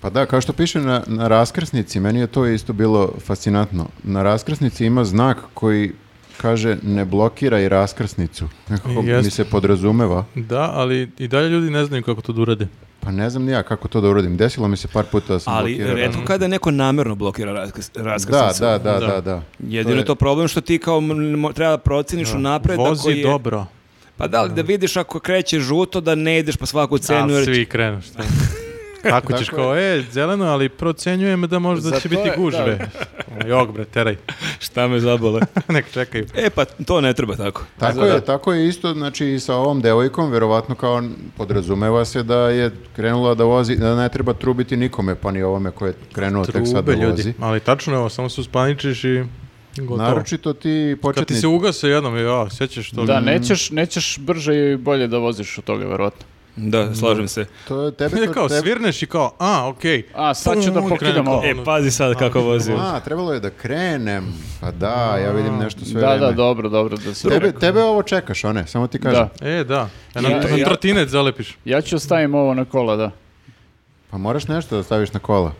[SPEAKER 3] Pa da, kao što piše na, na raskrsnici, meni je to isto bilo fascinantno. Na raskrsnici ima znak koji kaže ne blokiraj raskrsnicu. Nekako mi
[SPEAKER 1] Jeste.
[SPEAKER 3] se podrazumeva.
[SPEAKER 1] Da, ali i dalje ljudi ne znaju kako to da urade.
[SPEAKER 3] Pa ne znam ni ja kako to da uradim. Desilo mi se par puta da sam
[SPEAKER 2] Ali
[SPEAKER 3] blokirao
[SPEAKER 2] redko kada neko namjerno blokira raskrs-
[SPEAKER 3] Da,
[SPEAKER 2] raskrsnicu.
[SPEAKER 3] da, da, da,
[SPEAKER 1] Da.
[SPEAKER 3] da.
[SPEAKER 2] Jedino je to problem što ti kao m- mo- treba proceniš unapred
[SPEAKER 1] Vozi
[SPEAKER 2] ako je...
[SPEAKER 1] dobro.
[SPEAKER 2] Pa da li da vidiš ako kreće žuto da ne ideš po svaku cenu
[SPEAKER 1] A,
[SPEAKER 2] jer
[SPEAKER 1] svi krenu,
[SPEAKER 4] [laughs]
[SPEAKER 1] šta? Tako ćeš kao, e, zeleno, ali procenjujem da možda
[SPEAKER 4] Za
[SPEAKER 1] će
[SPEAKER 4] to
[SPEAKER 1] biti
[SPEAKER 4] je-
[SPEAKER 1] guž,
[SPEAKER 4] da.
[SPEAKER 1] bre. Ono, Jog, bre, teraj. [laughs]
[SPEAKER 2] šta me zabole.
[SPEAKER 1] Nek čekaju.
[SPEAKER 2] e pa to ne treba tako.
[SPEAKER 3] Tako je, tako je isto, znači i sa ovom devojkom, verovatno kao n- podrazumeva se da je krenula da vozi, da ne treba trubiti nikome, pa ni ovome ko je krenuo Ono tek sad da
[SPEAKER 1] Trube
[SPEAKER 3] vozi.
[SPEAKER 1] ljudi. Ali tačno je ovo, samo se uspaničiš i gotovo.
[SPEAKER 3] Naročito ti
[SPEAKER 1] Kad ti
[SPEAKER 3] početnici.
[SPEAKER 1] se ugase jednom, ja, sjećaš to.
[SPEAKER 4] Da,
[SPEAKER 1] [laughs]
[SPEAKER 4] nećeš, nećeš brže i bolje da voziš od toga, verovatno.
[SPEAKER 2] Da, slažem se.
[SPEAKER 3] To je tebe...
[SPEAKER 1] Ne, [laughs] kao
[SPEAKER 3] tebe-
[SPEAKER 1] svirneš i kao, a, okej.
[SPEAKER 4] A, sad ću da
[SPEAKER 1] Pum,
[SPEAKER 4] pokidam
[SPEAKER 1] krenu
[SPEAKER 4] ovo. pa-
[SPEAKER 1] E,
[SPEAKER 2] pazi sad kako vozi.
[SPEAKER 3] A, trebalo je da krenem. Pa da, ja vidim nešto sve
[SPEAKER 4] Da,
[SPEAKER 3] vreme.
[SPEAKER 4] da, dobro, dobro. Da se
[SPEAKER 3] Tebe, tebe ovo čekaš, one, samo ti kažem.
[SPEAKER 4] Da.
[SPEAKER 1] E, da. E, na,
[SPEAKER 4] Ja-
[SPEAKER 1] na
[SPEAKER 4] ja-
[SPEAKER 1] trotinet zalepiš.
[SPEAKER 4] Ja ću ostavim ovo na kola, da.
[SPEAKER 3] Pa moraš nešto da staviš na kola.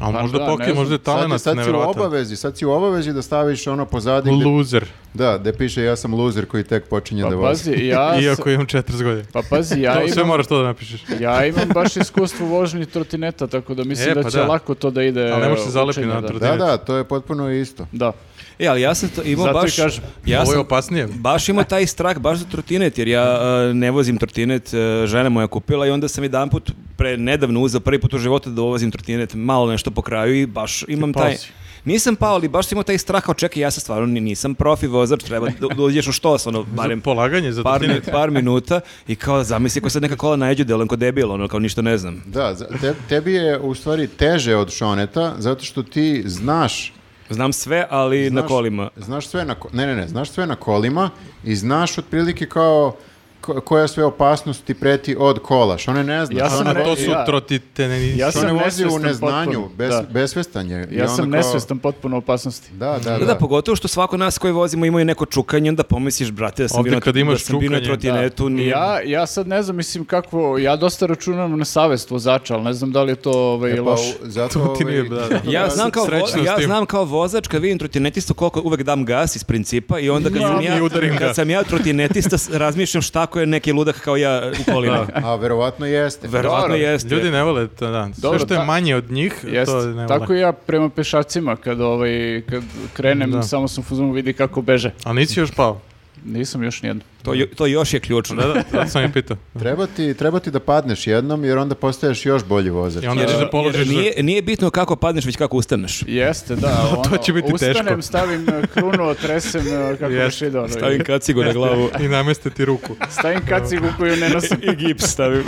[SPEAKER 1] A
[SPEAKER 4] Pa
[SPEAKER 1] možda
[SPEAKER 4] da, ne
[SPEAKER 1] pokrije,
[SPEAKER 4] znam.
[SPEAKER 1] možda je
[SPEAKER 3] Sad,
[SPEAKER 1] talenac
[SPEAKER 3] sad si u
[SPEAKER 1] nevjerovatan.
[SPEAKER 3] obavezi, sad si u obavezi da staviš ono pozadi gde,
[SPEAKER 1] Loser.
[SPEAKER 3] da, gde piše ja sam loser koji tek počinje
[SPEAKER 4] Pa
[SPEAKER 3] da vozi.
[SPEAKER 4] pazi, ja...
[SPEAKER 1] [laughs]
[SPEAKER 4] s-
[SPEAKER 1] Iako imam 40 godina.
[SPEAKER 4] Pa pazi, ja
[SPEAKER 1] [laughs] to, sve
[SPEAKER 4] imam,
[SPEAKER 1] moraš to da napišeš.
[SPEAKER 4] ja imam baš iskustvo vožnji trotineta, tako da mislim
[SPEAKER 1] E,
[SPEAKER 4] da
[SPEAKER 1] pa
[SPEAKER 4] će
[SPEAKER 1] da.
[SPEAKER 4] lako to da ide.
[SPEAKER 1] Ali ne može se
[SPEAKER 4] e,
[SPEAKER 1] zalepiti
[SPEAKER 4] učenje,
[SPEAKER 1] na
[SPEAKER 4] da.
[SPEAKER 1] trotinet.
[SPEAKER 3] Da, da, to je potpuno isto.
[SPEAKER 4] Da.
[SPEAKER 2] E, ali ja sam to imao
[SPEAKER 4] Zato i
[SPEAKER 2] baš...
[SPEAKER 4] kažem,
[SPEAKER 2] Ja
[SPEAKER 1] Ovo je
[SPEAKER 2] sam
[SPEAKER 1] opasnije.
[SPEAKER 2] baš imao taj strah baš za trotinet, jer ja e, ne vozim trotinet, e, žena moja kupila i onda sam jedan put pre nedavno uzeo prvi put u životu da vozim trotinet, malo nešto po kraju i baš imam
[SPEAKER 1] pao
[SPEAKER 2] taj...
[SPEAKER 1] si.
[SPEAKER 2] Nisam pao, ali baš sam imao taj strah, kao čekaj, ja sam stvarno ni- nisam profi vozač, treba da da uđeš u štos, ono, barem
[SPEAKER 1] Polaganje za
[SPEAKER 2] par,
[SPEAKER 1] trotinet.
[SPEAKER 2] par minuta i kao zamisli ako sad neka kola najđu delam ko debil, ono, kao ništa ne znam.
[SPEAKER 3] Da, za- te- tebi je u stvari teže od Šoneta, zato što ti znaš...
[SPEAKER 2] Znam sve, ali
[SPEAKER 3] znaš-
[SPEAKER 2] na kolima.
[SPEAKER 3] Znaš sve na, ko- ne, ne, ne, znaš sve na kolima i znaš otprilike kao ko- koja sve opasnost ti preti od kola, što ne ne zna.
[SPEAKER 4] Ja
[SPEAKER 3] što
[SPEAKER 4] sam
[SPEAKER 3] ne-
[SPEAKER 1] Ona, to
[SPEAKER 4] rekao,
[SPEAKER 1] su
[SPEAKER 4] ja.
[SPEAKER 1] trotiteni.
[SPEAKER 4] Ja
[SPEAKER 3] što
[SPEAKER 4] sam
[SPEAKER 3] ne vozi u
[SPEAKER 4] nesvestan
[SPEAKER 3] neznanju,
[SPEAKER 4] potpuno,
[SPEAKER 3] bes,
[SPEAKER 4] da.
[SPEAKER 3] besvestan je. I
[SPEAKER 4] Ja
[SPEAKER 3] onda
[SPEAKER 4] sam
[SPEAKER 3] kao-
[SPEAKER 4] nesvestan potpuno opasnosti.
[SPEAKER 3] Da, da,
[SPEAKER 2] Da,
[SPEAKER 3] da.
[SPEAKER 2] da, pogotovo što svako nas koji vozimo imaju neko čukanje, onda pomisliš, brate, da sam
[SPEAKER 1] Ovdje
[SPEAKER 2] bio na,
[SPEAKER 1] kad imaš
[SPEAKER 2] da sam bio na
[SPEAKER 1] čukanje,
[SPEAKER 2] trotinetu,
[SPEAKER 4] Da.
[SPEAKER 2] nije-
[SPEAKER 4] Ja, ja sad ne znam, mislim kako, ja dosta računam na savest vozača, ali ne znam da li je to ovaj,
[SPEAKER 3] E, pa,
[SPEAKER 4] loše.
[SPEAKER 3] u- zato,
[SPEAKER 1] To ti nije, da,
[SPEAKER 3] ovaj,
[SPEAKER 1] da.
[SPEAKER 2] Ja znam kao, vo-
[SPEAKER 1] Srećno s
[SPEAKER 2] ja
[SPEAKER 1] tim.
[SPEAKER 2] znam kao vozač kad vidim trotinetistu koliko uvek dam gas iz principa i onda kad,
[SPEAKER 1] Mam
[SPEAKER 2] sam,
[SPEAKER 1] i udarim
[SPEAKER 2] ja,
[SPEAKER 1] ga.
[SPEAKER 2] kad sam ja trotinetista s- razmišljam šta ko je neki ludak kao ja u kolima.
[SPEAKER 3] A verovatno jeste.
[SPEAKER 2] Verovatno
[SPEAKER 4] Dobro.
[SPEAKER 2] jeste.
[SPEAKER 1] Ljudi ne vole to, da. Sve
[SPEAKER 4] Dobro,
[SPEAKER 1] što je
[SPEAKER 4] ta-
[SPEAKER 1] manje od njih,
[SPEAKER 4] Jest,
[SPEAKER 1] to ne
[SPEAKER 4] tako
[SPEAKER 1] vole.
[SPEAKER 4] i ja prema pešacima kad, ovaj, kad krenem,
[SPEAKER 1] Da.
[SPEAKER 4] samo sam u fazonu vidi kako beže.
[SPEAKER 1] A nisi još pao.
[SPEAKER 4] Nisam još nijedno.
[SPEAKER 2] To, jo- to još je ključno.
[SPEAKER 1] Da, da, to sam je pitao.
[SPEAKER 3] Treba ti, treba ti da padneš jednom jer onda postaješ još bolji vozač.
[SPEAKER 1] I onda ćeš Znači da položiš...
[SPEAKER 2] Jer nije, nije bitno kako padneš, već kako ustaneš.
[SPEAKER 4] Jeste, da. Ono,
[SPEAKER 1] [laughs] To će biti teško.
[SPEAKER 4] ustanem,
[SPEAKER 1] [laughs]
[SPEAKER 4] stavim eh, krunu, otresem, eh, kako
[SPEAKER 1] Jest.
[SPEAKER 4] yes. ide ono.
[SPEAKER 2] Stavim kacigu na glavu
[SPEAKER 1] I namestiti ruku.
[SPEAKER 4] Stavim kacigu koju ne
[SPEAKER 1] [laughs]
[SPEAKER 4] nosim.
[SPEAKER 2] i gips stavim.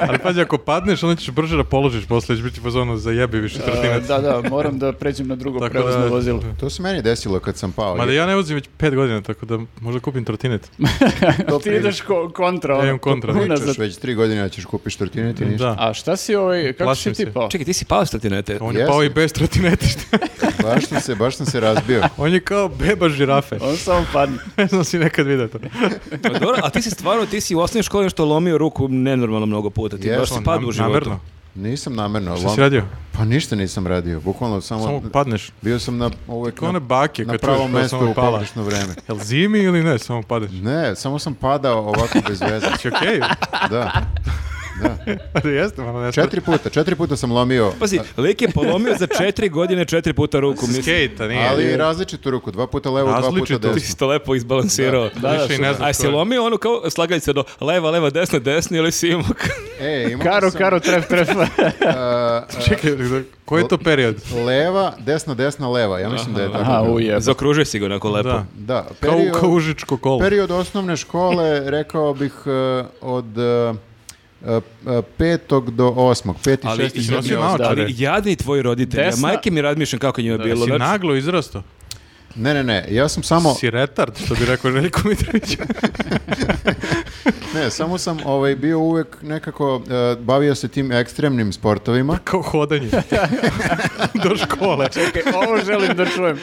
[SPEAKER 1] Ali pazi, ako padneš, onda ćeš brže da položiš, posle ćeš biti pozvano za jebi više
[SPEAKER 4] [laughs] Eh,
[SPEAKER 1] trotinet.
[SPEAKER 4] da, da, moram da pređem na drugo
[SPEAKER 1] Tako
[SPEAKER 4] prevozno
[SPEAKER 1] da- [laughs]
[SPEAKER 4] vozilo. [laughs]
[SPEAKER 3] To se meni desilo kad sam pao.
[SPEAKER 1] Mada ja ne vozim već pet godina, tako da možda kupim trotinet.
[SPEAKER 3] To
[SPEAKER 4] Ti ideš ko- kontra.
[SPEAKER 1] Ja
[SPEAKER 4] ono,
[SPEAKER 1] idem kontra,
[SPEAKER 4] to-
[SPEAKER 1] da.
[SPEAKER 3] pričaš
[SPEAKER 4] [laughs] unazad.
[SPEAKER 3] već tri godine da ćeš kupiš trotinet i ništa.
[SPEAKER 1] Da.
[SPEAKER 4] A šta si ovaj, kako
[SPEAKER 1] Plašim
[SPEAKER 4] si ti
[SPEAKER 1] se.
[SPEAKER 4] pao?
[SPEAKER 2] Čekaj, ti si pao s trotinete.
[SPEAKER 1] On je
[SPEAKER 3] Jeste.
[SPEAKER 1] pao i bez trotinetišta.
[SPEAKER 3] Baš sam se, baš sam se razbio.
[SPEAKER 1] On je kao beba žirafe.
[SPEAKER 4] On samo padne.
[SPEAKER 1] [laughs] Ne znam si nekad vidio to.
[SPEAKER 2] Dobro, a ti si stvarno, ti si u osnovnoj školi što lomio ruku nenormalno mnogo puta. Ti
[SPEAKER 3] Jesam,
[SPEAKER 2] baš si padu u životu.
[SPEAKER 1] Namerno.
[SPEAKER 3] Nisam namerno.
[SPEAKER 1] Šta
[SPEAKER 3] lom-
[SPEAKER 1] si radio?
[SPEAKER 3] Pa ništa nisam radio. Bukvalno samo,
[SPEAKER 1] Samo padneš.
[SPEAKER 3] bio sam na uvek
[SPEAKER 1] Kao
[SPEAKER 3] na,
[SPEAKER 1] one bake
[SPEAKER 3] na
[SPEAKER 1] kad čuješ
[SPEAKER 3] pravom
[SPEAKER 1] da
[SPEAKER 3] mestu
[SPEAKER 1] samo
[SPEAKER 3] u
[SPEAKER 1] pala.
[SPEAKER 3] pogrešno vreme.
[SPEAKER 1] Jel zimi ili ne, samo
[SPEAKER 3] [laughs]
[SPEAKER 1] padeš.
[SPEAKER 3] Ne, samo sam padao ovako bez veze.
[SPEAKER 1] Si okej? [laughs]
[SPEAKER 3] Da.
[SPEAKER 1] Ali jeste, malo nešto.
[SPEAKER 3] Četiri puta, četiri puta sam lomio,
[SPEAKER 2] Pazi, lik je polomio za četiri godine četiri puta ruku. Mislim,
[SPEAKER 1] Skate, a nije.
[SPEAKER 3] ali različitu ruku, dva puta levo, dva puta
[SPEAKER 1] Različitu.
[SPEAKER 2] ti
[SPEAKER 3] desno.
[SPEAKER 2] si to lepo izbalansirao.
[SPEAKER 1] da, Više i super. ne znam
[SPEAKER 2] A si
[SPEAKER 1] ko je.
[SPEAKER 2] lomio ono kao slagaljce do leva, leva, desna, desna ili si imao...
[SPEAKER 3] E, imao
[SPEAKER 4] Karo,
[SPEAKER 3] sam,
[SPEAKER 4] karo, tref, tref.
[SPEAKER 3] a,
[SPEAKER 1] [laughs] Čekaj, koji je to period?
[SPEAKER 3] leva, desna, desna, leva. Ja mislim da je tako.
[SPEAKER 4] Aha,
[SPEAKER 3] bilo.
[SPEAKER 2] [laughs]
[SPEAKER 4] ujeb.
[SPEAKER 2] Zaokružio si ga onako lepo.
[SPEAKER 1] Da.
[SPEAKER 3] Da,
[SPEAKER 1] Kao,
[SPEAKER 3] period,
[SPEAKER 1] kao užičko kolo.
[SPEAKER 3] period osnovne škole, rekao bih, e, od e, e, e, petog do osmog, peti,
[SPEAKER 2] Ali,
[SPEAKER 3] šesti,
[SPEAKER 1] si
[SPEAKER 3] sedmi,
[SPEAKER 1] nosio
[SPEAKER 3] osmi.
[SPEAKER 1] naočare?
[SPEAKER 2] Ali jadni tvoji roditelji. Ja
[SPEAKER 4] Desna-
[SPEAKER 2] majke mi razmišljam kako je njima bilo.
[SPEAKER 1] Si
[SPEAKER 2] znači-
[SPEAKER 1] naglo izrasto.
[SPEAKER 3] Ne, ne, ne, ja sam samo,
[SPEAKER 1] Si retard, što bi rekao Željko Mitrović. [laughs]
[SPEAKER 3] ne, samo sam ovaj, bio uvek nekako, e, bavio se tim ekstremnim sportovima.
[SPEAKER 1] kao
[SPEAKER 3] [laughs]
[SPEAKER 1] hodanje. Do škole.
[SPEAKER 4] Čekaj, ovo želim da čujem.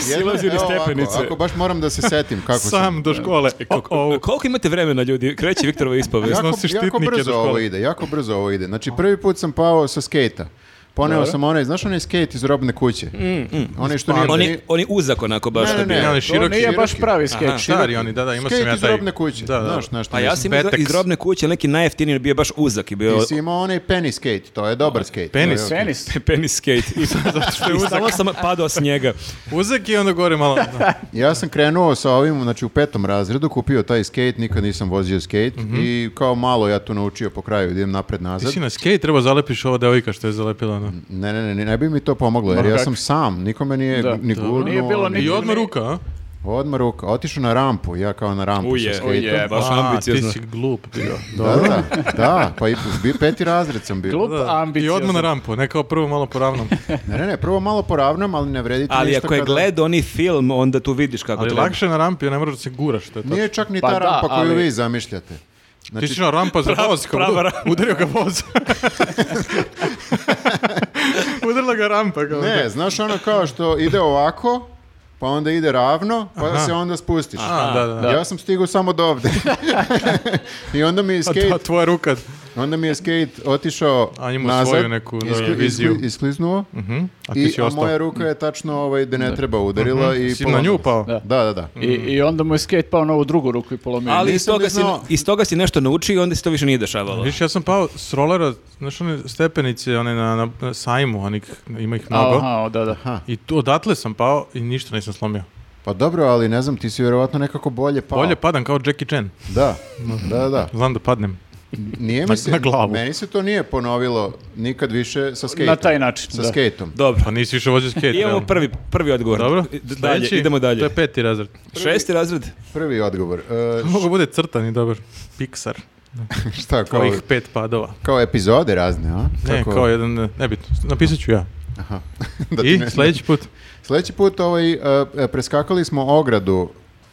[SPEAKER 3] Silazi
[SPEAKER 2] niz stepenice.
[SPEAKER 3] Ako, baš moram da se setim
[SPEAKER 1] [laughs]
[SPEAKER 3] kako sam.
[SPEAKER 1] Sam do škole. O, o,
[SPEAKER 2] Koliko imate vremena, ljudi? Kreće Viktorova
[SPEAKER 3] [laughs]
[SPEAKER 2] ispovest.
[SPEAKER 3] Jako,
[SPEAKER 1] Nosi
[SPEAKER 3] jako
[SPEAKER 1] štitnike do
[SPEAKER 3] brzo
[SPEAKER 1] škole.
[SPEAKER 3] ovo ide, jako brzo ovo ide. Znači, prvi put sam pao sa skejta. Poneo
[SPEAKER 4] Dobro.
[SPEAKER 3] sam onaj, znaš onaj skejt iz robne kuće?
[SPEAKER 1] Mm,
[SPEAKER 3] Onaj što
[SPEAKER 1] Pa
[SPEAKER 3] nije...
[SPEAKER 2] Oni, oni uzak onako baš
[SPEAKER 3] Ne,
[SPEAKER 2] to
[SPEAKER 3] ne, ne.
[SPEAKER 2] bio.
[SPEAKER 1] ne, oni
[SPEAKER 3] to
[SPEAKER 4] To
[SPEAKER 1] široki.
[SPEAKER 4] nije baš
[SPEAKER 3] široki.
[SPEAKER 4] pravi skeč.
[SPEAKER 2] Aha.
[SPEAKER 1] Stari oni, da, da, imao sam
[SPEAKER 3] Skejt
[SPEAKER 1] ja
[SPEAKER 3] iz
[SPEAKER 1] taj.
[SPEAKER 3] robne kuće,
[SPEAKER 1] Da, Pa da.
[SPEAKER 3] znaš, nešto.
[SPEAKER 2] A Pa ja
[SPEAKER 3] mislim.
[SPEAKER 2] sam iz,
[SPEAKER 1] Betex.
[SPEAKER 2] iz robne kuće, neki najjeftiniji jer bio baš uzak i bio
[SPEAKER 3] Ti si imao onaj penny skate, to je dobar skate.
[SPEAKER 1] Penis.
[SPEAKER 3] To je ok.
[SPEAKER 4] Penis.
[SPEAKER 2] [laughs] penis skate. I,
[SPEAKER 1] Zato što je
[SPEAKER 2] i
[SPEAKER 1] uzak.
[SPEAKER 2] samo sam padao s njega.
[SPEAKER 1] Uzak i onda gore
[SPEAKER 3] [laughs]
[SPEAKER 1] malo. Da.
[SPEAKER 3] Ja sam krenuo sa ovim, znači u petom razredu, kupio taj skate, nikad nisam vozio skate i kao malo ja to naučio po kraju, idem napred
[SPEAKER 1] Mhm. Ti
[SPEAKER 3] nazad.
[SPEAKER 1] si na skate, treba zalepiš ova devojka što je zalepila. Ono.
[SPEAKER 3] Ne, ne, ne, ne, ne bi mi to pomoglo, jer
[SPEAKER 4] Ma
[SPEAKER 3] ja
[SPEAKER 4] kak-
[SPEAKER 3] sam sam, nikome nije
[SPEAKER 4] Da.
[SPEAKER 3] ni gurnuo.
[SPEAKER 4] Nije bilo
[SPEAKER 3] ni-
[SPEAKER 4] ni-
[SPEAKER 1] I odmah ruka, a?
[SPEAKER 3] Pa Odmah ruka, otišao na rampu, ja kao na rampu
[SPEAKER 2] Uje,
[SPEAKER 3] sa skejtom.
[SPEAKER 4] uje.
[SPEAKER 2] Baš
[SPEAKER 1] A,
[SPEAKER 2] ambiciozno.
[SPEAKER 1] Pa, Ti si glup bio.
[SPEAKER 3] Da, da, da, pa i bi, peti razred sam bio.
[SPEAKER 4] Glup,
[SPEAKER 1] Da. I
[SPEAKER 4] ambiciozan.
[SPEAKER 1] odmah na rampu, ne kao prvo malo po ravnom.
[SPEAKER 3] Ne, ne, ne, prvo malo poravnam, ali ne vredi ti
[SPEAKER 2] Ali
[SPEAKER 3] ništa
[SPEAKER 2] ako je
[SPEAKER 3] kada-
[SPEAKER 2] gledao oni film, onda tu vidiš kako
[SPEAKER 1] Ali
[SPEAKER 2] treba.
[SPEAKER 1] lakše je na rampi, ne moraš da se guraš. To je to.
[SPEAKER 3] Nije čak ni ta
[SPEAKER 4] Pa da,
[SPEAKER 3] rampa koju
[SPEAKER 4] ali-
[SPEAKER 3] vi zamišljate.
[SPEAKER 1] Ti si na rampa za voz, kao
[SPEAKER 2] prava
[SPEAKER 1] udar-
[SPEAKER 2] rampa.
[SPEAKER 1] udario ga voz. Udarila ga rampa. Kao
[SPEAKER 3] Ne, znaš ono kao što ide ovako, pa onda ide ravno, pa se onda spustiš.
[SPEAKER 1] A, da, da.
[SPEAKER 3] Ja sam stigao samo do ovde. [laughs] I onda mi je
[SPEAKER 1] A
[SPEAKER 3] skate,
[SPEAKER 1] Pa da, tvoja ruka.
[SPEAKER 3] onda mi je skate otišao
[SPEAKER 1] A on ima
[SPEAKER 3] nazad,
[SPEAKER 1] svoju neku, da,
[SPEAKER 3] iskli-
[SPEAKER 1] viziju. Mhm.
[SPEAKER 3] iskli- iskliznuo,
[SPEAKER 1] A ti
[SPEAKER 3] i,
[SPEAKER 1] si
[SPEAKER 3] a
[SPEAKER 1] ostao. Mhm.
[SPEAKER 3] moja ruka je tačno ovaj, da ne treba udarila. i
[SPEAKER 1] Si na nju
[SPEAKER 3] polomila se.
[SPEAKER 1] pao.
[SPEAKER 3] Da,
[SPEAKER 4] Da.
[SPEAKER 3] da, da.
[SPEAKER 4] I, I onda mu je skate pao na ovu drugu ruku i polomio.
[SPEAKER 2] Ali iz
[SPEAKER 3] Nisam
[SPEAKER 2] toga,
[SPEAKER 3] ni
[SPEAKER 2] si,
[SPEAKER 3] znao.
[SPEAKER 2] iz toga si nešto naučio i onda se to više nije dešavalo.
[SPEAKER 1] Viš, ja sam pao s rolera, znaš one stepenice, one na, na, na sajmu, onih, ima ih mnogo.
[SPEAKER 4] Aha, o, da, da.
[SPEAKER 1] I tu, odatle sam pao i ništa nisam slomio.
[SPEAKER 3] Pa dobro, ali ne znam, ti si vjerovatno nekako bolje pao.
[SPEAKER 1] Bolje padam kao Jackie Chan.
[SPEAKER 3] Da, da, da, da.
[SPEAKER 1] Znam da padnem.
[SPEAKER 3] Nije
[SPEAKER 1] Na-
[SPEAKER 3] mi se,
[SPEAKER 1] na glavu.
[SPEAKER 3] Meni se to nije ponovilo nikad više sa skejtom.
[SPEAKER 4] Na taj način,
[SPEAKER 3] Sa
[SPEAKER 4] da.
[SPEAKER 3] skejtom.
[SPEAKER 2] Dobro.
[SPEAKER 1] Pa nisi više vođe skate.
[SPEAKER 2] Imamo
[SPEAKER 1] realno.
[SPEAKER 2] prvi, prvi odgovor.
[SPEAKER 1] Dobro,
[SPEAKER 2] D- Dalje,
[SPEAKER 1] Sljedeći,
[SPEAKER 2] idemo dalje.
[SPEAKER 1] To je peti razred.
[SPEAKER 2] Šesti razred.
[SPEAKER 3] Prvi odgovor. E,
[SPEAKER 1] Mogu bude crtan i dobar. Pixar.
[SPEAKER 3] šta, kao,
[SPEAKER 1] Tvojih pet padova.
[SPEAKER 3] kao epizode razne, a?
[SPEAKER 1] Ne,
[SPEAKER 3] Kako-
[SPEAKER 1] kao jedan, ne, nebitno. Napisat ću ja.
[SPEAKER 3] [laughs] da ti
[SPEAKER 1] I
[SPEAKER 3] ne-
[SPEAKER 1] sljedeći put.
[SPEAKER 3] Sljedeći put ovaj, e, e, preskakali smo ogradu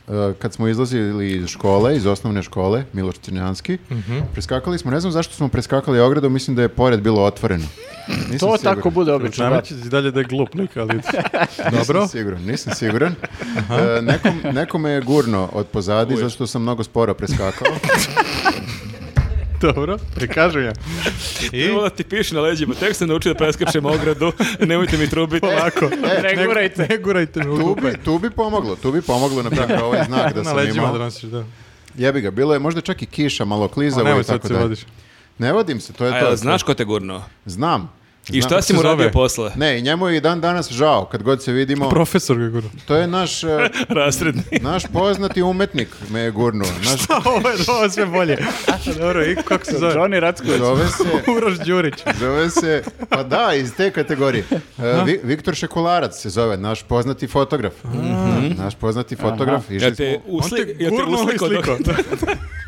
[SPEAKER 3] e, kad smo izlazili iz škole, iz osnovne škole, Miloš Crnjanski,
[SPEAKER 1] Mhm.
[SPEAKER 3] preskakali smo, ne znam zašto smo preskakali ogradu, mislim da je pored bilo otvoreno. Nisam
[SPEAKER 4] To
[SPEAKER 3] siguran.
[SPEAKER 4] tako bude obično.
[SPEAKER 1] Nama
[SPEAKER 4] brate.
[SPEAKER 1] će i dalje da je glupnik, ali dobro.
[SPEAKER 3] Nisam siguran, nisam siguran. E, nekom, neko me je gurno od pozadi, zato što sam mnogo sporo preskakao.
[SPEAKER 1] Dobro, prikažem [laughs] ja.
[SPEAKER 2] [laughs]
[SPEAKER 1] I
[SPEAKER 2] Evo da ti piše na leđima, tek sam naučio da preskačem
[SPEAKER 1] [laughs]
[SPEAKER 2] ogradu, nemojte mi trubiti.
[SPEAKER 1] polako.
[SPEAKER 4] Ne gurajte.
[SPEAKER 1] Ne gurajte me u
[SPEAKER 3] Tu
[SPEAKER 1] dupe.
[SPEAKER 3] bi, tu bi pomoglo, tu bi pomoglo, na primjer, ovaj znak
[SPEAKER 1] [laughs]
[SPEAKER 3] da
[SPEAKER 1] Na
[SPEAKER 3] sam
[SPEAKER 1] leđima da
[SPEAKER 3] imao.
[SPEAKER 1] nosiš, da.
[SPEAKER 3] Jebi ga, bilo je možda čak i kiša, malo
[SPEAKER 1] A
[SPEAKER 3] klizavo
[SPEAKER 1] nemoj
[SPEAKER 3] i
[SPEAKER 1] sad
[SPEAKER 3] tako
[SPEAKER 1] se
[SPEAKER 3] dalje.
[SPEAKER 1] vodiš.
[SPEAKER 3] Ne vodim se, to je
[SPEAKER 2] A
[SPEAKER 3] to.
[SPEAKER 2] jel znaš ko te gurno?
[SPEAKER 3] Znam.
[SPEAKER 2] I
[SPEAKER 3] Znam.
[SPEAKER 2] šta si
[SPEAKER 1] se
[SPEAKER 2] mu radio
[SPEAKER 1] zove?
[SPEAKER 2] posle?
[SPEAKER 3] Ne, i njemu je i dan danas žao kad god se vidimo.
[SPEAKER 1] Profesor ga gura. [laughs]
[SPEAKER 3] To je naš, e,
[SPEAKER 2] Rasredni.
[SPEAKER 3] naš poznati umetnik me je gurnuo. Naš,
[SPEAKER 1] ovo je ovo je sve bolje. Dobro, i kako se zove?
[SPEAKER 4] Johnny Racković.
[SPEAKER 3] zove se...
[SPEAKER 1] [laughs] Uroš Đurić.
[SPEAKER 3] Zove se, pa da, iz te kategorije. E, Vi- Viktor Šekularac se zove, naš poznati fotograf. Naš poznati fotograf. Išli
[SPEAKER 2] Jel te
[SPEAKER 3] smo-
[SPEAKER 1] On
[SPEAKER 2] usli...
[SPEAKER 1] Mhm. te
[SPEAKER 2] Jel te
[SPEAKER 1] gurnuo i
[SPEAKER 2] uslikao
[SPEAKER 1] sliko.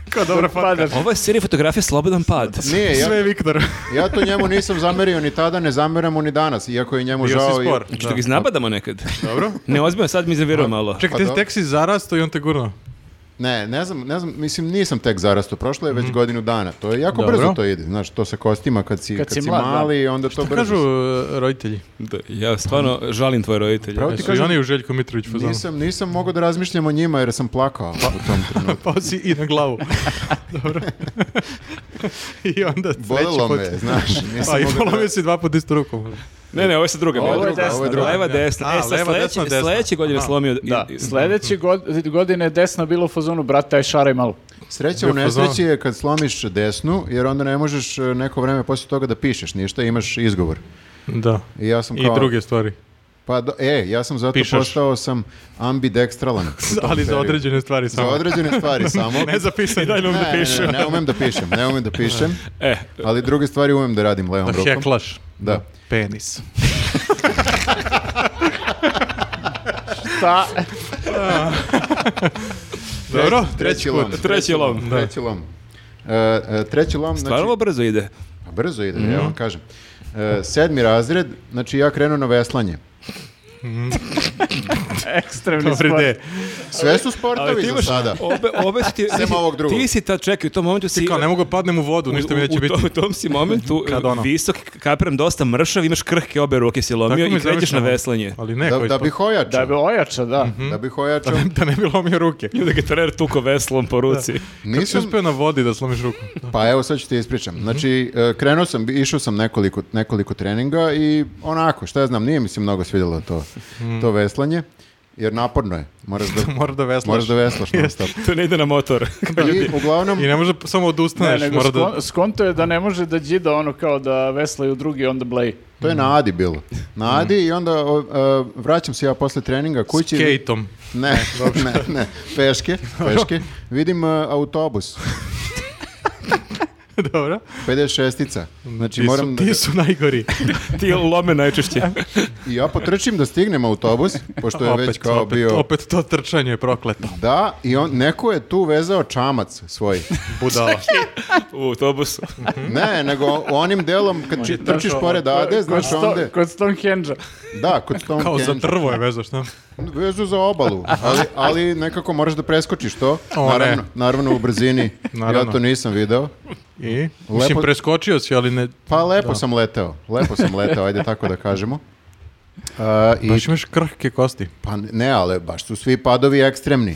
[SPEAKER 1] Kao dobra fatka.
[SPEAKER 4] Padaš.
[SPEAKER 2] Ovo je serija fotografija Slobodan pad.
[SPEAKER 3] Nije, ja,
[SPEAKER 1] Sve je Viktor.
[SPEAKER 3] ja to njemu nisam zamerio ni tada, ne zameram mu ni danas, iako je njemu
[SPEAKER 1] Bio
[SPEAKER 3] žao.
[SPEAKER 1] si
[SPEAKER 3] i-
[SPEAKER 1] spor.
[SPEAKER 2] Što ga iznabadamo nekad.
[SPEAKER 1] Dobro.
[SPEAKER 2] [laughs] Ne, ozbiljno, sad mi iznervirao malo.
[SPEAKER 1] Čekaj,
[SPEAKER 3] Pa
[SPEAKER 1] te,
[SPEAKER 3] dobro.
[SPEAKER 1] tek si zarasto i on te gurno.
[SPEAKER 3] Ne, ne znam, ne znam, mislim nisam tek zarasto, prošlo je već godinu dana. To je jako
[SPEAKER 1] Mhm. Dobro.
[SPEAKER 3] brzo to ide, znaš, to sa kostima kad si,
[SPEAKER 4] Kad
[SPEAKER 3] kad
[SPEAKER 4] si
[SPEAKER 3] si,
[SPEAKER 4] mlad, da.
[SPEAKER 3] mali, onda to brzo.
[SPEAKER 1] Kažu e, roditelji.
[SPEAKER 2] Da, ja stvarno žalim tvoje roditelje.
[SPEAKER 3] Pravo ti
[SPEAKER 1] Jesu i
[SPEAKER 3] kažem,
[SPEAKER 1] oni u Željko Mitrović fazonu. [laughs]
[SPEAKER 3] nisam, nisam mogao da razmišljam o njima jer sam plakao u tom trenutku.
[SPEAKER 1] Pao Pa si i na glavu.
[SPEAKER 3] [laughs]
[SPEAKER 1] Dobro. [laughs] I onda sledeći
[SPEAKER 3] Bolelo
[SPEAKER 1] put.
[SPEAKER 3] me, znaš, nisam
[SPEAKER 1] Pa i
[SPEAKER 3] mogao da-
[SPEAKER 1] bolelo me si dva puta isto rukom.
[SPEAKER 2] Ne, ne, ovo je sa druga.
[SPEAKER 3] Ovo je
[SPEAKER 2] bila.
[SPEAKER 4] druga, ovo je druga.
[SPEAKER 2] Leva,
[SPEAKER 1] Da.
[SPEAKER 2] desna.
[SPEAKER 1] A,
[SPEAKER 2] e, sad
[SPEAKER 1] leva,
[SPEAKER 2] sledeće-
[SPEAKER 1] desna, desna.
[SPEAKER 2] sledeće godine
[SPEAKER 1] Aha.
[SPEAKER 2] slomio... i-
[SPEAKER 4] Da,
[SPEAKER 2] i-
[SPEAKER 4] sledeće god- godine je desna bilo u fazonu, brate, aj šaraj malo.
[SPEAKER 3] Sreća
[SPEAKER 1] Bio
[SPEAKER 3] u nesreći je kad slomiš desnu, jer onda ne možeš e, neko vreme poslije toga da pišeš ništa, imaš izgovor.
[SPEAKER 1] Da.
[SPEAKER 3] I ja sam
[SPEAKER 1] I
[SPEAKER 3] kao...
[SPEAKER 1] druge stvari.
[SPEAKER 3] Pa, do- e, ja sam zato
[SPEAKER 1] Pišeš.
[SPEAKER 3] postao sam
[SPEAKER 1] [laughs]
[SPEAKER 3] ambidekstralan. u tom
[SPEAKER 1] Ali za
[SPEAKER 3] periodu.
[SPEAKER 1] određene stvari
[SPEAKER 3] Za
[SPEAKER 1] samo.
[SPEAKER 3] određene
[SPEAKER 1] [laughs]
[SPEAKER 3] stvari samo.
[SPEAKER 1] Ne za pisanje. Daj nam
[SPEAKER 3] Ne, ne, ne, ne umem da pišem, ne umem da pišem,
[SPEAKER 1] [laughs]
[SPEAKER 2] E,
[SPEAKER 3] ali druge stvari umem da radim levom
[SPEAKER 1] Da
[SPEAKER 3] rukom.
[SPEAKER 1] heklaš.
[SPEAKER 3] Da.
[SPEAKER 1] Penis.
[SPEAKER 4] Šta?
[SPEAKER 1] Dobro.
[SPEAKER 3] Treći lom.
[SPEAKER 2] treći lom.
[SPEAKER 3] Treći lom. E, e, treći lom,
[SPEAKER 2] Stvarno ovo
[SPEAKER 3] znači,
[SPEAKER 2] brzo ide.
[SPEAKER 3] a brzo ide,
[SPEAKER 1] Mhm.
[SPEAKER 3] ja vam kažem. E, sedmi razred, znači ja krenuo na veslanje.
[SPEAKER 4] Ekstremni
[SPEAKER 1] Dobri
[SPEAKER 4] sport.
[SPEAKER 1] de.
[SPEAKER 3] Sve su sportovi za sada.
[SPEAKER 2] [laughs] Obe, obe su ti...
[SPEAKER 3] Sem
[SPEAKER 2] ti-
[SPEAKER 3] ovog drugog.
[SPEAKER 2] Ti si ta, čekaj, u tom momentu si...
[SPEAKER 1] Kao ne mogu da padnem u vodu, ništa mi
[SPEAKER 2] u-
[SPEAKER 1] neće
[SPEAKER 2] u,
[SPEAKER 1] biti.
[SPEAKER 2] tom, u tom si momentu
[SPEAKER 1] [laughs] Kad ono.
[SPEAKER 2] visok, kapiram dosta mršav, imaš krhke obe ruke si lomio
[SPEAKER 1] mi
[SPEAKER 2] i krećeš na
[SPEAKER 1] zamišljamo. [laughs]
[SPEAKER 2] veslanje.
[SPEAKER 1] Ali ne,
[SPEAKER 3] Da,
[SPEAKER 1] koji
[SPEAKER 3] da
[SPEAKER 1] sport.
[SPEAKER 3] bih ojačao.
[SPEAKER 4] Da bi ojača, da.
[SPEAKER 1] Mhm.
[SPEAKER 3] Da bih ojačao.
[SPEAKER 1] Hmm? [laughs] Da ne bi lomio ruke.
[SPEAKER 2] I onda ga trener tuko veslom po ruci.
[SPEAKER 1] Nisi
[SPEAKER 3] Nisam,
[SPEAKER 1] uspio na vodi da slomiš [laughs] ruku.
[SPEAKER 3] pa evo sad ću ti
[SPEAKER 1] Hmm?
[SPEAKER 3] ispričam. Znači, e, krenuo sam, išao sam nekoliko, nekoliko treninga i onako, šta ja znam, nije mi se mnogo svidjelo to,
[SPEAKER 1] Hmm.
[SPEAKER 3] to veslanje, jer naporno je.
[SPEAKER 1] [laughs]
[SPEAKER 3] Moraš da,
[SPEAKER 1] Mora da veslaš.
[SPEAKER 3] moraš da veslaš
[SPEAKER 1] [laughs]
[SPEAKER 3] non stop.
[SPEAKER 2] to ne ide na motor. [laughs]
[SPEAKER 3] I uglavnom,
[SPEAKER 1] I ne može samo
[SPEAKER 4] Ne,
[SPEAKER 1] odustaneš.
[SPEAKER 4] nego
[SPEAKER 1] mora da...
[SPEAKER 4] skon- skonto je da ne može da džida ono kao da veslaju drugi onda bleji.
[SPEAKER 3] to je na Adi bilo.
[SPEAKER 1] Hmm.
[SPEAKER 3] Na Adi i onda o, e, vraćam se ja posle treninga kući.
[SPEAKER 1] Kejtom. [laughs]
[SPEAKER 3] Ne, ne, ne, peške, peške. Vidim e,
[SPEAKER 1] [laughs]
[SPEAKER 3] autobus,
[SPEAKER 1] Dobro.
[SPEAKER 3] 56-ica. Znači,
[SPEAKER 1] Ti
[SPEAKER 3] moram
[SPEAKER 1] su,
[SPEAKER 3] da-
[SPEAKER 1] ti su najgori.
[SPEAKER 2] Ti lome najčešće.
[SPEAKER 3] I ja potrčim da stignem autobus, pošto je već
[SPEAKER 1] opet,
[SPEAKER 3] kao
[SPEAKER 1] opet,
[SPEAKER 3] bio...
[SPEAKER 1] opet to trčanje je prokleto.
[SPEAKER 3] [laughs] Da, i on, neko je tu vezao čamac svoj.
[SPEAKER 1] Budala.
[SPEAKER 2] u autobusu.
[SPEAKER 3] Ne, nego onim delom kad či, trčiš pored Ade, znaš
[SPEAKER 4] Kod sto-
[SPEAKER 3] onde.
[SPEAKER 4] Kod Stonehenge-a.
[SPEAKER 3] Da, kod Tom
[SPEAKER 1] Kao za
[SPEAKER 3] Kenji.
[SPEAKER 1] drvo je vezaš, šta?
[SPEAKER 3] Vezu za obalu, ali, ali nekako moraš da preskočiš to.
[SPEAKER 1] O, ne.
[SPEAKER 3] naravno, naravno u brzini.
[SPEAKER 1] Naravno.
[SPEAKER 3] Ja to nisam video.
[SPEAKER 1] I? Mislim, preskočio si, ali ne...
[SPEAKER 3] Pa lepo sam leteo. Lepo sam leteo, ajde tako da kažemo. A, i,
[SPEAKER 1] Baš imaš krhke kosti.
[SPEAKER 3] pa ne, ali baš su svi padovi ekstremni.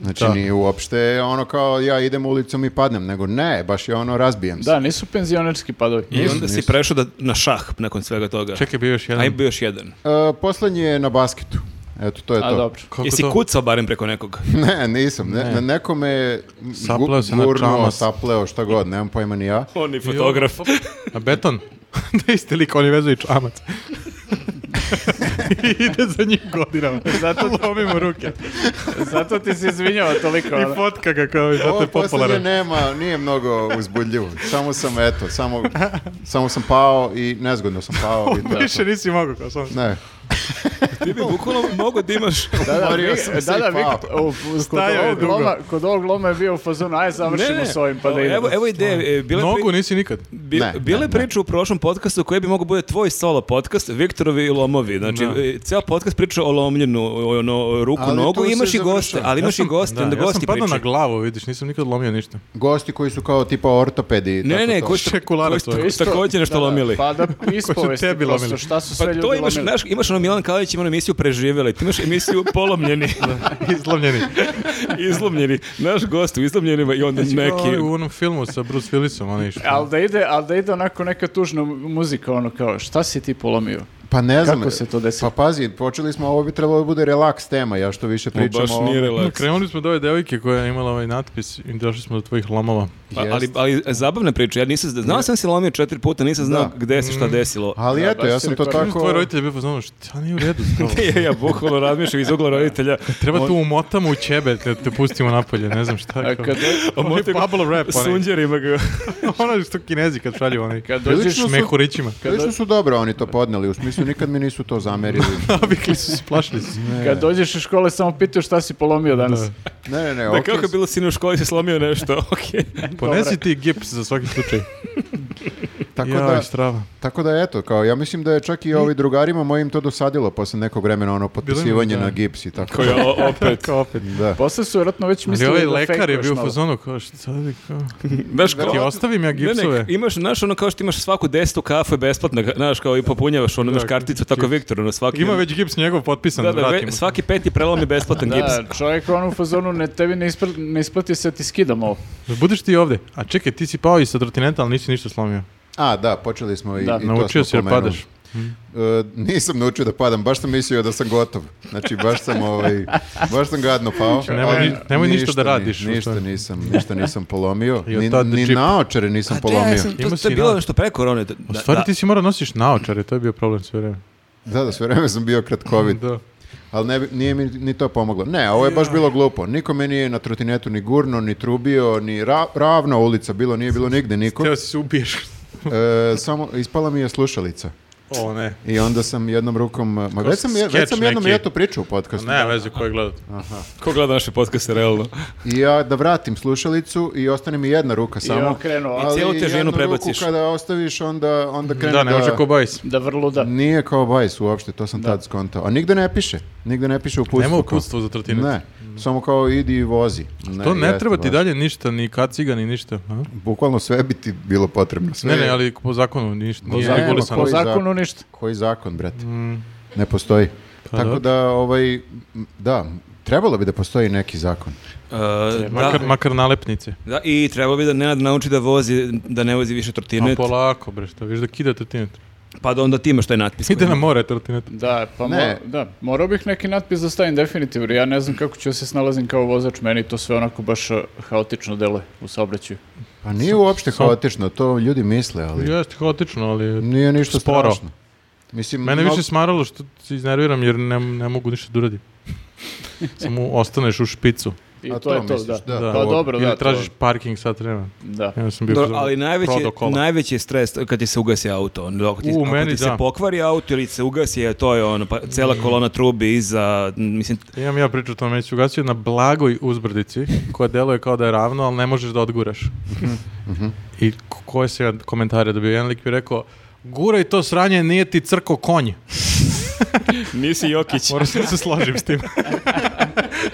[SPEAKER 3] Znači,
[SPEAKER 1] Da.
[SPEAKER 3] nije uopšte ono kao ja idem ulicom i padnem, nego ne, baš je ono razbijem se.
[SPEAKER 4] Da, nisu penzionerski padovi.
[SPEAKER 2] I onda si prešao da, na šah nakon svega toga.
[SPEAKER 1] Čekaj, bio još jedan.
[SPEAKER 2] Aj, bio još jedan.
[SPEAKER 3] E, poslednji je na basketu. Eto, to je
[SPEAKER 4] A
[SPEAKER 3] to.
[SPEAKER 4] dobro.
[SPEAKER 1] Kako
[SPEAKER 2] Jesi
[SPEAKER 1] to?
[SPEAKER 2] kucao barem preko
[SPEAKER 1] [laughs]
[SPEAKER 2] nekog?
[SPEAKER 3] [laughs] Ne, nisam. Ne, ne. Neko me je
[SPEAKER 1] Sapleo
[SPEAKER 3] gu-
[SPEAKER 1] se na
[SPEAKER 3] gurnuo,
[SPEAKER 1] čamac.
[SPEAKER 3] sapleo, šta god, nemam pojma ni ja.
[SPEAKER 2] On je fotograf.
[SPEAKER 1] A beton? [laughs] da isti lik, on je vezao i
[SPEAKER 2] [laughs]
[SPEAKER 1] čamac. I ide za njim godinama. Zato lomimo ruke.
[SPEAKER 4] Zato ti se izvinjava toliko. ono.
[SPEAKER 1] I fotka ga kao i zato
[SPEAKER 3] Ovo
[SPEAKER 1] je
[SPEAKER 3] poslednje
[SPEAKER 1] popularan. [laughs]
[SPEAKER 3] nema, nije mnogo uzbudljivo. Samo sam, eto, samo,
[SPEAKER 1] [laughs]
[SPEAKER 3] samo sam pao i nezgodno sam pao. I to je to.
[SPEAKER 1] Više nisi mogao kao sam.
[SPEAKER 3] Ne,
[SPEAKER 2] Ti bi bukvalno mogao da
[SPEAKER 1] [laughs]
[SPEAKER 2] imaš...
[SPEAKER 4] Da, da,
[SPEAKER 3] Umorio
[SPEAKER 4] vi-
[SPEAKER 3] sam
[SPEAKER 4] da,
[SPEAKER 3] se i
[SPEAKER 4] da, vi
[SPEAKER 3] pao.
[SPEAKER 4] kod- u- kod,
[SPEAKER 1] Stajao je
[SPEAKER 4] ovog
[SPEAKER 1] dugo.
[SPEAKER 4] loma, kod ovog loma je bio u fazonu, aj završimo
[SPEAKER 2] Ne, ne,
[SPEAKER 4] s ovim pa da idemo.
[SPEAKER 2] Evo, evo ideje. e, Bila je pri-
[SPEAKER 1] Nogu nisi nikad.
[SPEAKER 2] Bi,
[SPEAKER 3] Ne,
[SPEAKER 2] bila je
[SPEAKER 3] ne, ne.
[SPEAKER 2] priča u prošlom podcastu koji bi mogao bude tvoj solo podcast, Viktorovi lomovi. Znači, e, ceo podcast priča o lomljenu, o- ono, ruku,
[SPEAKER 3] Ali
[SPEAKER 2] nogu,
[SPEAKER 3] tu se
[SPEAKER 2] imaš i
[SPEAKER 3] završava.
[SPEAKER 2] goste, ali imaš i goste, onda
[SPEAKER 1] ja sam
[SPEAKER 2] gosti
[SPEAKER 1] padao na
[SPEAKER 2] pričaju.
[SPEAKER 1] glavu, vidiš, nisam nikad lomio ništa. [laughs]
[SPEAKER 3] Gosti koji su kao tipa ortopedi. i
[SPEAKER 2] Ne, ne,
[SPEAKER 3] tako
[SPEAKER 2] ne,
[SPEAKER 3] to.
[SPEAKER 2] koji su,
[SPEAKER 1] Šekulara
[SPEAKER 2] koji su
[SPEAKER 1] tvoja.
[SPEAKER 4] Isto-
[SPEAKER 2] takođe nešto
[SPEAKER 4] da, da,
[SPEAKER 2] lomili.
[SPEAKER 4] Pa da ispovesti
[SPEAKER 1] tebi
[SPEAKER 4] prosto,
[SPEAKER 1] lomili?
[SPEAKER 4] šta su sve
[SPEAKER 2] Pa
[SPEAKER 4] ljudi
[SPEAKER 2] to imaš,
[SPEAKER 4] lomili.
[SPEAKER 2] znaš, imaš ono Milan Kalić ima onu emisiju preživjeli, ti imaš
[SPEAKER 1] [laughs]
[SPEAKER 2] emisiju polomljeni,
[SPEAKER 1] [laughs] Izlomljeni.
[SPEAKER 2] Znači, izlomljeni, naš gost u izlomljenima i onda neki.
[SPEAKER 1] Neki. Znači, ovaj, U onom filmu sa Bruce Willisom, ono išlo.
[SPEAKER 4] Ali da ide, ali da ide onako neka tužna muzika, ono kao, šta si ti polomio?
[SPEAKER 3] Pa ne znam.
[SPEAKER 4] Kako se to desilo?
[SPEAKER 3] Pa pazi, počeli smo, ovo bi trebalo da bude relaks tema, ja što više
[SPEAKER 2] Ma
[SPEAKER 3] pričam
[SPEAKER 2] baš
[SPEAKER 3] o ovom.
[SPEAKER 2] nije relaks.
[SPEAKER 1] Krenuli smo do ove devojke koja je imala ovaj natpis i došli smo do tvojih lomova.
[SPEAKER 2] Pa,
[SPEAKER 3] Jest.
[SPEAKER 2] ali, ali zabavna priča, ja nisam, zna- znao sam se lomio četiri puta, nisam znao
[SPEAKER 3] Da.
[SPEAKER 2] gde se
[SPEAKER 1] Mm.
[SPEAKER 2] šta
[SPEAKER 1] [laughs]
[SPEAKER 2] desilo. [laughs]
[SPEAKER 3] Ali
[SPEAKER 4] Da,
[SPEAKER 3] eto,
[SPEAKER 4] baš
[SPEAKER 3] ja
[SPEAKER 4] si
[SPEAKER 3] sam to
[SPEAKER 4] rekao,
[SPEAKER 1] Tako... Tvoj
[SPEAKER 3] tako...
[SPEAKER 1] roditelj je bio pozvano, šta ono nije u redu? s tobom?"
[SPEAKER 2] ja, ja bukvalno razmišljam iz ugla roditelja.
[SPEAKER 1] Treba tu umotamo u ćebe, te, te pustimo napolje, ne znam šta.
[SPEAKER 4] A
[SPEAKER 1] kao.
[SPEAKER 4] E, kad,
[SPEAKER 1] Onaj
[SPEAKER 2] Omote ga-
[SPEAKER 1] bubble wrap, onaj,
[SPEAKER 2] Sunđerima ga.
[SPEAKER 1] [laughs] ono što kinezi kad šalju onaj,
[SPEAKER 4] kad dođeš,
[SPEAKER 3] Prilično
[SPEAKER 1] s
[SPEAKER 3] su-
[SPEAKER 1] mehurićima.
[SPEAKER 3] Prilično su dobro oni to podneli, u smislu nikad mi nisu to zamerili.
[SPEAKER 2] [laughs]
[SPEAKER 1] Navikli su se, plašili su.
[SPEAKER 4] [laughs] kad dođeš iz škole samo pitaju šta si polomio danas.
[SPEAKER 3] Ne, ne, ne,
[SPEAKER 2] Da
[SPEAKER 3] okej
[SPEAKER 2] kako je bilo sinu u školi se slomio nešto, [laughs] okej.
[SPEAKER 1] Ponesi ti gips za svaki slučaj.
[SPEAKER 3] Tako
[SPEAKER 1] Jao,
[SPEAKER 3] da,
[SPEAKER 1] strava.
[SPEAKER 3] tako da eto, kao ja mislim da je čak i ovi drugarima mojim to dosadilo posle nekog vremena ono potpisivanje
[SPEAKER 1] da.
[SPEAKER 3] na gips i tako.
[SPEAKER 2] Koji je
[SPEAKER 1] [laughs]
[SPEAKER 2] o- opet.
[SPEAKER 1] Kao opet.
[SPEAKER 3] Da.
[SPEAKER 4] Posle su vjerojatno već
[SPEAKER 1] Ali
[SPEAKER 4] mislili
[SPEAKER 1] ovaj
[SPEAKER 4] da
[SPEAKER 1] lekar je
[SPEAKER 4] fejkuješ
[SPEAKER 1] bio u
[SPEAKER 4] malo.
[SPEAKER 1] fazonu, kao šta bi, kao...
[SPEAKER 2] Znaš kao-
[SPEAKER 1] Ti ostavim ja
[SPEAKER 2] Ne,
[SPEAKER 1] gipsove.
[SPEAKER 2] ne, imaš, znaš, ono kao što imaš svaku desetu kafu je besplatna, znaš, kao i popunjavaš, ono, imaš
[SPEAKER 1] Da,
[SPEAKER 2] karticu, tako Viktor, ono, svaki...
[SPEAKER 1] Ima već gips njegov potpisan,
[SPEAKER 2] Da,
[SPEAKER 1] da,
[SPEAKER 2] da, ve-
[SPEAKER 1] vratimo.
[SPEAKER 2] svaki peti prelom je besplatan gips.
[SPEAKER 4] Da, čovjek ono u fazonu, ne, tebi ne, ispra- ne isplati se, ti skidam ovo.
[SPEAKER 1] Budeš ti ovde. A čekaj, ti si pao i sa trotineta, ali nisi ništa slomio.
[SPEAKER 3] A, da, počeli smo i,
[SPEAKER 4] Da,
[SPEAKER 3] i to
[SPEAKER 1] Naučio si
[SPEAKER 3] smo
[SPEAKER 1] jer
[SPEAKER 3] pomenuli.
[SPEAKER 1] padaš.
[SPEAKER 3] E, nisam naučio da padam, baš sam mislio da sam gotov. Znači, baš sam, ovaj, baš sam gadno pao.
[SPEAKER 1] nemoj
[SPEAKER 3] ali
[SPEAKER 1] ni- nemoj ništa da
[SPEAKER 3] ni-
[SPEAKER 1] radiš, u
[SPEAKER 3] Ništa
[SPEAKER 1] stvari.
[SPEAKER 3] nisam, ništa nisam polomio.
[SPEAKER 1] I od
[SPEAKER 3] Ni,
[SPEAKER 1] tad
[SPEAKER 3] ni
[SPEAKER 1] džip.
[SPEAKER 3] naočare nisam
[SPEAKER 2] Da, ja
[SPEAKER 3] polomio.
[SPEAKER 2] sam- to-
[SPEAKER 1] Imao
[SPEAKER 2] to je
[SPEAKER 1] si,
[SPEAKER 2] bilo
[SPEAKER 1] da.
[SPEAKER 2] nešto pre korone. Da,
[SPEAKER 1] U stvari
[SPEAKER 2] da.
[SPEAKER 1] ti si morao nosiš naočare, to je bio problem sve vreme.
[SPEAKER 3] Da, da, sve vreme sam bio kratkovid.
[SPEAKER 1] Da.
[SPEAKER 3] Ali ne, bi- nije mi ni to pomoglo. Ne, ovo je baš bilo glupo. Niko me nije na trotinetu ni gurno, ni trubio, ni ra- ravna ulica bilo, nije bilo nigde niko.
[SPEAKER 1] Teo si se ubiješ.
[SPEAKER 3] E, samo ispala mi je slušalica.
[SPEAKER 1] O ne.
[SPEAKER 3] I onda sam jednom rukom... Ma već sam, je- već
[SPEAKER 1] skeč
[SPEAKER 3] sam jednom
[SPEAKER 1] neki.
[SPEAKER 3] ja to pričao u podcastu.
[SPEAKER 1] Ne, veze koje gledate.
[SPEAKER 2] Ko gleda naše
[SPEAKER 1] [laughs]
[SPEAKER 2] podcaste, realno?
[SPEAKER 3] I ja da vratim slušalicu i ostane mi jedna ruka samo.
[SPEAKER 4] okrenuo,
[SPEAKER 2] I cijelu
[SPEAKER 3] Ali
[SPEAKER 2] težinu
[SPEAKER 3] jednu ruku
[SPEAKER 2] prebaciš.
[SPEAKER 3] kada ostaviš, onda, onda krene
[SPEAKER 1] Da, ne može ko bajs.
[SPEAKER 4] Da vrlo da.
[SPEAKER 3] Nije kao bajs uopšte, to sam tad skontao. A nigde ne piše. Nigde ne piše uputstvo.
[SPEAKER 1] Nema
[SPEAKER 3] kao.
[SPEAKER 1] uputstvo za trotinet.
[SPEAKER 3] Ne, samo kao idi i vozi.
[SPEAKER 1] To ne
[SPEAKER 3] jeste
[SPEAKER 1] treba ti
[SPEAKER 3] baš.
[SPEAKER 1] dalje ništa, ni kaciga, ni ništa. a?
[SPEAKER 3] Bukvalno sve bi ti bilo potrebno. Sve.
[SPEAKER 1] Ne, ne, ali po zakonu ništa. nije
[SPEAKER 3] zakonu,
[SPEAKER 1] regulisano.
[SPEAKER 4] Po
[SPEAKER 3] koji
[SPEAKER 4] zakonu
[SPEAKER 3] zakon?
[SPEAKER 4] ništa.
[SPEAKER 3] Koji zakon, brate? Ne postoji.
[SPEAKER 1] Mm. Pa
[SPEAKER 3] Tako
[SPEAKER 1] dobro.
[SPEAKER 3] da, ovaj, m, da, trebalo bi da postoji neki zakon.
[SPEAKER 2] E, da,
[SPEAKER 1] Makar, makar nalepnice.
[SPEAKER 2] da, i treba bi da Nenad nauči da vozi, da ne vozi više
[SPEAKER 1] A
[SPEAKER 2] trotinet,
[SPEAKER 1] polako, bre, što viš da kida trotinet.
[SPEAKER 2] pa da onda ti imaš taj natpis.
[SPEAKER 1] Ide
[SPEAKER 2] koji-
[SPEAKER 1] na more trotinet.
[SPEAKER 4] Da, pa
[SPEAKER 3] Ne.
[SPEAKER 4] mora- da, morao bih neki natpis da stavim definitivno. Ja ne znam kako ću da se snalazim kao vozač, meni to sve onako baš uh, haotično dele u saobraćaju.
[SPEAKER 3] Pa nije uopšte
[SPEAKER 1] sam-
[SPEAKER 3] haotično, to ljudi misle, ali
[SPEAKER 1] Jeste haotično, ali...
[SPEAKER 3] nije ništa
[SPEAKER 1] Sporo.
[SPEAKER 3] strašno. Mislim,
[SPEAKER 1] Mene
[SPEAKER 3] mno-
[SPEAKER 1] više smaralo što se iznerviram jer ne, ne mogu ništa da uradim. Samo ostaneš u špicu.
[SPEAKER 4] I
[SPEAKER 3] A
[SPEAKER 4] to, je to,
[SPEAKER 3] misliš,
[SPEAKER 4] da.
[SPEAKER 1] Da.
[SPEAKER 4] Pa dobro,
[SPEAKER 1] Ili
[SPEAKER 4] da. to-
[SPEAKER 1] tražiš parking sat vremena.
[SPEAKER 4] Da.
[SPEAKER 1] Ja sam bio
[SPEAKER 2] Dobro,
[SPEAKER 1] pozvan-
[SPEAKER 2] ali najveći,
[SPEAKER 1] prodao kola.
[SPEAKER 2] najveći je stres kad ti se ugasi auto. ono, Dok ti,
[SPEAKER 1] U,
[SPEAKER 2] ako
[SPEAKER 1] meni
[SPEAKER 2] ti se
[SPEAKER 1] da.
[SPEAKER 2] pokvari auto ili se ugasi, a to je ono, pa cela kolona trubi iza, m, mislim,
[SPEAKER 1] Imam ja priču o tome, već ugasio na blagoj uzbrdici, koja deluje kao da je ravno, ali ne možeš da odguraš. I ko- koje se ja komentare dobio? Jedan lik mi je rekao, guraj to sranje, nije ti crko konj.
[SPEAKER 2] nisi [laughs] Jokić.
[SPEAKER 1] Moram se da se složim s tim. [laughs]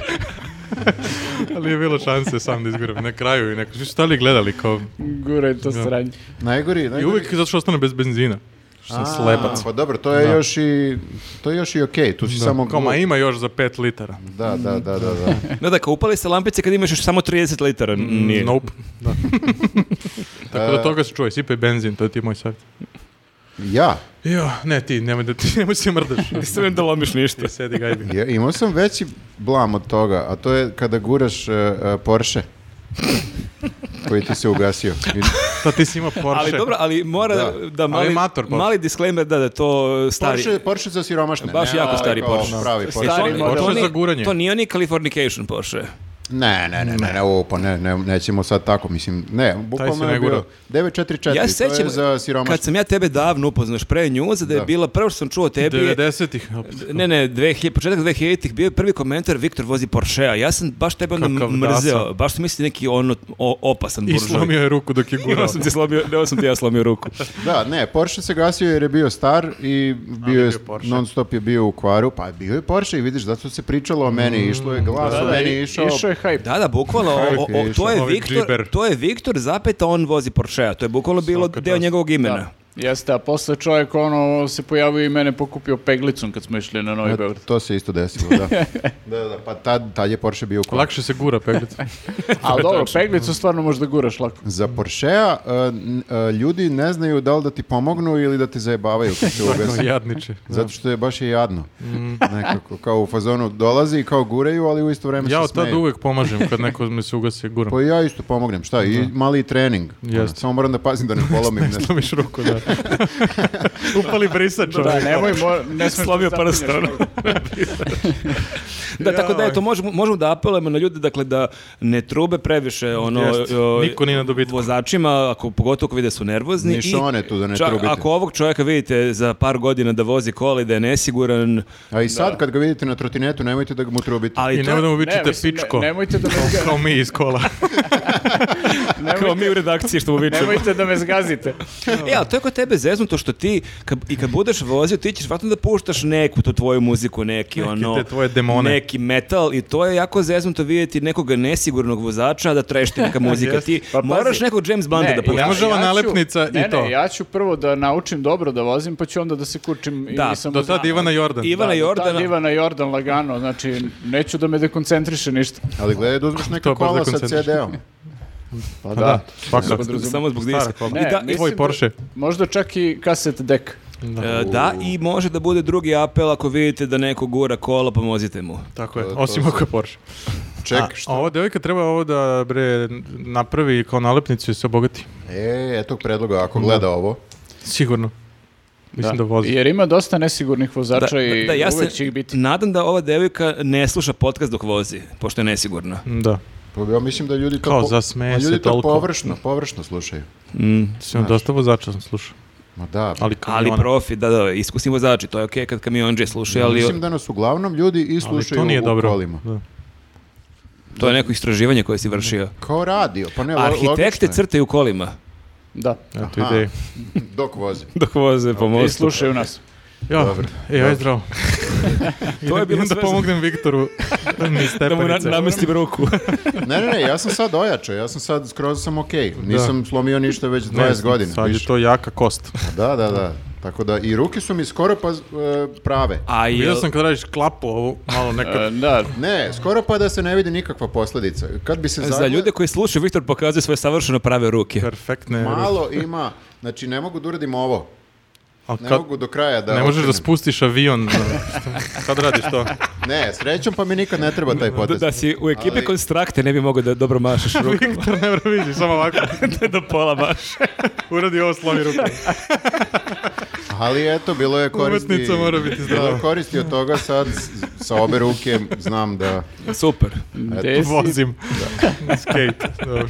[SPEAKER 1] ali je bilo šanse sam da izguram. Na kraju i neko, šta li gledali kao...
[SPEAKER 4] Guraj to sranje.
[SPEAKER 3] Najgori,
[SPEAKER 1] I
[SPEAKER 3] najgori.
[SPEAKER 1] uvijek zato što ostane bez benzina. Što sam
[SPEAKER 3] A,
[SPEAKER 1] slepac.
[SPEAKER 3] Pa dobro, to je
[SPEAKER 1] Da.
[SPEAKER 3] još i to je još i okej, tu si samo
[SPEAKER 1] Kao, ma
[SPEAKER 3] glup.
[SPEAKER 1] ima još za 5 litara.
[SPEAKER 3] Da, da, da, da, da.
[SPEAKER 2] Da, da, kao upali se lampice kad imaš još samo 30 litara. Nije.
[SPEAKER 1] Nope. Da.
[SPEAKER 3] Pa
[SPEAKER 1] Tako da toga se čuje, sipaj benzin, to je ti moj savjet.
[SPEAKER 3] Ja,
[SPEAKER 1] Jo, ne ti, nemoj da ti, [laughs] nemoj se mrdaš.
[SPEAKER 2] Nisam da lomiš ništa.
[SPEAKER 1] Ti sedi gajbi.
[SPEAKER 3] ja imao sam veći blam od toga, a to je kada guraš e, e, Porsche koji ti se ugasio. I-
[SPEAKER 1] Pa ti si imao Porsche.
[SPEAKER 2] Ali dobro, ali mora da,
[SPEAKER 3] Da.
[SPEAKER 2] mali,
[SPEAKER 1] Ali mator Porsche.
[SPEAKER 2] mali disclaimer da da je to stari.
[SPEAKER 3] Porsche, Porsche za siromašne.
[SPEAKER 2] Baš
[SPEAKER 3] nema
[SPEAKER 2] jako
[SPEAKER 3] ovaj
[SPEAKER 2] stari
[SPEAKER 3] kao
[SPEAKER 2] Porsche.
[SPEAKER 3] Pravi Porsche.
[SPEAKER 4] Stari
[SPEAKER 2] To-
[SPEAKER 4] model.
[SPEAKER 2] to
[SPEAKER 1] Porsche za
[SPEAKER 2] nije-
[SPEAKER 1] guranje.
[SPEAKER 2] To nije oni Californication Porsche.
[SPEAKER 3] Ne, ne, ne, ne, ne, ovo, pa ne, ne, nećemo sad tako, mislim, ne, bukvalno
[SPEAKER 1] ne
[SPEAKER 3] je bio
[SPEAKER 1] gura.
[SPEAKER 3] 944,
[SPEAKER 2] Ja se
[SPEAKER 3] to je
[SPEAKER 2] sećam,
[SPEAKER 3] za
[SPEAKER 2] kad
[SPEAKER 3] siromaštvo.
[SPEAKER 2] sam ja tebe davno upoznao, još pre njuza, da je
[SPEAKER 3] Da.
[SPEAKER 2] bila, prvo što sam čuo o tebi je,
[SPEAKER 1] 90-ih. opet.
[SPEAKER 2] [laughs] Ne, ne, 2000, početak 2000-ih bio je prvi komentar Viktor vozi Porschea. Ja sam baš tebe onda
[SPEAKER 1] Kakav
[SPEAKER 2] mrzeo.
[SPEAKER 1] dasa.
[SPEAKER 2] Baš sam mislio neki ono o- opasan
[SPEAKER 1] I
[SPEAKER 2] buržoj. [laughs]
[SPEAKER 1] slomio je ruku dok je
[SPEAKER 2] Ja
[SPEAKER 1] gurao.
[SPEAKER 2] sam ti slomio, ne, ja sam ti ja slomio ruku.
[SPEAKER 3] Da, ne, Porsche se gasio jer je bio star i bio
[SPEAKER 1] je
[SPEAKER 3] je,
[SPEAKER 1] bio Porsche.
[SPEAKER 3] non stop je bio u kvaru, pa bio je Porsche i vidiš, zato se pričalo o meni, išlo je glas, o Pa meni
[SPEAKER 4] i-
[SPEAKER 3] išao,
[SPEAKER 4] išao je hype.
[SPEAKER 2] Da, da, bukvalno, o- o- o- to, je
[SPEAKER 1] Ovi
[SPEAKER 2] Viktor,
[SPEAKER 1] džiber.
[SPEAKER 2] to je Viktor zapeta on vozi Porschea. To je bukvalno bilo
[SPEAKER 1] Svaka
[SPEAKER 2] deo
[SPEAKER 1] čast.
[SPEAKER 2] njegovog imena.
[SPEAKER 4] Da. Jeste, a posle čovjek ono se pojavio i mene pokupio peglicom kad smo išli na Novi
[SPEAKER 3] E, [laughs]
[SPEAKER 4] Beograd.
[SPEAKER 3] to se isto desilo, da. da, da, pa tad, tad je Porsche bio u kvaru.
[SPEAKER 1] Lakše se gura peglet.
[SPEAKER 4] Ali dobro, peglicu stvarno možda guraš lako.
[SPEAKER 3] Za Porschea e, n- e, ljudi ne znaju da li da ti pomognu ili da ti zajebavaju kad se ugasi.
[SPEAKER 1] Jadniče.
[SPEAKER 3] Zato što je baš je jadno. Nekako, kao u fazonu dolazi i kao gureju, ali u isto vreme
[SPEAKER 1] Ja
[SPEAKER 3] se
[SPEAKER 1] od tad
[SPEAKER 3] smeju.
[SPEAKER 1] uvek pomažem kad neko mi se ugasi guram.
[SPEAKER 3] Pa i ja isto pomognem, šta, i mali trening.
[SPEAKER 1] Jeste.
[SPEAKER 3] Samo moram da pazim da ne polomim.
[SPEAKER 1] [laughs]
[SPEAKER 3] ne.
[SPEAKER 1] Slomiš ruku, da. Upali brisač.
[SPEAKER 4] Da,
[SPEAKER 1] čovjek.
[SPEAKER 4] nemoj, mo- ne smeš
[SPEAKER 2] Slomio
[SPEAKER 4] da zapinješ
[SPEAKER 2] prsten.
[SPEAKER 4] nekog.
[SPEAKER 2] Da, tako da
[SPEAKER 1] Jao.
[SPEAKER 2] eto, možemo, možemo da apelujemo na ljude, dakle, da ne trube previše ono,
[SPEAKER 1] Jeste.
[SPEAKER 2] o-
[SPEAKER 1] Niko nije na dobitku.
[SPEAKER 2] vozačima, ako, pogotovo ako vide su nervozni.
[SPEAKER 3] Ni šone tu da ne
[SPEAKER 2] čak
[SPEAKER 3] trubite.
[SPEAKER 2] Ako ovog čovjeka vidite za par godina da vozi kola i da je nesiguran,
[SPEAKER 3] A i sad kad ga vidite na trotinetu, nemojte da mu trubite.
[SPEAKER 2] ali
[SPEAKER 1] I
[SPEAKER 2] to-
[SPEAKER 1] nemoj da mu
[SPEAKER 4] Ne,
[SPEAKER 1] vičite
[SPEAKER 4] mislim, ne-
[SPEAKER 1] pičko.
[SPEAKER 4] nemojte da me, zga-
[SPEAKER 1] Kao mi iz kola.
[SPEAKER 2] kao
[SPEAKER 4] nemojte,
[SPEAKER 2] mi u redakciji što mu vičemo.
[SPEAKER 4] nemojte da me zgazite.
[SPEAKER 2] E, ali to je kod tebe zeznuto što ti, kad, i kad budeš vozio, ti ćeš vratno da puštaš neku tu tvoju muziku, neki
[SPEAKER 1] Neke
[SPEAKER 2] ono...
[SPEAKER 1] te tvoje demone.
[SPEAKER 2] Neki metal i to je jako zeznuto vidjeti nekog nesigurnog vozača da trešti
[SPEAKER 1] [laughs]
[SPEAKER 2] neka muzika. ti
[SPEAKER 4] Pa pazi.
[SPEAKER 2] moraš nekog James Blunda da puštaš.
[SPEAKER 1] Ne može ova
[SPEAKER 4] ću-
[SPEAKER 1] nalepnica i
[SPEAKER 4] ne,
[SPEAKER 1] to.
[SPEAKER 4] Ne, ja ću prvo da naučim dobro da vozim, pa ću onda da se kurčim
[SPEAKER 2] Da,
[SPEAKER 4] i nisam
[SPEAKER 1] Do tad
[SPEAKER 4] znao.
[SPEAKER 1] Ivana Jordan.
[SPEAKER 2] Ivana
[SPEAKER 4] Da, do tad
[SPEAKER 2] Jordana.
[SPEAKER 4] Ivana Jordan lagano, znači neću da me dekoncentriše ništa.
[SPEAKER 3] Ali gledaj da uzmeš neka
[SPEAKER 1] [laughs] To baš
[SPEAKER 3] kola
[SPEAKER 1] da
[SPEAKER 3] sa
[SPEAKER 1] koncentriš. [laughs]
[SPEAKER 3] CD-om.
[SPEAKER 1] Pa da, svakako.
[SPEAKER 4] Podrazum-
[SPEAKER 2] Samo zbog
[SPEAKER 1] Stara
[SPEAKER 2] diska.
[SPEAKER 1] kola.
[SPEAKER 4] Ne,
[SPEAKER 2] I da,
[SPEAKER 4] mislim
[SPEAKER 1] tvoj
[SPEAKER 4] da-
[SPEAKER 1] Porsche.
[SPEAKER 4] možda čak i kaset dek.
[SPEAKER 2] e, da, i može da bude drugi apel ako vidite da neko gura kola, pomozite mu.
[SPEAKER 1] Tako je,
[SPEAKER 3] To- to
[SPEAKER 1] osim
[SPEAKER 3] se-
[SPEAKER 1] ako je Porsche.
[SPEAKER 3] Ček,
[SPEAKER 1] A,
[SPEAKER 3] šta?
[SPEAKER 1] Ovo devojka treba ovo da bre napravi kao nalepnicu i se obogati.
[SPEAKER 3] E, eto predloga, ako gleda ovo.
[SPEAKER 1] Sigurno. Mislim da, vozi.
[SPEAKER 4] Jer ima dosta nesigurnih vozača i
[SPEAKER 2] da, ja se
[SPEAKER 4] uvek će ih biti.
[SPEAKER 2] nadam da ova devojka ne sluša podcast dok vozi, pošto je nesigurna.
[SPEAKER 1] Da,
[SPEAKER 3] Pa Ja mislim da ljudi to,
[SPEAKER 1] Kao zasmeje
[SPEAKER 3] Ma ljudi
[SPEAKER 1] se
[SPEAKER 3] to
[SPEAKER 1] toliko.
[SPEAKER 3] površno, površno slušaju.
[SPEAKER 2] Mm.
[SPEAKER 1] sam dosta vozača sam slušao.
[SPEAKER 3] Ma da,
[SPEAKER 1] Ali,
[SPEAKER 2] Ali
[SPEAKER 1] kamiona.
[SPEAKER 2] profi, da, da, iskusni vozači, to je okej kad kamionđe slušaju, ali
[SPEAKER 3] mislim da nas uglavnom ljudi i
[SPEAKER 1] Ali
[SPEAKER 3] slušaju
[SPEAKER 1] to nije
[SPEAKER 3] u
[SPEAKER 1] dobro.
[SPEAKER 3] kolima.
[SPEAKER 1] Da.
[SPEAKER 2] to je neko istraživanje koje si vršio.
[SPEAKER 3] Kao radio, pa ne, lo- logično
[SPEAKER 2] Arhitekte
[SPEAKER 3] je.
[SPEAKER 2] crtaju kolima
[SPEAKER 4] Da,
[SPEAKER 1] Eto
[SPEAKER 3] Aha.
[SPEAKER 1] ideje.
[SPEAKER 3] Dok vozi.
[SPEAKER 2] dok voze po
[SPEAKER 4] i
[SPEAKER 2] mostu.
[SPEAKER 4] slušaju nas.
[SPEAKER 1] Ja,
[SPEAKER 3] Dobro.
[SPEAKER 1] e, aj zdravo.
[SPEAKER 3] [laughs]
[SPEAKER 1] [laughs]
[SPEAKER 2] To je bilo
[SPEAKER 1] Idem da
[SPEAKER 2] sve za-
[SPEAKER 1] pomognem Viktoru niz
[SPEAKER 2] Da mu na,
[SPEAKER 1] stepenice.
[SPEAKER 2] namestim ruku.
[SPEAKER 3] Ne, ne, ne, ja sam sad ojačao, ja sam sad skroz sam okej. Nisam slomio ništa već 20
[SPEAKER 1] Ne,
[SPEAKER 3] godina.
[SPEAKER 1] Sad je
[SPEAKER 3] više.
[SPEAKER 1] to jaka
[SPEAKER 3] [laughs]
[SPEAKER 1] kost.
[SPEAKER 3] Da, da, da. Tako da i ruke su mi skoro pa e, prave.
[SPEAKER 2] A
[SPEAKER 1] Vidio
[SPEAKER 2] jel,
[SPEAKER 1] sam kad radiš klapu ovu, malo
[SPEAKER 4] E,
[SPEAKER 1] nekad.
[SPEAKER 4] Da,
[SPEAKER 3] Ne, skoro pa da se ne vidi nikakva posledica. Kad bi
[SPEAKER 1] E,
[SPEAKER 3] se
[SPEAKER 2] za
[SPEAKER 3] zagled-
[SPEAKER 2] ljude koji slušaju, Viktor pokazuje svoje savršeno prave ruke.
[SPEAKER 1] Perfektne. ruke.
[SPEAKER 3] malo ima, znači ne mogu da uradim ovo.
[SPEAKER 1] Ali
[SPEAKER 3] Ne
[SPEAKER 1] kad,
[SPEAKER 3] mogu do kraja da
[SPEAKER 1] ne možeš da
[SPEAKER 3] okrenem.
[SPEAKER 1] spustiš
[SPEAKER 3] [laughs]
[SPEAKER 1] avion. Šta- Kad radiš to?
[SPEAKER 3] Ne, srećom pa mi nikad ne treba taj
[SPEAKER 2] Da,
[SPEAKER 3] potez.
[SPEAKER 2] da si u ekipi
[SPEAKER 3] Ali-
[SPEAKER 2] konstrakte ne bi mogao da dobro mašaš ruku.
[SPEAKER 1] [laughs] Viktor ne mora vidi, samo ovako.
[SPEAKER 2] da pola maš.
[SPEAKER 1] [laughs] Uradi ovo, slomi ruke.
[SPEAKER 3] Ali eto, bilo je koristi.
[SPEAKER 1] Umetnica mora biti zdrava.
[SPEAKER 3] Bilo je Koristi od toga sad s- sa obe ruke znam da
[SPEAKER 2] Super.
[SPEAKER 4] gde si?
[SPEAKER 1] Vozim. Skate. Dobro.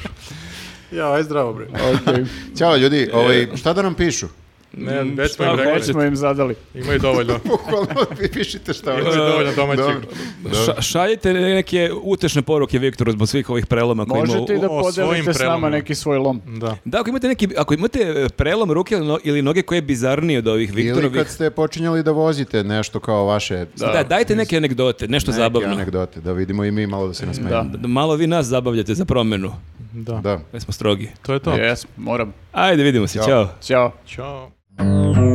[SPEAKER 1] Ja, aj zdravo, bre.
[SPEAKER 4] Okej.
[SPEAKER 3] Ćao ljudi,
[SPEAKER 1] E,
[SPEAKER 3] ovaj, šta da nam pišu? [laughs]
[SPEAKER 1] Ne, već smo
[SPEAKER 2] šta
[SPEAKER 1] im
[SPEAKER 4] Već
[SPEAKER 1] rekli.
[SPEAKER 4] smo im zadali.
[SPEAKER 1] Imaju dovoljno.
[SPEAKER 3] Bukvalno vi pišite šta
[SPEAKER 1] Imaju
[SPEAKER 3] hoćete.
[SPEAKER 1] dovoljno domaćih.
[SPEAKER 3] Dobro.
[SPEAKER 2] Ša, šaljite neke utešne poruke Viktoru zbog svih ovih preloma koji ima u-
[SPEAKER 4] Možete i da
[SPEAKER 1] o- o svojim
[SPEAKER 4] podelite s nama
[SPEAKER 1] prelomima.
[SPEAKER 4] neki svoj lom.
[SPEAKER 1] Da.
[SPEAKER 2] Da, ako imate, neki, ako imate e, prelom ruke ili no- ili noge koje je bizarnije od ovih
[SPEAKER 3] Ili
[SPEAKER 2] Viktorovih,
[SPEAKER 3] kad ste počinjali da vozite nešto kao vaše
[SPEAKER 2] da, dajte neke anegdote, nešto
[SPEAKER 3] neke
[SPEAKER 2] zabavno.
[SPEAKER 3] anegdote, da vidimo i mi malo da se nasmejemo.
[SPEAKER 2] Da Malo vi nas zabavljate za promenu,
[SPEAKER 1] Da.
[SPEAKER 3] Da.
[SPEAKER 2] da smo strogi.
[SPEAKER 1] To je to.
[SPEAKER 4] Jes, moram.
[SPEAKER 2] Ajde, vidimo se,
[SPEAKER 3] Ćao.
[SPEAKER 2] čao.
[SPEAKER 4] Ćao.
[SPEAKER 1] Ćao.